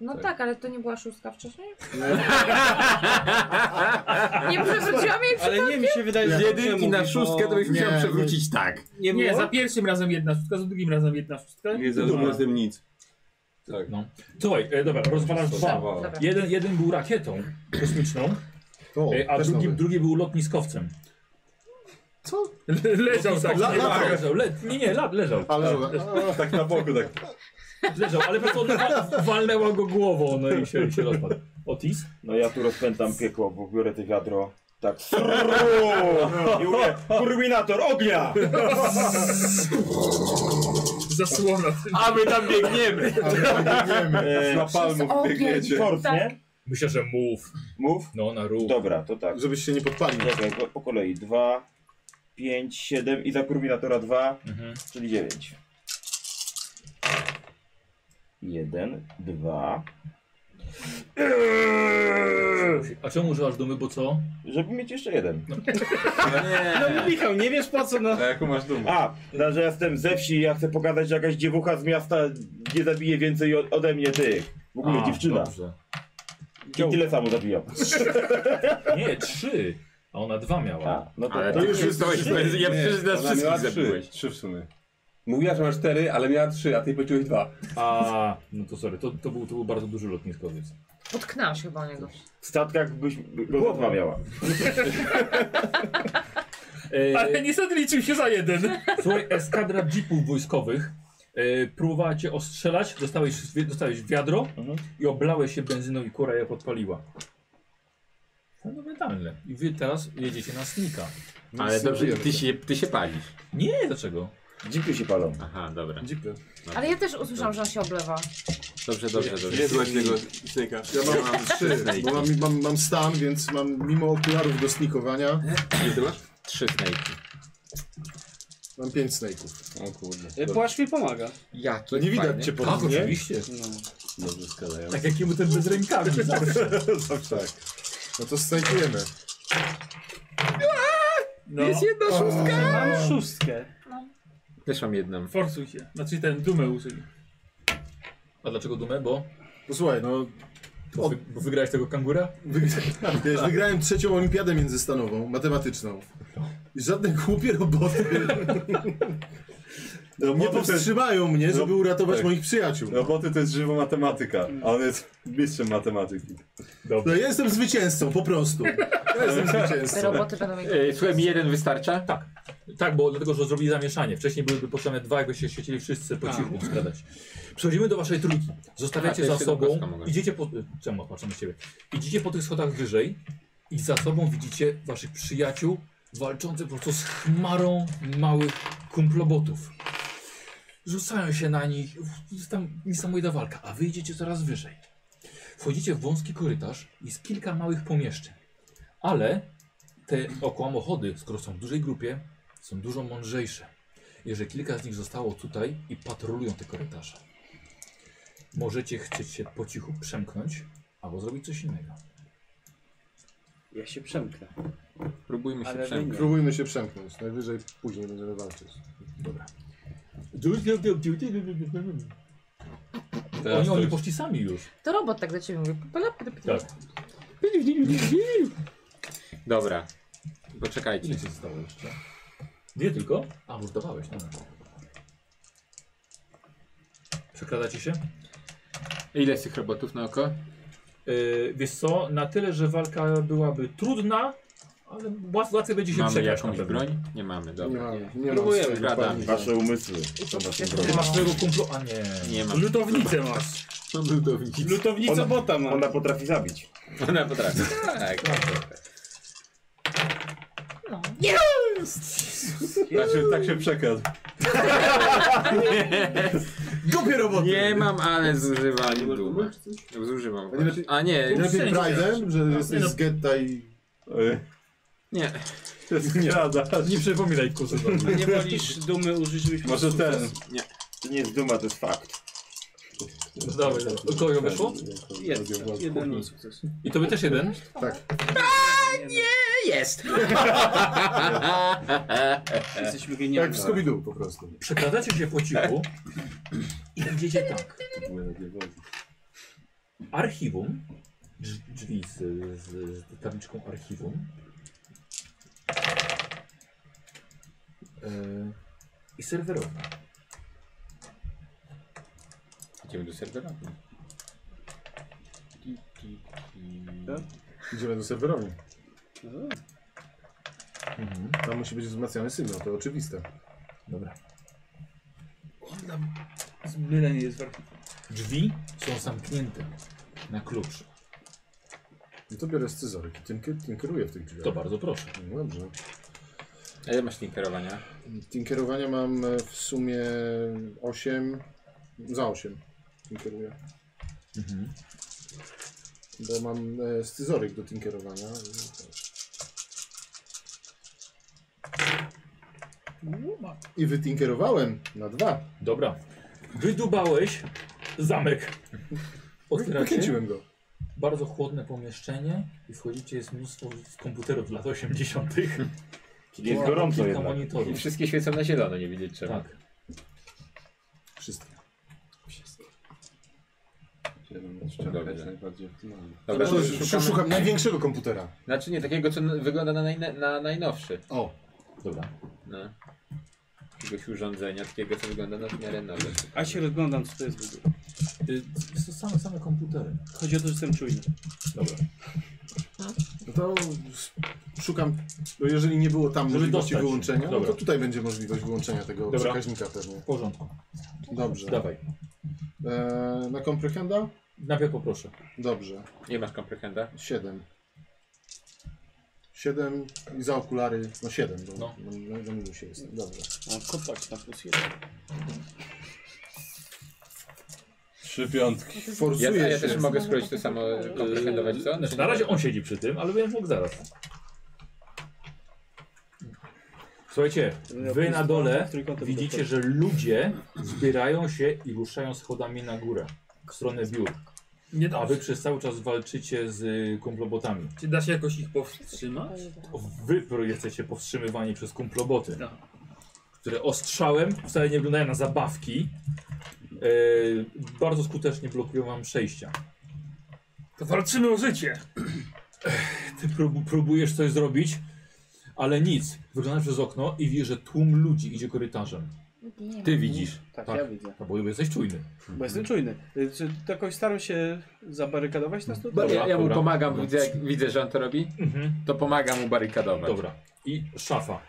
No tak. ale to nie była szóstka wcześniej? [LAUGHS] nie przewróciłam jej
Ale nie, mi się wydaje,
Z
że dobrze
jedynki na
mówi,
szóstkę
no.
to byś
bo-
musiał
Nie,
przewrócić tak.
Nie,
Nie,
no.
było?
za pierwszym razem jedna szóstka, za drugim razem jedna szóstka. [LAUGHS]
Nie za
Duma.
drugim razem nic.
Tak.
No. Słuchaj, e, dobra, rozwalasz dwa.
Dobra.
Jeden, jeden był rakietą kosmiczną, e, a
no też
drugi,
nowy.
drugi był lotniskowcem.
Co?
Leżał tak.
La-
nie
la-
ma.
leżał, le, nie, nie, la, leżał.
Ale
Tak na boku, tak.
Leżał, ale po prostu odwa- walnęła go głową, no i się, i się rozpadł. Otis?
No ja tu rozpętam piekło, bo biorę te wiadro.
[LAUGHS]
Tak. I mówię, kurminator ognia!
Zasłona.
A my tam biegniemy!
tak
Biegniemy. Na palmów biegniecie.
Ford, nie?
Myślę, że mów.
Mów?
No, na ruch.
Dobra, to tak.
Żebyś się nie podpalił.
Czekaj, po, po kolei. 2, 5, 7 i za kurminatora 2, czyli 9. 1, 2.
A czemu używasz dumy, bo co?
Żeby mieć jeszcze jeden.
No Michał, nie wiesz po co, no.
A jaką masz dumę?
A, no, że ja jestem ze wsi ja chcę pokazać, że jakaś dziewucha z miasta nie zabije więcej o- ode mnie tych. W ogóle
A,
dziewczyna.
Dobrze.
I tyle samo zabijam.
Nie, trzy, a ona dwa miała.
Tak.
No to,
Ale
to
tak.
ty
już jest
to jest, to jest, ja przecież nas
Ona
wszystkich
miała trzy.
zabiłeś.
Trzy w sumie.
Mówiła, że masz cztery, ale miała trzy, a ty poczułeś dwa.
A, no to sorry, to, to, był, to był bardzo duży lotniskowiec.
Potknęłam się chyba o niego.
W statkach byś głowa miała.
E,
Ale niestety liczył się za jeden.
Słuchaj, eskadra jeepów wojskowych e, próbowała cię ostrzelać, dostałeś, wi- dostałeś wiadro i oblałeś się benzyną i kura je podpaliła. Fundamentalne. I wy teraz jedziecie na snika.
Ale
No
dobrze, ty się, ty się palisz.
Nie, dlaczego?
Dzipy się palą.
Aha, dobra.
Dzipy.
Ale ja też usłyszałam, że on się oblewa.
Dobrze, dobrze, dobrze.
Nie złać tego snajka.
Ja mam, trzy,
snajki.
bo mam, mam, mam stan, więc mam mimo okularów do snikowania,
Ile ty masz? Trzy snajki.
mam pięć snaków.
O kurde.
Y, Płaszcz mi pomaga.
Jaki
To nie widać
fajny.
cię po
Tak,
nim, nie?
oczywiście.
Dobrze skadają.
Tak jak jemu ten bez rękawy zawsze.
Zawsze tak.
No to snajkujemy.
No,
Jest jedna szóstka!
Mam szóstkę.
Też mam jedną.
Forsuj się. Znaczy ten dumę użyj.
a dlaczego dumę? Bo,
Posłuchaj, no
bo, wy, bo wygrałeś tego kangura?
Wyg- [LAUGHS] Wiesz, wygrałem trzecią olimpiadę międzystanową, matematyczną. I żadne głupie roboty
No,
nie powstrzymają mnie, żeby uratować
No, tak.
moich przyjaciół.
Roboty to jest żywa matematyka, a on jest mistrzem matematyki.
No, ja jestem zwycięzcą, po prostu. Ja jestem
Te
zwycięzcą.
roboty będą mieć...
E, słuchaj, mi jeden wystarcza?
Tak.
E,
Tak, bo dlatego, że zrobili zamieszanie. Wcześniej byłyby potrzebne dwa, jakby się świecili wszyscy po cichu skradać. Przechodzimy do waszej trójki. Zostawiacie
A, to
za
jeszcze
sobą,
do paska mogę.
idziecie po... Czemu patrzę na ciebie? Idziecie po tych schodach wyżej i za sobą widzicie waszych przyjaciół walczących po prostu z chmarą małych kumplobotów. Rzucają się na nich, jest tam niesamowita walka, a wy idziecie coraz wyżej. Wchodzicie w wąski korytarz, jest kilka małych pomieszczeń, ale te okłamochody, skoro są w dużej grupie, są dużo mądrzejsze. I że kilka z nich zostało tutaj i patrolują te korytarze. Możecie chcieć się po cichu przemknąć albo zrobić coś innego.
Ja się przemknę.
Próbujmy się
Ale wy
przemknąć.
nie.
Próbujmy się przemknąć. Najwyżej później będziemy walczyć.
Dobra. Oni, oni poszli sami już.
To robot tak do ciebie mówi. Palapka do pytania.
Tak.
Dobra. Poczekajcie.
Ile ci zostało jeszcze? Dwie tylko? A, bo zdawałeś. Dobra. Przekradacie się?
Ile jest tych robotów na oko?
Yy, wiesz co, na tyle, że walka byłaby trudna, ale łat- łatwiej będzie się
Mamy
przekraść
jakąś
na pewno.
broń? Nie mamy,
Nie
dobra.
mam, nie mam
Próbujemy,
swojego
gadamy.
pani.
Wasze umysły. są waszą
Ty
drogą.
masz swojego kumplu, a nie.
Nie mam.
Lutownicę masz.
Ludownicy.
Lutownica
Ona-
bota ma.
Ona potrafi zabić.
[LAUGHS] Ona potrafi. Tak, tak.
No.
Tak się, tak się przekradł.
Głupie roboty!
Nie mam, ale zużywam dumę. Zużywam.
A nie lepiej-
A nie,
Lepiej
wszędzie.
Pride'em, że
Nie
jesteś
no.
z getta i...
Oj, [LAUGHS]
nie.
to jest nieprawda.
Nie przypominaj kuzyna.
A nie wolisz dumy użyć, żebyś
Może ten.
To nie jest duma, to jest fakt.
Dawaj, dawaj. U kogo weszło?
Jeden, jeden sukces.
I tobie też jeden?
Tak.
Jest!
Jesteśmy
Jak
genialni.
w tak Scooby-Doo po prostu.
Przekradacie się po cichu i idziecie tak. Archiwum, drz- drzwi z, z, z tabliczką archiwum. E, I serwerownia.
Idziemy do serwera?
Idziemy do serwerowni.
Mhm.
No.
Mhm. Tam musi być wzmacniany sygnał, to oczywiste.
Dobra.
Zmylenie jest w
Drzwi są zamknięte na klucz.
No to biorę scyzoryk i tym, ky- tym kieruję w tych drzwiach.
To bardzo proszę.
No Dobrze.
A ile masz tinkerowania?
Tinkerowania mam e, w sumie 8. Za 8 tinkeruję.
Mhm.
Bo mam e, scyzoryk do tinkerowania. I wytinkerowałem na dwa.
Dobra. Wydubałeś zamek. Otwieracie
Wykręciłem go.
bardzo chłodne pomieszczenie i wchodzicie, jest mnóstwo z komputerów lat 80. [LAUGHS]
Czyli jest
Wow.
gorąco
Kilka
jednak.
I
monitorów.
wszystkie świecą na zielono, nie widzieć czego.
Tak.
Wszystkie.
Szczęka jest najbardziej optymalna.
Dobra,
Szukam,
szukamy-
Znaczy, szukam największego komputera.
Znaczy nie, takiego co n- wygląda na, najna- na najnowszy.
O,
Dobra.
No. Jakiegoś urządzenia, takiego co wygląda na w miarę nowe.
A się rozglądam, co to jest w ogóle.
Y, są same, same komputery.
Chodzi o to, że jestem czujny.
Dobra.
no to s- szukam, bo jeżeli nie było tam
Żeby
możliwości
dostać.
wyłączenia, no
Dobra.
to tutaj będzie możliwość wyłączenia tego
Dobra.
przekaźnika pewnie.
W porządku.
Dobrze.
Dawaj.
E, na komprehenda?
Najpierw poproszę.
Dobrze.
Nie masz komprehenda?
7. 7 i za okulary, no 7, bo
No.
no. Na, na minusie jest. Dobrze.
Mam kopać na plus jeden.
Trzy piątki.
Ja,
Forsuje
a ja
się.
też mogę spróbować to samo e, komprehendować co?
Znaczy, na razie on siedzi przy tym, ale będę mógł zaraz. Słuchajcie,
No,
wy na dole widzicie, że ludzie zbierają się i ruszają schodami na górę, w stronę biur.
Nie da
A wy przez cały czas walczycie z y, kumplobotami.
Czy da się jakoś ich powstrzymać?
Wy jesteście powstrzymywani przez kumploboty,
No.
które ostrzałem wcale nie wyglądają na zabawki. Yy, bardzo skutecznie blokują wam przejścia.
To walczymy o życie.
Ty prób próbujesz coś zrobić, ale nic. Wyglądasz przez okno i widzisz, że tłum ludzi idzie korytarzem.
Nie
Ty widzisz.
Tak,
Tak.
ja widzę.
No bo jesteś czujny.
Bo jestem czujny. Y, Czy to jakoś staram się zabarykadować nas tutaj?
Dobra,
ja, ja mu
dobra.
pomagam, widzę, jak,
Mhm.
[LAUGHS] widzę, że on to robi, to pomagam mu barykadować.
Dobra. I szafa.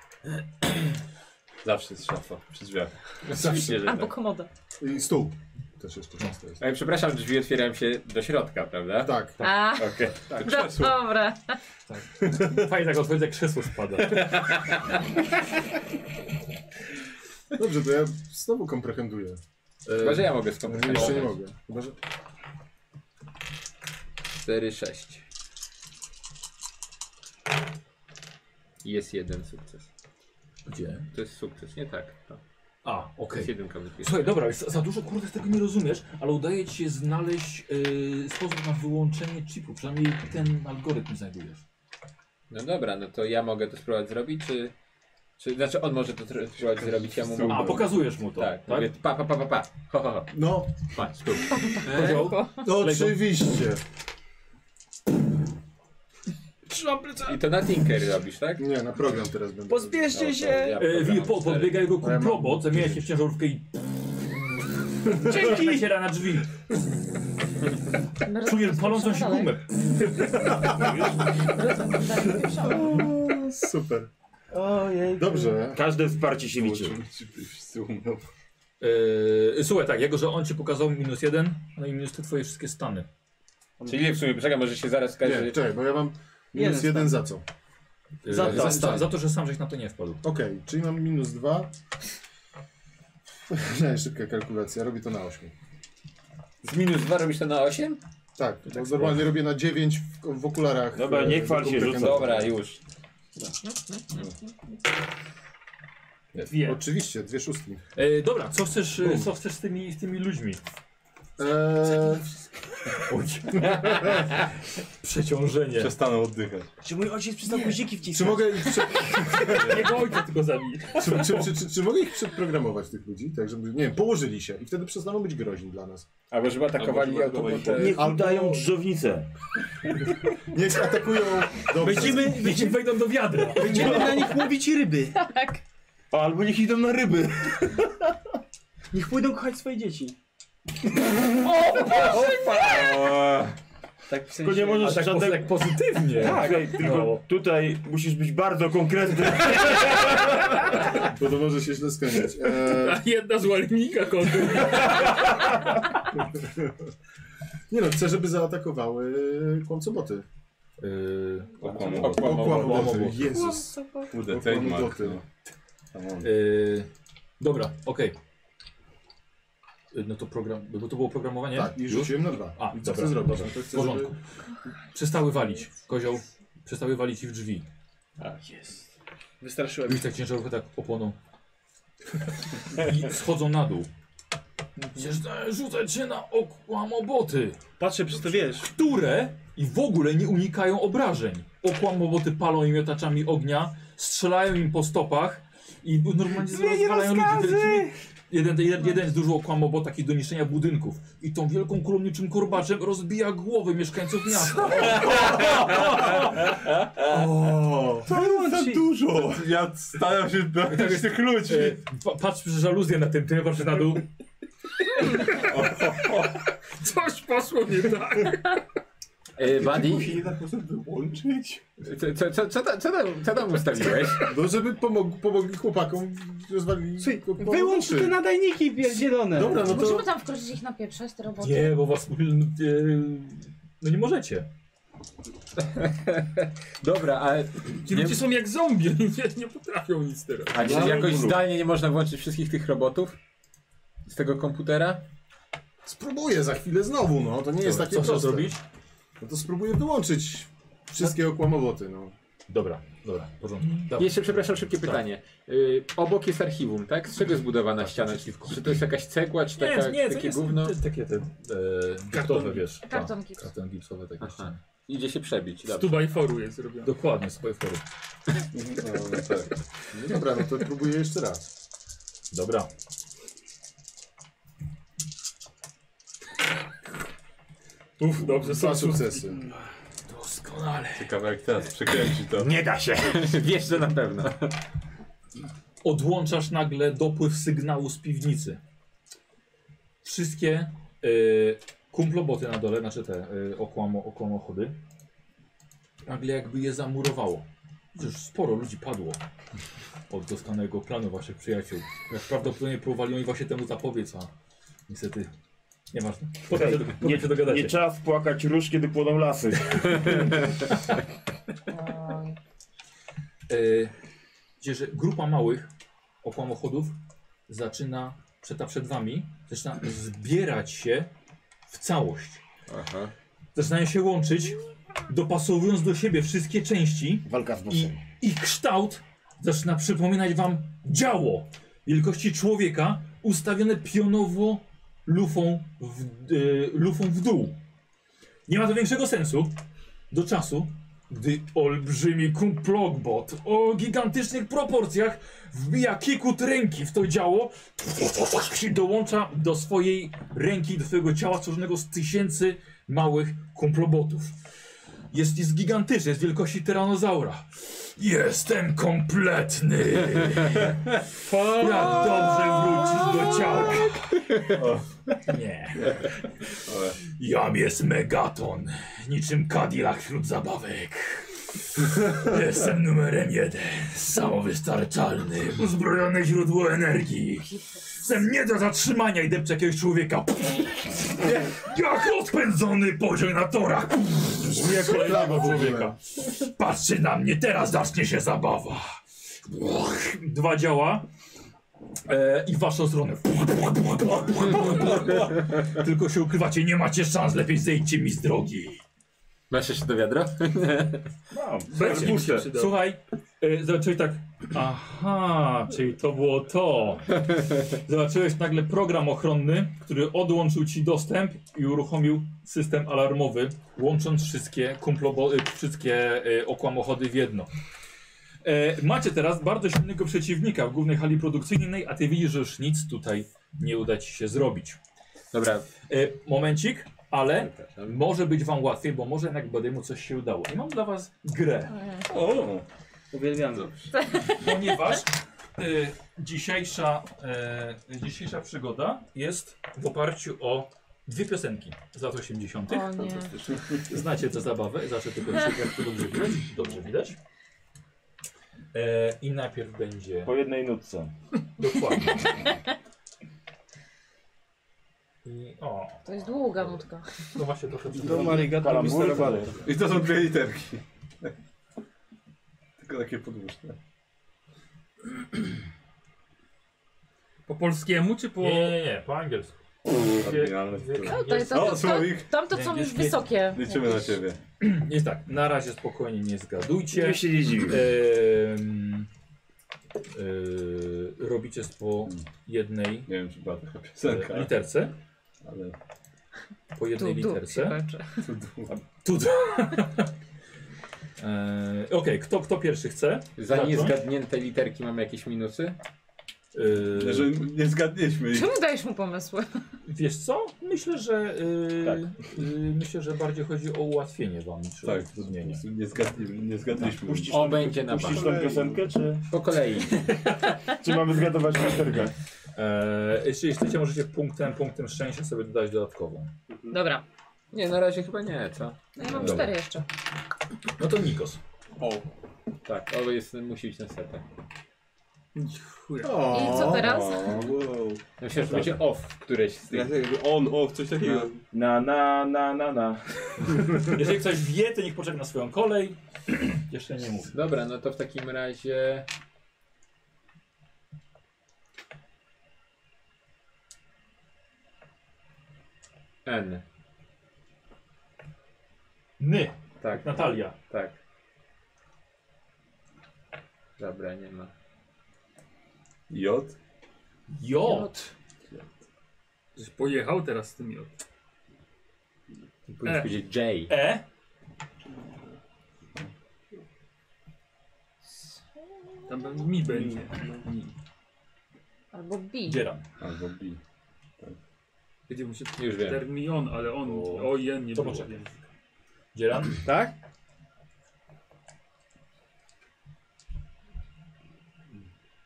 Zawsze jest szafa przy drzwiach.
Zawsze.
że
Albo
tak.
komoda.
I stół. Też jeszcze często jest.
Ej, przepraszam, drzwi otwierają się do środka, prawda?
Tak.
A.
Okej.
Y,
[LAUGHS] Do, dobra.
Fajnie tak otworzy, jak krzesło spada.
Dobrze, to ja znowu komprehenduję.
Chyba, że ja mogę skomplikować.
Jeszcze nie mogę. Chyba, że...
4, 6. Jest jeden sukces.
Gdzie?
To jest sukces, nie tak. To.
A,
To
okej.
jest jeden kamyk.
Słuchaj, dobra, za, za dużo kurde tego nie rozumiesz, ale udaje ci się znaleźć y, sposób na wyłączenie chipu. Przynajmniej ten algorytm znajdujesz.
No dobra, no to ja mogę to spróbować zrobić, czy... czy znaczy on może to tr- spróbować zrobić, ja mu
A, pokazujesz mu to,
Tak,
tak?
Mówię, pa, pa, pa, pa, pa. Ho, ho, ho.
No.
Patrz, tu.
Oczywiście.
Trzymam plecak.
I to na Tinker robisz, tak?
Nie, na program teraz będę.
Pospieszcie
No,
się!
to
E,
ja program
Wi- po,
cztery.
podbiega jego kuprobot, zamienia się w ciężarówkę i... Dzięki! Naciera na drzwi. Czujesz palącą się gumę.
tak,
[LAUGHS]
No,
Super.
Ojej.
Dobrze.
Każde wsparcie się liczy.
Yy, słuchaj, tak, jego, że on ci pokazał minus jeden, no i minus te twoje wszystkie stany.
Czyli w sumie, poczekaj, może się zaraz skaże.
Nie, czekaj, bo ja mam minus
Jeden
jeden, za co?
Yy,
Za-
za,
za-
za, za to, że sam żeś na to nie wpadł.
Okej, czyli mam minus dwa. [LAUGHS] Nie, szybka kalkulacja, robię to na 8.
Z minus 2 robisz to na 8?
Tak, bo normalnie robię na 9 w, w okularach.
Dobra,
e,
nie chwal się,
komprehendu.
rzucę.
Dobra, już.
Dwie.
Oczywiście, dwie szóstki.
E, dobra, co chcesz, e, co [LAUGHS] chcesz z, tymi, z tymi ludźmi?
Eee,
Oj. Przeciążenie.
Przestaną oddychać.
Czy mój ojciec przestał guziki wciskać?
czy mogę ich
[LAUGHS]
prze...
Jego ojca tylko zabij.
Czy, czy, czy, czy, czy mogę ich przeprogramować, tych ludzi? Tak, żeby, nie wiem, położyli się i wtedy przestaną być groźni dla nas.
Albo żeby atakowali
Albo żeby
autobotę.
Nie.
Niech
Albo-
udają drzownicę.
Niech atakują... Dobrze.
Będziemy,
Niech
będziemy,
wejdą do wiadra.
będziemy na nich łowić ryby.
Tak.
Albo niech idą na ryby.
Niech pójdą kochać swoje dzieci. Tak w sensie...
Tylko nie
A
możesz
tak, pozy-
żadnego...
tak pozytywnie.
Tak, Słuchaj,
No.
tylko tutaj musisz być bardzo konkretny.
Bo to może się źle skończyć. Eee,
A jedna zła linijka kontra.
nie no, chcę, żeby zaatakowały kłamcoboty.
Yy,
Okłamał.
Okłamoboty.
Okłamoboty.
Jezus.
Kurde, trademark.
Okłamoboty.
No. Tam on.
yy, dobra, okej. Yy, No to program, bo to było programowanie?
Tak, i
Już?
rzuciłem na dwa.
A,
I
dobra,
co chcę zrobić?
dobra.
To
W
chcę,
porządku. Przestały walić, kozioł. Przestały walić ci w drzwi.
Wystraszyłem.
Już tak ciężarówkę tak opłoną. I schodzą na dół. Zjeżdżają, Rzucać się na okłamoboty,
Patrzę przez to, wiesz.
które i w ogóle nie unikają obrażeń. Okłamoboty palą im miotaczami ognia, strzelają im po stopach i b- normalnie rozwalają ludzi. Jeden, jeden, jeden z dużo okłamobot taki do niszczenia budynków. I tą wielką kolumniczym korbaczem rozbija głowy mieszkańców miasta.
To jest za dużo! Ja staram się brać tych ludzi.
E, pa- patrz przez żaluzję na tym, ty patrz na dół.
Coś poszło nie tak.
Yy, Buddy?
się nie da po prostu wyłączyć?
Co, co, co, co, ta- co, tam, co tam ustawiłeś?
No żeby pomog pomogli chłopakom, rozwalili chłopakom
Wyłącz
uszy.
te nadajniki pierdzielone.
Dobra, no to...
Musimy tam wkroczyć ich napieprzać, te roboty.
Nie, bo was. No nie możecie.
Dobra, ale
Ci ludzie są jak zombie, oni nie, nie potrafią nic teraz.
a czy jakoś zdalnie nie można włączyć wszystkich tych robotów? Z tego komputera?
Spróbuję za chwilę znowu, no. To nie jest
Dobra,
takie
co chcesz
proste.
zrobić?
No to spróbuję wyłączyć wszystkie okłamowoty, no.
Dobra, dobra, w porządku. Dawaj.
Jeszcze, przepraszam, szybkie pytanie. Y, obok jest archiwum, tak? Z czego jest budowana ściana? Czy, czy to jest jakaś cegła, czy taka, takie gówno?
to jest takie te. E, gipsowe, wiesz. tak,
Karton gips.
Karton gipsowe takie.
Aha. Idzie się przebić,
Z
dobrze. [LAUGHS]
Tubajforu jest zrobione.
Dokładnie, swoje fory.
no tak. No dobra, no to próbuję jeszcze raz.
Dobra.
Uf, dobrze, są
Dwa sukcesy.
Doskonale.
Ciekawe jak teraz przekręci to.
Nie
[LAUGHS]
da się.
Wiesz, że na pewno.
Odłączasz nagle dopływ sygnału z piwnicy. Wszystkie e, kumploboty na dole, znaczy te e, okłamo, okłamochody, nagle jakby je zamurowało. Już sporo ludzi padło od dostanego planu waszych przyjaciół. Jak prawdopodobnie próbowali oni właśnie temu zapobiec, a niestety nieważne. Potem się, potem
nie,
się dogadacie.
nie czas płakać róż, kiedy płoną lasy.
Tak.
E, Widzicie, że grupa małych okłamochodów zaczyna, przed- ta przed wami, zaczyna zbierać się w całość.
Aha.
Zaczynają się łączyć, dopasowując do siebie wszystkie części.
Walka z
I ich kształt zaczyna przypominać wam działo wielkości człowieka ustawione pionowo lufą w, e, lufą w dół. Nie ma to większego sensu do czasu, gdy olbrzymi kumplogbot o gigantycznych proporcjach wbija kikut ręki w to działo i dołącza do swojej ręki, do swojego ciała złożonego z tysięcy małych kumplobotów. Jest, jest gigantyczny, jest wielkości tyranozaura. Jestem kompletny! Jak dobrze wrócić do ciała! Nie. Jam jest megaton, niczym Cadillac wśród zabawek. Jestem numerem jeden, samowystarczalny, uzbrojone źródło energii. Jestem nie do zatrzymania i depczę jakiegoś człowieka. Jak rozpędzony poziom na torach. Nie kolejnego człowieka. Patrzy na mnie, teraz zacznie się zabawa. Dwa działa. E, I w waszą stronę. Tylko się ukrywacie, nie macie szans, lepiej zejdźcie mi z drogi.
Masz jeszcze do
[LAUGHS]
wiadra?
Będzie mi się przydało. Słuchaj, y, zobaczyłeś tak. Aha, czyli to było to. Zobaczyłeś nagle program ochronny, który odłączył ci dostęp i uruchomił system alarmowy, łącząc wszystkie, kumplobo, y, wszystkie y, okłamochody w jedno. E, macie teraz bardzo silnego przeciwnika w głównej hali produkcyjnej, a ty widzisz, że już nic tutaj nie uda ci się zrobić.
Dobra.
E, momencik, ale może być wam łatwiej, bo może jednak Bademu coś się udało. I mam dla was grę. O!
Uwielbiam.
Ponieważ y, dzisiejsza, y, dzisiejsza przygoda jest w oparciu o dwie piosenki z lat 80.
O nie.
Fantastyczne. Znacie tę zabawę, zawsze tylko jak to dobrze widać. Dobrze widać. E, I najpierw będzie.
Po jednej nutce.
Dokładnie. I, o,
To jest długa nutka.
no właśnie trochę
Do Marigata Mr. Ballet. I to są dwie literki.
Tylko takie podłużne.
Po polskiemu czy po...
Nie, nie, nie, po angielsku.
Oryginalne tytuły.
No, to jest, to,
O,
to, to,
słowik.
tam to są już wysokie.
Liczymy na ciebie.
Jest tak, na razie spokojnie nie zgadujcie.
Ja się nie dziwię.
Em, e, robicie z po jednej
Nie wiem, czy była taka piosenka.
e, literce.
Ale...
Po jednej
Tu, tak. tu się
literce.
kończy. Tu, tu.
Tu, tu. Eee, Okej, kto, kto pierwszy chce?
Za
Zacząć?
niezgadnięte literki mamy jakieś minusy?
Eee,
Że nie zgadnieliśmy ich.
Czemu dajesz mu [LAUGHS] pomysły?
Wiesz co? Myślę, że e,
Tak.
e, myślę, że bardziej chodzi o ułatwienie wam niż o
Tak,
utrudnienie.
nie, zgadli, nie
Tak,
zgadliśmy.
Puścisz,
O, będzie na
puścisz
bank.
tę piosenkę, czy,
Po kolei.
czy mamy zgadować literkę?
Eee, jeśli chcecie, możecie punktem, punktem szczęścia sobie dodać dodatkową.
Dobra.
Nie, na razie chyba nie, co?
No ja mam
Dobra.
cztery jeszcze.
No to Nikos.
O. Tak, o jest, musi iść na setę.
I co teraz?
No Myślę, że będzie off któreś z tych.
On, off, coś takiego.
No.
Na, na, na, na, na.
Jeżeli ktoś wie, to niech poczeka na swoją kolej. Jeszcze nie mówię.
Dobra, no to w takim razie... N.
Ny.
Tak.
Natalia.
Tak. Dobra, nie ma.
J?
Jot.
Żeś pojechał teraz z tym jod.
Powinien
E.
powiedzieć J.
E.
Tam pewnie mi będzie.
Albo B.
Dzieram.
Albo B.
Będzie mu się
Już wiem.
termion, ale on...
O.
O, jen nie
To
było.
poczekaj. Dzieram.
Tak?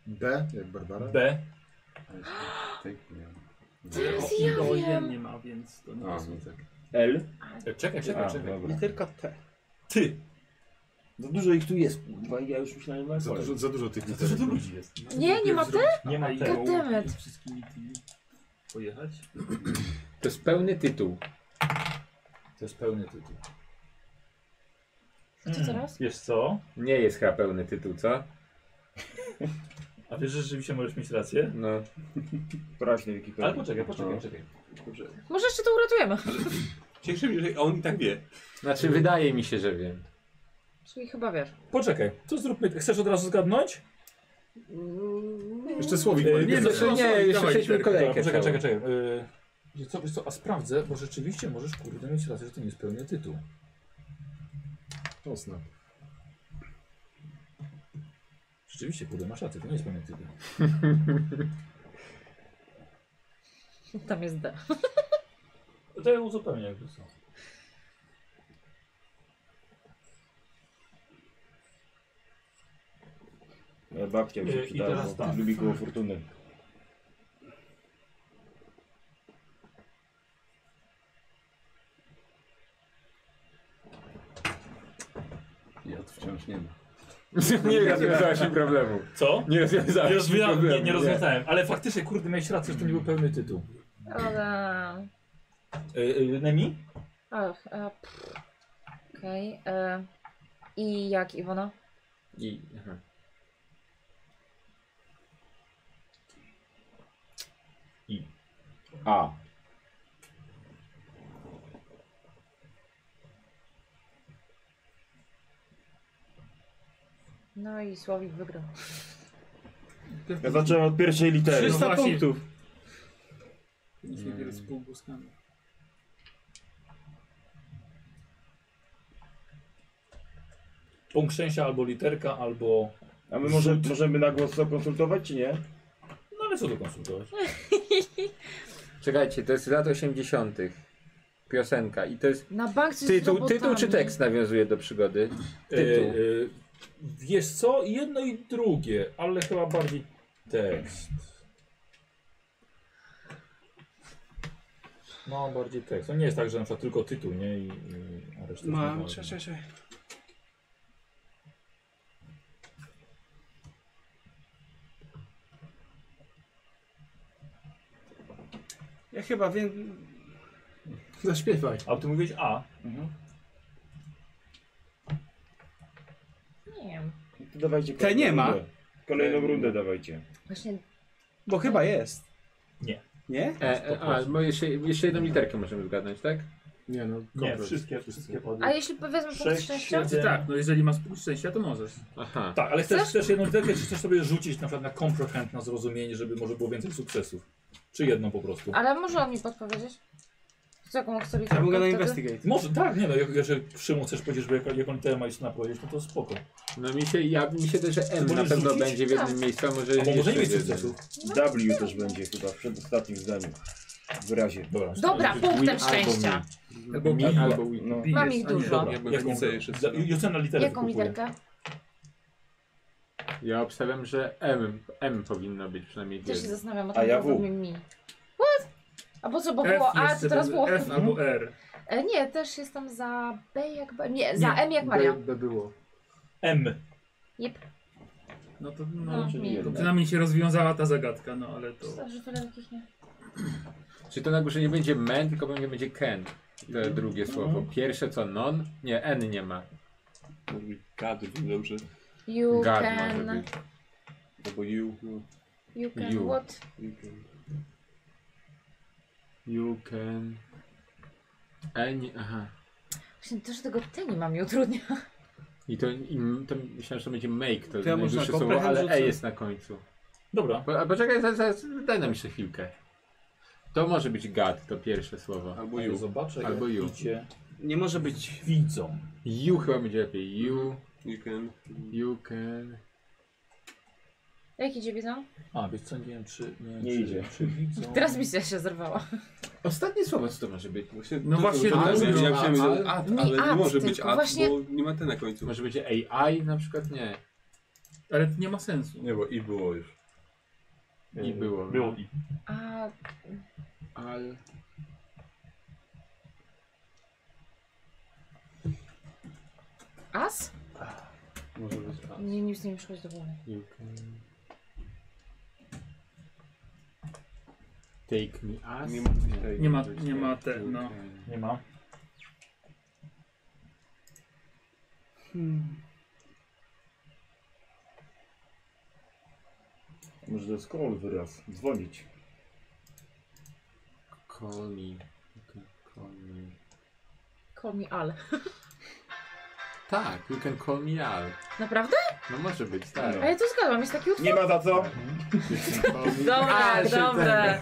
B, jak Barbara.
B.
Tak,
Teraz ja
O, jen
wiem.
nie ma, więc to nie
A,
jest.
no tak.
L?
Czekaj, czekaj,
A,
czekaj.
dobra.
Literka T.
Ty.
Za dużo ich tu jest, kurwa, i ja już myślałem na
Za
kole.
dużo, za dużo tych
dużo
literek.
ludzi
Nie, nie ma ty?
Nie ma
tego. Goddammit.
Wszystkimi tymi pojechać?
To jest pełny tytuł.
To jest pełny tytuł.
Co teraz?
Hmm. Wiesz co?
Nie jest chyba pełny tytuł, co?
A wiesz, że rzeczywiście możesz mieć rację?
No.
Poraźnie Wikipedia.
Ale poczekaj, poczekaj, poczekaj.
Może jeszcze to uratujemy. [LAUGHS]
Cieszę się, że on i tak wie. Znaczy, wydaje mi się, że wiem. [LAUGHS]
Czyli chyba wiesz.
Poczekaj, to zróbmy. Chcesz od razu zgadnąć?
Jeszcze Słowik ma
E,
literkę.
no, Słowik,
nie,
dawaj
jeszcze przejdźmy
literkę.
kolejkę
Dobra, Czekaj,
całą.
czekaj, czekaj. E, wiesz co, wiesz co, a sprawdzę, bo rzeczywiście możesz kurde mieć rację, że to nie jest pełny tytuł.
To snap.
Rzeczywiście, kurde, masz rację, to nie jest pełny tytuł.
Tam jest D.
To ja uzupełnię jakby co.
Moja babcia mi się
I- i
przydała,
teraz
bo
tak.
lubi koło fortuny.
Ja tu wciąż nie ma.
Nie rozwiązałeś mi problemu.
Co?
Nie rozwiązałeś
Nie, rozwija-
problemu,
nie, nie rozwiązałem, ale faktycznie, kurde, miałeś rację, że to nie był pełny tytuł.
Ale...
E, e, Nemi?
Ach, e, pff. Okej. e, I jak, Iwona?
I, aha.
I.
A.
No i Słowik wygrał.
Ja zacząłem od pierwszej litery. No
300 punktów.
Nic nie wiele z półgłoskami.
Punkt szczęścia albo literka, albo...
A my może, możemy na głos to konsultować, czy nie?
No ale co tu konsultować?
Czekajcie, to jest z lat 80. Piosenka i to jest.
Na bank z
Tytuł,
robotami.
tytuł czy tekst nawiązuje do przygody?
E, e,
Tytuł.
wiesz co, jedno i drugie, ale chyba bardziej tekst. No, bardziej tekst. No nie jest tak, że na przykład tylko tytuł, nie? I, i a reszta jest
Mam,
nieważna.
cze, cze, cze. Ja chyba wiem...
Zaśpiewaj. A ty mówisz A.
Nie wiem.
To dawajcie
Te nie ma.
Rundę. Kolejną rundę dawajcie.
Właśnie
Bo chyba jest.
Nie.
Nie?
E, e, a, bo jeszcze, jeszcze jedną literkę możemy zgadnąć, tak?
Nie, no.
Nie, wszystkie, wszystkie padły.
A jeśli wezmę punkt szczęścia?
Znaczy tak, no jeżeli masz punkt szczęścia, to możesz.
Aha.
Tak, ale chcesz, chcesz jedną literkę, czy chcesz sobie rzucić na przykład na comprehend, na zrozumienie, żeby może było więcej sukcesów? Czy jedną po prostu?
Ale może on mi podpowiedzieć? Co, jaką chcę liczbę? wtedy?
Może, tak, nie no, jak- jeżeli Szymon chcesz powiedzieć, że jak, jak on tyle ma jest na powiedzieć, no to spoko.
No mi się, ja mi się też, że M na
Możesz
pewno
rzucić?
będzie w jednym
Tak.
miejscu, a może
Albo może nie mieć
jeszcze w
sukcesu.
W też będzie chyba w przedostatnim zdaniu. W razie.
Dobra,
Dobra, punktem szczęścia.
Albo mi, albo mi. No.
Mam ich dużo.
Jaką chcę jeszcze? Jocena literę
Jaką
wykupuję.
literkę?
Ja obstawiam, że M, M powinno być przynajmniej w
Też się
jednym.
zastanawiam, o
A
tym
ja W.
mi mi. What? A po co, bo było A, to teraz było
F albo R.
E, Nie, też jestem za B jak... Ba- Nie, za M jak Maria.
no,
by było.
M.
Jep.
No to, no,
No, czyli
to
jednak.
przynajmniej się rozwiązała ta zagadka, no ale to...
Że tyle takich nie.
Czyli to na górze nie będzie men, tylko będzie będzie ken. To drugie słowo. Pierwsze co non? Nie, N nie ma.
Gady, dobrze.
You
God może
can...
być.
Albo you.
You can
You.
what?
you can.
You can... N, aha.
Właśnie też tego T nie mam i utrudnia. [LAUGHS]
I to, i to myślałem, że to będzie make, to,
To ja może
najdłuższe
na
słowo,
comprehend
ale E
rzucę.
jest na końcu.
Dobra.
Po, a poczekaj, zaraz, zaraz, daj nam jeszcze chwilkę. To może być gad, to pierwsze słowo.
Albo you. Zobaczę,
Albo
jak
you.
widzicie.
Nie może być...
Widzą.
You chyba będzie lepiej. You,
You can.
you can...
Jak idzie widzą?
A, wiesz co, nie wiem czy... Nie, wiem,
Nie
czy,
idzie.
Czy widzą...
no? Teraz misja się zerwała.
Ostatnie słowo, co to może być?
No właśnie,
to,
to
to,
też będzie, ja chciałem
to,
jeden ad,
mi
ale nie
ad
może być
tylko,
ad,
właśnie-
bo nie ma ten na końcu.
Może będzie AI na przykład? Nie.
Ale to nie ma sensu.
Nie, bo i było już.
I było.
Było i.
A
Al...
as?
Może być A.
Nie, nic nie mi przychodzi do głowy.
You can... Take me as...
Nie ma coś takiego.
Nie ma, nie ma te, no.
Nie ma.
Hmm.
Może to jest call wyraz. Dzwonić.
Call me. You can call me.
Call me Al.
Tak, you can call me Al.
Naprawdę?
No może być, tak.
A ja to zgadzam, jest taki utwór.
Nie ma za co.
[LAUGHS]
Dobra,
się
dobra.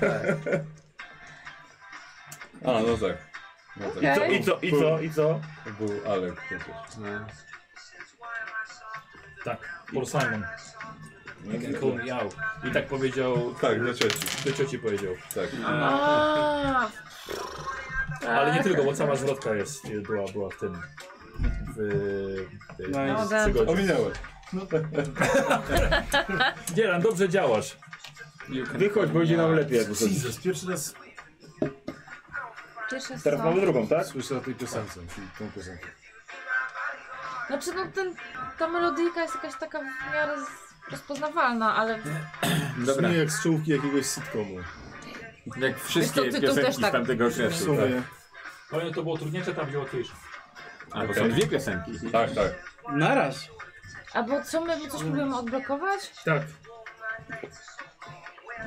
A, no tak. No tak.
Okej.
I co, i co, i co?
To był Alek przecież.
Tak, Paul Simon. You can call me out. I tak powiedział...
Tak, do cioci.
Do cioci powiedział.
Tak.
A,
Ale nie
tak.
tylko, bo cała zwrotka jest, y, była, była w tym... W, y, w,
No,
w
da-
przygodzie.
Ominęłem. No tak.
Dzielan, dobrze działasz.
Wychodź, bo idzie nam lepiej jak wychodzi.
Jesus, pierwszy raz
Pierwsza
Teraz mamy
są.
drugą, tak? Słyszę o tej piosence, czyli tą piosenkę.
Znaczy no ten, ta melodyjka jest jakaś taka w miarę z- rozpoznawalna, ale
Dobra.
Brzmi jak z czołówki jakiegoś sitcomu.
Jak wszystkie
Wiesz co, ty to
piosenki
też tak
z tamtego okresu.
sumie.
Tak.
Powiem, to było trudniejsze, tam było łatwiejsze.
A, bo są dwie piosenki.
Tak, tak.
Naraz.
Albo co my my coś próbujemy odblokować?
Tak.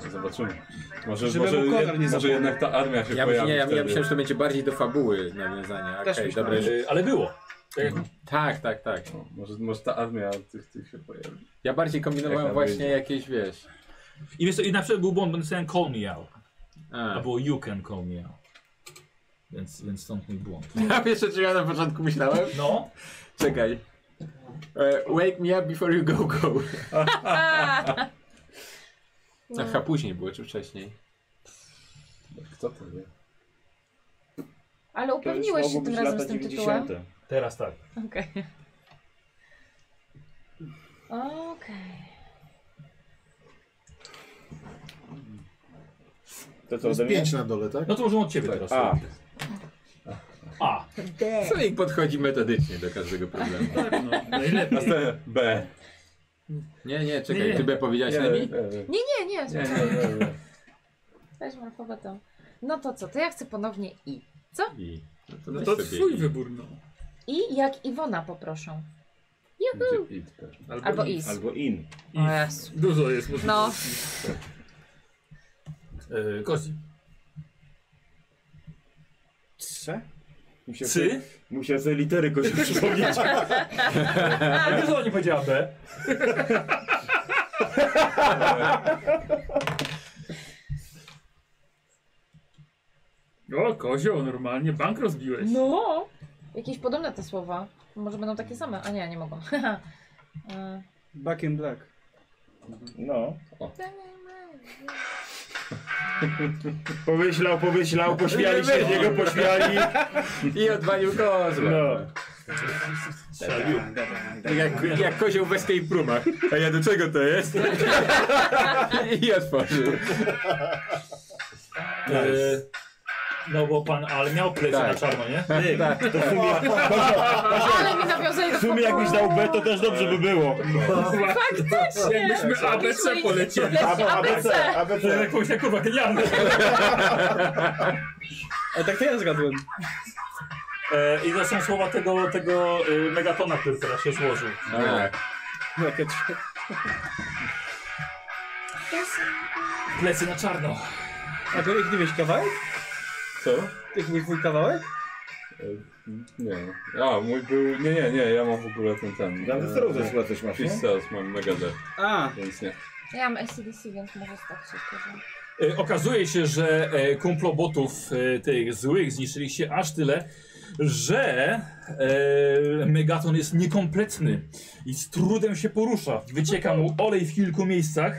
No, Zobaczymy. Może,
Żeby
może,
mu
jed-
konar
może
nie zapomniał.
jednak ta armia się
Ja, myślę-
pojawi
nie, ja, ja
wtedy.
myślałem, że to będzie bardziej do fabuły nawiązanie.
Też
Okej,
myślałem.
dobre.
Y, Ale było. Tak jak
Tak, tak, tak.
No, może, może ta armia tych, tych się pojawi.
Ja bardziej kombinowałem
Jak nam
właśnie
wyjdzie.
jakieś, wiesz...
I, wiesz, co, I na przykład był błąd, bo napisałem call me out, a
A.
było you can call me out. Więc, więc stąd mój błąd.
Ja wiesz, o czym ja na początku myślałem?
No,
Czekaj. E, wake me up before you go go.
[LAUGHS]
No.
Aha, później było, czy wcześniej?
Kto to wie?
Ale upewniłeś się tym razem z tym tytułem.
teraz tak.
Okej. Okej.
To co,
To jest
ode mnie?
pięć na dole, tak?
No to możemy od ciebie teraz.
A.
A.
Człowiek podchodzi metodycznie do każdego problemu.
tak, no.
A ten B.
Nie, nie, czekaj,
Nie.
ty by powiedziałeś
Nie,
najmniej?
Nie, nie, nie,
Nie,
spokojnie.
E,
nie, nie.
Weźmy alfabetą. No to co, to ja chcę ponownie I.
I-
No
weź
to
sobie
twój
i-
wybór, no.
I jak Iwona poproszę. Juhu!
Będzie it pewnie.
Albo
i.
is.
Albo in.
I.
O Jezu.
Dużo jest możliwości.
No.
Yy, Kozi.
Trze?
Musiał
Cy?
sobie- Musiał sobie litery kogoś
[LAUGHS]
przypomnieć.
A wiesz, że nie powiedziała B.
O, kozioł, normalnie bank rozbiłeś.
No! Jakieś podobne te słowa. Może będą takie same? A nie, nie mogą. [LAUGHS] E,
Back in black.
No.
E,
Pomyślał, pomyślał, pośmiali się z niego, pośmiali.
I odwalił kozła.
No.
Strzelił.
Tak jak, jak kozioł w escape roomach. A ja do czego to jest? I otworzył.
Yy, no bo pan, ale miał plecy
Tak.
na czarno, nie?
Tak.
Ale mi nawiązanie do
W sumie jakbyś dał B, to też dobrze by było.
Faktycznie!
Jakbyśmy ABC polecieli.
Leci ABC!
To jest jakąś, jak kurwa, genialne.
A tak to ja zgadłem.
E, I to są słowa tego, tego y, megatona, który teraz się złożył.
Tak.
Jakie trze-
Plecy na czarno.
A to jak nie wieś kawałek?
Co?
Jak nie twój kawałek?
Nie. no. A, mój był... Nie, nie, nie, ja mam w ogóle ten ten...
Ja ze sterów też chyba coś
no.
masz, nie?
Fish Sales mam mega D,
A,
więc nie.
Ja mam ACDC, więc może stać się skorzy.
E, Okazuje się, że e, kumplobotów e, tych złych zniszczyliście aż tyle, że e, Megaton jest niekompletny i z trudem się porusza. Wycieka mu olej w kilku miejscach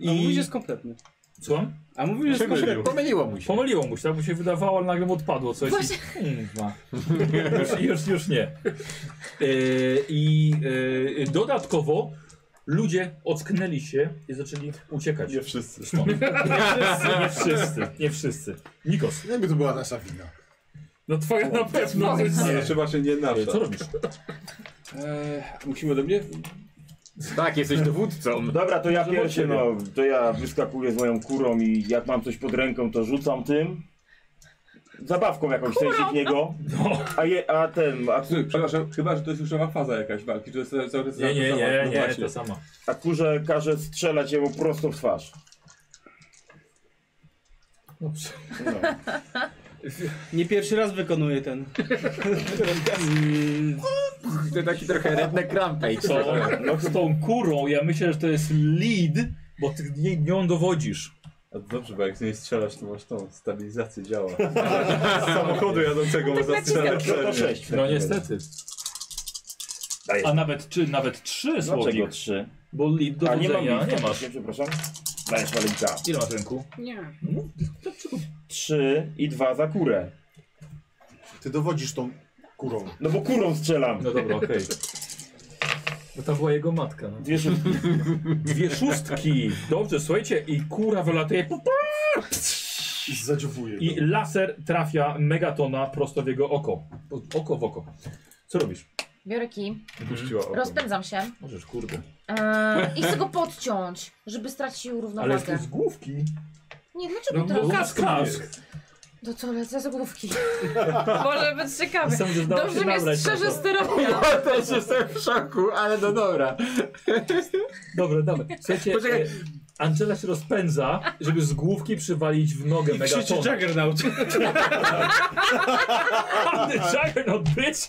I... a mówi,
i...
że jest kompletny.
Co? on?
A mówi, że jest kompletny.
Pomyliło mu się.
Pomyliło mu się, tak mu się wydawało, ale nagle mu odpadło coś.
Właśnie.
I... Kurwa. już, już, już nie. E, I e, dodatkowo ludzie ocknęli się i zaczęli uciekać.
Nie wszyscy.
Stąd. Nie wszyscy, nie wszyscy. Nikos,
No Jakby to była nasza wina.
No twoja na pewno.
Moje.
E,
Ale chyba się nie nasza.
co robisz?
Eee, musimy do mnie?
Tak, jesteś dowódcą.
Dobra, to ja
Może
pierwszy,
od
no,
ciebie.
to ja wyskakuję z moją kurą i jak mam coś pod ręką, to rzucam tym. Zabawką jakąś część niego. A, je, a ten, a
Słuchaj, Przepraszam, chyba, że to jest już nowa faza jakaś walki, że cały cały czas
Nie, nie,
to samo.
nie,
No
nie,
właśnie.
to samo.
A kurze każe strzelać jemu prosto w twarz.
Nie pierwszy raz wykonuję ten.
To taki trochę redneck rampage.
Co? No Z tą kurą, ja myślę, że to jest lead, bo ty nie- nią dowodzisz.
A dobrze, bo jak z niej strzelasz, to masz tą stabilizację
[LAUGHS]
działa. Z samochodu jadącego można strzelać.
No niestety. A nawet czy nawet trzy
Dlaczego
słowik.
trzy?
Bo lead
A nie mam
dowodzenia
nic,
nie masz.
przepraszam. Dajesz walenka.
Ile masz rynku?
Nie.
Trzy i dwa za kurę.
Ty dowodzisz tą kurą.
No bo kurą strzelam.
No dobra, okej. [LAUGHS] Bo tam była jego matka. No.
Dwie szóstki.
Dwie szóstki. Dobrze, słuchajcie, i kura wylatuje. pu- pu-
I zadziowuje.
I laser trafia megatona prosto w jego oko. O- Oko w oko. Co robisz?
Biorę kij,
Puściła oko.
rozpędzam się
Możesz, kurde.
e, i chcę go podciąć, żeby stracił
Ale
równowagę.
z główki.
Nie,
No,
No
dlaczego teraz? To co, lecę z [LAUGHS] główki.
Może być ciekawe.
Sam się zdała
Dobrze
się
mnie
nabrać na
strzeże
to.
sterownia.
Ja też jestem w szoku, ale no dobra.
Dobra, dobra. Słuchajcie,
Poczekaj.
e, Angela się rozpędza, żeby z główki przywalić w nogę
Krzyczy
megatona.
Juggernaut.
Ty Juggernaut, bitch!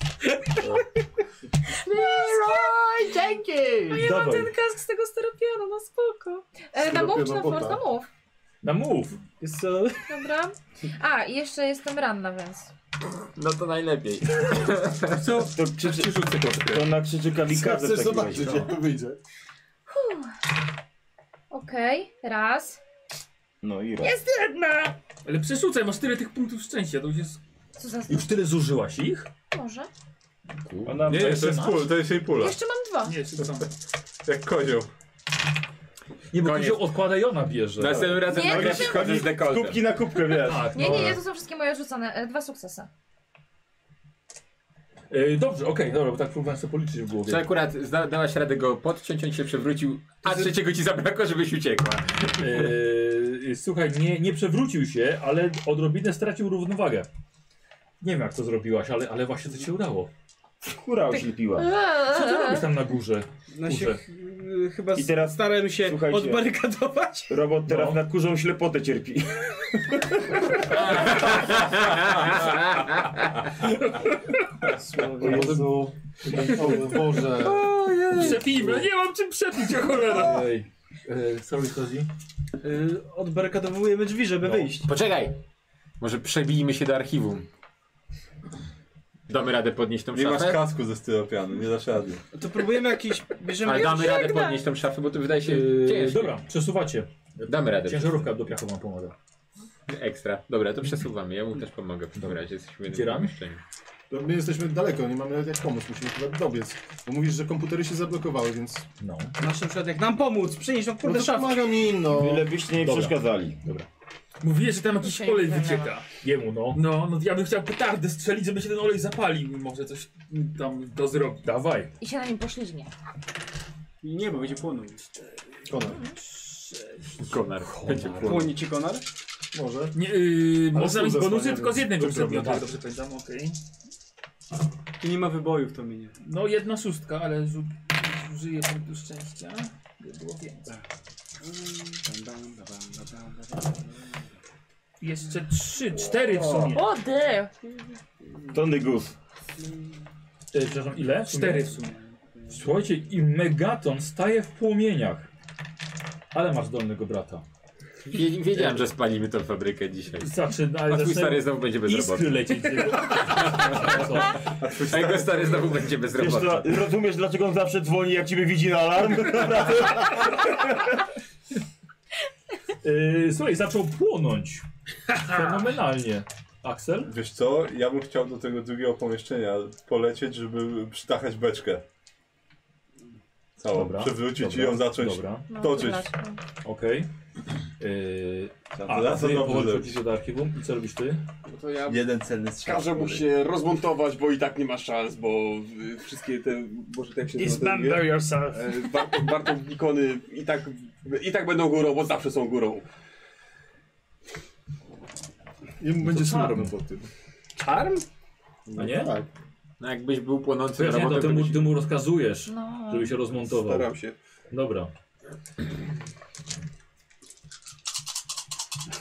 Leroy, dzięki! No ja mam
Dawaj.
ten kask z tego steropianu, no spoko.
E, na mów czy
Dopiero
na force? Na
bota.
mów.
Na move.
Co?
Dobra. A, i jeszcze jestem ranna, więc.
No to najlepiej.
Co?
To krzyczy, to na krzyczy kamikadze
Chcesz
w takim razie,
zobaczyć,
no.
jak to wyjdzie.
Huh. Okej, raz.
No i raz.
Jest jedna!
Ale przerzucaj, masz tyle tych punktów szczęścia, to już jest...
Co za
Już tyle zużyłaś ich?
Może?
Ona
Nie, to
jeszcze
jest
masz?
pól, to jest jej pula.
Jeszcze mam dwa.
Nie, czy to tam... tak
Jak kozioł.
Nie, bo
Koniec.
się odkłada i ona bierze.
Następnym razem
Nie,
nagle
to się-
przychodzę z dekoltem.
Kubki na kubkę, wiesz.
Tak,
Nie,
no.
nie, nie, to są wszystkie moje rzucone. E, dwa sukcesy.
E, dobrze, okej, dobra, bo tak próbowałem sobie policzyć w
Czy
głowie.
akurat zda- dałaś radę go podciąć, on się przewrócił, a trzeciego ci zabrakło, żebyś uciekła.
E, słuchaj, nie, nie przewrócił się, ale odrobinę stracił równowagę. Nie wiem jak to zrobiłaś, ale, ale właśnie to ci się udało.
Kura oślepiła.
Co ty robisz tam na górze?
No się
Kurze.
ch- y, chyba
I teraz-
starałem się
słuchajcie.
odbarykadować.
Robot teraz
No.
na kurzą ślepotę cierpi.
O Jezu. O Boże.
Przepijmy, No nie mam czym przepić, o cholera.
Ej, e, sorry, Kozi.
Y, Odbarykadowujemy drzwi, żeby wyjść.
Poczekaj! Może przebijmy się do archiwum. Damy radę podnieść tą
Nie masz
szafę?
kasku ze styropianu, nie dasz rady.
To próbujemy jakiś... Bierzemy...
Ale damy radę podnieść tą szafę, bo to wydaje się
E,
Yy,
ciężkie.
dobra, przesuwacie.
Damy radę.
Ciężarówka do piachu wam pomaga.
Ekstra. Dobra, to przesuwamy. Ja mu też pomogę w tym razie. Jesteśmy w jednym
Otwieramy?
pomieszczeniu.
To No My jesteśmy daleko, nie mamy nawet jak pomóc, musimy chyba dobiec. Bo mówisz, że komputery się zablokowały, więc...
No.
Masz na przykład jak nam pomóc, przynieść tą
No
kurde
to
szafę.
pomagam im, no.
Byle byście nie
Dobra.
przeszkadzali.
Mówiłeś, że tam jakiś
Dzisiaj
olej
nie
wycieka.
Jemu no.
No, no ja bym chciał petardę strzelić, żeby się ten olej zapalił i może coś tam to zrobi.
Dawaj.
I się na nim poślizgnie.
Nie, bo będzie płonął.
Konar.
Konar. Będzie płonął.
Płonie ci konar?
Może.
Nie, yy,
Ale
można mieć
stół
bonusy
zasłania,
tylko z jednego
to problem,
przedmiotu, jak
tak.
dobrze pamiętam, okej.
Tu nie ma wybojów, to minie.
No jedna szóstka, ale zu- zużyję punktu szczęścia. By było więcej. Jeszcze trzy, cztery w sumie.
O, dy!
Tony Gus.
E, przepraszam, ile?
Cztery w sumie.
Słuchajcie, i Megaton staje w płomieniach. Ale masz dolnego brata.
Wie- Wiedziałem, że spalimy tą fabrykę dzisiaj.
Zaczyna,
A twój
zaczynają
stary znowu będzie
iskry
bezrobotny.
lecieć. z
[LAUGHS]
jego- Co?
A jego stary znowu będzie
Wiesz,
bezrobotny.
dla- rozumiesz dlaczego on zawsze dzwoni jak ciebie widzi na
[LAUGHS]
alarm?
E, słuchaj, zaczął płonąć. Fenomenalnie. Aksel?
Wiesz co, ja bym chciał do tego drugiego pomieszczenia polecieć, żeby przytachać beczkę. Całą przewrócić i ją zacząć
No,
toczyć.
wylać,
Okej. Yy, a,
teraz
a ty
to dobrze
powoli
zrobić.
do archiwum i co robisz ty?
No to ja
Jeden celny strzał.
Każę mu się rozmontować, bo i tak nie ma szans, bo y, wszystkie te, boże tak się
Dismember
nazywa?
yourself.
E, Bart- Bartownikony i tak, i tak będą górą, bo zawsze są górą.
Jemu będzie
czarny.
smaro po tym.
Czarm?
A nie?
Tak.
No jakbyś był
płonącym
Wiesz, nie, to
robotem,
ty
to
mu,
byś-
ty mu rozkazujesz,
No.
żeby się rozmontował.
Staram się.
Dobra.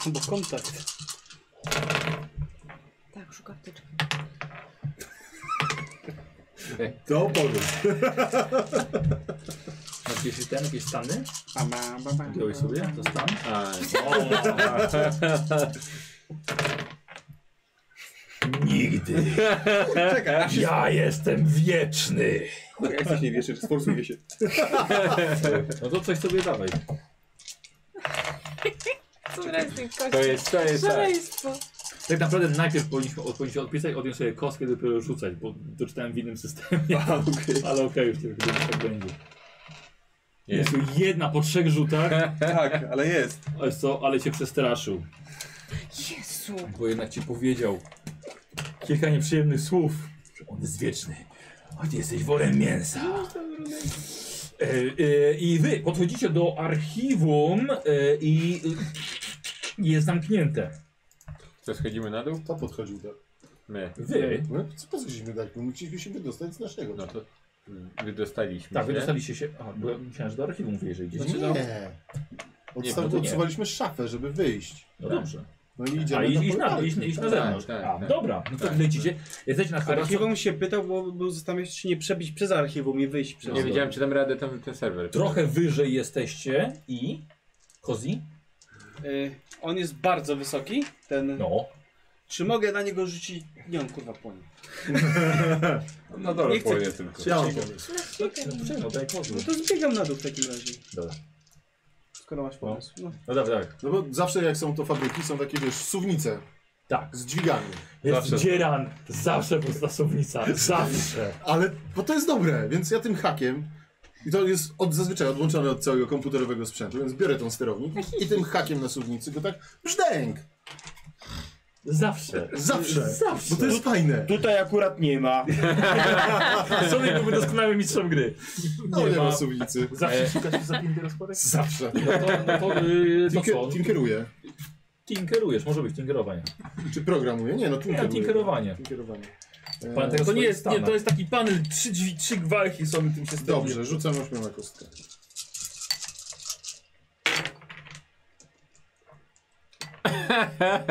Bo kontakt.
Tak, szuka wtyczki.
To opowiem.
Masz jakieś ten, jakieś stany? Dałeś sobie? To stan? [LAUGHS]
A,
Nigdy.
Czekaj, aż się-
Ja jestem wieczny.
Chuj, Jak coś nie wiesz, sforsuje się.
No to coś sobie dawaj.
Co jest tych kości?
To jest- to jest tak.
Szaleństwo.
Tak naprawdę najpierw powinniśmy, od- powinniśmy odpisać, odjąć sobie kostkę, dopiero rzucać, bo doczytałem w innym systemie. Ale okej, już nie wiem, tak będzie. Jest tu jedna po trzech rzutach.
tak, ale jest.
Ale co, ale cię przestraszył,
Jezu.
bo jednak ci powiedział kilka nieprzyjemnych słów. że On jest wieczny, a ty jesteś worem mięsa. E, e, I wy podchodzicie do archiwum e, i e, jest zamknięte.
Co, schodzimy na dół?
To podchodził tak.
My.
Wy.
No, co po co żeśmy dać? Bo musieliśmy się wydostać z naszego.
No to wydostaliśmy
Tak,
się.
wy dostaliście się. Aha, bo ja myślałem, że do archiwum wyjeżdżacie gdzieś.
Znaczy, Nie. Od
Znaczy, no, Nie,
nie,
no to nie.
odsuwaliśmy szafę, żeby wyjść.
No dobrze.
No i
A
idziemy
iść, iść, na,
portal.
iść, iść na zewnątrz.
Tak,
A,
tak.
dobra, no to lecicie. Jesteście na
A
chwilę.
archiwum się pytał, bo był zastanawiał się, czy nie przebić przez archiwum i wyjść
No
przez
Nie wiedziałem,
czy dam radę tam ten serwer.
Trochę wyżej jesteście i. Kozi?
Y, on jest bardzo wysoki, ten...
No.
Czy mogę na niego rzucić... Nie, on kurwa płonie.
No dobra,
Nie chcę-
płonie tylko.
Ja mam
pomysł.
No,
daj pozwól.
to zbiegam na dół w takim razie.
Dobra.
Skoro masz pomysł. No.
No dobra, tak.
No bo zawsze jak są to fabryki, są takie wiesz, suwnice.
Tak.
Z dźwigami.
Jest dzieran, zawsze prostosownica, zawsze.
Ale, bo to jest dobre, więc ja tym hakiem, i to jest od, zazwyczaj odłączone od całego komputerowego sprzętu, więc biorę tą sterownik i tym hakiem na suwnicy go tak brzdęk.
Zawsze.
Zawsze.
Zawsze.
Bo to jest fajne.
Tutaj akurat nie ma.
Sonic byłby doskonałym mistrzem gry.
No nie ma suwnicy.
Zawsze szukasz się za rozporek?
Zawsze.
No E. to, [LAUGHS] no to, yy, to
Tinker,
co?
tinkeruję.
Tinkerujesz, może być tinkerowanie.
Czy programuję? Nie, no
Nie,
tinkeruję.
tinkerowanie.
Tinkerowanie.
Pan tego
To nie
swoje
jest, nie,
stany.
to jest taki panel, trzy drzwi, trzy gwałki są i tym się steruje.
Dobrze, rzucam ośmioma kostkę.
[LAUGHS]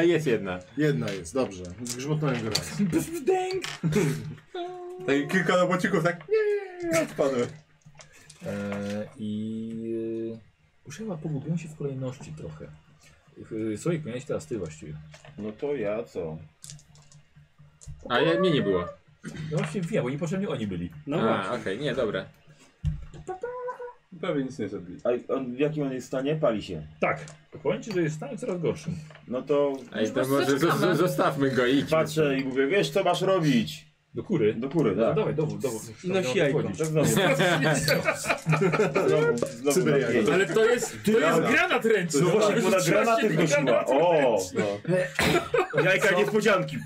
jest jedna.
Jedna jest, dobrze. Zgrzmotnąłem go raz.
Brzdęk!
Tak, i kilka robocików tak nie, odpadły.
Eee, I e, już chyba pogubiłem się w kolejności trochę. Yy, Słoik, powinieneś teraz ty właściwie.
No to ja co?
A ja, mnie nie było.
No właśnie wiem, bo niepotrzebnie oni byli.
No A, okej, nie, dobra.
Prawie nic nie zrobili.
A on, w jakim on jest stanie? Pali się.
Tak, powiem ci, że jest w stanie coraz gorszym.
No to
Ej, to może zo- zo- zostawmy go i idźmy.
patrzę i mówię, wiesz co masz robić?
Do kury.
Do góry,
No to
tak.
dawaj, dowód, dowód.
I nosi
Trzeba
jajko.
odchodzić.
Tak
[LAUGHS]
znowu. Znowu, znowu
Syberia.
na pięć.
Ale to jest, to
Dobra.
jest granat ręczny.
No właśnie,
To
bo na
jest
granaty
strasznie
wygłosiła.
granat
O!
ręczny.
No. Jajka niespodzianki.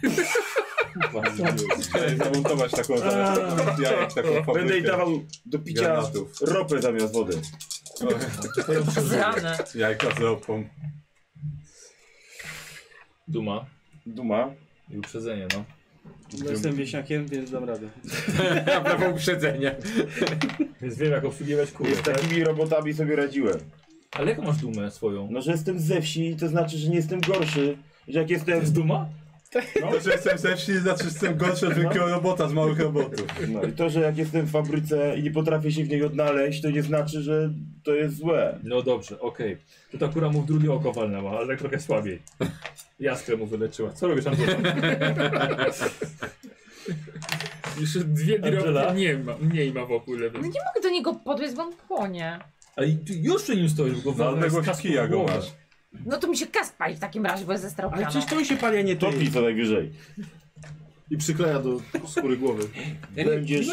Chciałem zamontować taką zamiast jajek, taką fabrykę.
Będę jej dawał do picia
Granatów.
ropę zamiast wody.
Zrane.
Jajka z ropą.
Duma
Duma.
i uprzedzenie, no.
No, jestem wieśniakiem, więc dam radę.
A prawo uprzedzenia.
Więc wiem, jak obsługiwać kurę,
Z
tak?
takimi robotami sobie radziłem.
Ale jaką masz dumę swoją?
No, że jestem ze wsi, to znaczy, że nie jestem gorszy. Że jak
To
jestem...
jest duma?
To, że jestem zewsi, znaczy, że jestem gorszy od wielkiego robota z małych robotów.
No i to, że jak jestem w fabryce i nie potrafię się w niej odnaleźć, to nie znaczy, że to jest złe.
No dobrze, okej. To ta kura mu w drugie oko walnęła, ale tak trochę słabiej. Jaskrę mu wyleczyła. Co robisz, [LAUGHS] Angela?
Jeszcze dwie
Angela?
drobne nie ma, mniej ma w ogóle.
No nie mogę do niego podejść, bo on płonie.
Ale ty już przy nim stoisz, bo go
No,
walnęłaś
ale
z
go
kasku w
kija go
głowę.
masz.
No to mi się kask pali w takim razie, bo jest ze
Ale
strałkami.
przecież to on się pali, a nie ty.
Topi co najwyżej.
I przykleja do skóry głowy.
Będziesz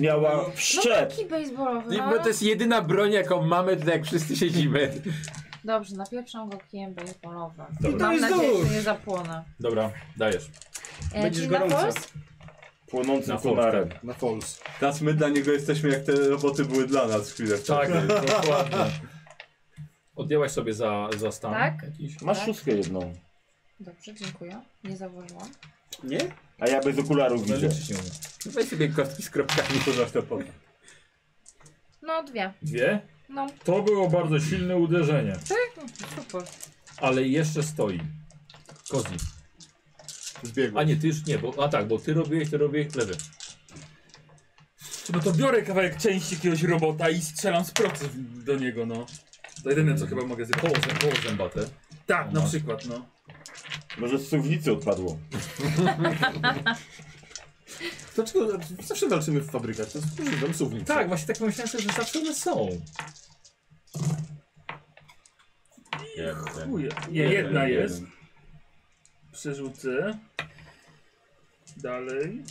miała wszczep.
No, Taki baseballowy,
I-
no.
Bo to jest jedyna broń, jaką mamy, to jak wszyscy siedzimy.
Dobrze, napieprzam go kijem baseballowym.
Dobra. I to
Mam
jest
nadzieję,
nóż.
że nie zapłonę.
Dobra, dajesz.
E,
Będziesz
czyli na
gorąca.
Pols?
Płonącym
Na Fols,
konarem.
tak.
Na Fols.
Teraz my dla niego jesteśmy jak te roboty były dla nas chwilę
Tak,
wcześniej.
[LAUGHS] dokładnie. Odjęłaś sobie za, za stan.
Tak?
Jakiś?
Masz Tak. szóstkę
jedną.
Dobrze, dziękuję. Nie założyłam.
Nie? A ja bez okularów widzę.
Weź sobie kostki
[LAUGHS]
z kropkami.
To zawsze pod.
No, dwie.
Dwie?
No.
To było bardzo silne uderzenie,
Tak? No, Super.
ale jeszcze stoi. Kozi.
Zbiegł.
A nie, ty już nie, bo, a tak, bo ty robiłeś, ty robiłeś lewy.
No to biorę kawałek części jakiegoś robota i strzelam z procy w- do niego, no. To jedyne co chyba mogę zrobić.
Koło, zę- koło zębate.
Tak, na
No.
przykład, no.
Może z suwnicy odpadło.
Dlaczego zawsze walczymy w fabrykach? To jest używam suwnicy.
Tak, właśnie tak myślałem, że zawsze one są.
Chuje. Nie, jedna jest. Przerzucę. Dalej.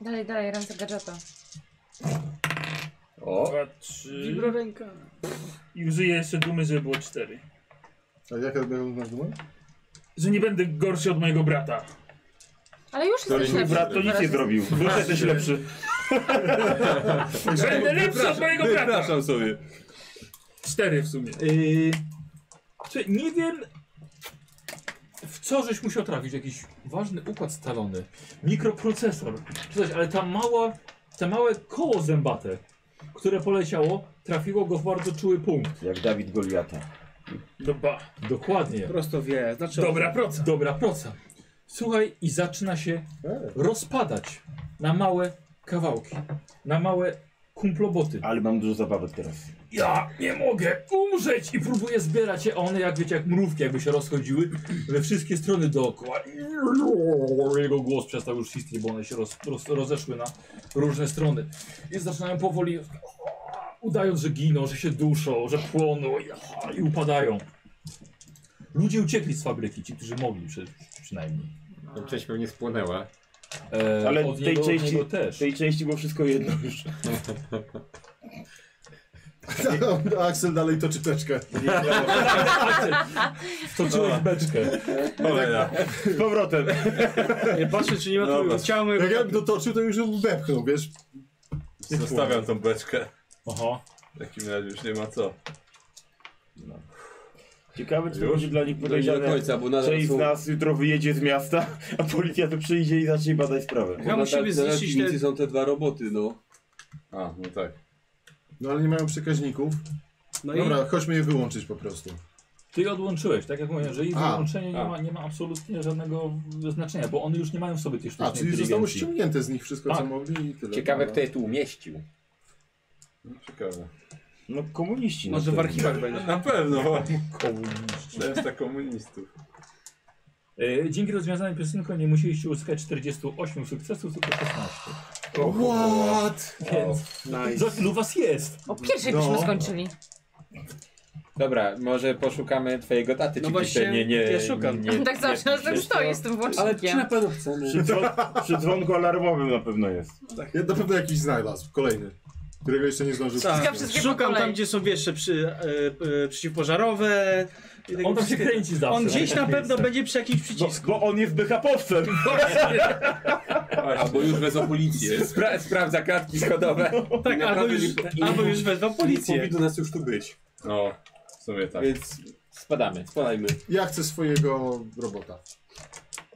Dalej, dalej, ręce gadżeta.
O.
Dwa, trzy.
Wibro ręka.
I użyję jeszcze dumy, żeby było cztery.
A jaka masz duma?
Że nie będę gorszy od mojego brata.
Ale już jesteś lepszy. Teraz-
Już jesteś lepszy. Będę lepszy od mojego brata.
Wypraszam sobie.
Cztery w sumie.
Czy Yy, nie wiem, w co żeś musiał trafić? Jakiś ważny układ stalony, mikroprocesor, czy coś, ale ta mała, te małe koło zębate, które poleciało, trafiło go w bardzo czuły punkt.
Jak Dawid Goliata.
Dobra.
Dokładnie.
Prosto wie, znaczy...
Dobra proca. Dobra proca. Słuchaj, i zaczyna się rozpadać na małe kawałki, na małe kumploboty.
Ale mam dużo zabawek teraz.
Ja nie mogę umrzeć! I próbuję zbierać je, a one jak wiecie, jak mrówki jakby się rozchodziły we wszystkie strony dookoła. Jego głos przestał już istnieć, bo one się roz, roz, rozeszły na różne strony. I zaczynają powoli, udając, że giną, że się duszą, że płoną i- i upadają. Ludzie uciekli z fabryki, ci, którzy mogli przy, przynajmniej.
Tam część pewnie spłonęła.
E,
Ale
od
tej,
niego, od
części,
niego też.
tej części było wszystko jedno już.
[LAUGHS] A Aksel dalej toczy teczkę.
Toczyłeś beczkę.
Kolejna.
Z powrotem.
Nie patrzę, czy nie ma
Dobra.
tu ciała mojego...
Jak ja bym dotoczył, to już bym wepchnął, wiesz?
Zostawiam tą beczkę.
Aha.
W takim razie już nie ma co.
Ciekawe, czy to
Już?
będzie dla nich
No nie
podejrzane,
do końca, bo nadal
część z
są-
nas jutro wyjedzie z miasta, [LAUGHS] a policja tu przyjdzie i zacznie badać sprawę.
Ja musimy zniszczyć
piwnicy
te...
są te dwa roboty, no.
A, no tak.
No ale nie mają przekaźników.
No i...
Dobra, chodźmy je wyłączyć po prostu.
Ty je odłączyłeś, tak jak mówiłem, że ich
A,
wyłączenie nie
a.
ma, nie ma absolutnie żadnego znaczenia, bo one już nie mają w sobie tej sztucznej
A, czyli zostało
inteligencji.
ściągnięte z nich wszystko, co
Tak.
mogli i tyle.
Ciekawe,
Dobra.
kto je tu umieścił.
Ciekawe.
No komuniści.
Może w archiwach będzie.
Na pewno.
Komuniści.
Często komunistów.
E, Dzięki rozwiązaniu piosenką nie musieliście uzyskać 48 sukcesów, tylko 16.
What?
Więc
Nice.
za tylu was jest.
O pierwszej byśmy skończyli. [LAUGHS]
Dobra, może poszukamy twojego taty,
No
czy gdzieś
właśnie,
nie, nie,
ja szukam.
nie,
tak zawsze na tym stoi z tym
Ale czy na
włącznikiem.
pewno chcemy?
Przy, dzwon przy dzwonku alarmowym na pewno jest.
Tak, ja na pewno jakiś znalazł, kolejny, którego jeszcze nie zdążył
Tak,
wcisnąć.
wszystkie po
szukam
kolei.
tam, gdzie są jeszcze przy, e, e, przeciwpożarowe. i tego
On tam się
wszystkiego.
kręci zawsze.
On gdzieś na pewno
Miejsce.
będzie przy jakimś
Bo,
przycisku.
bo on jest BHP-owcem.
Albo już wezmą policję.
Spra sprawdza klatki schodowe.
No,
Tak, [LAUGHS] albo
naprawdę
już,
nie-
albo już wezwał
Powinno
policję.
do nas już tu być,
No, w sumie tak.
więc
Spadamy.
spadajmy.
Ja chcę swojego robota.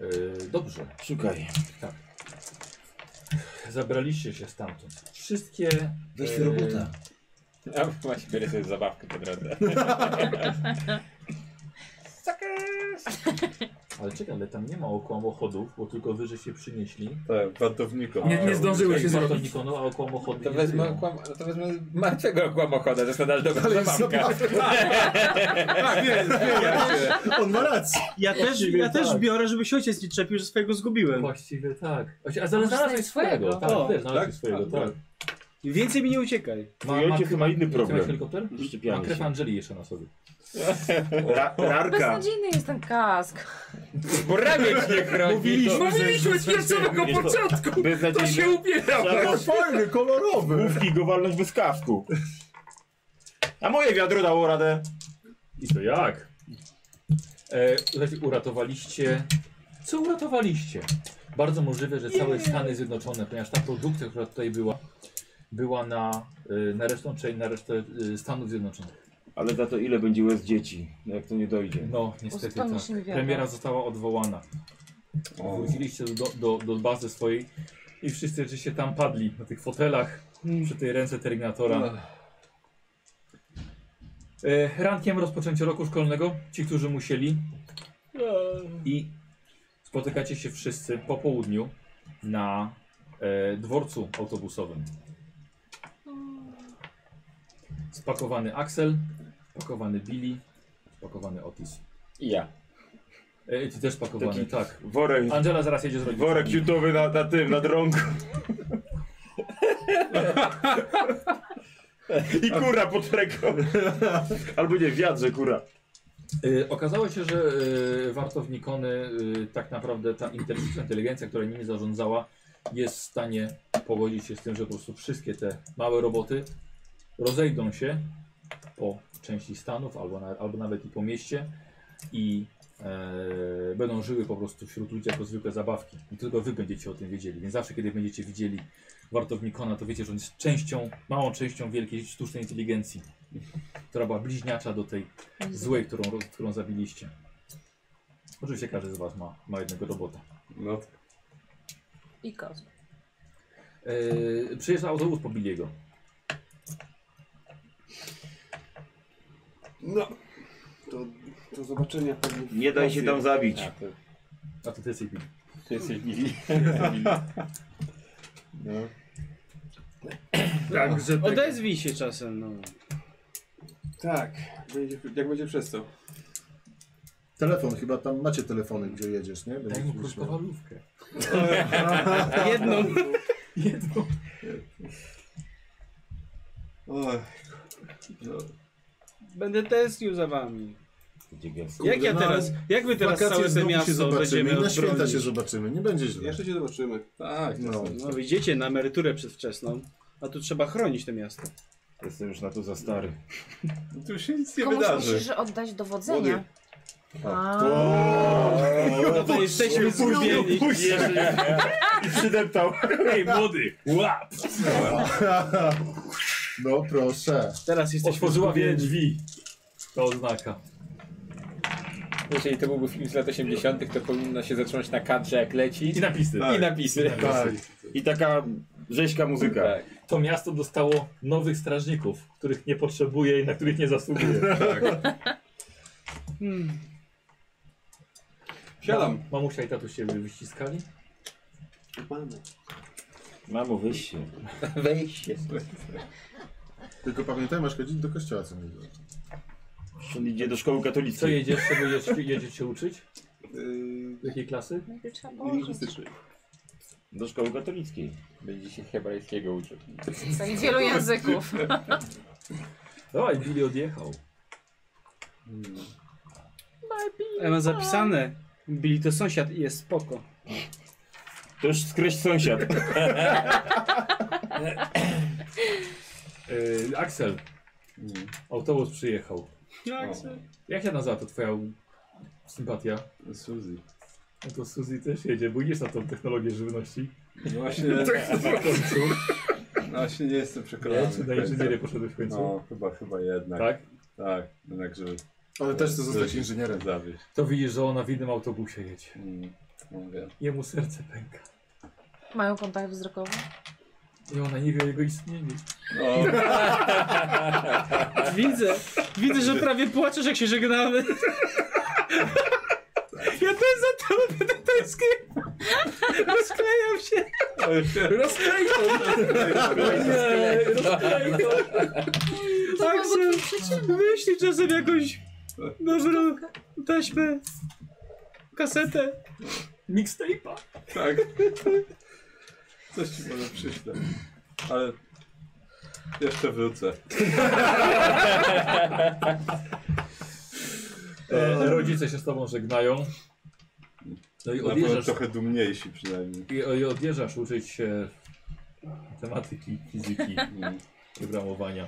E, Dobrze. Tak.
Szukaj.
Zabraliście się stamtąd. Wszystkie...
Weź
e,
robota.
A No, właśnie biorę sobie zabawkę po drodze.
Ale czekaj, ale tam nie ma okłamochodów, bo tylko wyżej się przynieśli.
Tak, wartownikom.
Nie, nie zdążyły się
Warto
zrobić.
Nikonu, a okłamochody
To
nie
wezmę,
żyją.
kłam, to wezmę martwego kłamochoda, to jest nadal dobra
Ale jest
zabawka.
zabawka. Tak, wiem, wiem. On ma rację.
Ja też, ja
tak.
też biorę, żeby się ojciec nie czepił, że swojego zgubiłem.
Właściwie tak. Właści- A
Może
znalazłeś
znaleźć swojego.
swojego. Tak,
O,
też znalazłeś
tak?
swojego,
A,
tak.
Więcej mi nie uciekaj.
Ma,
Mój
ma,
ojciec
ma
ma inny problem.
helikopter? Ma krew Angeli jeszcze na sobie.
Ra, rarka.
Beznadziejny jest ten kask.
Bo ramię nie chroni.
Mówiliśmy, Mówiliśmy z pierwszego
Widzisz, to-
początku. To się ubiera.
Trzeba-
fajny, kolorowy.
Główki go walnąć bez kasku. A moje wiadro dało radę.
I to jak? E, słuchajcie, uratowaliście. Co uratowaliście? Bardzo możliwe, że całe Stany Zjednoczone, ponieważ ta produkcja, która tutaj była, była na, y, na resztę, czyli na resztę y, Stanów Zjednoczonych.
Ale za to ile będzie łez dzieci, jak to nie dojdzie.
No, niestety tak.
Uzupełnisz mi wiadomo.
Premiera została odwołana.
O.
Wróciliście do, do, do bazy swojej i wszyscy rzeczywiście tam padli na tych fotelach przy tej ręce Terminatora. E, rankiem rozpoczęcia roku szkolnego, ci, którzy musieli, i spotykacie się wszyscy po południu na e, dworcu autobusowym. Spakowany Axel, spakowany Billy, spakowany Otis.
I ja.
E, ty też spakowany,
Taki
tak.
worek-
Angela zaraz jedzie zrobić.
Worek jutowy na, na tym, na drągu.
I kura pod ręką. Albo nie, wiadrze kura. Okazało się, że y, wartownikony, y, tak naprawdę ta inteligencja, inteligencja, która nimi zarządzała, jest w stanie pogodzić się z tym, że po prostu wszystkie te małe roboty rozejdą się po części Stanów albo, na, albo nawet i po mieście i e, będą żyły po prostu wśród ludzi jako zwykłe zabawki. I tylko wy będziecie o tym wiedzieli. Więc zawsze, kiedy będziecie widzieli wartownikona, to wiecie, że on jest częścią, małą częścią wielkiej sztucznej inteligencji, która była bliźniacza do tej złej, którą, roz- którą zabiliście. Oczywiście każdy z was ma, ma jednego robota. No.
I kask.
E, przyjeżdża autobus po Billiego.
No, to do zobaczenia pewnie. w
Nie daj
nocy.
się tam zabić.
A, to-
A to ty jesteś Billy.
Ty jesteś Billy.
No.
Także tak. Odezwij się czasem, no.
Tak, będzie, jak będzie przez to.
Telefon, chyba tam macie telefony, gdzie jedziesz, nie?
Daj mu krótkowalówkę.
Jedną.
Jedną.
Oj. No.
Będę tęsknił za wami.
Kurde,
jak ja
no,
teraz, jak my teraz
wakacje
całe te
znowu się
miasto
zobaczymy
będziemy
i na święta
bronić?
się zobaczymy, nie będzie źle.
Jeszcze się zobaczymy.
Tak,
no.
No widzicie, na emeryturę przedwczesną, a tu trzeba chronić to miasto.
Jestem już na to za stary.
Tu się nic nie
Komuś
wydarzy.
musisz oddać dowodzenia. A.
No to jesteśmy zgubieni.
I przydeptał. Ej, młody, łap!
No proszę.
Teraz jesteśmy
Otworzyła
zgubieni.
wiele drzwi. To oznaka.
Jeżeli to byłby film z lat 80., to powinno się zatrzymać na kadrze jak leci.
I napisy.
I napisy. Tak,
I taka rzeźka muzyka. To miasto dostało nowych strażników, których nie potrzebuje i na których nie zasługuje.
Hmm.
Siadam. Mamusia i tatuś się wyściskali?
Mamy.
Mamo, wyjść się.
Wejść się.
Tylko pamiętaj, masz chodzić do kościoła co niedzielę.
On idzie do szkoły katolickiej.
Co jedziesz, czego jedziesz, jedziesz się uczyć?
Yy,
Jakiej klasy?
lingwistyczny.
Do szkoły katolickiej.
Będzie się hebrajskiego uczył.
Co, i wielu języków.
Dawaj, Billy odjechał.
Ja mam zapisane. Bili to sąsiad i jest spoko.
To już skreś sąsiad.
Yy, Axel. Autobus przyjechał.
Jak
Jak się nazywa to twoja sympatia?
Suzy.
No to Suzy też jedzie, bo idziesz na tą technologię żywności.
No właśnie.
w końcu.
No właśnie nie jestem przekonany.
Ja czy na
do końca.
inżynierię poszedłeś w końcu?
No, chyba, chyba jednak.
Tak?
Tak, jednak, żeby...
Ale też chcę zostać
żeby
inżynierem.
Zawieść.
To widzisz, że ona w innym autobusie jedzie.
Mm, no wiem.
Jemu serce pęka.
Mają kontakt wzrokowy.
I ona nie wie o jego istnieniu.
[LAUGHS] O.
[LAUGHS] Widzę, widzę, że prawie płaczesz jak się
[LAUGHS]
żegnamy. Ja też za to będę tęsknił. Rozklejam się.
Rozklej to.
[LAUGHS]
Nie, rozklej to. Tak se myśli czasem jakąś dobrą taśmę, kasetę.
Mixtape'a.
Tak. Coś ci może przyślę. Ale Jeszcze wrócę.
E, rodzice się z tobą żegnają. No i
Na pewno
odjeżdżasz,
trochę dumniejsi przynajmniej.
i, i odjeżdżasz uczyć się matematyki,
[LAUGHS]
fizyki,
Mm.
programowania.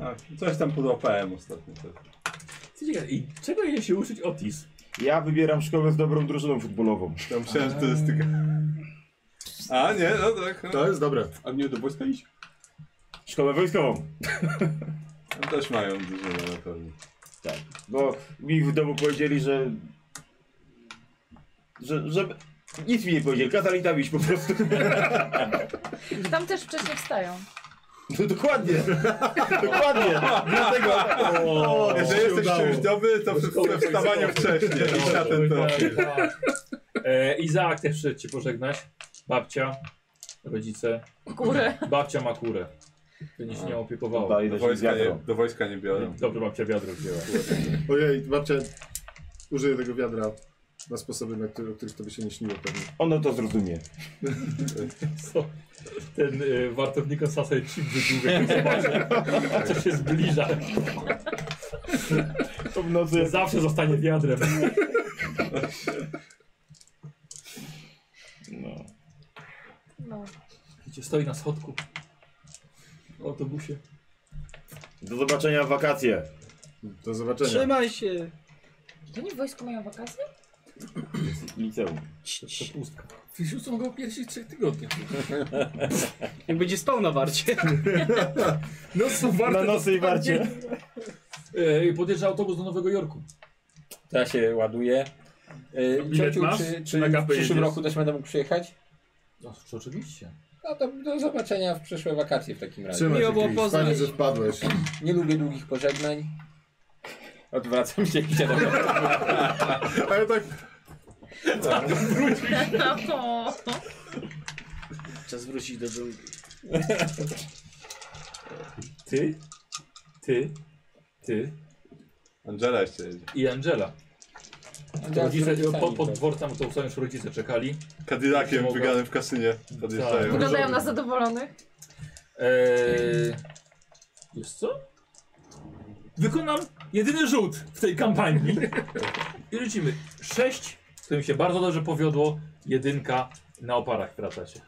A, coś tam podłapałem ostatnio. też.
Co ciekawe, I czego je się uczyć Otis?
Ja wybieram szkołę z dobrą drużyną futbolową.
Ja myślałem, że to jest tylko... A nie, no tak.
To jest dobre.
A mnie do wojska iść?
Szkołę wojskową.
Tam No też mają dużo na pewno.
Tak. Bo mi w domu powiedzieli, że... Że... że... Nic mi nie powiedzieli, kazali tam iść po prostu.
Tam też wcześniej wstają.
No dokładnie. dokładnie. Dlatego...
O, Jeżeli jesteś czymś dobry, to przy wstawaniu wcześniej. Idź na ten profil.
No, [LAUGHS] E, Izaak też przyszedł cię pożegnać. Babcia, rodzice.
Kurę.
Babcia ma kurę. Będzie się
A.
nie opiekowała.
Do wojska nie, do wojska nie biorą.
Dobry babcia wiadro wzięła.
Ojej, babcia, użyję tego wiadra na sposoby, na które, o których to by się nie śniło pewnie.
Ono to zrozumie.
Co? Ten y, wartownik Sasa jest ci wydługa, jak zobaczy, co się zbliża.
To w nocy
Zawsze zostanie wiadrem.
No.
No.
Widzicie, stoi na schodku. W autobusie.
Do zobaczenia w wakacje.
Do zobaczenia.
Trzymaj się.
To nie w wojsku mają wakacje?
Liceum.
Przepustka.
Wyrzucą go w pierwszych trzech tygodniach.
Jak będzie spał na warcie.
No są warte
Na nosy i warcie.
E, podjeżdża autobus do Nowego Jorku.
Ja się ładuję. Yy,
bilet
ciociu,
masz?
czy,
Czy
czy
na
w
gapę
przyszłym
jedziesz?
roku też będę mógł przyjechać?
No, to oczywiście.
No to do zobaczenia w przyszłe wakacje w takim razie.
Trzymaj się,
Miło było
Chris.
poznać.
Fajnie, że wpadłeś.
Nie lubię długich pożegnań. Odwracam się i siadam.
A ja tak...
[LAUGHS] O.
Czas wrócić do dżungli.
Ty, ty, ty
Angela jeszcze jedzie.
i Angela.
Angela z
Rodzice,
rodzicami,
po, pod
tak.
dworcem to są już rodzice czekali.
Kadyraciem wygranym w kasynie. Podjeżdżają.
Tak. Wyglądają na zadowolonych.
Eee, wiesz co? Wykonam jedyny rzut w tej kampanii. I rzucimy sześć, z którym się bardzo dobrze powiodło. Jedynka na oparach wracacie.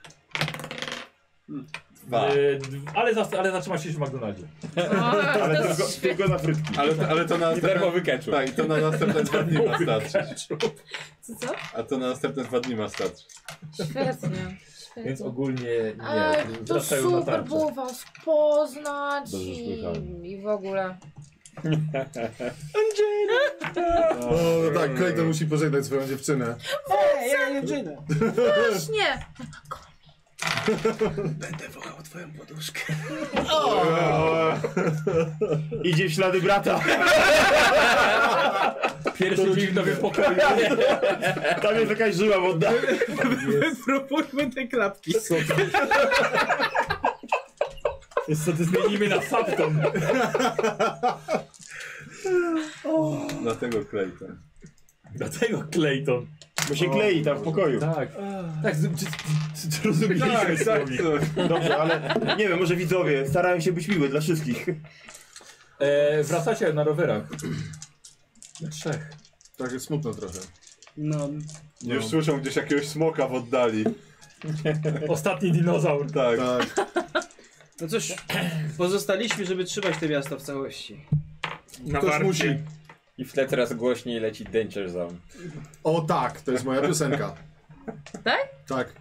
Dwa.
Eee, d- ale, zas- ale zatrzymacie się w McDonaldzie.
No,
[LAUGHS]
Ale tylko, tylko na frytki.
Ale, to- ale to na następne...
ketchup.
Tak, i to na następne dwa dni ma starczyć.
Co co?
A to na następne dwa dni ma starczyć.
[LAUGHS]
Świetnie. świetnie.
Więc ogólnie nie.
Ale to
wracają na
super
tarczę.
było was poznać
Dobrze
i,
słychałem.
i w ogóle.
O, no tak, Clayton musi pożegnać swoją dziewczynę.
Ej, ja nie dziewczynę.
Właśnie!
Będę wołał twoją poduszkę.
Idzie w ślady brata.
Pierwszy dzień w nowym pokoju.
Tam jest jakaś żyła wodna.
Wypróbujmy te klapki.
Niestety zmienimy na Sapton.
Dlatego Clayton.
Dlatego Clayton.
Bo się klei tam w pokoju.
Tak. Tak, z- czy, czy, czy rozumieliśmy
Tak, tak.
słowik?
Dobrze, ale nie wiem, może widzowie starają się być miły dla wszystkich.
E, wracacie na rowerach. Na trzech.
Tak jest smutno trochę.
No,
Już słyszą gdzieś jakiegoś smoka w oddali.
Ostatni dinozaur.
Tak.
Tak.
no cóż, pozostaliśmy, żeby trzymać te miasto w całości.
Na
Ktoś
warcie.
musi.
I w tle coraz głośniej leci Danger Zone.
O tak, to jest moja piosenka.
Tak?
Tak.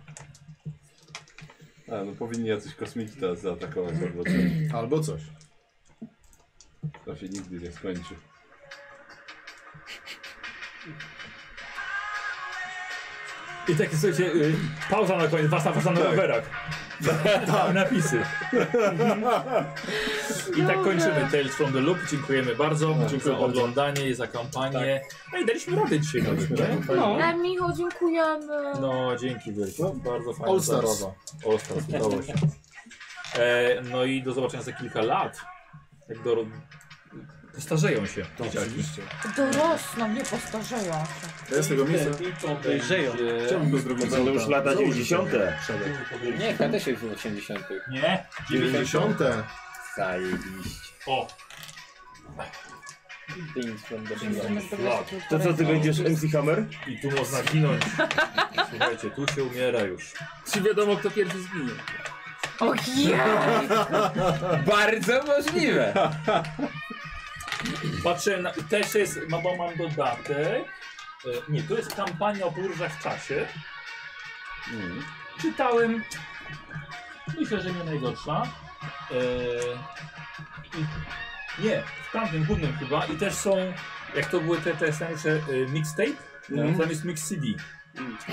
A, no powinni jacyś kosmici teraz zaatakować albo coś.
Albo coś.
To się nigdy nie skończy.
I tak słuchajcie, y, pauza na koniec, was na, was na rowerach. [LAUGHS] Tak. Napisy. I tak kończymy Tales from the Loop. Dziękujemy bardzo. Dziękuję Tak, za oglądanie i za kampanię. No i daliśmy radę dzisiaj nawet, nie?
No.
Ale Michał, dziękujemy.
No, dzięki wielkie. bardzo fajna
All Stars.
zabawa. All Stars, udało się. E, no i do zobaczenia za kilka lat. Jak do... Postarzeją się.
To
dzieciaki.
oczywiście.
Dorosną, nie postarzeją się.
To jest tego miejsca.
Dojrzeją.
Chciałbym pozdrowić
To już
Zolota.
lata
Założył
90.
sobie szereg.
Nie, ja też jest w 80.
Nie.
90.
Zajebiście.
O.
Things from the
To co, ty będziesz MC Hammer?
I tu można [LAUGHS] ginąć. Słuchajcie, tu się umiera już.
Czy wiadomo, kto pierwszy zginie?
Och
[LAUGHS]
ja!
Bardzo możliwe.
Patrzę, na, też jest, no bo mam dodatek. E, Nie, to jest kampania o podróżach w czasie.
Mm.
Czytałem. Myślę, że nie najgorsza. E, i, nie, w tamtym głównym chyba. I też są, jak to były te, te scenariusze e, mixtape,
Mm.
Mhm.
tam jest mix CD.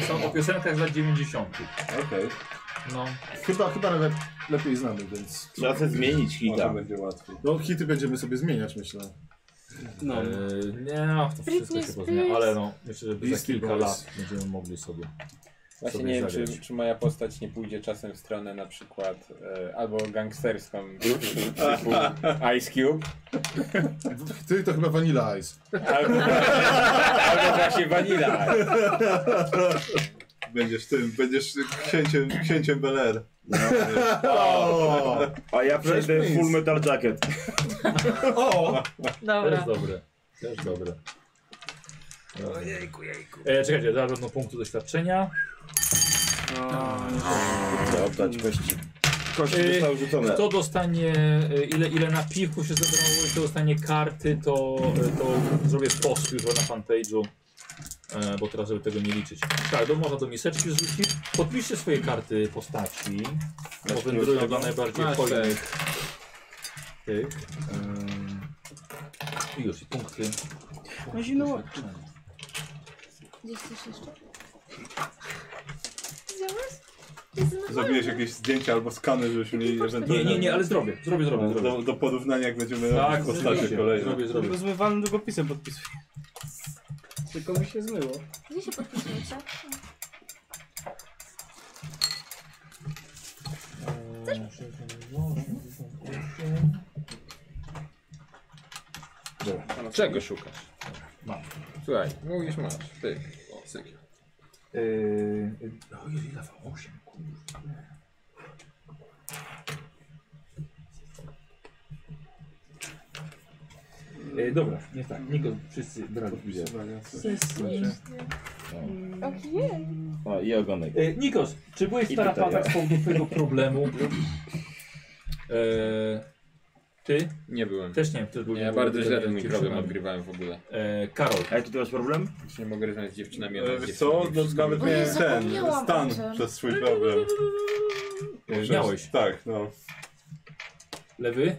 Są o piosenkach z lat 90.
Okej.
No.
Chyba, chyba nawet lepiej znamy, więc...
Trzeba sobie zmienić hita.
Może będzie łatwiej.
No hity będziemy sobie zmieniać, myślę.
E,
No. nie, no, to wszystko
Britney
się pozmienia, ale no, jeszcze żeby za
Beastie
kilka
Boys.
lat będziemy mogli sobie.
Właśnie
sobie
nie wiem,
zagrać.
czy, czy moja postać nie pójdzie czasem w stronę na przykład e, albo gangsterską [LAUGHS] typu Ice Cube,
Ty to chyba Vanilla Ice.
albo, albo właśnie Vanilla. Ice.
Będziesz tym, będziesz księciem, księciem Bel Air. No,
O! A ja przejdę
Fresh
Full Metal Jacket.
O!
To jest
Dobra.
dobre, to jest dobre. E, czekajcie, dam jedno punktu doświadczenia.
Trzeba oddać kości.
E,
Kości
Yy,
zostały rzucone.
Kto dostanie, e, ile, ile napiwków się zebrało i kto dostanie karty, to, e, to zrobię post już na fanpage'u, e, bo teraz żeby tego nie liczyć. Tak, do, można do miseczki zrzucić. Podpiszcie swoje karty postaci, bo wędrują do najbardziej
Masz,
hojnych tych. e, I już, i punkty.
No zimno.
Gdzieś coś jeszcze?
Zrobiłeś jakieś zdjęcia albo skany, żebyśmy mieli
Nie,
ewentualnie...
nie, nie, ale zrobię, zrobię, zrobię. zrobię.
Do, do porównania jak będziemy
Tak,
robić postacie
zrobię,
kolejne.
zrobię, zrobię.
Tylko zmywalnym długopisem podpisuję. Tylko mi się zmyło.
Gdzie się podpisujecie?
Czego szukasz?
No.
Mam.
Słuchaj, mówisz masz. Ty. O, syk.
Yy,
Oh,
o, ile ile wam? Osiem, kurwa. Yy, dobra, nie tak, niego wszyscy brali udział.
Ojej.
O, i ogonek.
Yy, Nikos, czy byłeś w
I tutaj
tarapatach z
ja.
powodu twojego problemu? Yy, ty?
Nie byłem.
Też nie wiem, ty byłeś.
Ja bardzo źle ten mój problem odgrywałem w ogóle.
Yy, Karol.
A jaki ty masz problem?
Już nie mogę rozmawiać z dziewczynami.
E,
ale z
Wiesz
dziewczynami
co, no,
wszystko
nawet
O, ja
miałem ten
zapomniałam
stan
o tym.
przez swój problem. Przez-
Miałeś.
Tak, no.
Lewy?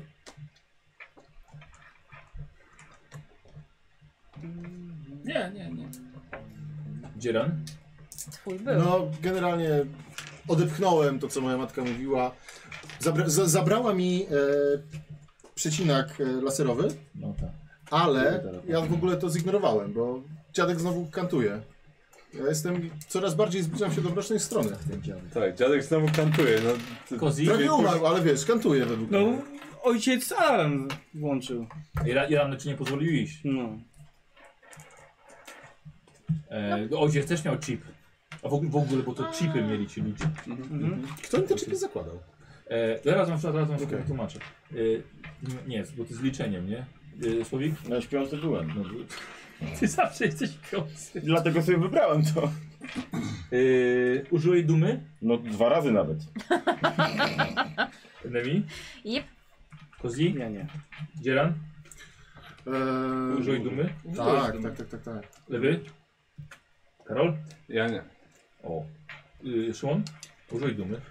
Nie, nie, nie.
Dzieran?
Twój był.
No, generalnie odepchnąłem to, co moja matka mówiła. Zabra za zabrała mi e, przecinak e, laserowy,
No tak.
ale ja w ogóle to zignorowałem, bo dziadek znowu kantuje. Ja jestem, coraz bardziej zbliżam się do mrocznej strony.
Tak, dziadek znowu kantuje. No, ty-
Kozi?
Prawie umarł, ale wiesz, kantuje według
No,
mnie.
ojciec alarm włączył.
I, ra, i rany czy nie pozwolił iść?
No.
E, Ojciec też miał chip. A w ogóle, w ogóle bo to chipy mieli ci ludzie.
Kto im te czipy zakładał?
E, zaraz wam, zaraz wam okay.
Okej.
wytłumaczę. E, n- nie, bo ty z liczeniem, nie? E, Słowik?
No śpiący byłem.
No, [LAUGHS] ty zawsze jesteś piący.
Dlatego sobie wybrałem to.
E, użyłeś dumy?
No dwa razy nawet.
Nemi?
Jep.
Kozli?
Ja nie.
Dzieran?
Eee,
Użyłeś dumy?
Tak, tak, tak, tak, tak.
Lewy? Karol?
Ja nie.
O. E, Szymon? Użyłeś dumy?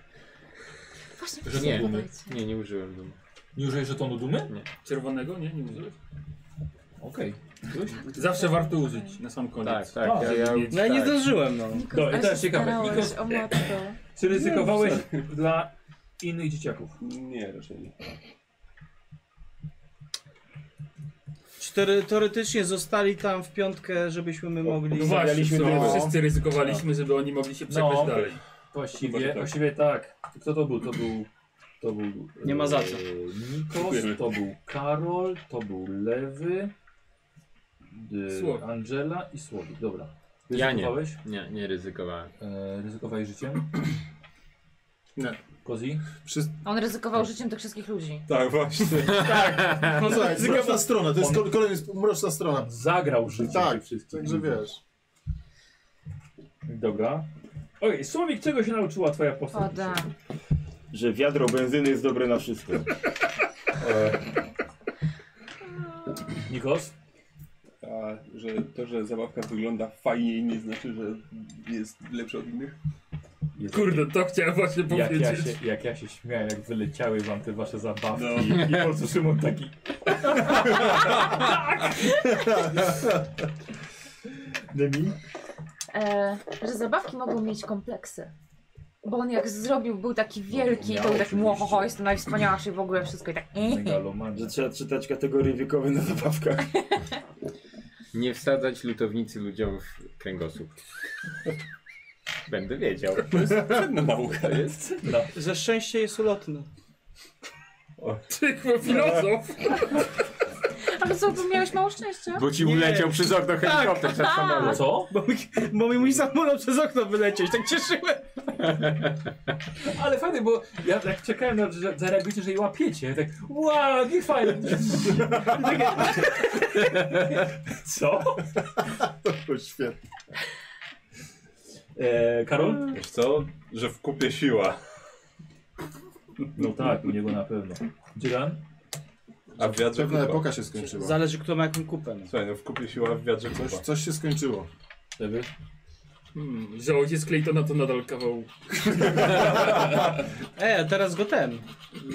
Właśnie
Że
nie.
to
Dumy.
dumy.
Nie, nie użyłem dumy.
Nie użyłeś żetonu dumy?
Czerwonego? Nie, nie użyłeś?
Okej. Użyłeś?
Zawsze warto użyć na sam koniec.
Tak, tak.
A,
ja,
żeby
ja,
No ja nie
tak.
zdążyłem, no.
Nikos,
Dobra, i
ale
teraz
się
ciekawe.
starałeś
Nikos-
o matko.
Czy ryzykowałeś dla innych dzieciaków?
Nie, raczej nie.
Czy teore- teoretycznie zostali tam w piątkę, żebyśmy my mogli...
No właśnie, w sumie
No.
wszyscy ryzykowaliśmy, żeby oni mogli się przegrać
No.
dalej.
Właściwie, właściwie tak. Kto to był? To był To był.
Nie ma za co.
e, Nikos, to był Karol, to był Lewy, e,
Słowik.
Angela i Słowik. Dobra.
Ja nie.
Ryzykowałeś?
Nie, nie ryzykowałem.
E, ryzykowałeś życiem? Nie. Kozi?
On ryzykował życiem tych wszystkich ludzi.
Tak, właśnie.
tak.
No słuchaj, mroczna strona, to jest
On
ko- kolejny sp- mroczna strona.
zagrał życie
Tak,
tych wszystkich.
także wiesz.
Dobra. Oj, Słowik, czego się nauczyła twoja postać?
Pada.
Że wiadro benzyny jest dobre na wszystko.
Nikos?
A że to, że zabawka wygląda fajniej, nie znaczy, że jest lepsza od innych?
Kurde, to chciałem właśnie
Jak
powiedzieć.
ja, się, jak ja się śmiałem, jak wyleciały wam te wasze zabawki
No.
i po prostu Szymon taki... Demi?
E, że zabawki mogą mieć kompleksy. Bo on jak zrobił, był taki wielki,
No,
miał
to był taki
oczywiście.
młohoho, jestem najwspanialszy w ogóle wszystko i tak.
[LAUGHS]
Że trzeba czytać kategorie wiekowe na zabawkach.
Nie wsadzać lutownicy ludziom w
[LAUGHS]
kręgosłup. Będę wiedział.
To jest cenna nauka.
jest.
Że szczęście jest ulotne.
Ty chyba filozof.
Ale co, tu miałeś mało szczęścia?
Bo ci uleciał przez okno helikopter przed samolotem.
Co?
Bo mi, [LAUGHS] bo mi mój samolot przez okno wyleciał i tak cieszyłem.
Ale fajnie, bo ja tak czekałem, na- że zareagujecie, że je łapiecie. Tak, wow, nie fajnie. [LAUGHS] Co?
To było świetne.
E, Karol?
Wiesz co? Że w kupie siła.
No tak, u niego na pewno. Dzielan?
A w wiadrze
Pewna
kupa.
epoka się skończyła.
Zależy kto ma jaką kupę. No.
Słuchaj, no w kupie siła, w wiadrze kupa.
Coś, coś się skończyło.
Lewy?
Hmm, że ojciec Claytona to nadal kawał.
E, a teraz go ten.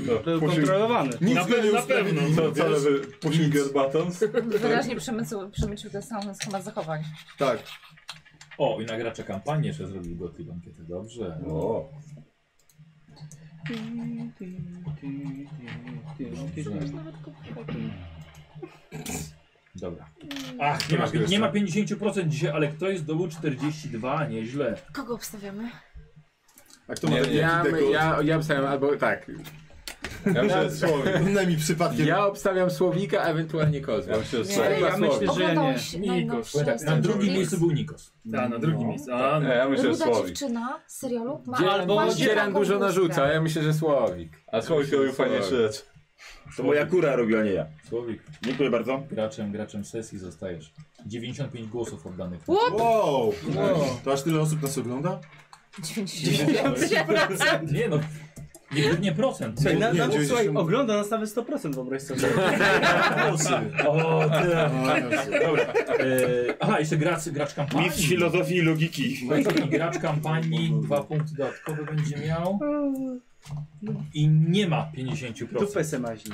Był
pushing-
kontrolowany.
Nic
Na
go
pe-
No, nie
na
usprawiedliwi-
pewno,
No.
Co, No, co
wiesz?
lewy? Pushing your buttons?
Wyraźnie przemycił, przemycił ten sam schemat zachowań.
Tak.
O, i nagracza kampanię jeszcze zrobił do tej ankiety. Dobrze.
O.
Dobra. Ach, nie ma, nie ma 50% dzisiaj, ale ktoś zdobył 42, nieźle.
Kogo obstawiamy?
A kto ma
Nie,
no,
taki
ja,
dekolt?
ja, ja obstawiam albo tak.
Ja myślę, że
Słowik. [LAUGHS] Innymi przypadkiem.
Ja obstawiam Słowika, ewentualnie Kozła.
Ja myślę, że
Nie,
Słowik.
ja
myślę,
że Oglądałeś nie. najnowsze
Powiem tak, Na
Stranger
drugim
Things?
miejscu był Nikos. No.
Tak, na drugim miejscu. A, no.
Nie, E, ja myślę, że
Ruda
Słowik.
dziewczyna z serialu ma
Dzieran,
właśnie
bo Dzieran
taką
dużo
bluzkę.
narzuca, ja myślę, że Słowik.
A Słowik
Myślę, że
robił fajniejsze
Słowik.
rzeczy.
To moja kura robiła, nie ja.
Słowik,
Dziękuję bardzo.
graczem, graczem sesji zostajesz. 95 głosów oddanych.
What?
Wow. To aż tyle osób nas ogląda?
90%.
Nie no, nie, nie procent.
Słuchaj, na,
Nie,
na, słuchaj
90.
ogląda nas nawet 100% wyobraź sobie.
Głosy.
O, ty.
[LAUGHS]
Jezu.
Dobra. E, aha, jeszcze gracz, gracz kampanii.
Mistrz filozofii i logiki.
I gracz kampanii, dwa punkty dodatkowe będzie miał. I nie ma 50%.
Dupę se maźni.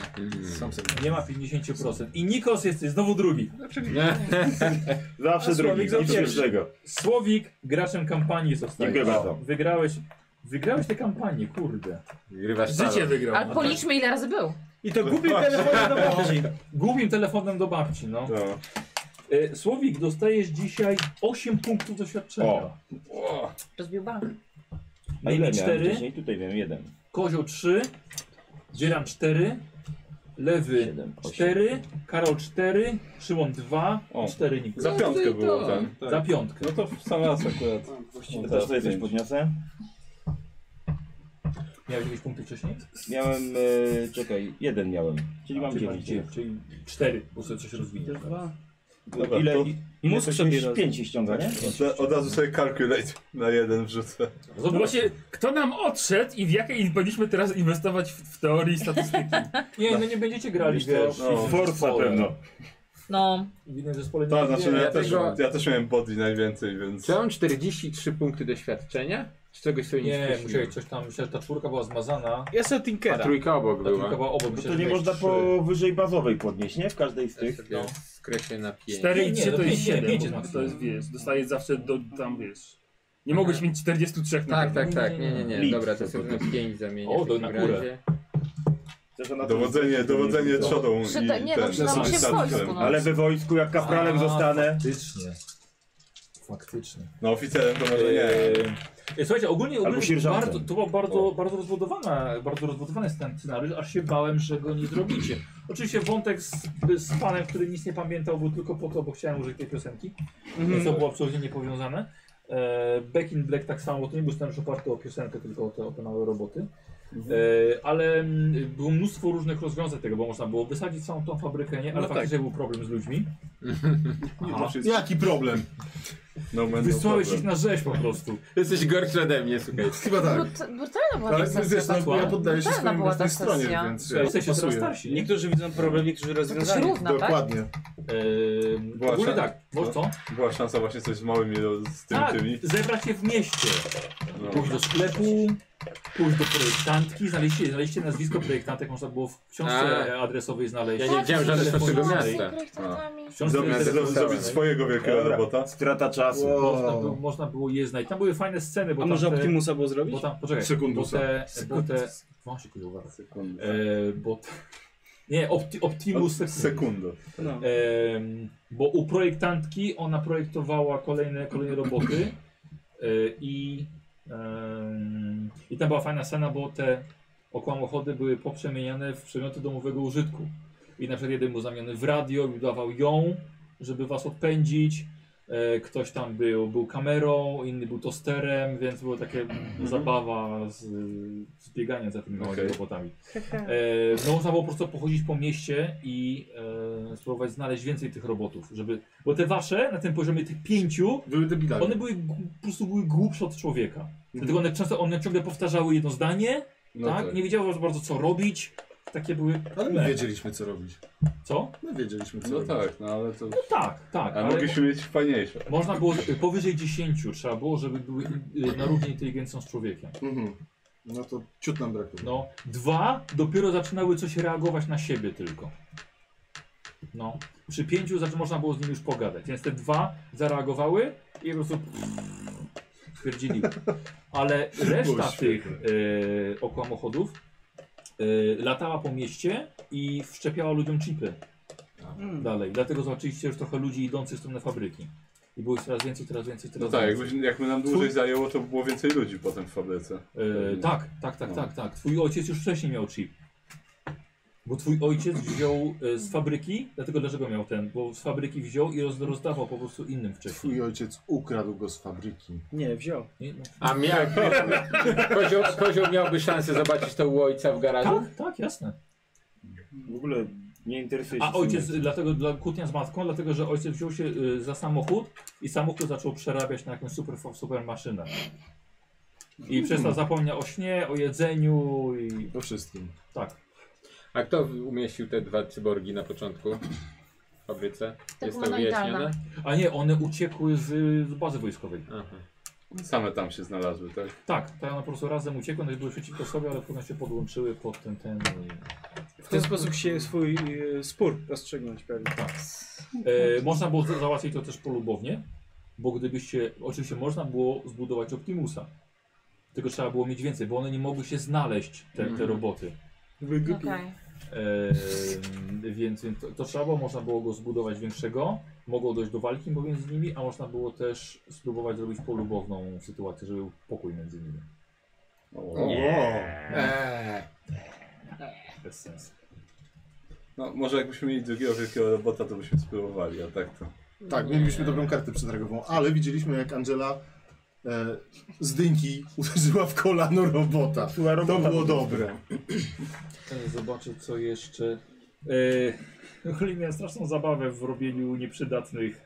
Sam sobie.
Nie ma 50%. I Nikos jest znowu drugi.
Zawsze
A Słowik
drugi,
zawsze
nic
Tak,
pierwszego.
Słowik graczem kampanii zostajesz.
no.
Dziękuję bardzo.
Wygrałeś, wygrałeś tę kampanię, kurde.
Grywasz
Życie
talent.
wygrał.
Ale policzmy ile razy był.
I to głupim telefonem do babci.
Głupim telefonem do babci, no.
No.
E, Słowik, dostajesz dzisiaj 8 punktów doświadczenia.
O.
O.
Rozbił bank.
A ile
Najmniej
miałem
4,
wcześniej? Tutaj miałem jeden.
Kozioł 3, Dzieran 4, Lewy
Siedem, osiem.
4, Karol 4, Szymon 2,
O.
4 Nikos.
Za piątkę było
to.
ten.
tak.
Za piątkę.
No to w sam raz akurat.
Ja
teraz
też tutaj coś
pięć.
podniosę.
Miałeś jakieś punkty wcześniej?
Miałem, e, czekaj, jeden miałem. Czyli mam
Czyli
dziewięć.
masz dziewięć, Czyli 4, bo sobie coś rozwinie.
No,
Dwa.
Dobra,
Ile,
to-
ile
Mózg
coś
sobie
już
roz-
pięć się ściąga, nie?
Od- Od razu sobie calculate na jeden wrzucę.
No właśnie, kto nam odszedł i w jakiej i powinniśmy teraz inwestować w, w teorii statystyki?
Nie, no nie będziecie grali,
Myślę,
wiesz.
że- no.
Forza pewno.
No,
W innym zespole nie
Tak, znaczy
będzie.
ja,
ja
też,
tego-
ja też miałem body najwięcej, więc...
Czy ja mam 43 punkty doświadczenia? Czy czegoś sobie nie
Nie,
wpisałem?
musiałeś coś tam, myślę, że ta czwórka była zmazana.
Ja sobie
A
Tinkera.
trójka obok
Ta
była.
trójka była obok,
No
myślę,
to
że
nie
miałeś
można
trzy.
powyżej bazowej podnieść, nie? W każdej z tych.
No. Skreślę na 5.
[LAUGHS]
Cztery
Nie,
i
nie,
trzy
no
to
pięć
jest
nie,
7,
pięć jest
bo to
maksimum.
jest, wiesz, dostajesz zawsze do, tam, wiesz. Nie mogłeś
Mhm.
mieć 43 na
Tak,
pewno.
tak, tak, nie, nie, nie,
Nic.
dobra, to sobie na 5 zamienię
O,
w
do-
takim
na kurę.
razie.
Chcesz ona-
Dowodzenie, dowodzenie trzodą
Przy-
i
nie, no
ten...
przydałby się w
statkiem.
wojsku, no.
Ale we wojsku jak kapralem
A,
zostanę.
Faktycznie. Faktycznie.
No oficerem to może nie.
E, Słuchajcie, ogólnie,
Albo
ogólnie
sierżantem.
bardzo, to było bardzo, bardzo, rozbudowane, bardzo rozbudowany jest ten scenariusz, aż się bałem, że go nie zrobicie. Oczywiście wątek z, z panem, który nic nie pamiętał, był tylko po to, bo chciałem użyć tej piosenki,
Mhm.
co było absolutnie niepowiązane. E, Back in Black tak samo, to nie był scenariusz oparty o piosenkę, tylko o te, o te małe roboty. E, ale mm, było mnóstwo różnych rozwiązań tego, bo można było wysadzić całą tą fabrykę, nie? ale
No tak.
faktycznie był problem z ludźmi.
Nie,
Aha.
to jest- Jaki problem?
No, man, no
Wysłałeś
problem.
ich na rzeź po prostu.
Jesteś gorszy ode mnie, słuchaj.
Chyba tak.
Brut- brutalna była ta
Ale
sesja.
wiesz, no, ja
Brutalna
poddaję się swojej
była ta
własnej stronie,
sesja.
więc
Słuchaj,
ja
jesteście coraz
pasuję.
starsi. nie?
Niektórzy widzą problem, niektórzy rozwiązanie.
równa, tak?
Dokładnie.
Ehm,
Była
ogólnie
szansa-
tak, może co?
Była szansa właśnie coś z małymi no, z tym
Tak,
tymi.
zebrać się w mieście.
No.
Pójść do sklepu, pójść do projektantki, znaleźliście, znaleźliście nazwisko projektantek, można było w książce adresowej znaleźć.
Ja nie wiedziałem, że adres naszego miasta.
W książce
Zrobić-
adresowej
zrobić swojego wielkiego
Dobra.
robota.
Strata czasu.
Można, było, można było je znaleźć. Tam były fajne sceny, bo
A
tam
może
te-
Optimusa było zrobić?
Bo tam, poczekaj,
Sekundusa.
bo te... Bo te właśnie, kurwa. E, bo te, [LAUGHS] nie, opti, Optimus
Sekundo.
No.
Em, bo u projektantki ona projektowała kolejne, kolejne roboty e, i, em, i tam była fajna scena, bo te okłamochody były poprzemieniane w przedmioty domowego użytku. I na przykład jeden był zamieniony w radio i dawał ją, żeby was odpędzić. E, Ktoś tam był, był kamerą, inny był tosterem, więc była taka zabawa z, z bieganiem za tymi małymi
Okej.
robotami. E, no można było po prostu pochodzić po mieście i e, spróbować znaleźć więcej tych robotów, żeby. Bo te wasze na tym poziomie tych pięciu,
Były debilami.
one były g- po prostu były głupsze od człowieka. Dlatego one często one ciągle powtarzały jedno zdanie,
No
tak?
tak.
Nie wiedziały za bardzo co robić. Takie były.
Ale my wiedzieliśmy co robić.
Co?
My wiedzieliśmy co
No
robić.
tak, no ale to...
Tak, tak.
A
ale-
mogliśmy mieć fajniejsze.
Można było y, powyżej 10 trzeba było, żeby były y, na równi inteligencją z człowiekiem.
Mhm. No to ciut nam brakuje.
No, dwa dopiero zaczynały coś reagować na siebie tylko. No, przy pięciu zaczy- można było z nimi już pogadać, więc te dwa zareagowały i po prostu stwierdzili. Ale reszta tych y, okłamochodów y, latała po mieście i wszczepiała ludziom chipy
Hmm.
dalej. Dlatego zobaczyliście już trochę ludzi idących w stronę fabryki. I było ich coraz więcej, coraz więcej, coraz
No tak,
więcej.
jakby, jakby nam dłużej
Twój-
zajęło, to było więcej ludzi potem w fabryce.
E, tak, tak, tak,
No.
tak, tak. Twój ojciec już wcześniej miał chip. Bo twój ojciec wziął e, z fabryki, dlatego dlaczego miał ten? Bo z fabryki wziął i roz, rozdawał po prostu innym wcześniej.
Twój ojciec ukradł go z fabryki.
Nie, wziął.
Nie, no.
A miał, kozioł, kozioł miałby szansę zobaczyć to u ojca w garażu?
Tak, tak, jasne.
W ogóle nie interesuje się.
A ojciec,
tym.
e, dlatego dla kłótnia z matką, dlatego że ojciec wziął się e, za samochód i samochód zaczął przerabiać na jakąś super, super maszynę. I przez to zapomniał o śnie, o jedzeniu i
O wszystkim.
tak.
A kto umieścił te dwa cyborgi na początku w fabryce?
To
Jest to
była
wyjaśnione?
Najdalna.
A nie, one uciekły z, z bazy wojskowej.
Aha.
Same tam się znalazły, tak?
Tak, to one po prostu razem uciekły, one były przeciwko sobie, ale potem się podłączyły pod ten e, ten.
W ten sposób się swój e, spór rozstrzygnąć pewnie.
E, można było za- załatwić to też polubownie, bo gdybyście. Oczywiście można było zbudować Optimusa. Tylko trzeba było mieć więcej, bo one nie mogły się znaleźć, te, te
Mhm.
roboty.
Okej.
E, więc więc to, to trzeba było, można było go zbudować większego, mogło dojść do walki pomiędzy nimi, a można było też spróbować zrobić polubowną sytuację, żeby był pokój między nimi.
O.
Eee.
Bez sensu.
No, może jakbyśmy mieli drugiego wielkiego robota, to byśmy spróbowali, a tak to...
Tak, mielibyśmy dobrą kartę przetargową, ale widzieliśmy jak Angela e, z dynki uderzyła w kolano robota.
robota
to było
po
dobre.
Teraz Zobaczę co jeszcze. Yy, miałem straszną zabawę w robieniu nieprzydatnych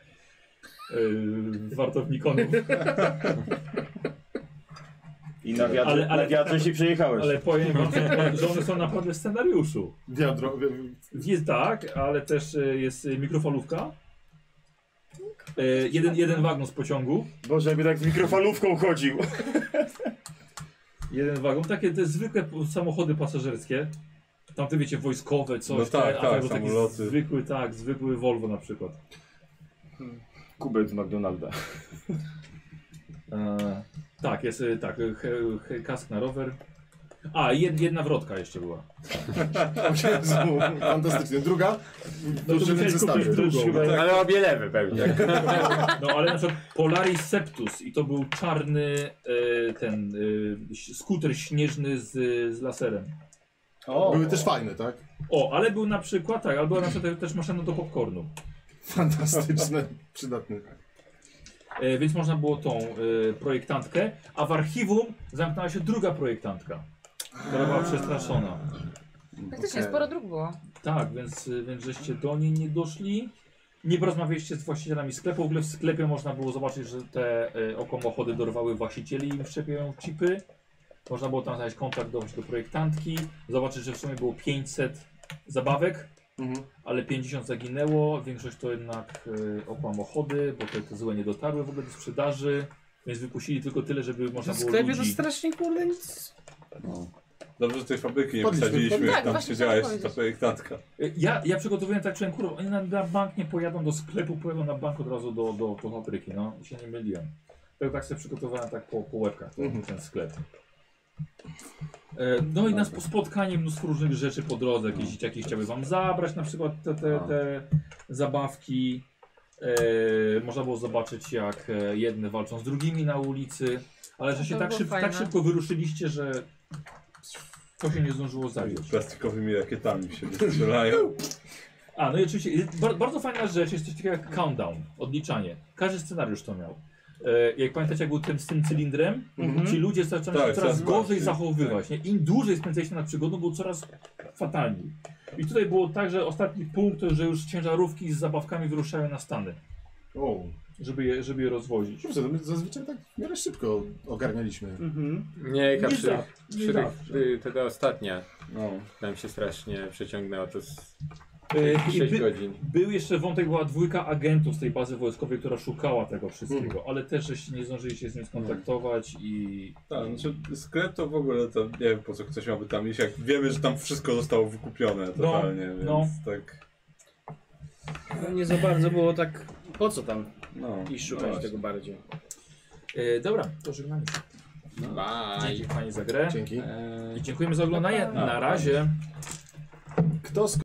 yy, wartownikonów.
I na wiadrze,
Ale- ale-
na wiadrze się przejechałeś.
Ale powiem wam, że one są naprawdę w scenariuszu.
Wiadro, wi-
Jest tak, ale też y, jest y, mikrofalówka. Y, jeden, jeden wagon z pociągu.
Boże, jakby tak z mikrofalówką chodził.
Jeden wagon. Takie te zwykłe p- samochody pasażerskie. Tamte wiecie, wojskowe, coś.
No tak,
te-
tak,
albo taki
samoloty.
zwykły, tak, zwykły Volvo na przykład.
Kubek z McDonalda.
y, E, tak, jest e, tak, e, he, he, kask na rower. A, jed, jedna wrotka jeszcze była.
O Jezu, fantastycznie. Druga?
No to
Duży
musiałeś
zestawie.
kupić drugą.
Tak.
Ale
obie lewe pewnie.
No ale na przykład Polaris Septus i to był czarny e, ten e, skuter śnieżny z, z laserem.
Były też fajne, tak?
O, ale był na przykład, tak, albo na przykład też maszyna do popcornu.
Fantastyczne, przydatne.
E, więc można było tą e, projektantkę, a w archiwum zamknęła się druga projektantka, która była przestraszona.
Faktycznie,
Okej.
sporo dróg było.
Tak, więc, y, więc żeście do niej nie doszli. Nie porozmawialiście z właścicielami sklepu. W ogóle w sklepie można było zobaczyć, że te y, okomochody dorwały właścicieli i im wszczepiają chipy. Można było tam znaleźć kontakt do, do projektantki, zobaczyć, że w sumie było 500 zabawek, ale 50 zaginęło. Większość to jednak y, okomochody, bo te, te złe nie dotarły w ogóle do sprzedaży, więc wypuścili tylko tyle, żeby można
W
było
sklepie to
ludzi...
strasznie kurde nic.
Dobrze, że tej fabryki nie
Podliśmy,
wsadziliśmy,
podliśmy.
jak
Tak,
tam
właśnie
siedziała
chciałem
jeszcze ta
powiedzieć.
projektantka.
Y, Ja, ja przygotowuję tak, czułem, kurwa, oni na, na bank nie pojadą do sklepu, pojadą na bank od razu do, do, do fabryki, no i się nie myliłem. Tak, tak sobie przygotowałem tak po, po łebkach ten, ten sklep. E, No i nas po spotkaniu mnóstwo różnych rzeczy po drodze, jakieś dzieciaki chciały wam zabrać na przykład te, te, te zabawki. E, można było zobaczyć jak e, jedne walczą z drugimi na ulicy, ale że
No
się
to
tak,
było
szyb, tak
fajne.
szybko wyruszyliście, że to się nie zdążyło zająć.
Plastikowymi rakietami się [LAUGHS] wystrzelają.
A, no i oczywiście jest bar bardzo fajna rzecz, jest coś takiego jak countdown, odliczanie. Każdy scenariusz to miał. E, jak pamiętacie, jak był ten, z tym cylindrem,
Mhm.
ci ludzie zaczęli
Tak,
się
coraz
coraz gorzej
bardziej,
zachowywać. Nie? Im dłużej spędzaliście nad przygodą, było coraz fatalniej. I tutaj było tak, że ostatni punkt to, że już ciężarówki z zabawkami wyruszają na Stany,
O,
żeby je, żeby je rozwozić.
dobrze, to my zazwyczaj tak w miarę szybko ogarnialiśmy.
Mhm.
Nie, jaka
Nie
przy,
zawsze, nie
przy
zawsze.
y, teda ostatnia.
No.
Tam się strasznie przeciągnęło to z
E, i
6
by-
godzin.
Był jeszcze wątek, była dwójka agentów z tej bazy wojskowej, która szukała tego wszystkiego,
Mhm.
ale też żeście nie zdążyli się z nim skontaktować i...
Tak, znaczy sklep to w ogóle to nie wiem po co ktoś miałby tam iść, jak wiemy, że tam wszystko zostało wykupione totalnie, więc
no.
tak.
No nie za bardzo było tak, po co tam
No,
iść
no
szukać
właśnie.
tego bardziej.
E, dobra, to żegnamy się. Dzięki Pani za grę. E,
Dzięki.
I dziękujemy za oglądanie. Na razie.
Kto z